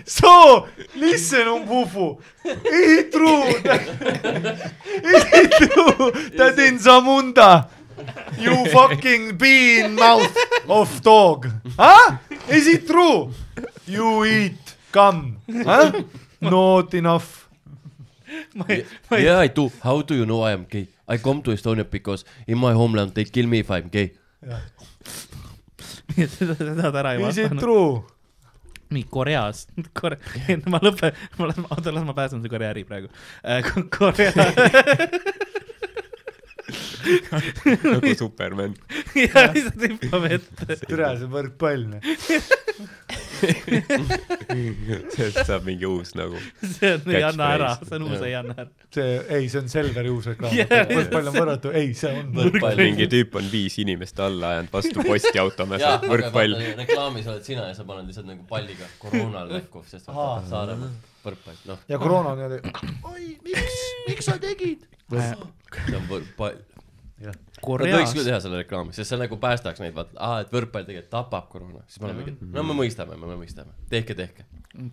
Speaker 4: So listen umbufu , is it true ? Is it true that in Zamunda you fucking pee in mouth of dog ? Huh? Is it true ? You eat cum huh? ? Not enough .
Speaker 3: Yeah I do , how do you know I am gay ? I come to Estonia because in my homeland they kill me if I am gay .
Speaker 2: nii et seda , seda ta ära ei
Speaker 4: Is it
Speaker 2: vastanud .
Speaker 4: true ?
Speaker 2: nii Koreas , Kore- , ma lõpen , ma las , oota , las ma pääsen see Korea äri praegu äh, . Korea
Speaker 5: nagu Superman .
Speaker 2: ja lihtsalt hüppame ette .
Speaker 4: noh. türa , see on võrkpall .
Speaker 5: sellest saab mingi uus nagu .
Speaker 2: see on , ei anna ära ,
Speaker 5: Catchphrase.
Speaker 2: see on uus , ei anna ära .
Speaker 4: see , ei , see on Selveri uus reklaam
Speaker 2: Jah,
Speaker 4: yeah, . võrkpall on võrratu , ei , see on .
Speaker 5: mingi tüüp on viis inimest alla ajanud vastu postiauto mässa , võrkpall .
Speaker 3: reklaamis oled sina ja sa paned lihtsalt nagu palliga koroonal näkku , sest
Speaker 4: Aa.
Speaker 3: vaata, Saaremaa võrkpall , noh ,
Speaker 4: ja koroona on niimoodi , oi , miks , miks sa tegid ?
Speaker 3: see on võrkpall . Nad võiks
Speaker 2: Koreas
Speaker 3: küll teha selle reklaami , sest see nagu päästaks neid , vaata , aa , et võrkpall tegelikult tapab koroona , siis me oleme mingi , no me mõistame , me mõistame , tehke , tehke .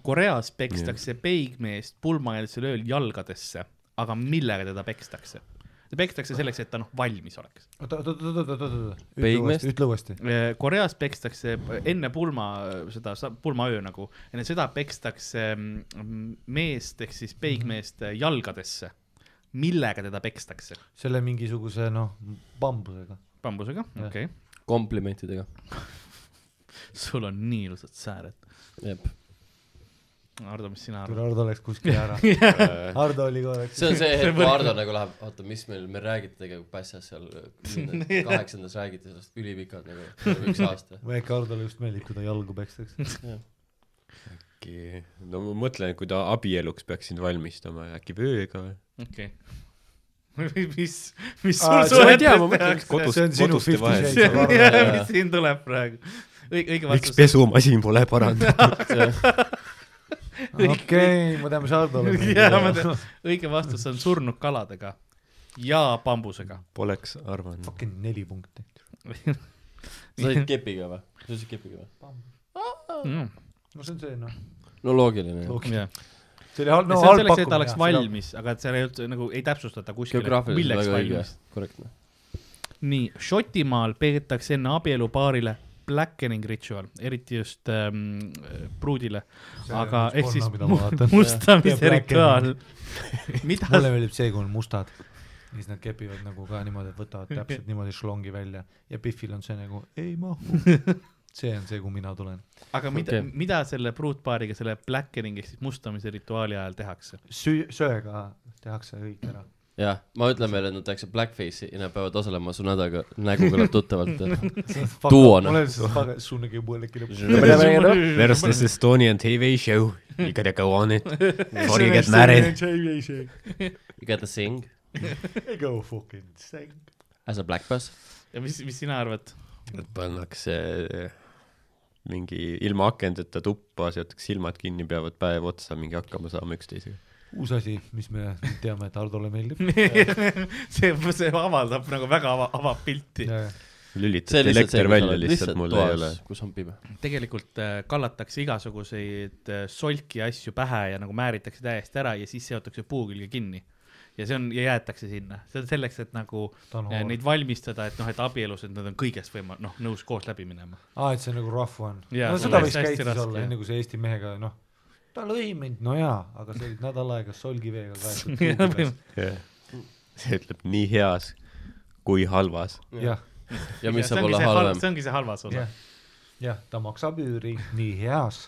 Speaker 2: Koreas pekstakse peigmeest pulmaeelsel ööl jalgadesse , aga millega teda pekstakse ? ta pekstakse selleks , et ta noh , valmis oleks .
Speaker 4: oota , oota , oota , oota , oota , oota , ütle
Speaker 3: Peigmeest?
Speaker 4: uuesti , ütle uuesti .
Speaker 2: Äh, Koreas pekstakse äh, enne pulma , seda sa- pulmaöö nagu , enne seda pekstakse mm, meest ehk siis peigmeest äh, jalgadesse . millega teda pekstakse ?
Speaker 4: selle mingisuguse noh , bambusega .
Speaker 2: bambusega ,
Speaker 4: Jah.
Speaker 2: okei okay. ,
Speaker 3: komplimentidega ,
Speaker 2: sul on nii ilusad sääred .
Speaker 3: jep .
Speaker 2: Hardo , mis sina
Speaker 4: tule ,
Speaker 2: arvad ?
Speaker 4: Hardo läks kuskile ära . Hardo oli korraks .
Speaker 3: see on see hetk , kui Hardo nagu läheb , oota , mis meil , me räägiti tegelikult pässas seal kümnendas- kaheksandas räägiti sellest ülipikalt nagu , üks aasta .
Speaker 4: äkki Hardole just meeldib , kui ta jalgu pekstakse .
Speaker 5: no ma mõtlen , kui ta abieluks peaks sind valmistama , äkki vööga või ?
Speaker 2: okei okay. . mis , mis sul
Speaker 4: Aa, see- ma ei
Speaker 2: suhetes
Speaker 4: tea,
Speaker 5: ma mõtlen,
Speaker 2: tehakse
Speaker 5: kas ? kodus
Speaker 4: see on sinu
Speaker 5: koduste
Speaker 4: Fifty
Speaker 5: vahel.
Speaker 4: Shades of
Speaker 2: see ,
Speaker 4: Hardo .
Speaker 2: mis siin tuleb praegu . õige , õige
Speaker 5: miks
Speaker 2: vastus .
Speaker 5: pesumasin pole parandatud ?
Speaker 4: okei , me teame , mis Hardole
Speaker 2: jaa , ma tean ., õige vastus on surnud kaladega ja bambusega .
Speaker 5: Poleks arvanud .
Speaker 4: Fucking neli punkti .
Speaker 3: sa olid kepiga või ? sa olid kepiga või ?
Speaker 4: Mm.
Speaker 2: Mm.
Speaker 4: no see on see noh ,
Speaker 3: no loogiline .
Speaker 2: jah ,
Speaker 4: see oli halb ,
Speaker 2: no
Speaker 4: no
Speaker 2: see on
Speaker 4: halb
Speaker 2: selleks , et ta oleks
Speaker 4: pakkumine .
Speaker 2: valmis , aga et seal ei olnud nagu ei täpsustata kuskile ,
Speaker 3: geograafiliselt
Speaker 2: milleks
Speaker 3: väga õige
Speaker 2: valmis .,
Speaker 3: korrektne .
Speaker 2: nii , Šotimaal peetakse enne abielu paarile blackening ritual , eriti just ähm, pruudile ,
Speaker 4: See
Speaker 2: aga
Speaker 4: on üks
Speaker 2: ehk siis
Speaker 4: porno, mida ma
Speaker 2: mu-
Speaker 4: vaatan. Ja
Speaker 2: mustamise
Speaker 4: blackening.
Speaker 2: rituaal . mida
Speaker 4: mulle meeldib see , kui on mustad ja siis nad kepivad nagu ka niimoodi , et võtavad täpselt niimoodi šlongi välja ja Biffil on see nagu ei mahu . see on see , kuhu mina tulen .
Speaker 2: aga mida
Speaker 3: Okei.
Speaker 2: okay. , mida selle pruutpaariga selle blackening ehk siis mustamise rituaali ajal tehakse ?
Speaker 4: Süü- , söega tehakse kõik ära .
Speaker 3: jah , ma ütlen veel , et nad tehakse blackface'i ja nad peavad osalema su nädaga , nägu kõlab tuttavalt . Duona.
Speaker 4: mul on see , sunnagi mõelegi lõpuks .
Speaker 5: There's this Estonian TV show . You gotta go on it before you get married ..
Speaker 3: You gotta sing
Speaker 4: Go fucking sing .
Speaker 3: as a black person .
Speaker 2: ja mis , mis sina arvad ?
Speaker 5: Nad pannakse eh, mingi ilma akendeta tuppa , seotakse silmad kinni , peavad päev otsa mingi hakkama saama üksteisega .
Speaker 4: uus asi , mis me teame , et Hardole meeldib .
Speaker 2: see , see avaldab nagu väga ava, , avab pilti .
Speaker 5: lülitad elekter välja lihtsalt , mul ei ole .
Speaker 3: kus on pime .
Speaker 2: tegelikult äh, kallatakse igasuguseid äh, solki asju pähe ja nagu määritakse täiesti ära ja siis seotakse puu külge kinni . ja see on , ja jäetakse sinna , see on selleks , et nagu
Speaker 4: Ta on
Speaker 2: äh,
Speaker 4: hoor.
Speaker 2: neid valmistada , et noh , et abielus , et nad on kõigest võima- , noh , nõus koos läbi minema .
Speaker 4: aa , et see nagu rahva on .
Speaker 2: Jaa,
Speaker 4: no
Speaker 2: see
Speaker 4: seda
Speaker 2: oleks
Speaker 4: võiks ka
Speaker 2: hästi
Speaker 4: Eestis
Speaker 2: raske,
Speaker 4: olla ,
Speaker 2: jah.
Speaker 4: enne kui sa Eesti mehega , noh , ta lõi mind , no jaa , aga sa olid nädal aega solgiveega kaetud puugides .
Speaker 5: see ütleb nii heas kui halvas .
Speaker 4: jah ,
Speaker 3: ja mis saab olla halvem
Speaker 2: see . ongi see halvas osa .
Speaker 4: jah , jah , ta maksab üüri nii heas .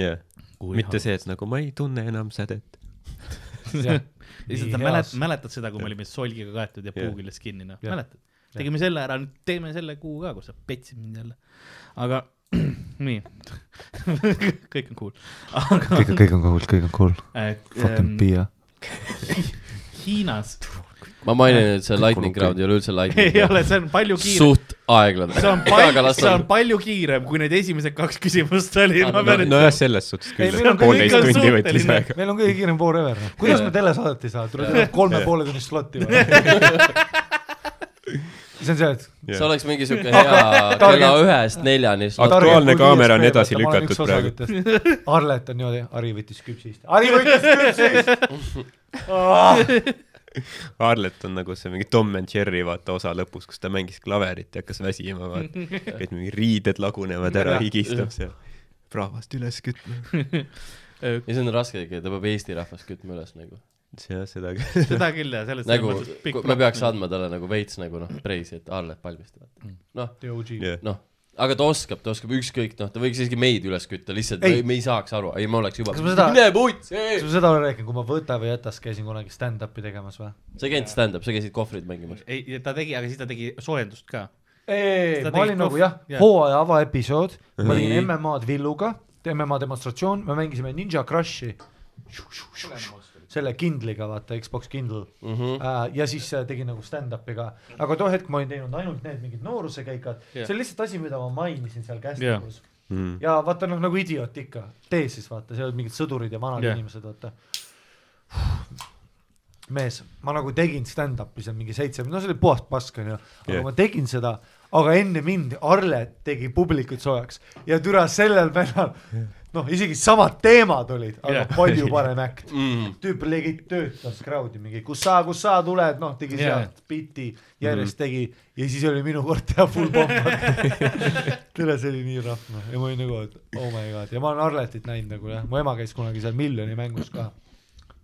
Speaker 5: jah , mitte see , et nagu ma ei tunne enam sädet .
Speaker 2: ja
Speaker 4: jah ,
Speaker 2: siis
Speaker 4: Nii
Speaker 2: ta
Speaker 4: heas.
Speaker 2: mälet- , mäletad seda , kui me olime solgiga kaetud ja puu
Speaker 5: Jah.
Speaker 2: küljes kinni , noh ,
Speaker 4: Jah.
Speaker 2: mäletad ? tegime selle ära , nüüd teeme selle kuu ka , kus sa petsid mind jälle . aga nii , kõik on cool . aga
Speaker 4: kõik on , kõik on cool , kõik on cool .
Speaker 2: äh,
Speaker 4: Fucking Piia .
Speaker 2: Hiinas
Speaker 3: ma mainin , et see lightning round ei ole üldse lightning
Speaker 2: ei ole ,
Speaker 3: round .
Speaker 2: see on palju kiirem .
Speaker 3: suht aeglane .
Speaker 2: see on palju , see on palju kiirem , kui need esimesed kaks küsimust oli , ma pean
Speaker 5: nojah , selles suhtes
Speaker 4: Ei,
Speaker 5: küll ,
Speaker 4: meil on
Speaker 5: et
Speaker 4: kõik
Speaker 5: poolteist
Speaker 2: on
Speaker 5: tundi võttis
Speaker 2: suhteline.
Speaker 5: aega .
Speaker 4: meil on kõige kiirem voor ever . kuidas me telesaadet ei saa , tuleb kolme poole tunnist slotti või ? see on see , et
Speaker 3: see oleks mingi siuke hea
Speaker 4: targe-
Speaker 3: kella ühest neljani .
Speaker 5: Aktuaalne kaamera on edasi lükatud praegu. .
Speaker 4: Arlet on niimoodi , Harri võttis küpsist . Harri võttis küpsist oh, .
Speaker 5: Arlet on nagu see mingi Tom and Jerry vaata osa lõpus , kus ta mängis klaverit ja hakkas väsima , vaata . et mingi riided lagunevad ära , higistab seal . praavast üles kütma .
Speaker 3: ja see on raske , ta peab Eesti rahvast kütma üles nagu .
Speaker 5: jah , seda küll .
Speaker 2: seda küll ja selles
Speaker 3: nagu me peaks . andma talle nagu veits nagu noh , preisi , et Arlet valmistab . noh ,
Speaker 5: jah ,
Speaker 3: noh , aga ta oskab , ta oskab ükskõik , noh , ta võiks isegi meid üles kütta , lihtsalt
Speaker 4: Ei.
Speaker 3: ei. me ei saaks aru , ei , ma oleks juba .
Speaker 4: Kas ma seda-
Speaker 3: mine puts ,
Speaker 4: kas
Speaker 3: sa
Speaker 4: ma seda olen rääkinud , kui ma Võta või Jätas käisin kunagi stand-up'i tegemas või ?
Speaker 3: ei käinud stand-up , sa käisid kohvreid mängimas .
Speaker 2: ei , ta tegi , aga siis ta tegi soojendust ka .
Speaker 4: ei ,
Speaker 2: Sa
Speaker 4: ma
Speaker 2: tegid
Speaker 4: olin nagu
Speaker 2: kohv-
Speaker 4: jah
Speaker 2: jah.
Speaker 4: yeah. , hooaja avaepisood , ma
Speaker 5: Nii.
Speaker 4: tegin MM-ad Villuga , MM-a demonstratsioon , me mängisime Ninja Crushi . selle kindliga , vaata , Xbox Kindle mm .
Speaker 2: Mhm.
Speaker 4: -hmm. ja siis äh, tegin nagu stand-up'i ka , aga too hetk ma olin teinud ainult need mingid noorusekäigad
Speaker 2: Jah.
Speaker 4: yeah. , see on lihtsalt asi , mida ma mainisin seal
Speaker 2: Jah.
Speaker 4: kästikus yeah. .
Speaker 5: mm. .
Speaker 4: ja vaata noh , nagu idioot ikka , tee siis vaata , seal olid mingid sõdurid ja vanad
Speaker 2: Jah.
Speaker 4: yeah. inimesed , vaata . mees , ma nagu tegin stand-up'i seal mingi seitse , no see oli puhas pask onju , aga
Speaker 5: Jah.
Speaker 4: yeah. ma tegin seda , aga enne mind Arle tegi publikut soojaks ja türa sellel vennal , noh , isegi samad teemad olid , aga
Speaker 2: Jah.
Speaker 4: yeah. palju parem äkt
Speaker 3: mm. .
Speaker 4: tüüp legit töötas crowd'i mingi , kus sa , kus sa tuled , noh , tegi
Speaker 2: Jaa.
Speaker 4: yeah. sealt biti , järjest tegi ja siis oli minu kord teha full pomp . tere , see oli nii rahva ja ma olin nagu , et oh my god ja ma olen Arletit näinud nagu jah , mu ema käis kunagi seal miljoni mängus ka .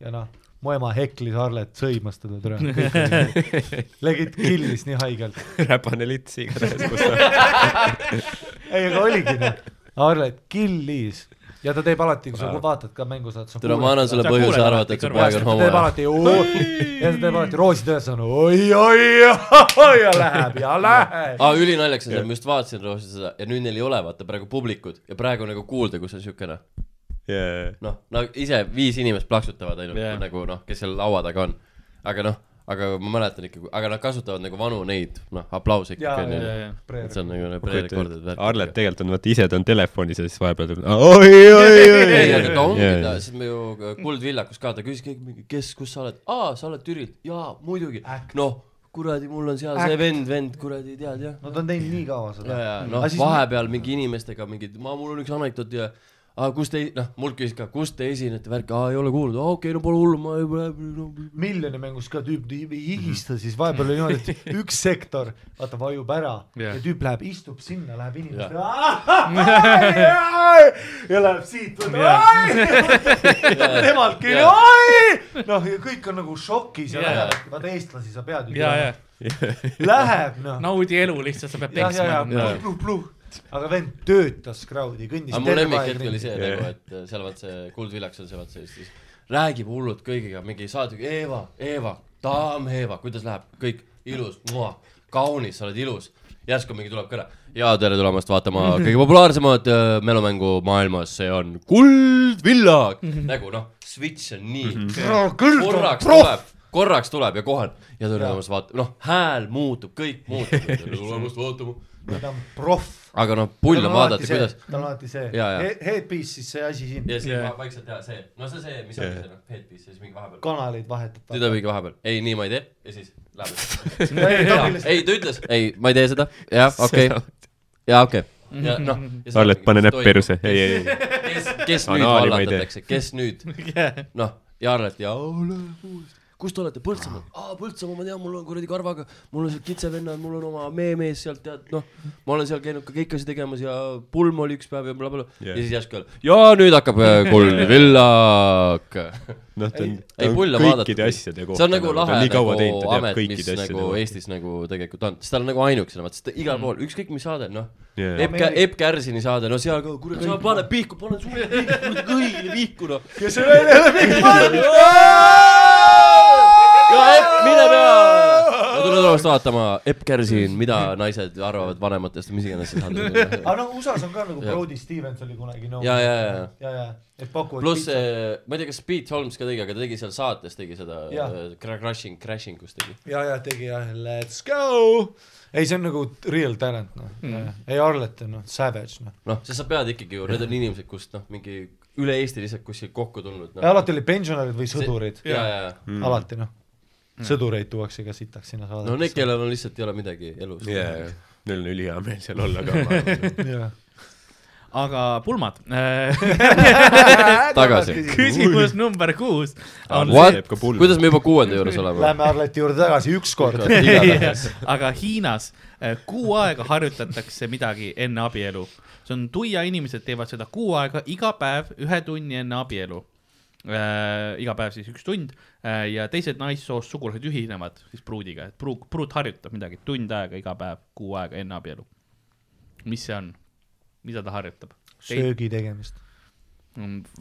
Speaker 4: ja noh , mu ema heklis Arlet , sõimas teda türa . legit killis nii haigelt ,
Speaker 5: räpane lits igatahes , kus sa .
Speaker 4: ei aga oligi noh , Arlet killis ja ta teeb alati , kui sa vaatad ka mängu saad .
Speaker 3: tule , ma annan sulle
Speaker 2: Sa
Speaker 3: põhjuse
Speaker 2: kuuled alati
Speaker 3: arvata , et su
Speaker 2: kõrval.
Speaker 3: poeg on
Speaker 4: ja ta
Speaker 3: homo
Speaker 4: teeb . alati oo- ja ta teeb alati roosid üles on oi , oi , oi ja läheb ja läheb .
Speaker 3: aa , ülinaljakas on see , ma just vaatasin Roosis seda ja nüüd neil ei ole vaata praegu publikut ja praegu nagu kuulda , kus on siukene noh , no ise viis inimest plaksutavad ainult
Speaker 2: Jaa.
Speaker 3: yeah. nagu noh , kes seal laua taga on . aga noh , aga ma mäletan ikkagi , aga nad kasutavad nagu vanu neid noh , aplause
Speaker 4: Jaa,
Speaker 3: ikkagi onju
Speaker 4: jaa, .
Speaker 3: et see on nagu need prerekordid
Speaker 5: kujutan ,
Speaker 3: väärt .
Speaker 5: Arlet tegelikult on vaata ise , ta on telefonis ja siis vahepeal tuleb oi , oi , oi ,
Speaker 3: ei , aga ta ongi ta ,
Speaker 5: oi .
Speaker 3: siis me ju Kuldvillakus ka , ta küsis kõik mingi , kes , kus sa oled , aa , sa oled Türilt , jaa , muidugi , noh , kuradi , mul on seal see vend , vend , kuradi , tead jah .
Speaker 4: no ta on teinud nii kaua seda
Speaker 3: ja , ja . noh , vahepeal mingi inimestega mingid , ma , mul on üks anekdoot ja aa , kus te , noh , mul küsis ka , kus te esinete , värk , aa , ei ole kuulnud , aa , okei okay, , no pole hullu , ma ei no, ,
Speaker 4: miljoni mängus ka tüüp nii- higistas , siis vahepeal oli niimoodi , et üks sektor , vaata , vajub ära
Speaker 2: Jah.
Speaker 4: ja tüüp läheb , istub sinna , läheb inimeste ja. ja läheb siit , temalt küll ,
Speaker 3: Jah.
Speaker 4: oi , noh , ja kõik on nagu šokis ja
Speaker 2: Jah.
Speaker 4: lähevad , vaata eestlasi sa pead ju
Speaker 2: ja , ja
Speaker 4: teadma. läheb noh
Speaker 2: naudi elu lihtsalt , sa pead
Speaker 4: jah , ja , ja
Speaker 2: peksma . nagu
Speaker 4: pluh , pluh , pluh , aga vend töötas crowd'i , kõndis
Speaker 3: nagu. aga mu lemmikhetk oli see nagu , et äh, seal vaat see Kuldvillaks on see vaat see , siis räägib hullult kõigiga , mingi saatjad , Eeva , Eeva , daam Eeva , kuidas läheb , kõik ilus , kaunis , sa oled ilus . järsku mingi tuleb kõne ja tere tulemast vaatama kõige populaarsemat äh, mälumängu maailmas , see on Kuldvillak . nagu noh , switch on nii , korraks tuleb , korraks tuleb ja kohe ja tere tulemast vaatama , noh , hääl muutub , kõik muutub . tere tulemast vaatama .
Speaker 4: ta on proff .
Speaker 3: aga noh , pull on vaadata , kuidas
Speaker 4: tal on alati see
Speaker 3: Jaa, jaa.
Speaker 4: he- headpiece , siis see asi siin ,
Speaker 3: ja siis
Speaker 2: Jaa.
Speaker 3: yeah. vaikselt ja see , no see on see , mis yeah. on see noh , headpiece ja siis mingi vahepeal .
Speaker 4: kanaleid vahetab .
Speaker 3: tüdruk mingi vahepeal , ei nii ma ei tee ja siis läheb .
Speaker 4: ei ,
Speaker 3: ei ta ütles , ei ma ei tee seda , jah okei okay. , jaa okei okay. . ja noh .
Speaker 5: Arlet , pane näpp perse , ei , ei , ei .
Speaker 3: kes , kes nüüd
Speaker 5: Anaali ma ei tee.
Speaker 3: vallandatakse , kes nüüd noh , ja Arlet ja ole puust kus te olete , Põltsamaal ? aa , Põltsamaa , ma tean , mul on kuradi karvaga , mul on seal kitsevennad , mul on oma meemees sealt ja noh , ma olen seal käinud ka keikasi tegemas ja pulm oli üks päev ja blablabla yeah.
Speaker 5: Jah.
Speaker 3: ja siis järsku jälle , ja nüüd hakkab äh, Kuldvillak
Speaker 5: noh , ta on , ta
Speaker 3: ei pull
Speaker 5: on
Speaker 3: on vaadata .
Speaker 5: kõikide asjade kohta .
Speaker 3: see on nagu lahe
Speaker 5: nii kaua
Speaker 3: nagu
Speaker 5: teinud , ta teab
Speaker 3: amet , mis
Speaker 5: kõikide asjade
Speaker 3: nagu
Speaker 5: kohta .
Speaker 3: Eestis nagu tegelikult on , sest ta on nagu ainukesena , vaata , sest ta igal pool , ükskõik mis saade , noh .
Speaker 5: Jaa.
Speaker 3: Epp , Epp Kärsini saade , no seal ka , kurat , sa pane pihku , pane sulle pihku , kuradi kõigile pihku , noh .
Speaker 4: kes see välja läheb ,
Speaker 3: ja Epp , mine pea . no tule tulemast vaatama , Epp Kärsin , mida naised arvavad vanematest , mis iganes see saade
Speaker 4: aga
Speaker 3: on .
Speaker 4: noh , USA-s on ka nagu Brody Stevens oli kunagi no
Speaker 3: ja , ja , ja , ja
Speaker 4: ja , ja , et pakuvad
Speaker 3: pluss , ma ei tea , kas Pete Holmes ka tegi , aga ta tegi seal saates tegi seda
Speaker 4: Jah.
Speaker 3: äh, crashing , crashing kus tegi .
Speaker 4: ja , ja tegi jah , let's go . ei , see on nagu real talent noh , ei Arlet on noh , savage noh .
Speaker 3: noh , sest sa pead ikkagi ju , need on inimesed , kust noh , mingi üle Eesti lihtsalt kuskil kokku tulnud noh.
Speaker 4: ja
Speaker 3: no. .
Speaker 4: alati oli pensionärid või sõdurid ,
Speaker 3: ja , ja , ja ,
Speaker 4: alati noh , sõdureid tuuakse ka sitaks sinna saadetesse
Speaker 3: no need , kellel on lihtsalt ei ole midagi elus yeah. .
Speaker 5: Neil on ülihea meel seal olla ka .
Speaker 4: jah
Speaker 2: aga pulmad .
Speaker 3: tagasi .
Speaker 2: küsimus number kuus on Ah, see ,
Speaker 3: What , kuidas me juba kuuenda juures oleme ?
Speaker 4: Lähme Arleti juurde tagasi ükskord .
Speaker 2: aga Hiinas äh, kuu aega harjutatakse midagi enne abielu . see on tuia , inimesed teevad seda kuu aega iga päev ühe tunni enne abielu . Äh, iga päev siis üks tund äh, ja teised naissoost sugulased ühinevad siis pruudiga , et pruut , pruut harjutab midagi tund aega iga päev , kuu aega enne abielu . mis see on , mida ta harjutab ?
Speaker 4: söögi tegemist ,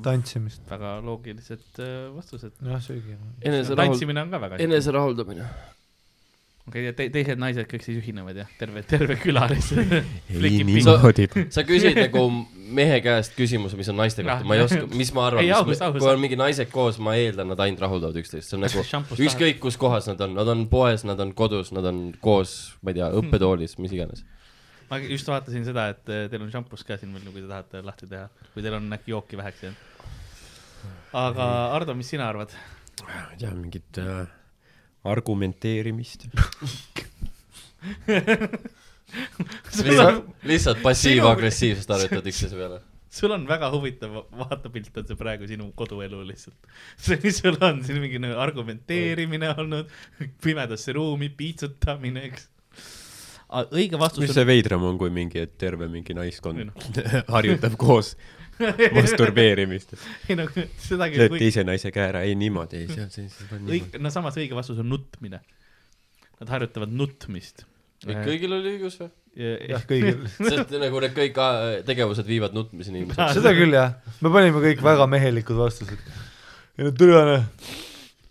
Speaker 4: tantsimist ,
Speaker 2: väga loogilised äh, vastused . Noh,
Speaker 4: jah söögi .
Speaker 3: eneserahul- ,
Speaker 2: tantsimine on ka väga hea .
Speaker 3: eneserahuldamine .
Speaker 2: okei , ja te- , teised naised kõik siis ühinevad ja terve , terve küla lihtsalt
Speaker 5: ei
Speaker 2: flikib pinda .
Speaker 5: niimoodi .
Speaker 3: sa küsid nagu mehe käest küsimuse , mis on naiste kohta , ma ei oska , mis ma arvan
Speaker 2: Noh, Ei, , aus, aus.
Speaker 3: kui on mingi naised koos , ma eeldan , nad ainult rahuldavad üksteist , see on nagu
Speaker 2: Šampust
Speaker 3: ükskõik kus kohas nad on , nad on poes , nad on kodus , nad on koos , ma ei tea ,
Speaker 2: Hmm.
Speaker 3: õppetoolis , mis iganes .
Speaker 2: ma just vaatasin seda , et eh, teil on šampus ka siin veel , kui te tahate lahti teha , kui teil on äkki jooki väheks jäänud . aga Ardo , mis sina arvad ?
Speaker 5: ma ei tea , mingit äh, argumenteerimist .
Speaker 3: lihtsalt , lihtsalt passiivagressiivsust harjutad üksteise peale .
Speaker 2: sul on väga huvitav va- vaatepilt on see praegu sinu koduelu lihtsalt . see , mis sul on , siin mingi nagu argumenteerimine olnud , pimedasse ruumi piitsutamine , eks . õige vastus
Speaker 5: mis
Speaker 2: on ,
Speaker 5: see veidram on , kui mingi , et terve mingi naiskond harjutab koos masturbeerimist .
Speaker 2: ei no seda küll ,
Speaker 5: lööd
Speaker 2: kui
Speaker 5: teise naise käe ära , ei niimoodi , ei see on see , see on niimoodi .
Speaker 2: õige , no samas õige vastus on nutmine . Nad harjutavad nutmist .
Speaker 3: kõigil oli õigus või ?
Speaker 4: jah , kõigil .
Speaker 3: sest nagu need kõik äh, tegevused viivad nutmiseni ilmselt .
Speaker 4: seda küll jah , me panime kõik väga mehelikud vastused . ja no türane ,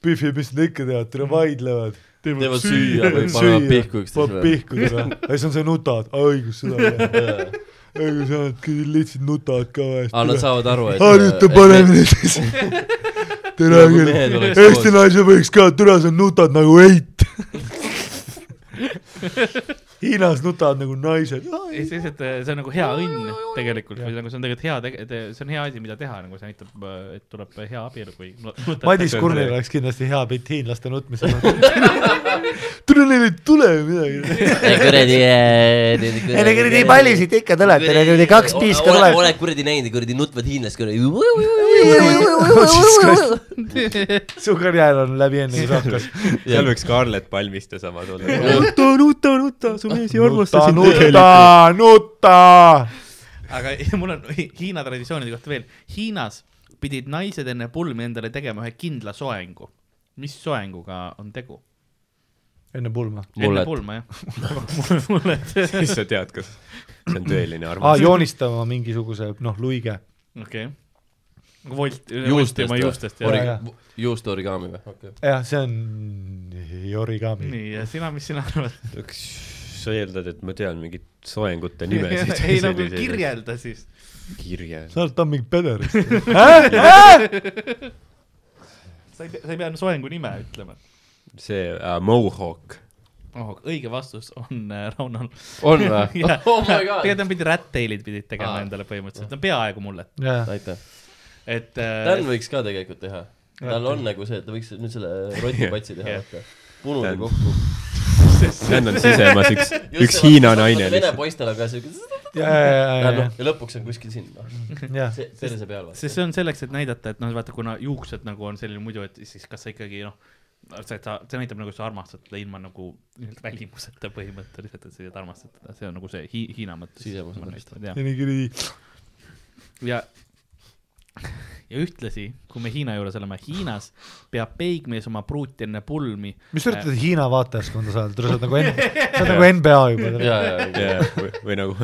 Speaker 4: Pihvi , mis nad ikka teevad , türa vaidlevad .
Speaker 3: teevad süüa või panevad pihku
Speaker 4: panevad
Speaker 3: üksteisele .
Speaker 4: pihku türa , ja siis on see nutad , õigus seda jah , õigus jah , et kõik lihtsalt nutavad ka
Speaker 3: aga nad
Speaker 4: vahest .
Speaker 3: saavad aru , et .
Speaker 4: harjuta paremini siis . türa
Speaker 3: Nagu
Speaker 4: küll
Speaker 3: mehed , oleks
Speaker 4: Eesti
Speaker 3: koos.
Speaker 4: naise võiks ka , türa sa nutad nagu eit . Hiinas nutavad nagu naised .
Speaker 2: ei , selles , et see on nagu hea õnn tegelikult või nagu see on tegelikult hea tege- , see on hea asi , mida teha , nagu see näitab , et tuleb äh, hea abielu , kui no, nutad-
Speaker 4: Madis Kurnil oleks kindlasti hea pilt hiinlaste nutmise kohta . tule neil ei tule ju midagi .
Speaker 3: kuradi .
Speaker 4: Neile kuradi paljusid ikka tuleb , neile kuradi kaks piiska tuleb .
Speaker 3: oled kuradi näinud , kuradi nutvad hiinlased kuradi .
Speaker 4: su karjäär on läbi enne kui sahkas .
Speaker 5: seal võiks Scarlett Palmiste sama tulla .
Speaker 4: nuta , nuta , nuta , su mees ei armasta sind tegelikult . nuta ,
Speaker 2: aga mul on Hiina traditsioonide kohta veel . Hiinas pidid naised enne pulmi endale tegema ühe kindla soengu . mis soenguga on tegu ?
Speaker 4: nuta . enne pulma .
Speaker 2: enne
Speaker 3: Mullet.
Speaker 2: pulma jah . mullet ,
Speaker 5: siis sa tead , kas see on tõeline
Speaker 4: aa ,
Speaker 5: arvamus .
Speaker 4: joonistama mingisuguse , noh , luige .
Speaker 2: okei . Volt ,
Speaker 3: juustest
Speaker 2: voltima juustest
Speaker 4: Ori-
Speaker 2: jah .
Speaker 4: jah.
Speaker 3: või ? juust origami või ?
Speaker 4: jah , see on origami .
Speaker 2: nii , ja sina , mis sina arvad ?
Speaker 5: kas sa eeldad , et ma tean mingit soengute nimesid ?
Speaker 2: ei nagu . kirjelda siis .
Speaker 5: kirje .
Speaker 4: sa oled tamming pederist .
Speaker 2: sa ei pea , sa ei pea soengu nime ütlema .
Speaker 5: see uh, Mohawk .
Speaker 2: oh , õige vastus on äh, Raunol .
Speaker 3: on või ? oh my
Speaker 2: tegelikult
Speaker 3: god .
Speaker 2: nad pidid rat-tail'id pidid tegema
Speaker 3: Aa.
Speaker 2: endale põhimõtteliselt , no peaaegu mullet ,
Speaker 4: jah ,
Speaker 3: aitäh .
Speaker 2: et . äh,
Speaker 3: Dan võiks ka tegelikult teha . tal on nagu see , et ta võiks nüüd selle rotipatsi teha , vaata . punuda
Speaker 5: Dan.
Speaker 3: kokku .
Speaker 5: Dan on sisemas üks , üks Hiina naine
Speaker 3: vene
Speaker 5: lihtsalt .
Speaker 3: poistel on ka siuke .
Speaker 4: ja , ja , ja , ja ,
Speaker 3: ja lõpuks on kuskil sinna .
Speaker 4: jah .
Speaker 3: see , tervise peal .
Speaker 2: sest see on selleks , et näidata , et noh , vaata , kuna juuksed nagu on selline muidu , et siis kas sa ikkagi noh , see , et sa , see näitab nagu sa armastad teda ilma nagu ilmselt välimuseta põhimõtteliselt , et sa lihtsalt armastad teda , see on nagu see hi Hiina mõttes .
Speaker 3: Sisemuse mõttes.
Speaker 4: ja nii kuradi ,
Speaker 2: ja , ja ühtlasi , kui me Hiina juures oleme , Hiinas peab peigmees oma pruuti enne pulmi .
Speaker 4: mis sa ütled , Hiina vaatajaskonda sa oled , sa oled nagu N- , sa oled nagu NBA juba .
Speaker 3: ja , ja , ja .
Speaker 5: Yeah, või, või nagu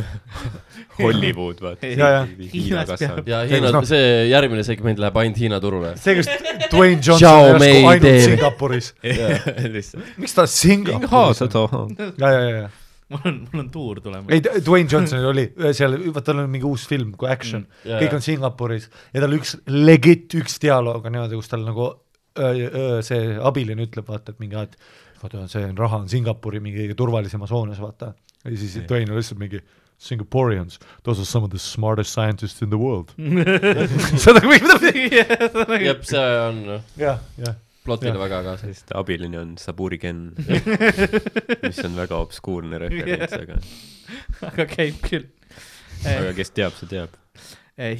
Speaker 5: Hollywood , vaata .
Speaker 4: Ja, ja.
Speaker 5: Hiina kasvab .
Speaker 3: ja Hiina , see järgmine segment läheb ainult Hiina turule .
Speaker 4: see , kus Dwayne Johnson
Speaker 3: Xiao
Speaker 4: järsku
Speaker 3: Mei
Speaker 4: ainult
Speaker 3: teeb.
Speaker 4: Singapuris .
Speaker 5: lihtsalt .
Speaker 4: miks ta Singapuris on ? ja , ja , ja ,
Speaker 2: Äh, mul on , mul on tuur tulemas .
Speaker 4: ei Dwayne Johnsonil oli äh, seal , vaata tal on mingi uus film kui Action mm, ,
Speaker 3: jaa,
Speaker 4: yeah. kõik
Speaker 3: jaa.
Speaker 4: on Singapuris ja tal üks legit üks dialoog on niimoodi , kus tal nagu öö, öö, see abiline ütleb , vaata , et mingi , et vaata , see on- raha on Singapuri mingi kõige turvalisemas hoones , vaata . ja siis Dwayne on lihtsalt mingi Singaporeans , those are some of the smartest scientists in the world .
Speaker 3: Mm.
Speaker 4: seda võib ta teha .
Speaker 3: jep , see on
Speaker 4: jah , jah ,
Speaker 3: plotile
Speaker 4: Jah.
Speaker 3: väga kaasa .
Speaker 5: sest abiline on Saburi Ken , mis on väga obskuurne referents , aga ,
Speaker 2: aga käib küll .
Speaker 5: aga kes teab , see teab .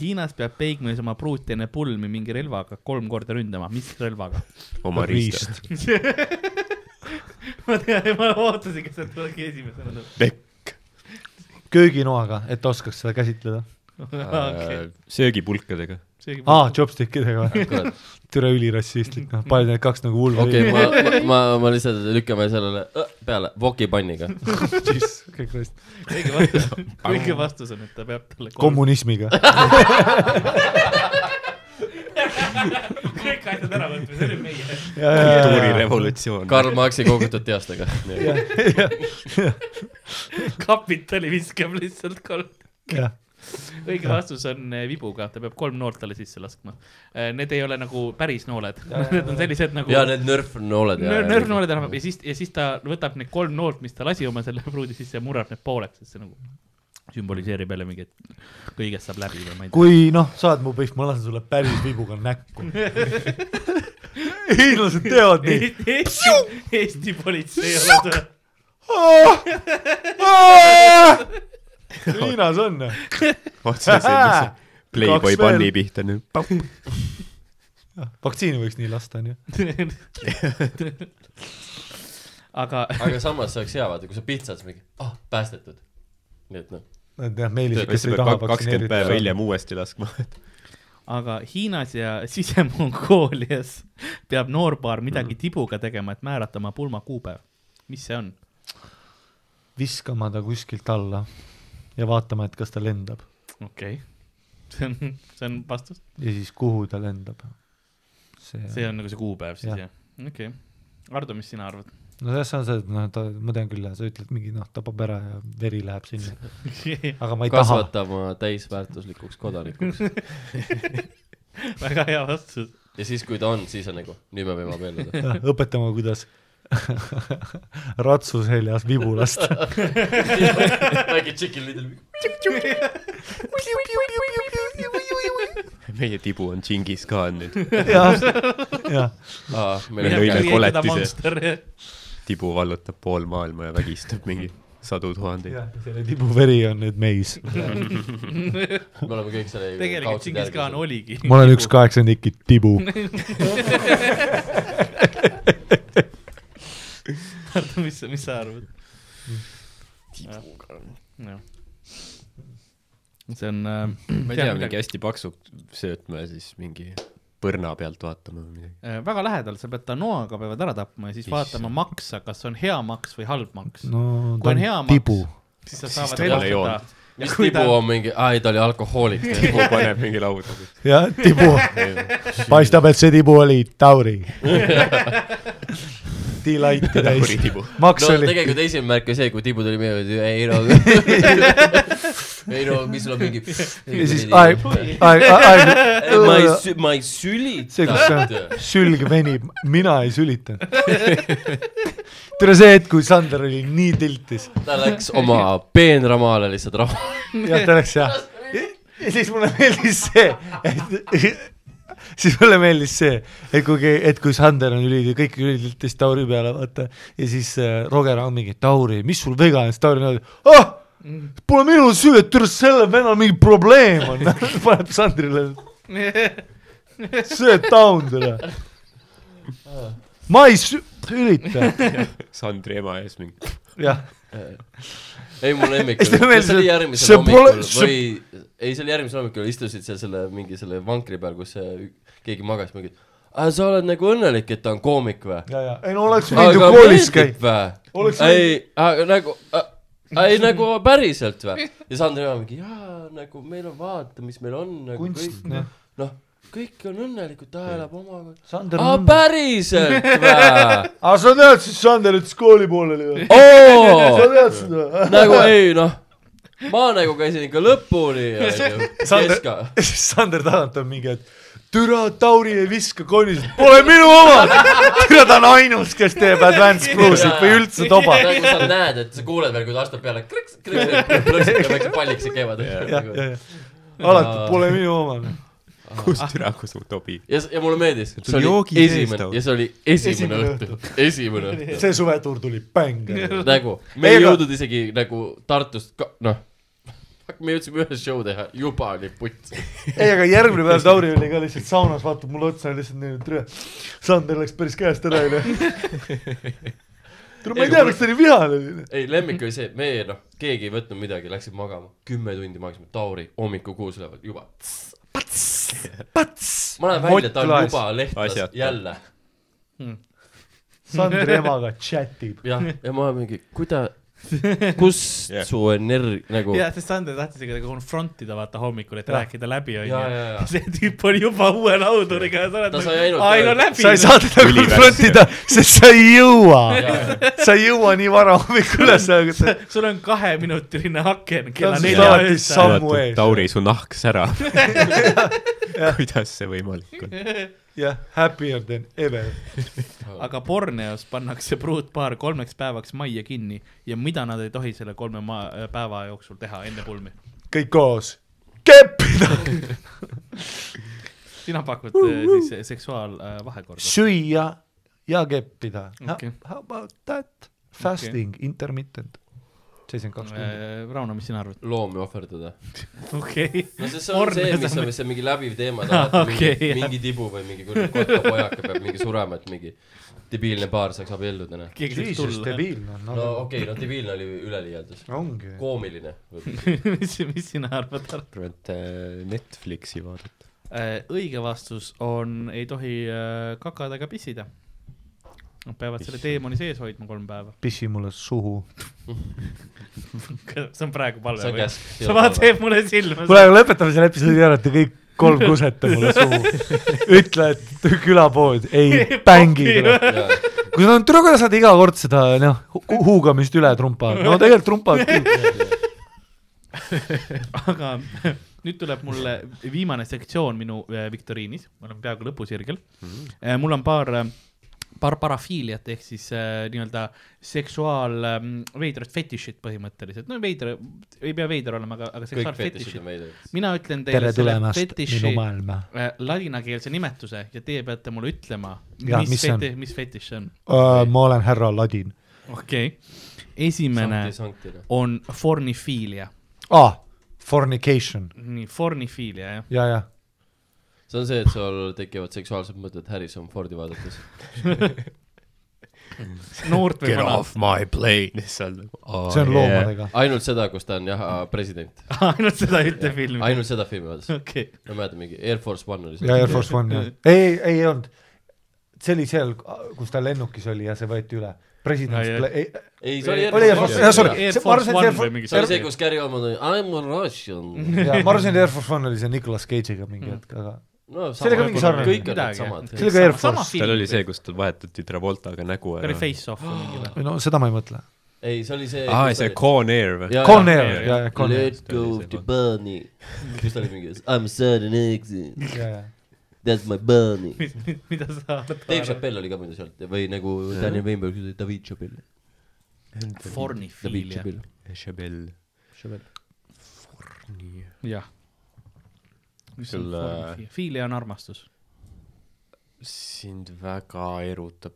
Speaker 2: Hiinas peab peigmees oma pruuti enne pulmi mingi relvaga kolm korda ründama , mis relvaga ?
Speaker 5: oma riista .
Speaker 2: ma tean , ma ootasingi , et sealt tulebki esimesena tuleb .
Speaker 4: kööginoaga , et oskaks seda käsitleda .
Speaker 2: okei , Ah.
Speaker 5: söögipulkadega .
Speaker 2: seegi
Speaker 4: aa , chopstickidega või ?
Speaker 3: kurat ,
Speaker 4: türa ülirassistlik , noh , panid need kaks nagu hullu
Speaker 3: okei , ma , ma , ma lihtsalt lükkame sellele äh, peale vokipanniga .
Speaker 4: okay, .
Speaker 2: õige vastus , õige vastus on , et ta peab talle kolm ,
Speaker 4: kommunismiga .
Speaker 7: kõik asjad ära võtma , see oli meie .
Speaker 5: kultuurirevolutsioon .
Speaker 3: Karl Marxi kogutud teostega .
Speaker 2: kapitali viskab lihtsalt kolm .
Speaker 4: jah ,
Speaker 2: õige vastus on eh, vibuga , ta peab kolm noort talle sisse laskma . Need ei ole nagu päris nooled , need on sellised nagu
Speaker 3: ja need nörfnooled .
Speaker 2: nör- nörvnooled enam ja siis , ja siis ta võtab need kolm noolt , mis ta lasi oma selle pruudi sisse ja murrab need pooleks , sest see nagu sümboliseerib jälle mingit , kõigest saab läbi või ma ei tea .
Speaker 4: kui noh , saad mu pihv , ma lasen sulle päris vibuga näkku . hiinlased teevad nii .
Speaker 2: Eesti, Eesti politsei ei ole tule-
Speaker 4: Hiinas on .
Speaker 5: otseselt Playboy
Speaker 4: Kaks veel.
Speaker 5: panni pihta nüüd .
Speaker 4: vaktsiini võiks nii lasta , onju .
Speaker 2: aga
Speaker 3: aga samas see oleks hea , vaata , kui sa pitsad , siis mingi , ah , päästetud . nii et noh ,
Speaker 4: et jah , meelised ,
Speaker 5: siis
Speaker 4: kes
Speaker 5: sa
Speaker 4: ei
Speaker 5: pead
Speaker 4: taha
Speaker 5: kak- kakskümmend päeva
Speaker 4: saada.
Speaker 5: hiljem uuesti laskma .
Speaker 2: aga Hiinas ja Sise-Mongoolias peab noorpaar midagi tibuga tegema , et määrata oma pulmakuupäev . mis see on ?
Speaker 4: viskama ta kuskilt alla ja vaatama , et kas ta lendab
Speaker 2: okei okay. , see on , see on vastus ,
Speaker 4: ja siis kuhu ta lendab . see
Speaker 2: see on nagu see kuupäev siis
Speaker 4: Jah.
Speaker 2: jah ? okei okay. , Ardo , mis sina arvad ?
Speaker 4: no see on see , et noh , ta , ma tean küll , sa ütled mingi noh , tapab ära ja veri läheb sinna , aga ma ei taha .
Speaker 3: kasvatama täisväärtuslikuks kodanikuks .
Speaker 2: väga hea vastus .
Speaker 3: ja siis , kui ta on , siis on nagu , nüüd me võime abielluda .
Speaker 4: õpetama , kuidas ratsu seljas vibu lasta .
Speaker 3: väike Chicken Little Big .
Speaker 5: meie tibu on Džingis Khan nüüd .
Speaker 4: jah , jah ,
Speaker 3: aa , meil
Speaker 5: Meil
Speaker 3: on
Speaker 5: oli-
Speaker 3: käes .
Speaker 5: koletise. tibu vallutab pool maailma ja vägistab mingi sadu tuhandeid .
Speaker 4: selle tibu veri on nüüd meis .
Speaker 3: me oleme kõik selle
Speaker 2: tegelikult Džingis Khan . oligi .
Speaker 4: ma olen üks kaheksandiki tibu .
Speaker 2: Ardo , mis sa , mis sa arvad ? jah . see on äh, ,
Speaker 5: ma ei tea , mingi hästi paksult söötma ja siis mingi põrna pealt vaatama või midagi .
Speaker 2: Äh, väga lähedal , sa pead ta noaga peavad ära tapma ja siis
Speaker 5: Issand.
Speaker 2: vaatama maksa , kas on hea maks või halb maks no, .
Speaker 4: no
Speaker 2: Kui
Speaker 4: ta
Speaker 2: on
Speaker 4: on
Speaker 2: hea maks,
Speaker 4: tibu .
Speaker 2: siis sa
Speaker 5: Siis
Speaker 2: saavad
Speaker 5: ta pole
Speaker 2: elustada
Speaker 5: joonud. .
Speaker 3: mis
Speaker 2: Kui ta-
Speaker 3: tibu on mingi , aa ei , ta oli alkohoolik .
Speaker 5: tibu paneb mingi lauda .
Speaker 4: jah , tibu , paistab , et see tibu oli Tauri . Delighti täis .
Speaker 5: kuritibu .
Speaker 4: maks
Speaker 3: no
Speaker 4: oli ,
Speaker 3: tegelikult esimene märk oli see , kui tibu tuli meie juurde , ei no , ei no , mis sul on mingi .
Speaker 4: ja siis aeg , aeg , aeg ,
Speaker 3: ma ei sü- , ma ei sülita .
Speaker 4: see , kus see sülg venib , mina ei sülitanud . tule see hetk , kui Sander oli nii tiltis ,
Speaker 3: ta läks oma peenramaale lihtsalt raha .
Speaker 4: jah , ta läks jah . ja siis mulle meeldis see , et siis mulle meeldis see , et kui , et kui Sander on üli , kõik ülitiltis Tauri peale , vaata , ja siis äh, Roger on mingi , Tauri , mis sul viga on , siis Tauri on , ah , pole minu süü , et tule sellel vennal mingi probleem on , paneb Sandrile , söö down talle . ma ei sü- , ürita ,
Speaker 5: Sandri ema ees mingi .
Speaker 4: jah .
Speaker 3: ei , mu lemmik
Speaker 4: Siis ta
Speaker 3: oli ,
Speaker 4: meeldis,
Speaker 3: see oli
Speaker 4: et
Speaker 3: järgmisel
Speaker 4: see pole-
Speaker 3: hommikul
Speaker 4: see-
Speaker 3: või , ei , see oli järgmisel hommikul , istusid seal selle mingi selle vankri peal , kus see ü- keegi magas mingi , sa oled nagu õnnelik , et ta on koomik või ?
Speaker 4: ja , ja , ei no oleks võinud ju koolis käia .
Speaker 3: või
Speaker 4: Oleks ?
Speaker 3: ei , nagu , ei nagu päriselt või ? ja Sandri ema mingi , jaa , nagu meil on , vaata , mis meil on , nagu
Speaker 4: kunst ,
Speaker 3: kõik ,
Speaker 4: jah .
Speaker 3: noh , kõik on õnnelikud , ta elab omakorda .
Speaker 4: Sander
Speaker 3: aa ,
Speaker 4: on .
Speaker 3: päriselt või ?
Speaker 4: aga sa tead siis Sander ütles kooli pooleli või ? sa
Speaker 3: oo ,
Speaker 4: tead seda ?
Speaker 3: nagu ei noh , ma nagu käisin ikka lõpuni , onju ,
Speaker 4: Sander-
Speaker 3: keska
Speaker 4: siis Sander Tarand on mingi , et türa Tauri ei viska konnisid , pole minu oma . türa ta on ainus , kes teeb advance bluesid või üldse toba .
Speaker 3: nagu sa näed , et sa kuuled veel , kui ta astub peale , kriks , kriks , plõksib ja väikse palliks ja Nagu käivad . ja
Speaker 4: jah ,, jah , jah . alati pole minu oma .
Speaker 5: kus türa , kus mu tobi ?
Speaker 3: ja s- ja mulle meeldis , see
Speaker 5: joogid
Speaker 3: oli
Speaker 5: ees
Speaker 3: esimene
Speaker 5: tal.
Speaker 3: ja see oli esimene
Speaker 4: Esimene
Speaker 3: õhtu , esimene õhtu .
Speaker 4: see suvetuur tuli bäng .
Speaker 3: nagu , me ei
Speaker 4: Ega-
Speaker 3: jõudnud isegi nagu Tartust , noh , me jõudsime ühe show teha , juba oli putt .
Speaker 4: ei , aga järgmine päev Tauri oli ka lihtsalt saunas , vaatab mulle otsa ja lihtsalt nii , et türa , Sander läks päris käest ära eile . türa , ma ei tea , miks ta nii vihane oli .
Speaker 3: ei , lemmik oli see , me noh , keegi ei võtnud midagi , läksid magama , kümme tundi magasime , Tauri hommikul kuus üleval , juba . ma näen välja , ta on
Speaker 4: Mott
Speaker 3: juba lehtas
Speaker 5: Asjata.
Speaker 3: jälle
Speaker 4: Sandri emaga chatib .
Speaker 3: jah , ja ma mingi , kuida- , kust yeah. su energia nagu
Speaker 2: ja , sest Sander tahtis ikka confront ida vaata hommikul , et
Speaker 4: Jah.
Speaker 2: rääkida läbi
Speaker 3: ja , ja
Speaker 2: onju .,
Speaker 3: ja
Speaker 2: see tüüp oli juba uue lauduriga ja sa oled nagu
Speaker 3: Ta sai ainult
Speaker 2: ai no
Speaker 3: öelda.
Speaker 2: läbi .
Speaker 4: sa ei saa teda
Speaker 5: Ülivärs-
Speaker 4: konfrontida , sest sa ei jõua .
Speaker 3: ja ,
Speaker 4: sa ei jõua nii vara hommikul üles , aga sa
Speaker 2: sul on kaheminutiline aken kella
Speaker 4: on siis
Speaker 2: nelja
Speaker 4: alati
Speaker 2: öösel
Speaker 4: sama- . Sammu ees.
Speaker 5: Tauri , su nahk särab . kuidas see võimalik on ?
Speaker 4: jah , happier than ever .
Speaker 2: aga Borneos pannakse pruutpaar kolmeks päevaks majja kinni ja mida nad ei tohi selle kolme ma- äh, päeva jooksul teha enne pulmi ?
Speaker 4: kõik koos . keppida ,
Speaker 2: sina pakud äh, siis seksuaalvahekorda .
Speaker 4: süüa ja keppida
Speaker 2: Okei.
Speaker 4: okay. . How about that ? Fasting okay. , intermittent . seitsekümmend kaks
Speaker 2: Äh,
Speaker 4: tundi .
Speaker 2: Rauno , mis sina arvad ?
Speaker 3: loomi ohverdada .
Speaker 2: okei .
Speaker 3: no sest see on see , mis on , mis on mingi läbiv teema , tahad
Speaker 2: Aa,
Speaker 3: mingi
Speaker 2: okei, , jah.
Speaker 3: mingi tibu või mingi kuradi kotkapojake peab mingi surema , et mingi debiilne paar saaks abielluda , noh .
Speaker 2: keegi võiks
Speaker 4: Jesus ,
Speaker 2: tulla .
Speaker 4: debiilne on
Speaker 3: no
Speaker 4: no, .
Speaker 3: okei okay, , no debiilne oli üleliialdus .
Speaker 4: ongi .
Speaker 3: koomiline .
Speaker 2: mis , mis sina arvad , Ardo ?
Speaker 5: arvad äh, Netflixi vaadata ?
Speaker 2: Äh, õige vastus on , ei tohi äh, kakada ega pissida . Nad peavad selle teemani sees hoidma kolm päeva .
Speaker 4: pissi mulle suhu .
Speaker 2: see on praegu palve
Speaker 3: see on
Speaker 2: või ?
Speaker 3: käsk .
Speaker 2: sa vaatasid mulle silma .
Speaker 4: kuule , aga lõpetame selle episoodi ära , et te kõik kolm kusete mulle suhu . ütle , et külapood ei bängi .
Speaker 3: jah ,
Speaker 4: kui nad on , tule kuidas nad iga kord seda noh hu- huugamist üle trumpavad , no tegelikult trumpavad küll .
Speaker 2: aga nüüd tuleb mulle viimane sektsioon minu äh, viktoriinis , ma olen peaaegu lõpusirgel mm. . mul on paar , paar parafiiliat ehk siis äh, nii-öelda seksuaal ähm, veidrat fetišit põhimõtteliselt , no veider , ei pea veider olema , aga , aga
Speaker 3: kõik fetišid
Speaker 2: seksuaalfetišid
Speaker 3: on . veidrad .
Speaker 2: mina ütlen teile
Speaker 4: tere
Speaker 2: selle
Speaker 4: tulemast minu
Speaker 2: fetiši
Speaker 4: maailma .
Speaker 2: äh, ladinakeelse nimetuse ja teie peate mulle ütlema ,
Speaker 4: Jah,
Speaker 2: mis,
Speaker 4: mis
Speaker 2: mis,
Speaker 4: see on?
Speaker 2: feti, mis fetiš see on .
Speaker 4: Äh, ma olen härra Ladin .
Speaker 2: okei okay. , esimene
Speaker 3: sankti , sankti , noh .
Speaker 2: on fornifiilia ,
Speaker 4: aa , Ah, fornication ,
Speaker 2: nii fornifiilia jah .
Speaker 4: ja , ja .
Speaker 3: see on see , et sul tekivad seksuaalsed mõtted Harrison Fordi vaadates .
Speaker 2: noort või
Speaker 5: Get
Speaker 2: vana
Speaker 5: off my plane , seal nagu oh,
Speaker 4: see on loomadega .
Speaker 3: ainult seda , kus ta on jah , president .
Speaker 2: ainult seda ühte filmi .
Speaker 3: ainult seda filmi vaadates .
Speaker 2: okei ,
Speaker 3: ma mäletan mingi Air Force One oli
Speaker 4: ja
Speaker 3: see .
Speaker 4: Air Force One , jah . ei , ei olnud . see oli seal , kus ta lennukis oli ja see võeti üle . president
Speaker 2: Ai, ai. ,
Speaker 3: ei , see oli
Speaker 4: oli Air Force , jah , sorry .
Speaker 2: Air
Speaker 4: ma arvasin ,
Speaker 2: Force
Speaker 4: et
Speaker 2: One
Speaker 4: Air
Speaker 2: või mingi
Speaker 3: see oli
Speaker 4: Force
Speaker 3: see ,, kus Gary Oldman oli I m a Russian .
Speaker 4: ma arvasin , et Air Force One oli see Nicolas Cage'iga mingi hetk , aga
Speaker 3: no
Speaker 4: See oli ka mingi sarnane.
Speaker 3: kõik on
Speaker 2: Midagi.
Speaker 3: need samad .
Speaker 4: see oli ka Air
Speaker 2: sama
Speaker 4: Force .
Speaker 2: film .
Speaker 5: tal oli see , kus tal vahetati Travoltaga nägu
Speaker 2: oli
Speaker 5: ära .
Speaker 2: Face-Off või mingi või ?
Speaker 4: või no seda ma ei mõtle .
Speaker 3: ei , see oli see .
Speaker 5: aa , see Con Air või ?
Speaker 4: Con Air , ja , ja Con Air .
Speaker 3: Let go of the bunny . mis ta oli mingi I m sudden exit , that's my bunny .
Speaker 2: mida sa
Speaker 3: Dave
Speaker 2: arvad ?
Speaker 3: Chappelle oli ka muide sealt või nagu Daniel Weinberg ütles , David Chappelle . David
Speaker 2: Fornifiilia .
Speaker 3: Chappelle .
Speaker 5: Chabelle .
Speaker 2: jah . mis on
Speaker 5: Sul, äh,
Speaker 2: fornifiilia ? fiilia on armastus .
Speaker 5: sind väga erutab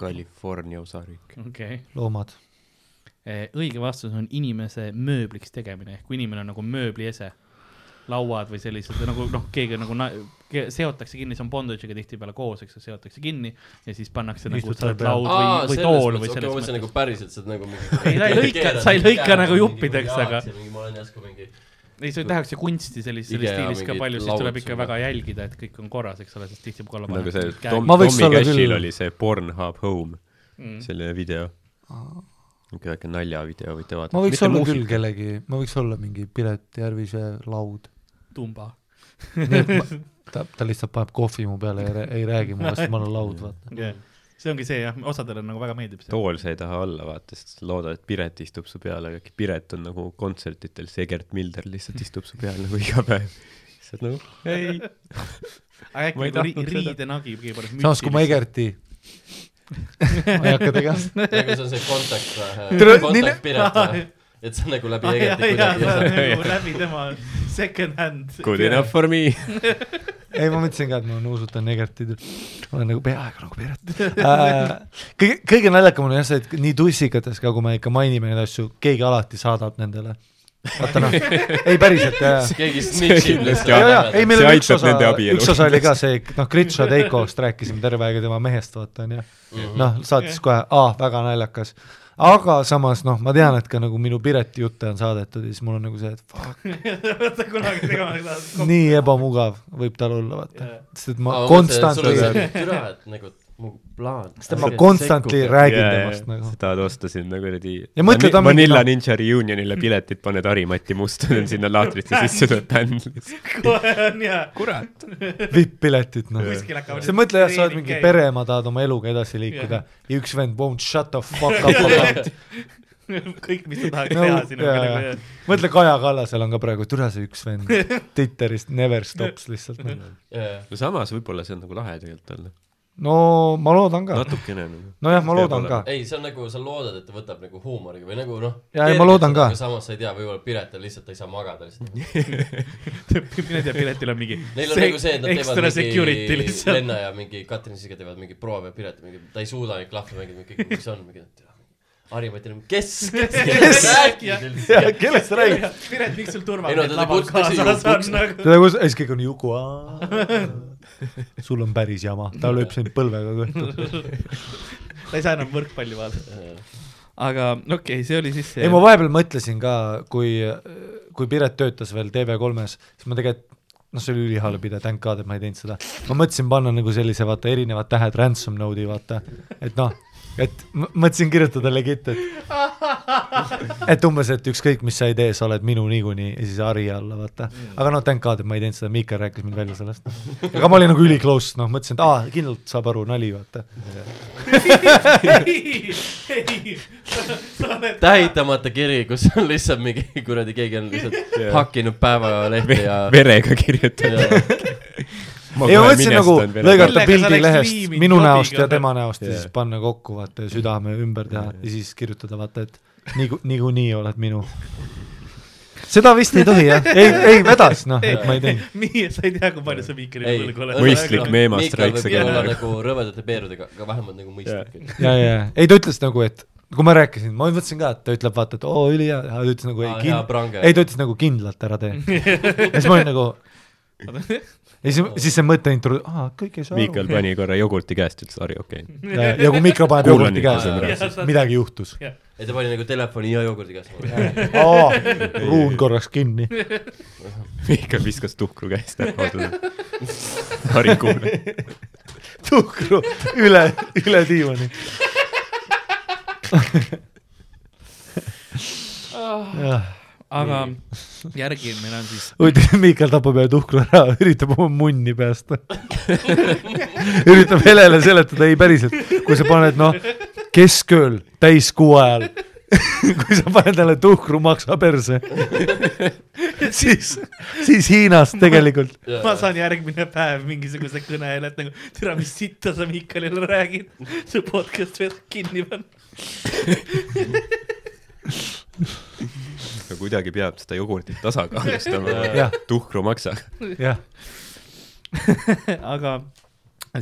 Speaker 5: California osariik .
Speaker 2: okei .
Speaker 4: loomad .
Speaker 2: Eh, õige vastus on inimese mööbliks tegemine , ehk kui inimene on nagu mööbliese . lauad või sellised nagu noh , keegi nagu na- ke- seotakse kinni , see on bondage'iga tihtipeale koos , eks ju , seotakse kinni ja siis pannakse nagu
Speaker 4: Istud
Speaker 2: sa oled
Speaker 4: selle peale.
Speaker 2: laud või
Speaker 3: aa ,,
Speaker 2: või
Speaker 3: selles
Speaker 2: tool või
Speaker 3: mõttes , okei ,
Speaker 2: selles
Speaker 3: ma mõtlesin
Speaker 2: mõttes .
Speaker 3: nagu päriselt , sa oled nagu mingi
Speaker 2: Ei, sa ei lõika- sa ei lõika nagu juppideks, aga-
Speaker 3: ma olen järsku mingi ,
Speaker 2: ei , see tehakse kunsti sellises selles
Speaker 3: IKEA
Speaker 2: stiilis ka
Speaker 3: nagu- mingid
Speaker 2: palju , siis
Speaker 3: laud
Speaker 2: tuleb ikka
Speaker 3: sulle.
Speaker 2: väga jälgida , et kõik on korras , eks ole , sest tihtipeale
Speaker 5: nagu see
Speaker 2: pannakse
Speaker 5: Tom ,
Speaker 4: Ma võiks
Speaker 5: Tommy
Speaker 4: olla
Speaker 5: Cashil
Speaker 4: küll-
Speaker 5: oli see Pornhub Home
Speaker 2: Mm.
Speaker 5: mm. , selline video . niisugune väike naljavideo võite vaadata .
Speaker 4: ma võiks olla küll . kellegi , ma võiks olla mingi Piret Järvise laud .
Speaker 2: tumba .
Speaker 4: Nii et ma- ta , ta lihtsalt paneb kohvi mu peale ja rää- ei räägi mulle , sest ma olen laud , vaata .
Speaker 2: see ongi see jah , osadele nagu väga meeldib see .
Speaker 5: tool sa ei taha alla vaata , sest loodad , et Piret istub su peal , aga äkki Piret on nagu kontsertidel , see Gerd Milder lihtsalt istub su peal nagu iga päev . sa oled nagu , ei ,
Speaker 2: aga äkki
Speaker 5: Ma ei
Speaker 2: nagu ri-
Speaker 5: tahtnud seda.
Speaker 2: riidenagi kõige parem .
Speaker 4: samas kui ma . Egerti ma ei hakka tegema .
Speaker 3: nagu see on see kontakt
Speaker 4: Tere- ,
Speaker 3: kontakt Piret , et sa nagu läbi tegelikult kuidagi ei saa .
Speaker 2: nagu läbi tema second hand .
Speaker 5: good enough . for me .
Speaker 4: ei , ma mõtlesin ka , et ma nuusutan Egerti , olen nagu peaaegu nagu Piret äh, . kõige , kõige naljakam on jah see , et nii tussikates ka , kui me ikka mainime neid asju , keegi alati saadab nendele . vaata noh , ei päriselt , jaa , jaa
Speaker 3: keegi snitšib
Speaker 4: ja , ja ,
Speaker 3: lihtsalt .
Speaker 4: ei , meil
Speaker 5: See
Speaker 4: oli üks
Speaker 5: aitab
Speaker 4: osa
Speaker 5: nende , abielu
Speaker 4: üks osa oli ka see , noh , Gritša Teikost rääkisime terve aeg ja tema mehest , vaata onju .
Speaker 2: Mhm.
Speaker 4: noh , saatis kohe , aa , väga naljakas . aga samas noh , ma tean , et ka nagu minu Pireti jutte on saadetud ja siis mul on nagu see , et fuck ,
Speaker 2: sa kunagi tegema ei saa .
Speaker 4: nii ebamugav võib tal olla , vaata
Speaker 2: Jaa. .
Speaker 4: sest et ma konstantselt ,
Speaker 3: türa , et nagu
Speaker 8: mu plaan .
Speaker 4: sest ma constantly räägin temast nagu .
Speaker 5: sa tahad osta sinna kuradi
Speaker 4: Ja mõtle, ta on mingi
Speaker 5: Vanilla
Speaker 4: noh-
Speaker 5: Ninja Reunionile piletid , paned Harimati Mustonen sinna laatrisse , sisse tuleb bänd lihtsalt .
Speaker 2: kohe on jaa ,
Speaker 5: kurat .
Speaker 4: vipp-piletid noh .
Speaker 2: kuskil hakkavad .
Speaker 4: sa mõtle jah , sa oled mingi . pere , ma tahad oma eluga edasi liikuda ja üks vend won't shut the fuck up about .
Speaker 2: kõik , mis sa tahaks
Speaker 4: No,
Speaker 2: teha sinuga
Speaker 4: jaa.
Speaker 2: nagu jah .
Speaker 4: mõtle , Kaja Kallasel on ka praegu , tule see üks vend Twitterist never stops lihtsalt noh .
Speaker 5: no samas võib-olla see on nagu lahe tegelikult olla .
Speaker 4: no ma loodan ka .
Speaker 5: natukene nagu .
Speaker 4: nojah , ma loodan ka .
Speaker 3: ei , see on nagu , sa loodad , et ta võtab nagu huumoriga või nagu noh .
Speaker 4: Jaa, ei, ma loodan ka.
Speaker 3: samas sa ei tea , võib-olla Piret on lihtsalt , ta ei saa magada lihtsalt .
Speaker 2: mina ei tea , Piretil on mingi .
Speaker 3: Neil on nagu see , et nad
Speaker 2: ekstra
Speaker 3: teevad
Speaker 2: security
Speaker 3: mingi
Speaker 2: lihtsalt .
Speaker 3: Lenna ja mingi Katrin Siga teevad mingi proove ja Piret mingi , ta ei suuda neid klahve mängida , mingi , mis on , mingi . Harimatil on , kes , kes , kes räägib üldse ?
Speaker 4: kellest sa räägid ?
Speaker 2: Piret , miks sul
Speaker 3: Ei no
Speaker 2: turvamees
Speaker 3: ta teeb
Speaker 2: laval
Speaker 3: uks- tõsi,
Speaker 2: kaasas on
Speaker 3: uks-
Speaker 2: nagu ?
Speaker 4: teda kus , siis kõik on Juku , sul on päris jama , ta lööb sind põlvega kõhtu .
Speaker 2: ta ei saa enam võrkpalli vaadata . aga okei okay, , see oli siis see
Speaker 4: ei , ma vahepeal mõtlesin ka , kui , kui Piret töötas veel TV3-s , siis ma tegelikult noh , see oli ülihalb idee , thank god , et ma ei teinud seda . ma mõtlesin panna nagu sellise , vaata , erinevad tähed ransom node'i , vaata , et noh , et ma- mõtlesin kirjutada legit , et et umbes , et ükskõik , mis sa ei tee , sa oled minu niikuinii ja siis hari alla , vaata . aga noh , thank god , et ma ei teinud seda , Miika rääkis mind välja sellest . aga ma olin nagu üliclose , noh , mõtlesin , et aa , kindlalt saab aru , nali , vaata .
Speaker 3: tähitamata kiri , kus on lihtsalt mingi kuradi , keegi on lihtsalt hakkinud päevalehte ja .
Speaker 5: verega kirjutad .
Speaker 4: ei ma mõtlesin nagu lõigata
Speaker 2: Millega sa
Speaker 4: pildi
Speaker 2: oleks
Speaker 4: lehest
Speaker 2: liiminud
Speaker 4: minu
Speaker 2: jobiga,
Speaker 4: näost ja
Speaker 2: vaata.
Speaker 4: tema näost ja
Speaker 5: Jaa.
Speaker 4: siis panna kokku vaata ja südame ümber teha ja siis kirjutada vaata , et niiku- , niikuinii oled minu . seda vist ei tohi jah , ei , ei vedas noh , et ma ei teinud .
Speaker 2: nii , sa ei tea , kui palju sa Miikri
Speaker 3: Ei,
Speaker 2: võlgu oled .
Speaker 5: mõistlik meemast
Speaker 3: Miikal
Speaker 5: väikse
Speaker 3: võib olla
Speaker 5: keelega .
Speaker 3: nagu rõvedate peerudega , aga vähemalt nagu mõistlik .
Speaker 4: ja , ja , ei ta ütles nagu , et kui ma rääkisin , ma mõtlesin ka , et ta ütleb vaata , et oo ülihea , aga ta ütles nagu ei
Speaker 3: Aa, hea
Speaker 4: kind-
Speaker 3: prange. ,
Speaker 4: ei ta ütles nagu kindlalt ära tee . ja siis ma olin nagu , ja siis , siis see mõte intro , aa kõik ei saa
Speaker 5: Miikal
Speaker 4: aru .
Speaker 5: pani korra jogurti käest , ütles Harri , okei okay. .
Speaker 4: ja ja kui mikro paneb
Speaker 5: Kuulan
Speaker 4: jogurti
Speaker 5: ikka
Speaker 3: seda.
Speaker 4: käes , midagi juhtus .
Speaker 3: ei ta pani nagu telefoni ja jogurdi käest .
Speaker 4: aa , ruun korraks kinni .
Speaker 5: Miikal viskas tuhkru käest ära . Harri kuulab .
Speaker 4: tuhkru üle , üle diivani .
Speaker 2: aga järgmine on siis ,
Speaker 4: huvitav , Miikal tapab ühe tuhkru ära , üritab oma munni päästa . üritab Helele seletada , ei päriselt , kui sa paned noh , keskööl täiskuu ajal , kui sa paned talle tuhkru maksa perse , siis , siis Hiinas tegelikult
Speaker 2: ma saan järgmine päev mingisuguse kõne jälle , et nagu türa , mis sitta sa Miikalile räägid , su podcast peab kinni panna .
Speaker 5: aga kuidagi peab seda jogurtit tasakaalustama
Speaker 4: Jah.
Speaker 5: tuhkru maksaga .
Speaker 4: jah ,
Speaker 2: aga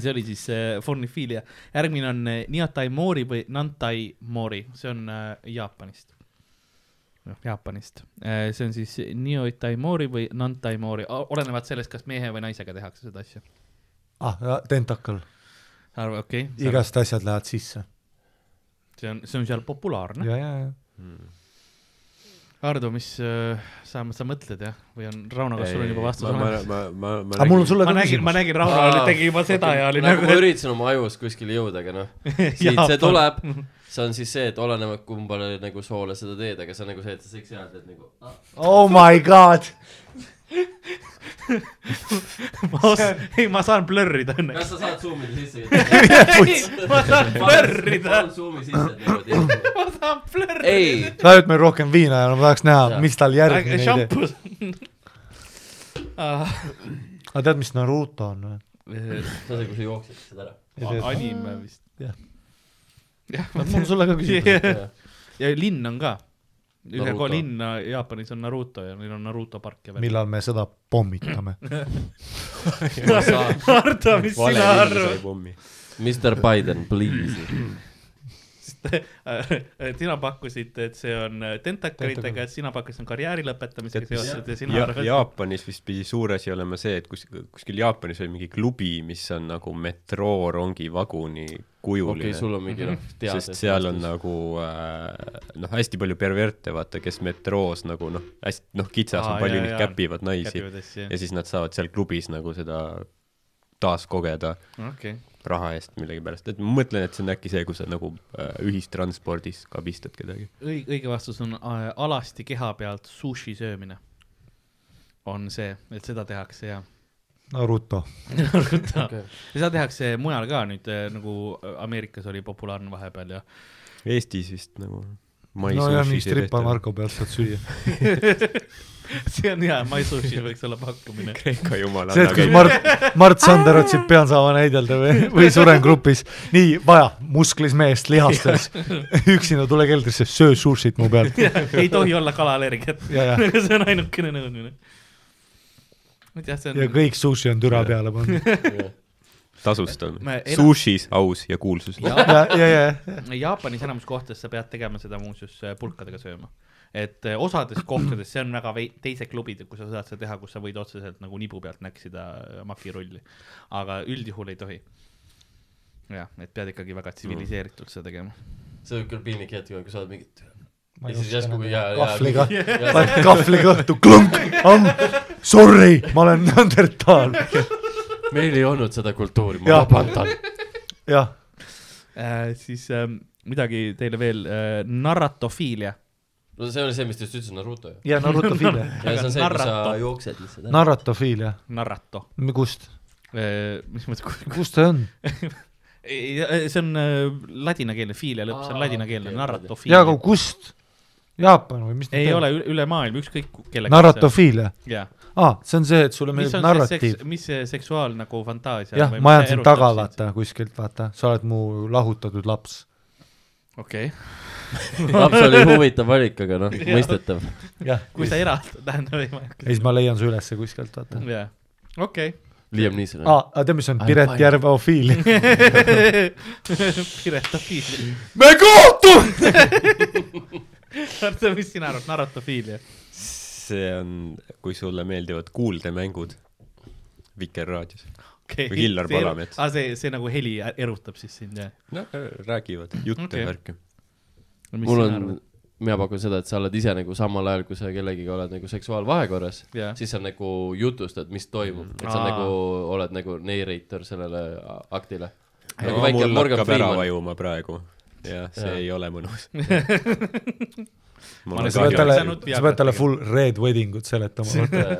Speaker 2: see oli siis äh, Fornifilia , järgmine on äh, Niatai Mori või Nantai Mori , see on äh, Jaapanist . noh , Jaapanist , see on siis Niatai Mori või Nantai Mori , olenevalt sellest , kas mehe või naisega tehakse seda asja .
Speaker 4: ah, tentakal ,
Speaker 2: arva , okei okay. ,
Speaker 4: igast asjad lähevad sisse .
Speaker 2: see on , see on seal populaarne .
Speaker 4: ja , ja , ja .
Speaker 2: Hardo , mis äh, sa , sa mõtled jah , või on Rauno , kas sul on juba vastus
Speaker 5: ma ,
Speaker 2: olemas ?
Speaker 5: ma , ma , ma
Speaker 4: aga mul on . sulle
Speaker 2: ma
Speaker 4: ka
Speaker 2: nägin , ma
Speaker 4: küsimus .
Speaker 2: nägin , Rauno oli- tegi juba seda ja oli nagu
Speaker 3: ma , üritasin oma ajus kuskile jõuda , aga noh , siit see tuleb , see on siis see , et olenevalt kumbale nagu soole seda teed , aga see on nagu see , et sa seks jääd , et nagu ah,
Speaker 4: oh my god ,
Speaker 2: ei , ma saan blörrida õnneks .
Speaker 3: kas sa saad suumida sisse ?
Speaker 2: ma saan blörrida ,
Speaker 3: suumi sisse , et nagu teed .
Speaker 2: ma saan blörrida .
Speaker 3: ei ,
Speaker 4: sa oled meil rohkem viina ja ma tahaks näha , mis tal järgmine
Speaker 2: Aga
Speaker 4: idee .
Speaker 2: šampus .
Speaker 4: aga tead , mis Naruto on või ?
Speaker 3: see on see , kui sa jooksed seda ära .
Speaker 2: anime vist .
Speaker 4: Jah.
Speaker 2: jah ,
Speaker 4: mul on sulle ka küsimus .
Speaker 2: ja linn on ka . ühe
Speaker 3: Naruto.
Speaker 2: koha linna Jaapanis on Naruto ja neil on Naruto park ja .
Speaker 4: millal me seda pommitame ?
Speaker 2: Ardo , mis sina arvad ?
Speaker 3: Mr Biden , please .
Speaker 2: Äh, sina pakkusid , et see on tentaklitega , sina pakkusid karjääri lõpetamisega seoses ja sina
Speaker 5: ja,
Speaker 2: arvad ,
Speaker 5: Jaapanis vist pidi suur asi olema see , et kus , kuskil Jaapanis oli mingi klubi , mis on nagu metroorongi vaguni kujuline Mhm.
Speaker 3: okei , sul on mingi noh , tead .
Speaker 5: sest seal on . nagu äh, noh , hästi palju perverte , vaata , kes metroos nagu noh , hästi noh , kitsas
Speaker 2: Aa,
Speaker 5: on palju ,
Speaker 2: jaa,
Speaker 5: neid
Speaker 2: jaa.
Speaker 5: käpivad naisi
Speaker 2: Käpivad asju, jah.
Speaker 5: ja siis nad saavad seal klubis nagu seda taaskogeda
Speaker 2: okei ,
Speaker 5: raha eest millegipärast , et ma mõtlen , et see on äkki see , kus sa nagu äh, ühistranspordis kabistad kedagi .
Speaker 2: õige , õige vastus on äh, alasti keha pealt sushi söömine . on see , et seda tehakse ja
Speaker 4: Naruto .
Speaker 2: okay. . seda tehakse mujal ka nüüd äh, nagu äh, Ameerikas oli populaarne vahepeal ja
Speaker 5: Eestis vist nagu .
Speaker 4: nojah , mingi stripa . Marko pealt saad süüa .
Speaker 2: see on hea , my sushi võiks olla pakkumine .
Speaker 5: Kreeka jumal
Speaker 4: see , et kus . Mart , Mart Sander otsib peansaava näidelda või , või suren grupis . nii , vaja , musklis meest lihastes . üksinda tule keldrisse , söö sushit mu pealt .
Speaker 2: ei tohi olla kalaallergiat .
Speaker 4: ja , ja ,
Speaker 2: see on ainukene nõudmine . ma ei tea , see
Speaker 4: ja
Speaker 2: on .
Speaker 4: kõik sushi on türa peale pandud .
Speaker 5: nagu- tasustamine
Speaker 2: Me ena- .
Speaker 5: Sushis aus ja kuulsus .
Speaker 4: ja , ja , ja ,
Speaker 2: Jaapanis enamus kohtades sa pead tegema seda muuseas äh, pulkadega sööma . et äh, osades kohtades , see on väga vei- , teised klubid , kus sa saad seda teha , kus sa võid otseselt nagu nibu pealt näksida äh, makirulli . aga üldjuhul ei tohi . jah , et pead ikkagi väga tsiviliseeritult seda tegema .
Speaker 3: see võib küll piinlik hetk olla , kui sa oled mingi .
Speaker 4: Ma ei
Speaker 3: ja siis
Speaker 4: oska
Speaker 3: järsku
Speaker 4: enam. ,
Speaker 3: ja , ja .
Speaker 4: Kahvliga. paned kahvliga õhtu , klõmp , amm , sorry , ma olen Neandertal .
Speaker 3: meil ei olnud seda kultuuri , ma
Speaker 4: Jah.
Speaker 3: vabandan .
Speaker 4: jah ,
Speaker 2: äh, . siis äh, midagi teile veel äh, , narratofiilia .
Speaker 3: no see oli see , mis te just ütlesite , Naruto ju .
Speaker 4: ja Narutofiilia ,
Speaker 3: ja see on see , kus sa
Speaker 2: Narrato.
Speaker 3: jooksed lihtsalt ära .
Speaker 4: Narutofiilia ,
Speaker 2: Narrato
Speaker 4: kust ,
Speaker 2: äh, , mis mõttes ,
Speaker 4: kust see on ?
Speaker 2: see on äh, ladinakeelne , fiilia lõpp , see on
Speaker 3: Aa,
Speaker 2: ladinakeelne
Speaker 3: okei, ,
Speaker 4: jaa ,
Speaker 2: narratofiilia
Speaker 4: aga . kust ? Jaapan või mis nad
Speaker 2: ei
Speaker 4: teevad?
Speaker 2: ole üle, üle maailma , ükskõik kellega .
Speaker 4: narratofiilia ,
Speaker 2: jaa ,
Speaker 4: aa , see on see , et sulle
Speaker 2: mis
Speaker 4: meeldib
Speaker 2: on narratiiv. see
Speaker 4: narratiiv
Speaker 2: seks, , mis see seksuaal nagu fantaasia
Speaker 4: jah , ma ajan sind taga ,. vaata kuskilt , vaata , sa oled mu lahutatud laps .
Speaker 2: okei okay. ,
Speaker 3: laps oli huvitav valik , aga noh , mõistetav .
Speaker 4: jah ,
Speaker 2: kui sa eraldad , tähendab ei ma ei
Speaker 4: ja siis ma leian su ülesse kuskilt , vaata .
Speaker 2: hakka , jaa , okei .
Speaker 3: Liam Neeson on .
Speaker 4: aa , aga tead , mis on Piret Järveofiilia ?
Speaker 2: Piretofiilia ,
Speaker 4: me kohtume !
Speaker 2: Arto , mis sina arvad , narratofiilia ?
Speaker 5: see on , kui sulle meeldivad kuuldemängud Vikerraadios .
Speaker 2: okay. .
Speaker 5: Või Hillar Palamets.
Speaker 2: aa , see , see nagu heli erutab siis sind , jah ?
Speaker 5: noh , räägivad jutte
Speaker 2: Okei.
Speaker 5: okay. värki .
Speaker 3: mul on , mina pakun seda , et sa oled ise nagu samal ajal , kui sa kellegiga oled nagu seksuaalvahekorras
Speaker 2: Jah.
Speaker 3: siis sa nagu jutustad , mis toimub , et sa
Speaker 2: Aa.
Speaker 3: nagu oled nagu narrator sellele a- aktile .
Speaker 5: No,
Speaker 3: nagu väike
Speaker 5: mul
Speaker 3: Morgan
Speaker 5: hakkab ära
Speaker 3: Freeman .
Speaker 5: vajuma praegu . jah , see
Speaker 3: Jaa.
Speaker 5: ja. ei ole mõnus .
Speaker 2: olen
Speaker 4: sa pead talle
Speaker 2: Ei saanud ,
Speaker 4: sa pead talle
Speaker 2: Viagrat
Speaker 4: full red wedding ut seletama .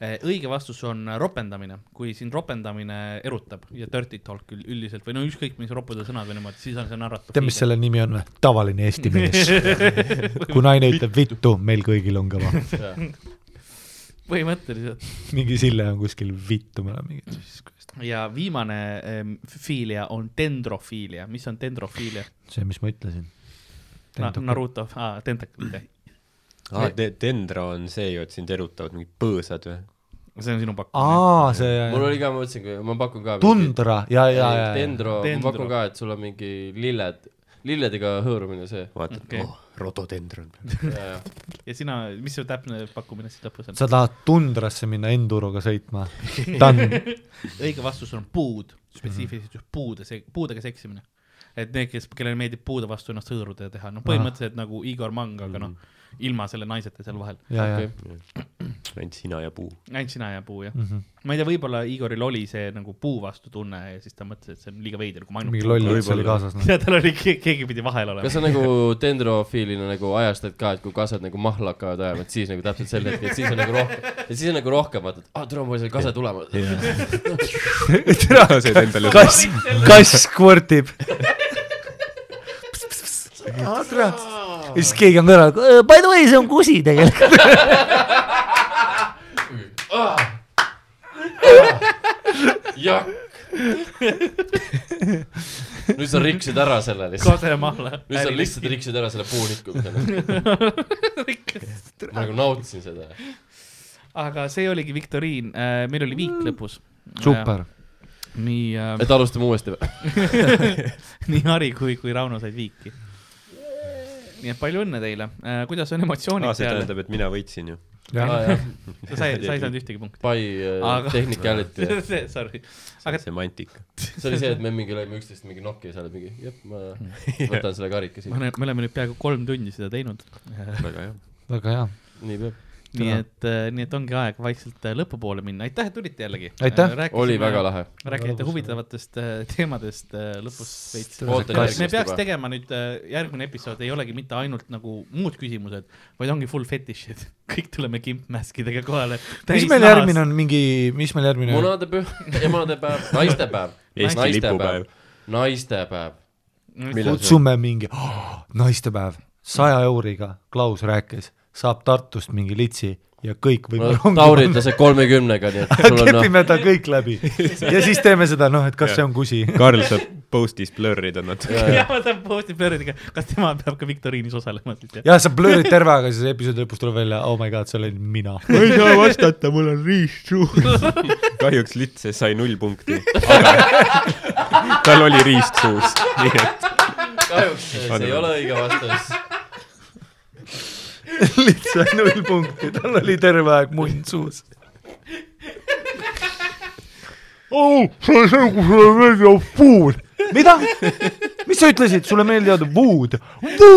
Speaker 2: Eh, õige vastus on äh, ropendamine , kui sind ropendamine erutab ja dirty talk ül- üldiselt või no ükskõik mis ropude sõnad või niimoodi , siis on see narratiiv .
Speaker 4: tead , mis selle nimi on või ? tavaline eesti mees . kui naine ütleb vittu , meil kõigil on kõva .
Speaker 2: põhimõtteliselt
Speaker 4: mingi Sille on kuskil vittu , me oleme mingid .
Speaker 2: ja viimane ähm, fiilia on dendrofiilia , mis on dendrofiilia ?
Speaker 4: see , mis ma ütlesin .
Speaker 2: Naruto , aa , tentaklid jah ,
Speaker 5: aa , Dendro Ah, on see ju , et sind erutavad mingid põõsad või ?
Speaker 2: see on sinu pakkumine .
Speaker 4: aa , see ,
Speaker 3: mul oli ka , ma mõtlesin , ma pakun ka .
Speaker 4: Tundra ja , ja , ja , ja .
Speaker 3: Dendro , ma
Speaker 2: Dendro.
Speaker 3: pakun ka , et sul on mingi lilled , lilledega hõõrumine see .
Speaker 5: vaatad
Speaker 2: Okei.
Speaker 5: okay. , oh , rododendron .
Speaker 2: ja sina , mis su täpne pakkumine siis lõpus on ?
Speaker 4: sa tahad tundrasse minna enduroga sõitma ? ta on ,
Speaker 2: õige vastus on puud , spetsiifiliselt
Speaker 4: Mhm.
Speaker 2: just puude , see puudega seksimine . et need , kes , kellele meeldib puude vastu ennast hõõruda ja teha , noh , põhimõtteliselt nagu Igor Mang , aga noh , ilma selle naiseta seal vahel .
Speaker 4: Mhm. ja , ja ,
Speaker 5: ainult sina ja puu .
Speaker 2: ainult sina ja puu , jah
Speaker 4: Mhm.
Speaker 2: mm . -hmm. ma ei tea , võib-olla Igoril oli see nagu puu vastu tunne ja siis ta mõtles , et see on liiga veider , kui ma
Speaker 4: mingi
Speaker 2: ainult .
Speaker 4: loll üldse oli kaasas , noh .
Speaker 2: ja tal oli , keegi pidi vahel olema
Speaker 3: kas . sa nagu dendrofiilina nagu ajastad ka , et kui kasad nagu mahla hakkavad ajama , et siis nagu täpselt sel hetkel , et siis on nagu rohkem , et siis on nagu rohkem vaatad , aa , tule mul see kase tulema .
Speaker 5: lased endale
Speaker 4: kass , kass kvortib . ja siis keegi on kõrval ,
Speaker 6: eh,
Speaker 4: by the way , see on kusi tegelikult .
Speaker 3: jah . nüüd sa rikkusid ära selle lihtsalt .
Speaker 2: kasemahla .
Speaker 3: nüüd sa lihtsalt rikkusid ära selle puunikkumise . ma nagu nautisin seda .
Speaker 2: aga see oligi viktoriin , meil oli
Speaker 3: Mm.
Speaker 2: viik lõpus .
Speaker 4: super ,
Speaker 2: nii ,
Speaker 3: et alustame uuesti või ?
Speaker 2: nii Harri kui , kui Rauno said viiki . nii et palju õnne teile , kuidas on emotsioonid
Speaker 5: aa , Ah, see
Speaker 2: peal ?
Speaker 5: tähendab , et mina võitsin ju .
Speaker 4: jah ,
Speaker 2: sa sai , sa ei saanud ühtegi punkti .
Speaker 3: By
Speaker 2: Aga-
Speaker 3: Ah, äh, technicality .
Speaker 2: Sorry ,
Speaker 5: see
Speaker 2: Aga-
Speaker 5: on semantika .
Speaker 3: see oli see , et me mingi lõime üksteist mingi nokki ja sa oled mingi , jah , ma võtan selle karika
Speaker 2: me
Speaker 3: siin .
Speaker 2: oleme , me oleme nüüd peaaegu kolm tundi seda teinud .
Speaker 5: väga hea .
Speaker 4: väga hea .
Speaker 3: nii peab .
Speaker 2: nii et , nii et ongi aeg vaikselt äh, lõpupoole minna , aitäh , et tulite jällegi .
Speaker 4: Aitäh!
Speaker 3: oli väga . lahe .
Speaker 2: rääkisite huvitavatest äh, teemadest äh, lõpus veits .
Speaker 3: ootan
Speaker 2: me
Speaker 3: järgmist
Speaker 2: peaks
Speaker 3: juba .
Speaker 2: tegema nüüd äh, järgmine episood ei olegi mitte ainult nagu muud küsimused , vaid ongi full fetišid . kõik tuleme kimpmaskidega kohale .
Speaker 4: mis meil järgmine on , mingi , mis meil järgmine on ?
Speaker 3: munadepüh , emadepäev , naistepäev .
Speaker 5: Eesti lipupäev. .
Speaker 3: naistepäv .
Speaker 2: on ?
Speaker 3: millal see on ?
Speaker 4: kutsume mingi oh, naistepäev , saja euriga , Klaus rääkis , saab Tartust mingi litsi ja kõik
Speaker 3: no
Speaker 4: võib rongi
Speaker 3: Tauri ütles , et kolmekümnega , nii et sul on noh ,
Speaker 4: kepime ta kõik läbi ja siis teeme seda , noh , et kas see on kusi .
Speaker 5: Karl saab postis blurrida natuke .
Speaker 2: jah , ma saan posti plööridega , kas tema peab ka viktoriinis osalema siis jah ?
Speaker 4: jah , sa blurrid terve aega , siis episoodi lõpus tuleb välja , oh my god , see olin mina .
Speaker 9: ei saa vastata , mul on riist suus .
Speaker 5: kahjuks litse sai null punkti , aga tal oli riist suus , nii et
Speaker 3: kahjuks see ei ole õige vastus .
Speaker 4: lihtsalt null punkti , tal oli terve aeg munn suus . oh , see on see , kui sulle meeldib puud . mida ? mis sa ütlesid , sulle meeldivad puud ?
Speaker 3: Ah,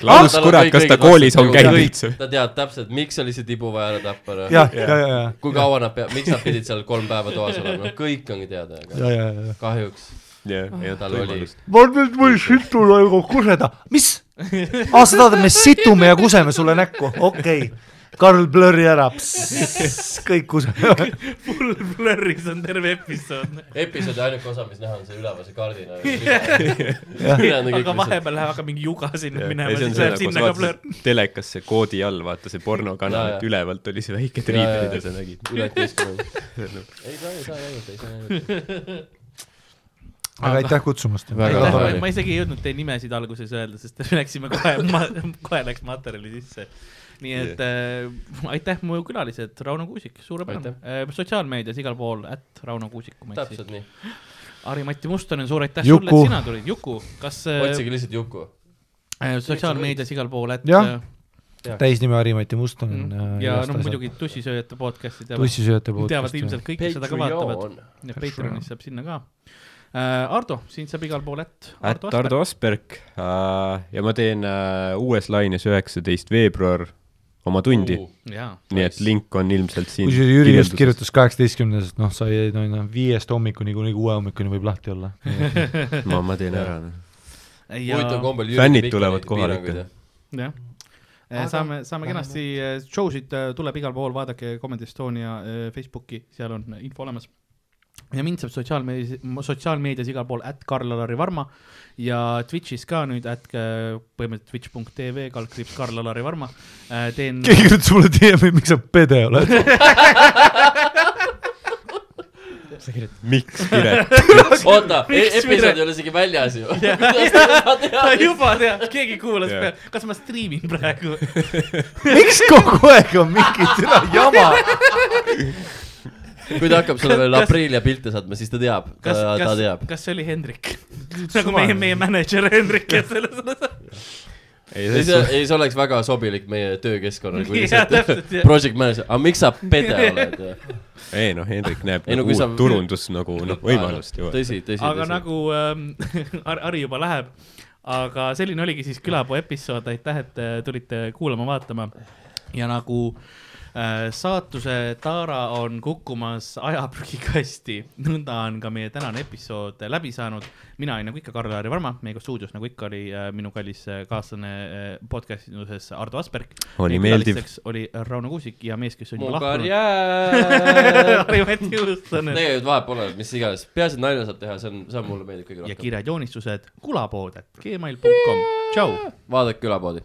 Speaker 5: Klaus , kurat , kas ta koolis on käinud üldse ?
Speaker 3: ta teab täpselt , miks oli see tibu vaja ära tappa .
Speaker 4: jah , ja , ja , ja ,
Speaker 3: kui kaua nad peab , miks nad pidid seal kolm päeva toas olema , noh kõik ongi teada , aga
Speaker 4: ja , ja , ja .
Speaker 3: kahjuks
Speaker 5: jah , jah ,
Speaker 3: Ah. tal oli .
Speaker 4: ma nüüd võin situna ja kuseda . mis ? aa , sa tahad , et me situme ja kuseme sulle näkku ? okei okay. . Karl blurri ära , kõik kusevad .
Speaker 2: full blurris on terve episood .
Speaker 3: episoodi ainuke osa , mis näha on see üleval see kardina . ülejäänud on kõik
Speaker 2: aga
Speaker 3: lihtsalt ,
Speaker 2: vahepeal läheb , hakkab mingi juga sinna minema ,
Speaker 5: ja see on
Speaker 2: siis
Speaker 5: see
Speaker 2: läheb ,
Speaker 5: kus
Speaker 2: sinna ka blurr .
Speaker 5: vaatasid telekas see koodi all , vaata see pornokanal ,
Speaker 3: Jaa,
Speaker 5: et
Speaker 3: jaa.
Speaker 5: ülevalt oli see väike
Speaker 3: Jaa,
Speaker 5: triibel ,
Speaker 3: jaa.
Speaker 5: mida sa nägid .
Speaker 3: üle kuuskümmend . ei saa , ei saa jäänud , ei saa jäänud .
Speaker 4: aga aitäh kutsumast .
Speaker 3: Väga
Speaker 4: tore
Speaker 3: tore.
Speaker 4: oli.
Speaker 2: ma isegi ei jõudnud teie nimesid alguses öelda , sest läksime kohe , kohe läks materjali sisse . nii et äh, aitäh mu külalised , Rauno Kuusik , suurepärane äh, . sotsiaalmeedias igal pool , ätt Rauno Kuusik , kui ma ei eksi .
Speaker 3: täpselt nii ,
Speaker 2: Harri-Mati Mustonen , suur aitäh sulle ,
Speaker 4: Juku.
Speaker 2: et sina tulid . Juku , kas äh,
Speaker 3: otsige lihtsalt Juku .
Speaker 2: äh, sotsiaalmeedias igal pool , ätt
Speaker 4: Jah.
Speaker 2: äh,
Speaker 4: täisnimi Harri-Mati Mustonen
Speaker 2: Mm. . ja no muidugi . tussisööjate podcast'i teavad ,
Speaker 4: tussisööjate poolt .
Speaker 2: teavad ilmselt kõik , kes seda ka vaatavad .
Speaker 3: Patreon.
Speaker 2: ja Patreonis saab sinna ka . Ardo , sind saab igal pool , et
Speaker 5: At Ardo Asperg äh, ja ma teen äh, uues laines üheksateist veebruar oma tundi ,
Speaker 2: jaa ,
Speaker 5: nii et link on ilmselt siin .
Speaker 4: kusjuures Jüri just . kirjutas kaheksateistkümnendast , noh , sa ei , no , no viiest hommikuni kuni kuue hommikuni võib lahti olla .
Speaker 5: ma , ma teen ära . noh.
Speaker 3: huvitav
Speaker 2: ja ,
Speaker 3: kombel .
Speaker 5: Fännid tulevad kohale ikka. .
Speaker 2: jah . saame , saame kenasti , show sid äh, tuleb igal pool , vaadake Comedy Estonia äh, Facebooki , seal on info olemas . ja mind saab sotsiaalmeedias , sotsiaalmeedias igal pool , at Karl-Alari Varma ja Twitch'is ka nüüd , at äh, põhimõtteliselt twitch.tv , kaldkriips Karl-Alari Varma . teen ,
Speaker 4: keegi kirjutas mulle DM-i , miks sa pede oled .
Speaker 5: miks , Piret ?
Speaker 3: oota ,
Speaker 2: Miks
Speaker 3: episood
Speaker 2: Piret-
Speaker 3: ei ole isegi väljas ju .
Speaker 2: ta juba teab , keegi kuulas
Speaker 5: Jah.
Speaker 2: peale , kas ma striimin praegu
Speaker 4: miks kogu aeg on mingi seda jama ?
Speaker 3: kui ta hakkab sulle veel
Speaker 2: Kas-
Speaker 3: aprilli ja pilte saatma , siis ta teab , ta
Speaker 2: kas ,
Speaker 3: ta
Speaker 2: kas
Speaker 3: teab ,.
Speaker 2: kas see oli Hendrik ? nagu meie , meie mänedžer Hendrik , kes selle sõnas .
Speaker 3: ei ,
Speaker 5: ei ,
Speaker 3: see , ei , see oleks väga sobilik meie töökeskkonnale , kui
Speaker 2: Jaa, täpselt,
Speaker 3: lihtsalt
Speaker 2: jah.
Speaker 3: project manager , aga miks sa pede oled ?
Speaker 5: ei noh , Hendrik näeb
Speaker 3: Ei, no
Speaker 5: nagu
Speaker 3: kui
Speaker 5: uut
Speaker 3: sa-
Speaker 5: turundus nagu noh , võimalust ju .
Speaker 3: tõsi , tõsi ,
Speaker 2: aga
Speaker 3: tõsi .
Speaker 2: nagu ähm, Har- Harri juba läheb , aga selline oligi siis külapuu episood , aitäh , et äh, tulite kuulama-vaatama ja nagu äh, saatuse taara on kukkumas ajaprügikasti , nõnda on ka meie tänane episood läbi saanud . mina olin nagu ikka Karl-Lari Varma , meiega stuudios nagu ikka oli äh, minu kallis äh, kaaslane äh, podcast'i induses Ardo Asperg .
Speaker 5: Oli meeldiv. .
Speaker 2: oli Rauno Kuusik ja mees , kes on
Speaker 3: mu
Speaker 2: juba lahkunud .
Speaker 3: karjäär .
Speaker 2: Harri-Mati Juustonen .
Speaker 3: tegelikult vahet pole , mis iganes , peaasi , et nalja saab teha , see on , see on mulle meeldib kõige
Speaker 2: ja
Speaker 3: rohkem .
Speaker 2: kiired joonistused kulapood , et gmail.com , tšau .
Speaker 3: vaadake külapoodi .